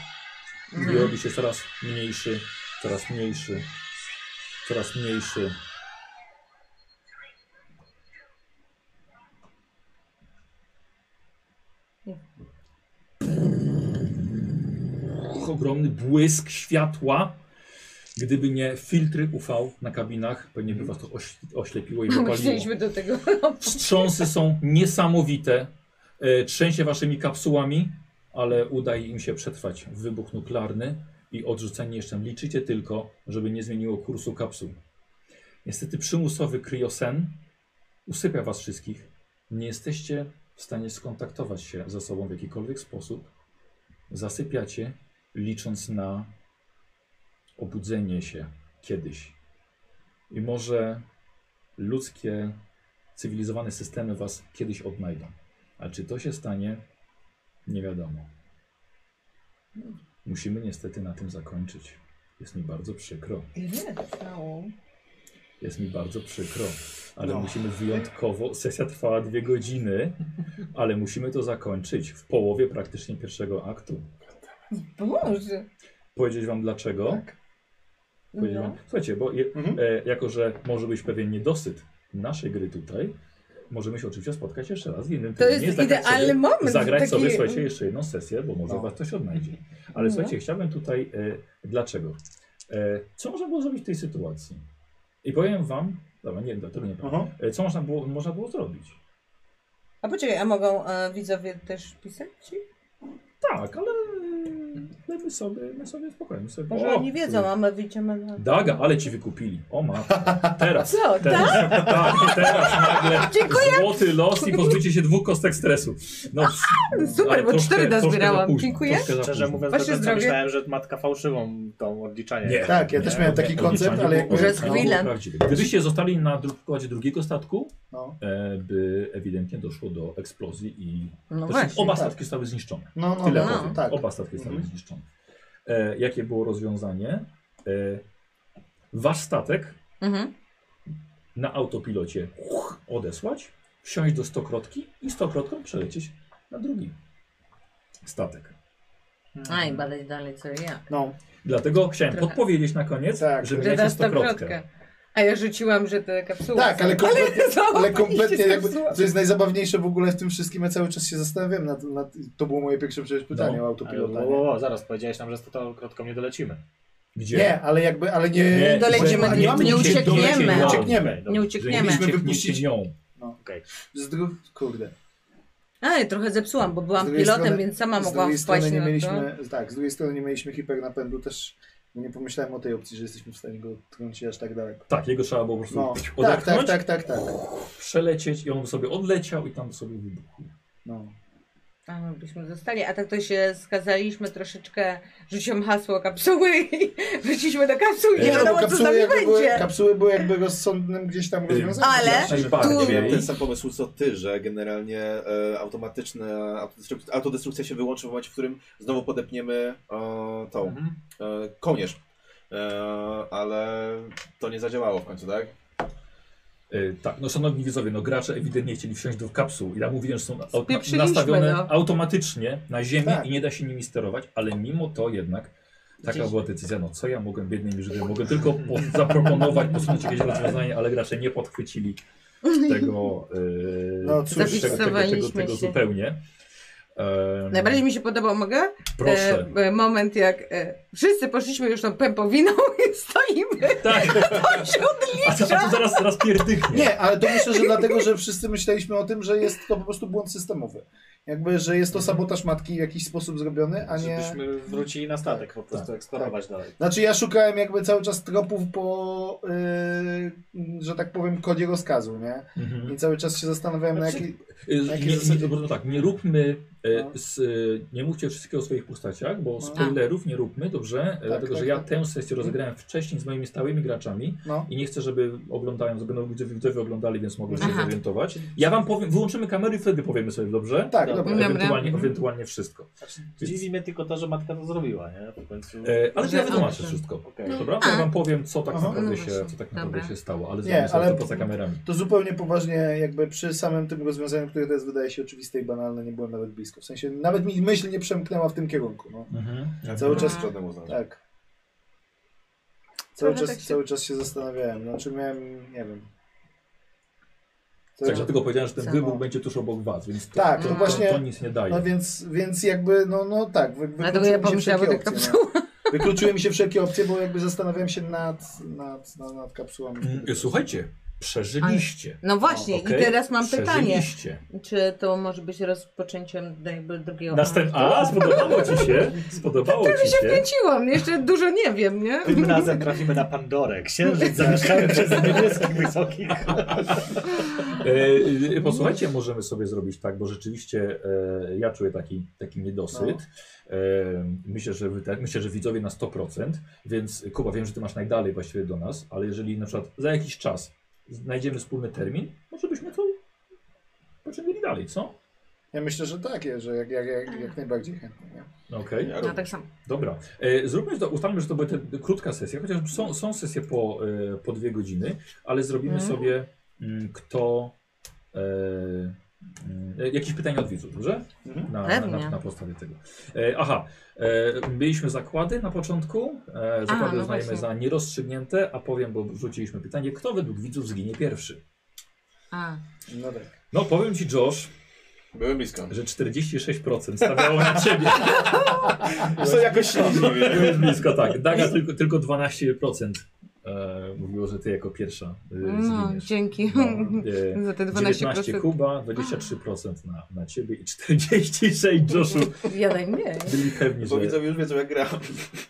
Speaker 1: i
Speaker 3: Mhm.
Speaker 1: robi się coraz mniejszy, coraz mniejszy, coraz mniejszy. Uch, Ogromny błysk światła. Gdyby nie filtry UV na kabinach, pewnie by was to oś- oślepiło i wypaliło.
Speaker 3: Chcieliśmy do tego...
Speaker 1: Wstrząsy są niesamowite. E, Trzęsie waszymi kapsułami, ale udaje im się przetrwać wybuch nuklearny i odrzucenie jeszcze. Liczycie tylko, żeby nie zmieniło kursu kapsuł. Niestety przymusowy kryosen usypia was wszystkich. Nie jesteście w stanie skontaktować się ze sobą w jakikolwiek sposób. Zasypiacie, licząc na obudzenie się kiedyś. I może ludzkie cywilizowane systemy was kiedyś odnajdą. Ale czy to się stanie, nie wiadomo. Musimy niestety na tym zakończyć. Jest mi bardzo przykro. Jest mi bardzo przykro, ale musimy wyjątkowo. Sesja trwała dwie godziny, ale musimy to zakończyć w połowie praktycznie pierwszego aktu.
Speaker 3: Boże.
Speaker 1: Powiedzieć wam dlaczego?
Speaker 3: No.
Speaker 1: Powiedzieć wam, słuchajcie, bo je,
Speaker 2: Mhm.
Speaker 1: e, jako, że może być pewien niedosyt naszej gry tutaj, możemy się oczywiście spotkać jeszcze raz w innym
Speaker 3: To
Speaker 1: terminie,
Speaker 3: jest
Speaker 1: zagrać
Speaker 3: idealny
Speaker 1: sobie,
Speaker 3: moment.
Speaker 1: Zagrać
Speaker 3: taki...
Speaker 1: sobie, słuchajcie, jeszcze jedną sesję, bo
Speaker 2: No.
Speaker 1: może was ktoś odnajdzie. Ale
Speaker 3: No.
Speaker 1: słuchajcie, chciałbym tutaj, e, dlaczego? E, co można było zrobić w tej sytuacji? I powiem wam, dobra, nie, do tego nie powiem.
Speaker 2: Aha.
Speaker 1: E, co można było, można było zrobić?
Speaker 3: A poczekaj, a mogą e, widzowie też pisać ci?
Speaker 1: Tak, ale e, my sobie, my sobie spokojnie. My sobie,
Speaker 3: Może
Speaker 1: o, tak.
Speaker 3: oni wiedzą, a my widzimy na...
Speaker 1: Daga, ale ci wykupili. O matka. Teraz.
Speaker 3: Co,
Speaker 1: Teraz, tak, teraz nagle
Speaker 3: Dziękuję.
Speaker 1: złoty los i pozbycie się dwóch kostek stresu. No,
Speaker 3: super,
Speaker 1: ale
Speaker 3: bo
Speaker 1: troszkę-
Speaker 3: cztery
Speaker 1: troszkę
Speaker 3: dozbierałam.
Speaker 1: za późno,
Speaker 3: Dziękuję.
Speaker 1: troszkę za
Speaker 4: Szczerze
Speaker 1: późno.
Speaker 4: mówiąc,
Speaker 3: Wasze
Speaker 4: do końca
Speaker 3: zdrowie.
Speaker 4: myślałem, że matka fałszywą tą odliczanie.
Speaker 1: Nie. no,
Speaker 2: Tak, ja też miałem taki koncept, ale jak...
Speaker 3: Że z
Speaker 1: To było
Speaker 3: grillem.
Speaker 1: prawdziwe. Gdybyście zostali na dru- pokładzie drugiego statku,
Speaker 2: No.
Speaker 1: e, by ewidentnie doszło do eksplozji i
Speaker 3: No
Speaker 1: Zresztą
Speaker 3: właśnie.
Speaker 1: oba
Speaker 2: tak.
Speaker 1: statki zostały zniszczone.
Speaker 2: No, no,
Speaker 1: Tyle
Speaker 2: no,
Speaker 1: powiem.
Speaker 2: tak.
Speaker 1: Oba statki zostały
Speaker 2: Mhm.
Speaker 1: zniszczone. E, jakie było rozwiązanie? E, wasz statek
Speaker 3: Mhm.
Speaker 1: na autopilocie uch, odesłać, wsiąść do stokrotki i stokrotką przelecieć na drugi statek.
Speaker 3: Aj, badać No dalej co i jak.
Speaker 2: No,
Speaker 1: Dlatego chciałem
Speaker 3: Trochę.
Speaker 1: podpowiedzieć na koniec,
Speaker 2: Tak.
Speaker 1: że
Speaker 3: Że
Speaker 1: mieliście
Speaker 3: da
Speaker 1: stokrotkę.
Speaker 3: stokrotkę. A ja rzuciłam, że te kapsuły.
Speaker 2: tak,
Speaker 3: są.
Speaker 2: ale kompletnie...
Speaker 3: Załapaliście
Speaker 2: Ale kompletnie,
Speaker 3: z
Speaker 2: jakby,
Speaker 3: kapsułą.
Speaker 2: co jest najzabawniejsze w ogóle w tym wszystkim, ja cały czas się zastanawiam nad, nad to było moje pierwsze przecież pytanie
Speaker 1: No,
Speaker 2: o
Speaker 4: Ale,
Speaker 2: autopilota.
Speaker 4: o,
Speaker 2: Nie,
Speaker 4: o, o, zaraz, powiedziałeś nam, że z tą krótką nie dolecimy.
Speaker 1: Gdzie?
Speaker 2: nie ale jakby, ale nie...
Speaker 1: Nie,
Speaker 3: dolecimy,
Speaker 2: nie,
Speaker 3: nie
Speaker 2: mamy
Speaker 1: nie
Speaker 2: nic-
Speaker 1: uciekniemy.
Speaker 2: Nie
Speaker 1: Wow.
Speaker 2: uciekniemy.
Speaker 3: Nie
Speaker 1: Że
Speaker 3: uciekniemy.
Speaker 1: mieliśmy
Speaker 2: wypuścić-
Speaker 1: wypuścić nią.
Speaker 2: Z dru... Kurde.
Speaker 3: Ale trochę zepsułam, bo
Speaker 2: Z
Speaker 3: byłam
Speaker 2: drugiej
Speaker 3: pilotem,
Speaker 2: strony-
Speaker 3: więc sama
Speaker 2: z
Speaker 3: mogłam
Speaker 2: drugiej
Speaker 3: wpaść
Speaker 2: strony nie
Speaker 3: na to.
Speaker 2: mieliśmy, Tak, z drugiej strony nie mieliśmy hipernapędu też Nie pomyślałem o tej opcji, że jesteśmy w stanie go odtrącić aż tak daleko.
Speaker 1: Tak, jego trzeba było po prostu
Speaker 2: No, tak,
Speaker 1: odepchnąć,
Speaker 2: tak, tak, tak, tak.
Speaker 1: przelecieć i on sobie odleciał i tam sobie wybuchł.
Speaker 2: No.
Speaker 3: A, no, byśmy zostali, a tak to się skazaliśmy troszeczkę, rzuciłam hasło kapsuły i wróciliśmy do kapsuły, nie
Speaker 2: Nie, no, bo
Speaker 3: wiadomo co z nami
Speaker 2: kapsuły, jakby były,
Speaker 3: będzie.
Speaker 2: kapsuły były jakby rozsądnym gdzieś tam rozwiązaniem.
Speaker 3: Ale
Speaker 1: Znaczy,
Speaker 5: Nie
Speaker 1: bardziej.
Speaker 5: miałem ten sam pomysł co ty, że generalnie e, automatyczna autodestrukcja, autodestrukcja się wyłączy w momencie, w którym znowu podepniemy e, tą
Speaker 1: Mhm.
Speaker 5: e, kołnierz. E, ale to nie zadziałało w końcu, tak?
Speaker 1: E, tak, no szanowni widzowie, no gracze ewidentnie chcieli wsiąść do kapsuł i tam mówiłem, że są au- na,
Speaker 3: Spieprzyliśmy,
Speaker 1: nastawione
Speaker 3: no.
Speaker 1: automatycznie na ziemię
Speaker 2: Tak.
Speaker 1: i nie da się nimi sterować, ale mimo to jednak taka
Speaker 4: Gdzieś-
Speaker 1: była decyzja, no co ja mogłem biednym Żydem, mogę tylko po, zaproponować, posunąć jakieś rozwiązanie, ale gracze nie podchwycili tego, e,
Speaker 2: No cóż,
Speaker 1: tego, tego, tego, tego,
Speaker 3: Zafiksowaliśmy
Speaker 1: tego
Speaker 3: się.
Speaker 1: zupełnie. E,
Speaker 3: Najbardziej mi się podobał, mogę?
Speaker 1: Proszę.
Speaker 3: E, e, moment jak e, wszyscy poszliśmy już tą pępowiną i stoimy.
Speaker 1: Tak,
Speaker 3: To się
Speaker 1: a co, a co
Speaker 3: odlicza.
Speaker 1: zaraz, zaraz pierdyknie.
Speaker 2: Nie, ale to myślę, że dlatego, że wszyscy myśleliśmy o tym, że jest to po prostu błąd systemowy. Jakby, że jest to sabotaż matki w jakiś sposób zrobiony, a nie...
Speaker 4: Żebyśmy wrócili na statek po prostu, eksplorować dalej.
Speaker 2: Znaczy ja szukałem jakby cały czas tropów po, yy, że tak powiem, kodzie rozkazu, nie?
Speaker 1: Mhm.
Speaker 2: I cały czas się zastanawiałem na
Speaker 1: Znaczy-
Speaker 2: jaki...
Speaker 1: Y,
Speaker 2: Takie
Speaker 1: Nie,
Speaker 2: zasady.
Speaker 1: nie, bo tak, nie róbmy, e,
Speaker 2: No.
Speaker 1: s- e, nie mówcie wszystkiego o swoich postaciach, bo
Speaker 3: No.
Speaker 1: spoilerów nie róbmy, dobrze? E, Dlatego,
Speaker 2: tak,
Speaker 1: że ja
Speaker 2: tak.
Speaker 1: tę sesję rozegrałem wcześniej z moimi stałymi graczami
Speaker 2: No.
Speaker 1: i nie chcę, żeby oglądają, żeby no, widzowie, widzowie oglądali, więc mogą się
Speaker 3: Aha.
Speaker 1: zorientować. Ja wam powiem, wyłączymy kamery i wtedy powiemy sobie, dobrze? E,
Speaker 2: Tak,
Speaker 4: Dobra.
Speaker 2: dobra.
Speaker 3: Dobra. Mhm.
Speaker 1: Ewentualnie, ewentualnie wszystko.
Speaker 4: Dziwi mnie Znaczy, tylko to, że matka to zrobiła, nie? W końcu...
Speaker 1: E, ale to ja
Speaker 3: Że-
Speaker 1: wytłumaczę
Speaker 3: a,
Speaker 1: wszystko.
Speaker 4: Okej.
Speaker 1: Dobra? To ja
Speaker 3: No. A.
Speaker 1: wam powiem, co tak
Speaker 2: Aha.
Speaker 1: naprawdę,
Speaker 3: No
Speaker 1: się,
Speaker 3: właśnie,
Speaker 1: co tak naprawdę
Speaker 3: dobra.
Speaker 1: się stało, ale
Speaker 2: Nie,
Speaker 1: zrobimy sobie
Speaker 2: ale-
Speaker 1: to poza kamerami.
Speaker 2: To zupełnie poważnie, jakby przy samym tym rozwiązaniu, które teraz wydaje się oczywiste i banalne, nie byłem nawet blisko. W sensie nawet mi myśl nie przemknęła w tym kierunku. No.
Speaker 1: Mhm.
Speaker 2: Cały czas,
Speaker 5: Żadnemu z nas.
Speaker 2: tak. Cały
Speaker 3: Trochę
Speaker 2: czas,
Speaker 3: tak się-
Speaker 2: cały czas się zastanawiałem. Znaczy miałem, nie wiem. Cały
Speaker 1: Tak,
Speaker 2: czas-
Speaker 1: dlatego powiedziałem, że ten
Speaker 3: Samo.
Speaker 1: wybuch będzie tuż obok was, więc to,
Speaker 2: Tak,
Speaker 1: to,
Speaker 2: to
Speaker 3: No.
Speaker 1: to,
Speaker 2: właśnie-
Speaker 1: to nic nie daje.
Speaker 2: No więc, więc jakby, no, no tak. Wy,
Speaker 3: Dlatego
Speaker 2: wykluczyły
Speaker 3: ja
Speaker 2: mi się
Speaker 3: pomyślałam o
Speaker 2: wszelkie
Speaker 3: tych
Speaker 2: opcje, no.
Speaker 3: kapsułach.
Speaker 2: Wykluczyły mi się wszelkie opcje, bo jakby zastanawiałem się nad, nad, nad, nad kapsułami.
Speaker 1: Mm, Słuchajcie, przeżyliście.
Speaker 3: No właśnie,
Speaker 1: okej.
Speaker 3: i teraz mam pytanie.
Speaker 1: Przeżyliście.
Speaker 3: Czy to może być rozpoczęciem jakby drugiego
Speaker 1: Następ... A, spodobało ci się? Spodobało
Speaker 3: Tak,
Speaker 1: ci się?
Speaker 3: Kręciłam, jeszcze dużo nie wiem, nie?
Speaker 4: Tym razem trafimy na Pandorę. Księżyc zamieszkany przez niebieskich wysokich.
Speaker 1: E, e, posłuchajcie, możemy sobie zrobić tak, bo rzeczywiście e, ja czuję taki, taki niedosyt.
Speaker 3: No.
Speaker 1: E, myślę, że wy, tak, myślę, że widzowie na 100%, więc Kuba, wiem, że ty masz najdalej właściwie do nas, ale jeżeli na przykład za jakiś czas znajdziemy wspólny termin, może byśmy to pociągnęli dalej, co?
Speaker 2: Ja myślę, że tak, że jak, jak, jak, jak najbardziej chętnie. Nie?
Speaker 1: Okej.
Speaker 5: Ja
Speaker 3: No
Speaker 5: robię.
Speaker 3: tak samo.
Speaker 1: Dobra. E, Zróbmy to, ustalmy, że to była krótka sesja, chociaż są, są sesje po, e, po dwie godziny, ale zrobimy
Speaker 3: Mhm.
Speaker 1: sobie mm, kto. E, mm, e, jakieś pytania od widzów, dobrze? Na, na, na,
Speaker 3: Pewnie.
Speaker 1: na podstawie tego. E, aha, e, mieliśmy zakłady na początku. E, zakłady
Speaker 3: no
Speaker 1: uznajemy
Speaker 3: właśnie.
Speaker 1: za nierozstrzygnięte, a powiem, bo rzuciliśmy pytanie, kto według widzów zginie pierwszy?
Speaker 3: A.
Speaker 2: No tak.
Speaker 1: No powiem ci, Josh,
Speaker 5: Byłem blisko.
Speaker 1: że 46% stawiało na ciebie.
Speaker 5: Co jakoś
Speaker 1: Byłeś blisko, tak. Daga tylko, tylko 12% e, mówiło, że ty jako pierwsza e,
Speaker 3: No,
Speaker 1: zginiesz.
Speaker 3: dzięki
Speaker 1: e,
Speaker 3: za te
Speaker 1: 19
Speaker 3: 12%.
Speaker 1: Kuba, 23% na, na ciebie i 46 Joshu.
Speaker 3: Ja najmniej.
Speaker 1: Byli pewni,
Speaker 5: Bo
Speaker 1: że, że,
Speaker 5: widzowie już wiedzą jak gram.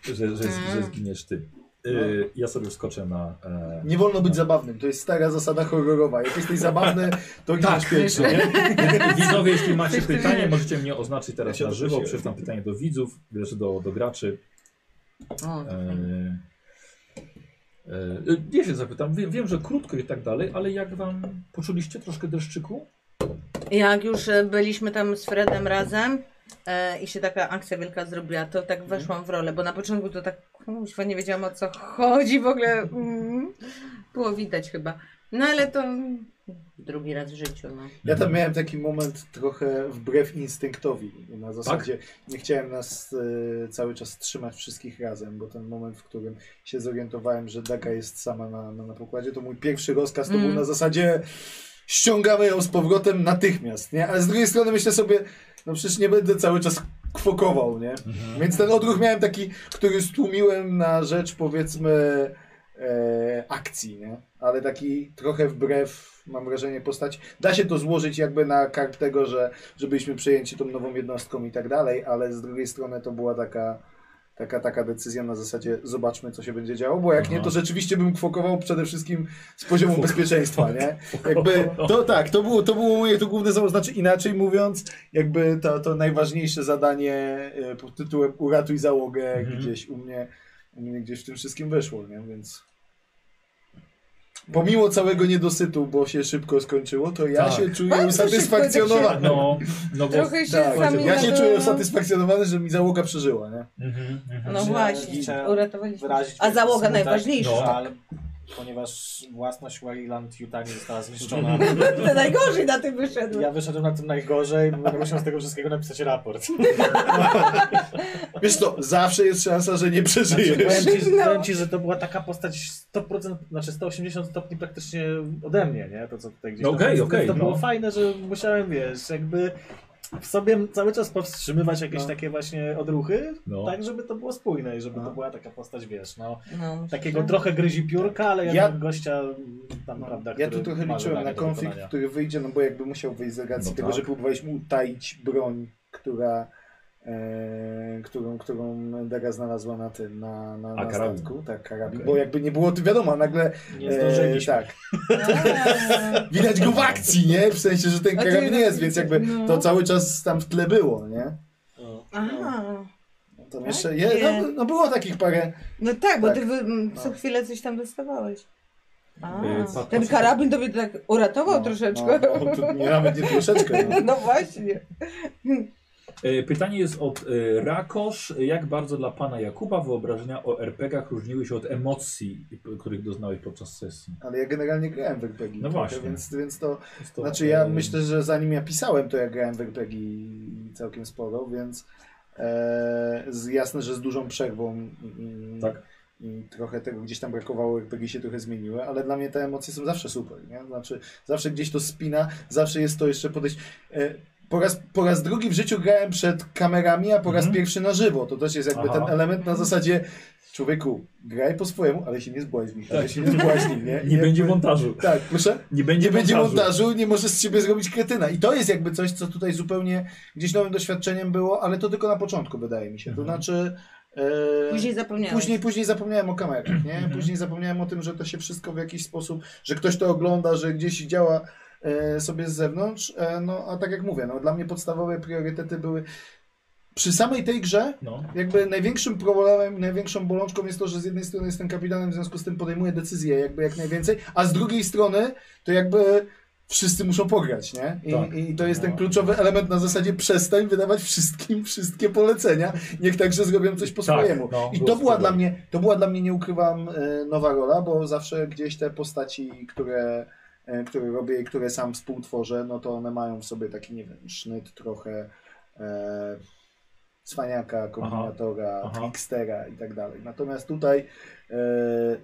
Speaker 1: że, że, że zginiesz ty. E,
Speaker 5: No.
Speaker 1: ja sobie wskoczę na... E,
Speaker 2: Nie wolno być zabawnym, to jest stara zasada horrorowa. Jak jesteś zabawny, to gdzieś pierwszy. nie?
Speaker 1: Widzowie, jeśli macie
Speaker 3: Coś ty
Speaker 1: pytanie,
Speaker 3: wiesz.
Speaker 1: możecie mnie oznaczyć teraz
Speaker 5: Ja się
Speaker 1: na żywo.
Speaker 5: odprosiłem.
Speaker 1: Przeczytam pytanie do widzów, też do, do graczy.
Speaker 3: O,
Speaker 2: No,
Speaker 3: to fajnie.
Speaker 1: E, e, ja się zapytam, wiem, wiem, że krótko i tak dalej, ale jak wam poczuliście troszkę dreszczyku?
Speaker 3: Jak już e, byliśmy tam z Fredem razem e, i się taka akcja wielka zrobiła, to tak weszłam w rolę, bo na początku to tak kuźwa, nie wiedziałam o co chodzi w ogóle. Mm, było widać chyba. No ale to mm, drugi raz w życiu. No.
Speaker 2: Ja tam miałem taki moment trochę wbrew instynktowi. Na zasadzie nie chciałem nas e, cały czas trzymać wszystkich razem, bo ten moment, w którym się zorientowałem, że Daga jest sama na, na, na pokładzie, to mój pierwszy rozkaz to
Speaker 3: Mm.
Speaker 2: był na zasadzie ściągamy ją z powrotem natychmiast, nie? Ale z drugiej strony myślę sobie, no przecież nie będę cały czas kwokował, nie? Więc ten odruch miałem taki, który stłumiłem na rzecz powiedzmy e, akcji, nie? Ale taki trochę wbrew, mam wrażenie, postać. Da się to złożyć jakby na kart tego, że, że byliśmy przejęci tą nową jednostką i tak dalej, ale z drugiej strony to była taka Taka, taka decyzja na zasadzie zobaczmy, co się będzie działo, bo jak
Speaker 1: Aha.
Speaker 2: nie, to rzeczywiście bym kwokował przede wszystkim z poziomu
Speaker 1: Kwok-
Speaker 2: bezpieczeństwa, nie? Jakby to tak, to było, to było moje tu główne założenie, znaczy inaczej mówiąc, jakby to, to najważniejsze zadanie e, pod tytułem uratuj załogę
Speaker 1: Mhm.
Speaker 2: gdzieś u mnie, u mnie gdzieś w tym wszystkim wyszło, nie? Więc pomimo całego niedosytu, bo się szybko skończyło, to ja
Speaker 1: Tak.
Speaker 2: się czuję
Speaker 3: Bardzo
Speaker 2: usatysfakcjonowany.
Speaker 1: No, no bo...
Speaker 3: Trochę się
Speaker 2: Tak,
Speaker 3: sami
Speaker 2: ja się
Speaker 3: nadu-
Speaker 2: czuję usatysfakcjonowany, że mi załoga przeżyła, nie?
Speaker 1: Mhm, mhm.
Speaker 3: No
Speaker 4: Że
Speaker 3: właśnie,
Speaker 4: chciałem
Speaker 3: uratowaliśmy.
Speaker 4: wyrazić
Speaker 3: A załoga
Speaker 4: wielki smutek,
Speaker 3: najważniejsza.
Speaker 4: że-
Speaker 1: No.
Speaker 4: ale Ponieważ własność Wayland Utah nie została zniszczona.
Speaker 3: To najgorzej na tym wyszedłem.
Speaker 4: Ja wyszedłem na tym najgorzej, bo będę musiał z tego wszystkiego napisać raport.
Speaker 2: Wiesz co, zawsze jest szansa, że nie
Speaker 4: Znaczy,
Speaker 2: przeżyjesz.
Speaker 4: powiem, ci,
Speaker 3: No.
Speaker 4: powiem ci, że to była taka postać 100%, znaczy 180 stopni praktycznie ode mnie, nie? To co tutaj gdzieś
Speaker 1: No
Speaker 4: tam-
Speaker 1: okej,
Speaker 4: to,
Speaker 1: okej,
Speaker 4: to
Speaker 1: no.
Speaker 4: było fajne, że musiałem, wiesz, jakby w sobie cały czas powstrzymywać jakieś
Speaker 2: No.
Speaker 4: takie właśnie odruchy,
Speaker 1: No.
Speaker 4: tak żeby to było spójne i żeby
Speaker 2: No.
Speaker 4: to była taka postać, wiesz, no
Speaker 3: No,
Speaker 4: takiego trochę gryzi piórka, ale
Speaker 2: Ja-
Speaker 4: jednak gościa tam, prawda,
Speaker 2: Ja
Speaker 4: Tak, który
Speaker 2: tu trochę
Speaker 4: ma
Speaker 2: liczyłem
Speaker 4: zadanie
Speaker 2: na
Speaker 4: do
Speaker 2: konflikt,
Speaker 4: wykonania.
Speaker 2: który wyjdzie, no bo jakby musiał wyjść z racji
Speaker 1: No
Speaker 2: tego,
Speaker 1: tak.
Speaker 2: że próbowaliśmy utaić broń, która, e, którą, którą Daga znalazła na tym, na, na,
Speaker 1: A,
Speaker 2: na
Speaker 1: karabin.
Speaker 2: statku. Tak, karabin.
Speaker 1: Okej.
Speaker 2: Bo jakby nie było, to wiadomo, nagle
Speaker 4: Nie zdążyliśmy.
Speaker 2: tak. Widać go w akcji, nie? W sensie, że ten
Speaker 3: A ty-
Speaker 2: karabin jest, więc jakby
Speaker 3: no.
Speaker 2: to cały czas tam w tle było, nie?
Speaker 4: No.
Speaker 3: E, Aha.
Speaker 2: Tam jeszcze je, no, no było takich parę.
Speaker 3: No tak, bo
Speaker 2: Tak.
Speaker 3: ty wy, m, co
Speaker 2: No.
Speaker 3: chwilę coś tam dostawałeś. A,
Speaker 1: Yy, patrz-
Speaker 3: ten karabin tobie tak uratował troszeczkę.
Speaker 2: No, no, tu nie, nawet nie troszeczkę. No.
Speaker 3: No. właśnie.
Speaker 1: E, Pytanie jest od e, Rakosz. Jak bardzo dla pana Jakuba wyobrażenia o RPG-ach różniły się od emocji, p- których doznałeś podczas sesji?
Speaker 2: Ale ja generalnie grałem w RPG.
Speaker 1: No
Speaker 2: trochę,
Speaker 1: właśnie.
Speaker 2: Więc, więc to
Speaker 1: Jest to,
Speaker 2: Znaczy ja
Speaker 1: e,
Speaker 2: myślę, że zanim ja pisałem, to ja grałem w RPG całkiem sporo, więc e, z, jasne, że z dużą przerwą i, i-
Speaker 1: Tak.
Speaker 2: i trochę tego gdzieś tam brakowało, RPG się trochę zmieniły, ale dla mnie te emocje są zawsze super, nie? Znaczy zawsze gdzieś to spina, zawsze jest to jeszcze podejść... E, po raz, po raz drugi w życiu grałem przed kamerami, a po raz
Speaker 1: Mhm.
Speaker 2: pierwszy na żywo. To też jest jakby
Speaker 1: Aha.
Speaker 2: ten element na zasadzie człowieku, graj po swojemu, ale się nie zbłaźnij, ale
Speaker 1: Tak.
Speaker 2: się nie zbłaźnij, nie?
Speaker 1: Nie
Speaker 2: I
Speaker 1: będzie
Speaker 2: jakby-
Speaker 1: montażu.
Speaker 2: Tak, proszę?
Speaker 1: Nie będzie,
Speaker 2: nie będzie montażu, nie możesz z siebie zrobić kretyna. I to jest jakby coś, co tutaj zupełnie gdzieś nowym doświadczeniem było, ale to tylko na początku wydaje mi się. To
Speaker 1: Mhm.
Speaker 2: znaczy. e,
Speaker 3: Później zapomniałeś.
Speaker 2: Później, później zapomniałem o kamerach, nie?
Speaker 1: Mhm.
Speaker 2: Później zapomniałem o tym, że to się wszystko w jakiś sposób, że ktoś to ogląda, że gdzieś działa e, sobie z zewnątrz. E, no, a tak jak mówię, no, dla mnie podstawowe priorytety były przy samej tej grze,
Speaker 1: No.
Speaker 2: jakby największym problemem, największą bolączką jest to, że z jednej strony jestem kapitanem, w związku z tym podejmuję decyzje jakby jak najwięcej, a z drugiej strony to jakby wszyscy muszą pograć, nie? I,
Speaker 1: Tak.
Speaker 2: i to jest ten kluczowy element na zasadzie przestań wydawać wszystkim wszystkie polecenia, niech także zrobią coś po
Speaker 1: Tak,
Speaker 2: swojemu.
Speaker 1: no,
Speaker 2: I
Speaker 1: było
Speaker 2: to była
Speaker 1: spoko.
Speaker 2: dla mnie, to była dla mnie, nie ukrywam, e, nowa rola, bo zawsze gdzieś te postaci, które e, które robię i które sam współtworzę, no to one mają w sobie taki, nie wiem, sznyt trochę e, cwaniaka, kombinatora,
Speaker 1: Aha.
Speaker 2: trickstera i tak dalej. Natomiast tutaj e,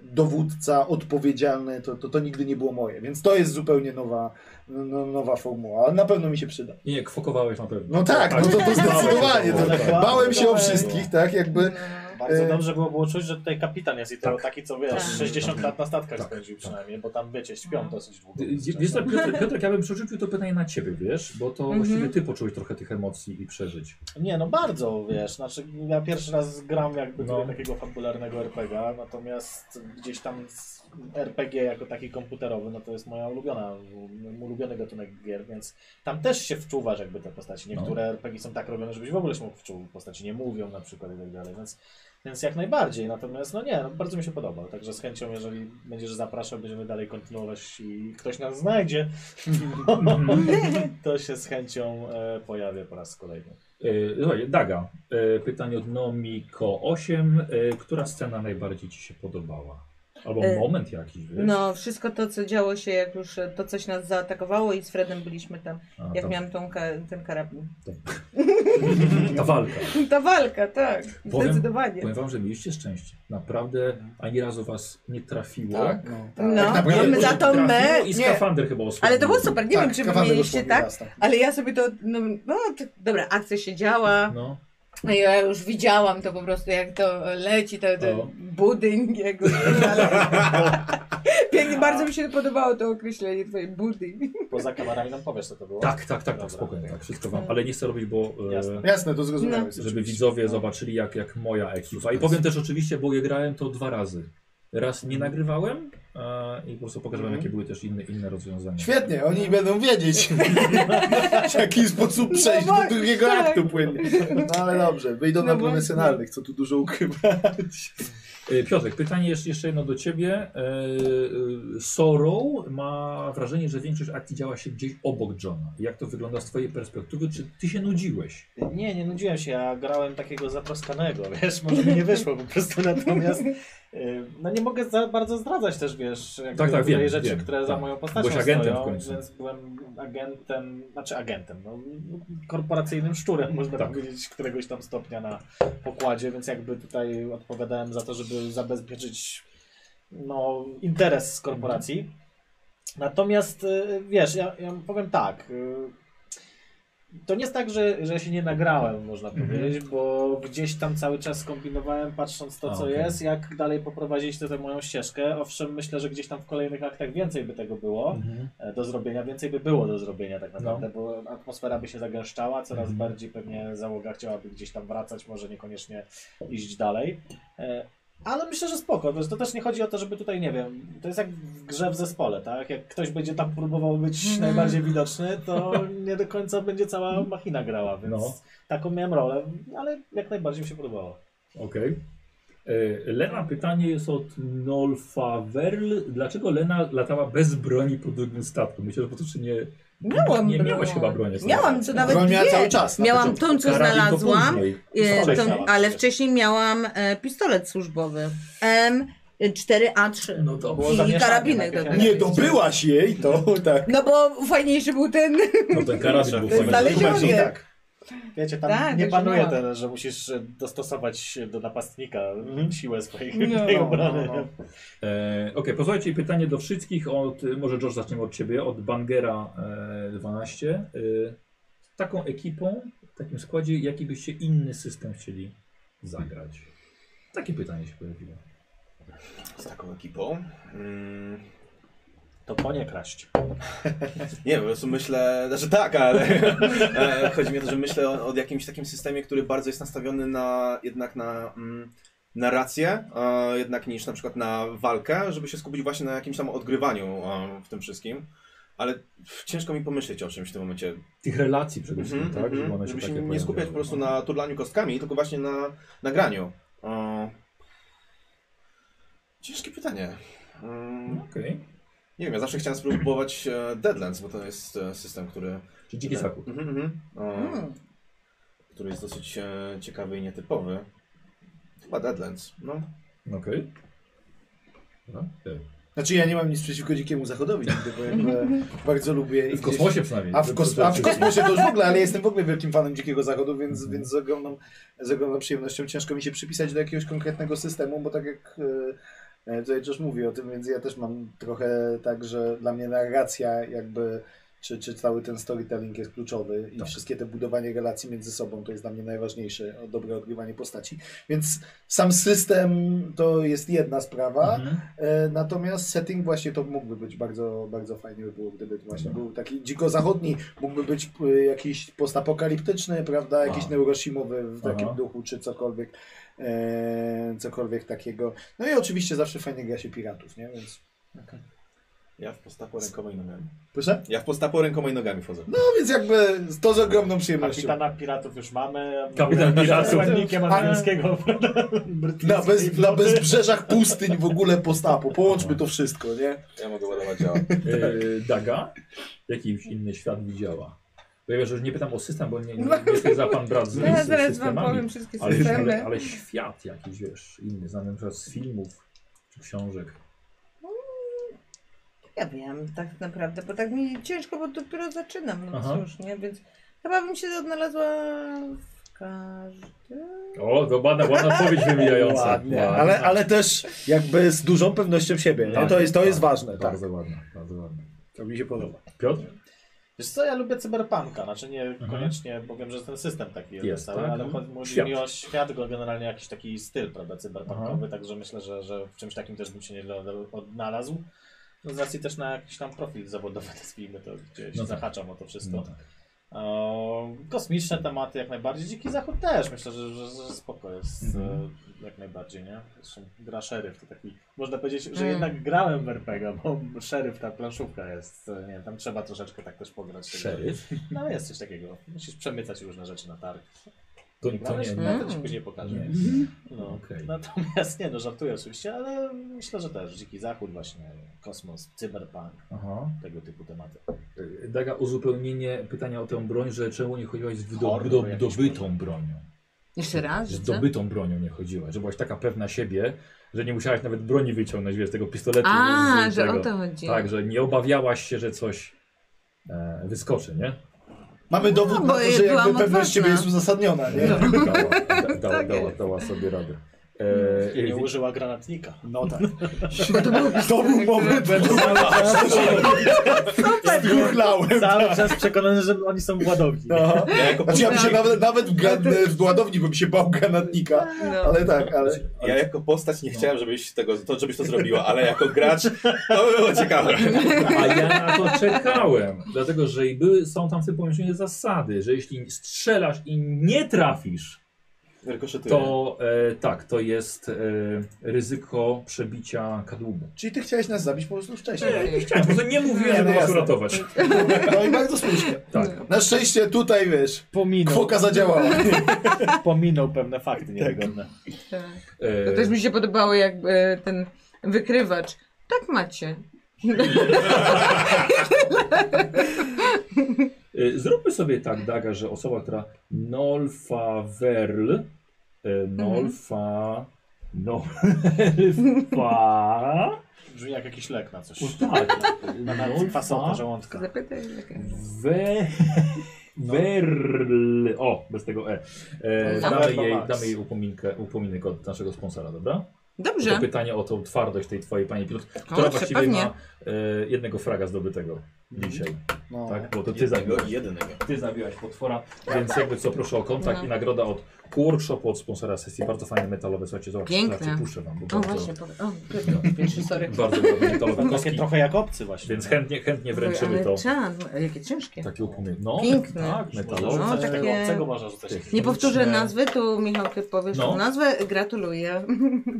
Speaker 2: dowódca odpowiedzialny, to, to, to nigdy nie było moje, więc to jest zupełnie nowa, no, nowa formuła, ale na pewno mi się przyda.
Speaker 1: Nie, nie, kwokowałeś na pewno.
Speaker 2: No tak, no to, to zdecydowanie. To, bałem się o wszystkich, tak, jakby...
Speaker 4: Bardzo
Speaker 2: E,
Speaker 4: dobrze było, było czuć, że tutaj kapitan jest i to taki, co wiesz,
Speaker 3: Tak.
Speaker 4: 60 lat na statkach
Speaker 1: Tak.
Speaker 4: spędził przynajmniej, bo tam wiecie, śpią dosyć długo.
Speaker 1: Wiesz, wiesz co, Piotr, Piotrek, ja bym przerzucił to pytanie na ciebie, wiesz, bo to
Speaker 3: Mhm.
Speaker 1: właściwie ty poczułeś trochę tych emocji i przeżyć.
Speaker 4: Nie no, bardzo, wiesz, znaczy ja pierwszy raz gram jakby
Speaker 1: No.
Speaker 4: no. takiego fabularnego RPG, natomiast gdzieś tam z- RPG jako taki komputerowy, no to jest moja ulubiona, mój ulubiony gatunek gier, więc tam też się wczuwasz jakby te postaci.
Speaker 1: No.
Speaker 4: Niektóre RPG są tak robione, żebyś w ogóle się mógł wczuł, postaci nie mówią na przykład i tak dalej, więc, więc jak najbardziej, natomiast no nie, no, bardzo mi się podobał, także z chęcią, jeżeli będziesz zapraszał, będziemy dalej kontynuować i ktoś nas znajdzie,
Speaker 3: No.
Speaker 1: E,
Speaker 4: to się z chęcią e, pojawię po raz kolejny.
Speaker 1: Yy, Słuchaj, Daga, yy, pytanie od Nomiko8. Yy, która scena najbardziej ci się podobała? Albo
Speaker 3: Yy,
Speaker 1: moment jakiś, wiesz?
Speaker 3: No, wszystko to, co działo się, jak już e, to coś nas zaatakowało i z Fredem byliśmy tam,
Speaker 1: A,
Speaker 3: jak
Speaker 1: ta,
Speaker 3: miałam tą ka- ten karabin.
Speaker 1: ta walka.
Speaker 3: Ta walka, tak,
Speaker 1: Powiem-
Speaker 3: zdecydowanie.
Speaker 1: Powiem wam, że mieliście szczęście. Naprawdę ani razu was nie trafiło.
Speaker 4: Tak.
Speaker 2: No,
Speaker 3: No,
Speaker 2: tak
Speaker 1: Nie,
Speaker 2: naprawdę-
Speaker 3: my za to
Speaker 1: trafiło
Speaker 3: my,
Speaker 1: I
Speaker 3: nie.
Speaker 1: skafander chyba osłabił.
Speaker 3: Ale to było super,
Speaker 2: Tak,
Speaker 3: nie wiem, czy wy
Speaker 2: kawaler
Speaker 3: mieliście
Speaker 2: dosłownie
Speaker 3: tak,
Speaker 2: raz,
Speaker 3: ale ja sobie to, no, no to, dobra, akcja się działa,
Speaker 1: No,
Speaker 3: No ja już widziałam to po prostu, jak to leci, to,
Speaker 1: O.
Speaker 3: to budyń, jak go- ale- Pięknie bardzo mi się podobało to określenie twojej burdy.
Speaker 4: Poza kamerami nam powiesz, co to było.
Speaker 1: Tak, tak, tak, tak,
Speaker 4: Dobra.
Speaker 1: spokojnie, tak, wszystko wam, ale nie chcę robić, bo... e,
Speaker 4: Jasne.
Speaker 2: Jasne, to zrozumiałe.
Speaker 3: No.
Speaker 2: jest
Speaker 1: żeby
Speaker 2: oczywiście.
Speaker 1: widzowie zobaczyli, jak, jak moja ekipa. I powiem też oczywiście, bo ja grałem to dwa razy. Raz nie nagrywałem e, i po prostu pokażę wam, jakie były też inne, inne rozwiązania.
Speaker 2: Mhm. Świetnie, oni będą wiedzieć, w jaki sposób przejść
Speaker 3: No
Speaker 2: do drugiego
Speaker 3: tak.
Speaker 2: aktu płynnie. No ale dobrze, wyjdą na
Speaker 3: No właśnie.
Speaker 2: profesjonalnych, co tu dużo ukrywać.
Speaker 1: E, Piotrek, pytanie jeszcze, jeszcze jedno do ciebie. E, e, Sorrow ma wrażenie, że większość akcji działa się gdzieś obok Johna. Jak to wygląda z twojej perspektywy? Czy ty się nudziłeś?
Speaker 4: Nie, nie nudziłem się, ja grałem takiego zatroskanego, wiesz, może mi nie wyszło po prostu, natomiast y, no nie mogę za bardzo zdradzać też, wiesz, jakby
Speaker 1: Tak, tak,
Speaker 4: której
Speaker 1: wiem,
Speaker 4: rzeczy,
Speaker 1: wiem,
Speaker 4: które za
Speaker 1: tak.
Speaker 4: moją postacią
Speaker 1: Byłeś agentem
Speaker 4: stoją,
Speaker 1: w końcu.
Speaker 4: więc byłem agentem, znaczy agentem, no, korporacyjnym szczurem, można
Speaker 1: Tak.
Speaker 4: powiedzieć, któregoś tam stopnia na pokładzie, więc jakby tutaj odpowiadałem za to, żeby zabezpieczyć no, interes z korporacji. Natomiast y, wiesz, ja, ja powiem tak. y, To nie jest tak, że, że się nie nagrałem, można
Speaker 1: Mhm.
Speaker 4: powiedzieć, bo gdzieś tam cały czas kombinowałem, patrząc to,
Speaker 1: A,
Speaker 4: co
Speaker 1: okej.
Speaker 4: jest, jak dalej poprowadzić tę tę moją ścieżkę. Owszem, myślę, że gdzieś tam w kolejnych aktach więcej by tego było
Speaker 2: Mhm.
Speaker 4: e, do zrobienia, więcej by było do zrobienia tak naprawdę, bo atmosfera by się zagęszczała, coraz
Speaker 1: Mhm.
Speaker 4: bardziej pewnie załoga chciałaby gdzieś tam wracać, może niekoniecznie iść dalej. E, Ale myślę, że spoko, wiesz, to też nie chodzi o to, żeby tutaj, nie wiem, to jest jak w grze w zespole, tak? Jak ktoś będzie tam próbował być
Speaker 3: Mhm.
Speaker 4: najbardziej widoczny, to nie do końca będzie cała machina grała, więc
Speaker 1: No.
Speaker 4: taką miałem rolę, ale jak najbardziej mi się podobało.
Speaker 1: Okej. E, Lena, pytanie jest od Nolfa Werl. Dlaczego Lena latała bez broni po drugim statku? Myślę, że po to, czy nie...
Speaker 3: Miałam
Speaker 1: nie miałaś
Speaker 3: broń.
Speaker 1: chyba broni. jak
Speaker 3: Miałam, co nawet
Speaker 2: Broń miała
Speaker 3: dwie.
Speaker 2: cały czas. na
Speaker 3: Miałam
Speaker 2: początku.
Speaker 3: tą, co
Speaker 1: Karabin to
Speaker 3: znalazłam,
Speaker 1: później.
Speaker 3: e,
Speaker 4: Wcześniej
Speaker 3: tą,
Speaker 4: miałam
Speaker 3: ale
Speaker 4: przecież.
Speaker 3: wcześniej miałam e, pistolet służbowy M4A3
Speaker 1: No to
Speaker 4: Było
Speaker 3: i
Speaker 4: zamieszanie,
Speaker 3: karabinek do
Speaker 4: tak jak
Speaker 3: tego.
Speaker 2: Nie dobyłaś jej, to tak.
Speaker 3: No bo fajniejszy był ten
Speaker 1: No ten karabin był fajny.
Speaker 3: znaleziony.
Speaker 2: Bardziej tak.
Speaker 4: Wiecie, tam
Speaker 3: Tak,
Speaker 4: nie
Speaker 3: już
Speaker 4: panuje
Speaker 3: mam.
Speaker 4: ten, że musisz e, dostosować się do napastnika mm, siłę swojej
Speaker 3: No,
Speaker 4: tej
Speaker 2: no,
Speaker 4: obrony.
Speaker 2: no, no.
Speaker 1: E, Okej, posłuchajcie, pytanie do wszystkich od, może George zaczniemy od Ciebie, od Bangera e, 12. E, z taką ekipą, w takim składzie, jaki byście inny system chcieli zagrać? Takie pytanie się pojawiło.
Speaker 5: Z taką ekipą. Mm,
Speaker 4: To po nie kraść.
Speaker 5: nie, po prostu myślę, znaczy tak, ale e, chodzi mi o to, że myślę o, o jakimś takim systemie, który bardzo jest nastawiony na jednak na mm, narrację, e, jednak niż na przykład na walkę, żeby się skupić właśnie na jakimś tam odgrywaniu e, w tym wszystkim. Ale pff, ciężko mi pomyśleć o czymś w tym momencie.
Speaker 1: Tych relacji przede wszystkim,
Speaker 5: Mhm,
Speaker 1: tak?
Speaker 5: mhm.
Speaker 1: Żeby one się
Speaker 5: Żeby
Speaker 1: takie
Speaker 5: się nie
Speaker 1: pojawiały,
Speaker 5: skupiać po prostu
Speaker 1: no.
Speaker 5: na turlaniu kostkami, tylko właśnie na, na graniu. E, ciężkie pytanie. Mm.
Speaker 1: No, Okej,
Speaker 5: Nie wiem, ja zawsze chciałem spróbować e, Deadlands, bo to jest e, system, który.
Speaker 1: czy dziki saku.
Speaker 5: Mhm, mhm. E, Który jest dosyć e, ciekawy i nietypowy. Chyba Deadlands. No.
Speaker 1: Okej. Dobra, e, okej.
Speaker 2: Znaczy ja nie mam nic przeciwko dzikiemu zachodowi, nigdy, bo jakby bardzo lubię. i
Speaker 1: W
Speaker 2: gdzieś-
Speaker 1: kosmosie przynajmniej.
Speaker 2: A w, kos- a w kosmosie to już w ogóle, ale jestem w ogóle wielkim fanem Dzikiego Zachodu, więc, więc z, ogromną, z ogromną przyjemnością ciężko mi się przypisać do jakiegoś konkretnego systemu, bo tak jak e, e, tutaj Josh mówi o tym, więc ja też mam trochę tak, że dla mnie narracja jakby, czy, czy cały ten storytelling jest kluczowy i
Speaker 1: Tak.
Speaker 2: wszystkie te budowanie relacji między sobą to jest dla mnie najważniejsze, o- dobre odgrywanie postaci. Więc sam system to jest jedna sprawa,
Speaker 1: Mhm.
Speaker 2: E, Natomiast setting właśnie to mógłby być bardzo, bardzo fajnie by było, gdyby to właśnie był taki dziko zachodni, mógłby być e, jakiś postapokaliptyczny, prawda, jakiś
Speaker 1: A.
Speaker 2: neurosimowy w takim
Speaker 1: Aha.
Speaker 2: duchu, czy cokolwiek, e, cokolwiek takiego. No i oczywiście zawsze fajnie gra się piratów, nie? Więc,
Speaker 5: Ja w postapu rękoma i nogami.
Speaker 2: proszę?
Speaker 5: Ja w postapu rękoma i nogami wchodzę.
Speaker 2: No więc jakby to z ogromną przyjemnością.
Speaker 4: Kapitana piratów już mamy.
Speaker 1: Kapitan piratów.
Speaker 4: Złannikiem angielskiego.
Speaker 2: Na, bez, na bezbrzeżach pustyń w ogóle postapu, połączmy to wszystko, nie?
Speaker 5: Ja mogę ładować działa.
Speaker 3: Tak.
Speaker 1: E, Daga, jakiś inny świat widziała? Bo ja wiem, że już nie pytam o system, bo nie, nie, nie za pan brat z,
Speaker 3: Zaraz,
Speaker 1: z
Speaker 3: No. zaraz wam
Speaker 1: systemami.
Speaker 3: powiem wszystkie
Speaker 1: Ale, ale,
Speaker 3: systemy.
Speaker 1: ale świat jakiś, wiesz, inny, znany na przykład z filmów czy książek.
Speaker 3: Ja wiem, tak naprawdę, bo tak mi ciężko, bo dopiero zaczynam, no
Speaker 1: Aha.
Speaker 3: cóż, nie, więc chyba bym się odnalazła w każdym...
Speaker 1: O, to ładna, ładna odpowiedź wymijająca.
Speaker 2: Ładnie,
Speaker 1: Ładna.
Speaker 2: ale, ale też jakby z dużą pewnością siebie, no, to jest, to jest ważne, tak.
Speaker 1: Bardzo ładna, bardzo ładna.
Speaker 2: To mi się podoba.
Speaker 1: Piotr?
Speaker 4: Wiesz co, ja lubię cyberpunka, znaczy nie koniecznie, bo wiem, że ten system taki jest,
Speaker 1: Mhm. Jest,
Speaker 4: cały,
Speaker 1: tak?
Speaker 4: ale
Speaker 1: Mhm.
Speaker 4: chodzi chodzi
Speaker 1: Świat.
Speaker 4: mi o świat, go generalnie jakiś
Speaker 1: Mhm.
Speaker 4: taki styl, prawda, cyberpunkowy, także myślę, że, że w czymś takim też bym się nie odnalazł. No z racji też na jakiś tam profil zawodowy, nazwijmy to, gdzieś
Speaker 1: No tak.
Speaker 4: zahaczam o to wszystko.
Speaker 1: No tak.
Speaker 4: O, E, kosmiczne tematy jak najbardziej. Dziki Zachód też myślę, że, że, że spoko jest
Speaker 1: Mhm.
Speaker 4: e, jak najbardziej, nie? Zresztą gra szeryf to taki. Można powiedzieć, że
Speaker 3: Mm.
Speaker 4: jednak grałem w RPG, bo szeryf ta planszówka jest. e, Nie wiem, tam trzeba troszeczkę tak też pograć. tego.
Speaker 1: Szeryf?
Speaker 4: No jest coś takiego. Musisz przemycać różne rzeczy na targ.
Speaker 1: To, to nie,
Speaker 4: no,
Speaker 1: nie.
Speaker 4: to ci później pokażę.
Speaker 1: Nie.
Speaker 4: No.
Speaker 1: Okej.
Speaker 4: Natomiast nie no, żartuję oczywiście, ale myślę, że też Dziki Zachód właśnie, kosmos, cyberpunk,
Speaker 1: Aha.
Speaker 4: tego typu tematy.
Speaker 1: Y, Daga, uzupełnienie pytania o tę broń, że czemu nie chodziłaś z do,
Speaker 4: Horror
Speaker 1: do,
Speaker 4: jakiś
Speaker 1: dobytą bronią?
Speaker 3: Jeszcze raz,
Speaker 1: Z
Speaker 3: że co?
Speaker 1: dobytą bronią nie chodziłaś, że byłaś taka pewna siebie, że nie musiałaś nawet broni wyciągnąć wiesz, z tego pistoletu.
Speaker 3: A,
Speaker 1: z, z
Speaker 3: że
Speaker 1: tego.
Speaker 3: o to chodzi.
Speaker 1: Tak, że nie obawiałaś się, że coś e, wyskoczy, nie?
Speaker 2: Mamy dowód
Speaker 3: No,
Speaker 2: na
Speaker 3: bo
Speaker 2: to, że
Speaker 3: byłam
Speaker 2: jakby pewność siebie
Speaker 3: odważna.
Speaker 2: jest uzasadniona, nie?
Speaker 1: E, Dała,
Speaker 3: Tak
Speaker 1: da, dała, dała, dała sobie radę. E,
Speaker 4: I nie
Speaker 1: wi-
Speaker 4: użyła granatnika.
Speaker 2: No tak. To był moment, Zgurlałem.
Speaker 4: Cały czas przekonany, że oni są ładowni.
Speaker 2: No.
Speaker 5: Ja jako,
Speaker 2: Znaczy ja
Speaker 3: Tak.
Speaker 2: bym się nawet, nawet w, gran, w ładowni bym się bał granatnika,
Speaker 3: No,
Speaker 2: ale tak, ale...
Speaker 5: ja jako postać
Speaker 1: No.
Speaker 5: nie chciałem, żebyś, tego, to, żebyś to zrobiła, ale jako gracz to by było ciekawe.
Speaker 1: A ja na to czekałem, dlatego że i były, są tam w tym pomieszczeniu zasady, że jeśli strzelasz i nie trafisz,
Speaker 5: Rykoszetuję.
Speaker 1: to e, tak, to jest e, ryzyko przebicia kadłubu.
Speaker 2: Czyli ty chciałeś nas zabić po prostu wcześniej.
Speaker 1: Nie, nie chciałem, po prostu nie mówiłem, żeby
Speaker 2: Nie, no
Speaker 1: was
Speaker 2: jasne.
Speaker 1: uratować.
Speaker 2: No i bardzo słusznie. No.
Speaker 1: Tak.
Speaker 2: Na szczęście tutaj, wiesz,
Speaker 4: Pominął,
Speaker 2: kwoka zadziałała.
Speaker 4: pominął pewne fakty niewygodne.
Speaker 3: Tak.
Speaker 1: E,
Speaker 3: To też mi się podobało, jak e, ten wykrywacz. Tak macie.
Speaker 1: e, zróbmy sobie tak, Daga, że osoba, która Nolfa Werl, e,
Speaker 3: Mhm.
Speaker 1: Nolfa... no, Nolfa...
Speaker 4: Brzmi jak jakiś lek na coś.
Speaker 1: Tak,
Speaker 4: Na nawet kwasowe żołądka.
Speaker 3: Zapytaj. jakie.
Speaker 1: We...
Speaker 2: No.
Speaker 1: Werl. O, bez tego E. e
Speaker 4: Tam
Speaker 1: damy,
Speaker 4: Werl
Speaker 1: jej,
Speaker 4: Max.
Speaker 1: damy jej upominkę, upominek od naszego sponsora, dobra? To
Speaker 3: Dobrze.
Speaker 1: pytanie o tą twardość tej twojej pani Piotr, która
Speaker 3: Kurczę,
Speaker 1: właściwie
Speaker 3: pewnie.
Speaker 1: ma e, jednego fraga zdobytego dzisiaj.
Speaker 2: No.
Speaker 1: Tak? Bo to ty, zabi
Speaker 5: Jednego i jednego.
Speaker 1: ty zabiłaś potwora, więc jakby co, proszę o kontakt
Speaker 3: No.
Speaker 1: i nagroda od workshopu, od sponsora sesji. Bardzo fajne metalowe, słuchajcie, zobaczcie,
Speaker 3: Piękne.
Speaker 1: zobaczcie, puszczę wam, bo
Speaker 3: O
Speaker 1: bardzo,
Speaker 3: właśnie, powie- o, pierwszy, sorry.
Speaker 1: bardzo ładne metalowe
Speaker 4: Takie
Speaker 1: kostki,
Speaker 4: trochę jak obcy właśnie.
Speaker 1: więc chętnie, chętnie
Speaker 3: Ale
Speaker 1: wręczymy to.
Speaker 3: czad, jakie ciężkie.
Speaker 1: Takie upomnienie. No,
Speaker 3: Piękne.
Speaker 1: tak,
Speaker 4: Można
Speaker 1: metalowe.
Speaker 3: No,
Speaker 4: rzucać
Speaker 3: takie-
Speaker 4: tego obcego, można rzucać.
Speaker 1: Tych.
Speaker 3: Nie
Speaker 4: tego.
Speaker 3: powtórzę nazwy, tu Michał, ty powiesz
Speaker 1: No.
Speaker 3: tą nazwę. Gratuluję.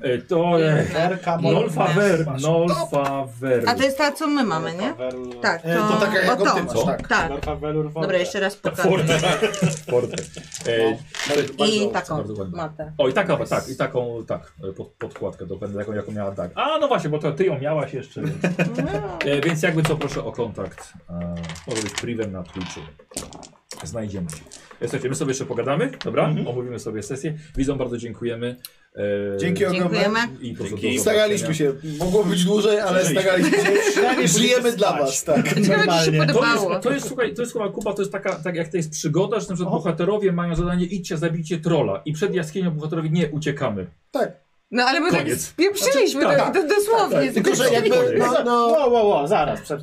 Speaker 1: E, To e,
Speaker 4: Werka,
Speaker 1: Nolfa Ver,
Speaker 4: Masz.
Speaker 1: Nolfa Ver.
Speaker 3: A to jest ta, co my mamy, nie?
Speaker 4: Werl-
Speaker 3: Tak,
Speaker 2: E, to taka jak
Speaker 3: o to.
Speaker 2: od ty masz, tak.
Speaker 3: Tak.
Speaker 4: Werka, Welur, Wolka.
Speaker 3: Dobra, jeszcze
Speaker 1: Tak,
Speaker 3: raz pokażę.
Speaker 1: Forte. Forte. E,
Speaker 3: I
Speaker 1: bardzo
Speaker 3: taką
Speaker 1: ładna.
Speaker 3: matę.
Speaker 1: O, i taką, tak, i taką, tak, e, pod, podkładkę do pędza, jaką, jaką miała Dag. A, no właśnie, bo to ty ją miałaś jeszcze. więc- E, więc jakby co, proszę o kontakt. E, może być privem na Twitchu. Znajdziemy się. E, słuchajcie, my sobie jeszcze pogadamy, dobra? Omówimy sobie sesję. Widzom bardzo dziękujemy. E,
Speaker 2: Dzięki ogromne.
Speaker 3: Dziękujemy.
Speaker 1: I po prostu
Speaker 5: Dzięki.
Speaker 1: do
Speaker 2: Staraliśmy się. Mogło być dłużej, ale staraliśmy się. Żyjemy dla was, tak.
Speaker 3: Czego ci
Speaker 1: To
Speaker 3: się
Speaker 1: jest,
Speaker 3: podobało?
Speaker 1: to jest, słuchaj, to jest chyba Kuba, to jest taka, tak jak to jest przygoda, że na przykład bohaterowie mają zadanie idźcie, zabijcie trola i przed jaskinią bohaterowie nie uciekamy.
Speaker 3: No ale my tak
Speaker 1: Koniec.
Speaker 3: spieprzyliśmy,
Speaker 1: Znaczy,
Speaker 3: to, to dosłownie.
Speaker 2: tak, Tylko,
Speaker 1: tak.
Speaker 2: że jakby...
Speaker 1: Dziękuję.
Speaker 2: No, no,
Speaker 4: Ło, ło, ło, zaraz, przed...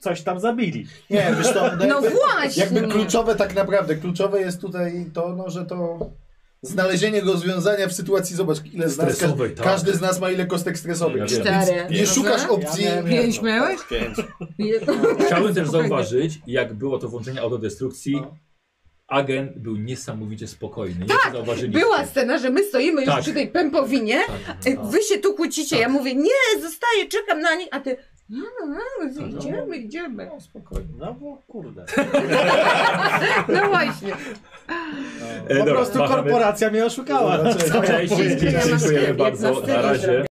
Speaker 4: Coś tam zabili.
Speaker 2: nie, wiesz to,
Speaker 3: No
Speaker 2: jakby,
Speaker 3: właśnie.
Speaker 2: jakby kluczowe tak naprawdę, kluczowe jest tutaj to, no, że to znalezienie rozwiązania w sytuacji, zobacz, ile z nas,
Speaker 1: Stresowej,
Speaker 2: każ-
Speaker 1: tak.
Speaker 2: każdy z nas ma ile kostek stresowych.
Speaker 1: Cztery.
Speaker 3: Cztery.
Speaker 2: Nie szukasz opcji,
Speaker 1: No
Speaker 4: Ja miałem
Speaker 3: Pięć
Speaker 4: jedno.
Speaker 3: miałeś?
Speaker 5: Pięć.
Speaker 1: Chciałbym też zauważyć, jak było to włączenie autodestrukcji. Agent był niesamowicie spokojny. Tak,
Speaker 3: Była scena, że my stoimy już
Speaker 1: Tak.
Speaker 3: przy tej pępowinie, e,
Speaker 2: Tak.
Speaker 3: wy się tu kłócicie, ja mówię, nie, zostaję, czekam na nich, a ty, a, a, idziemy, idziemy.
Speaker 1: No, spokojnie.
Speaker 4: No bo kurde.
Speaker 2: Tak.
Speaker 3: No właśnie.
Speaker 1: E,
Speaker 4: Po
Speaker 1: dobra,
Speaker 4: prostu
Speaker 2: E,
Speaker 1: machamy. No,
Speaker 4: korporacja mnie oszukała.
Speaker 1: Cześć, wszystkim
Speaker 3: Ja mam
Speaker 1: dziękujemy
Speaker 3: sklep
Speaker 1: bardzo.
Speaker 3: 15
Speaker 1: Na razie.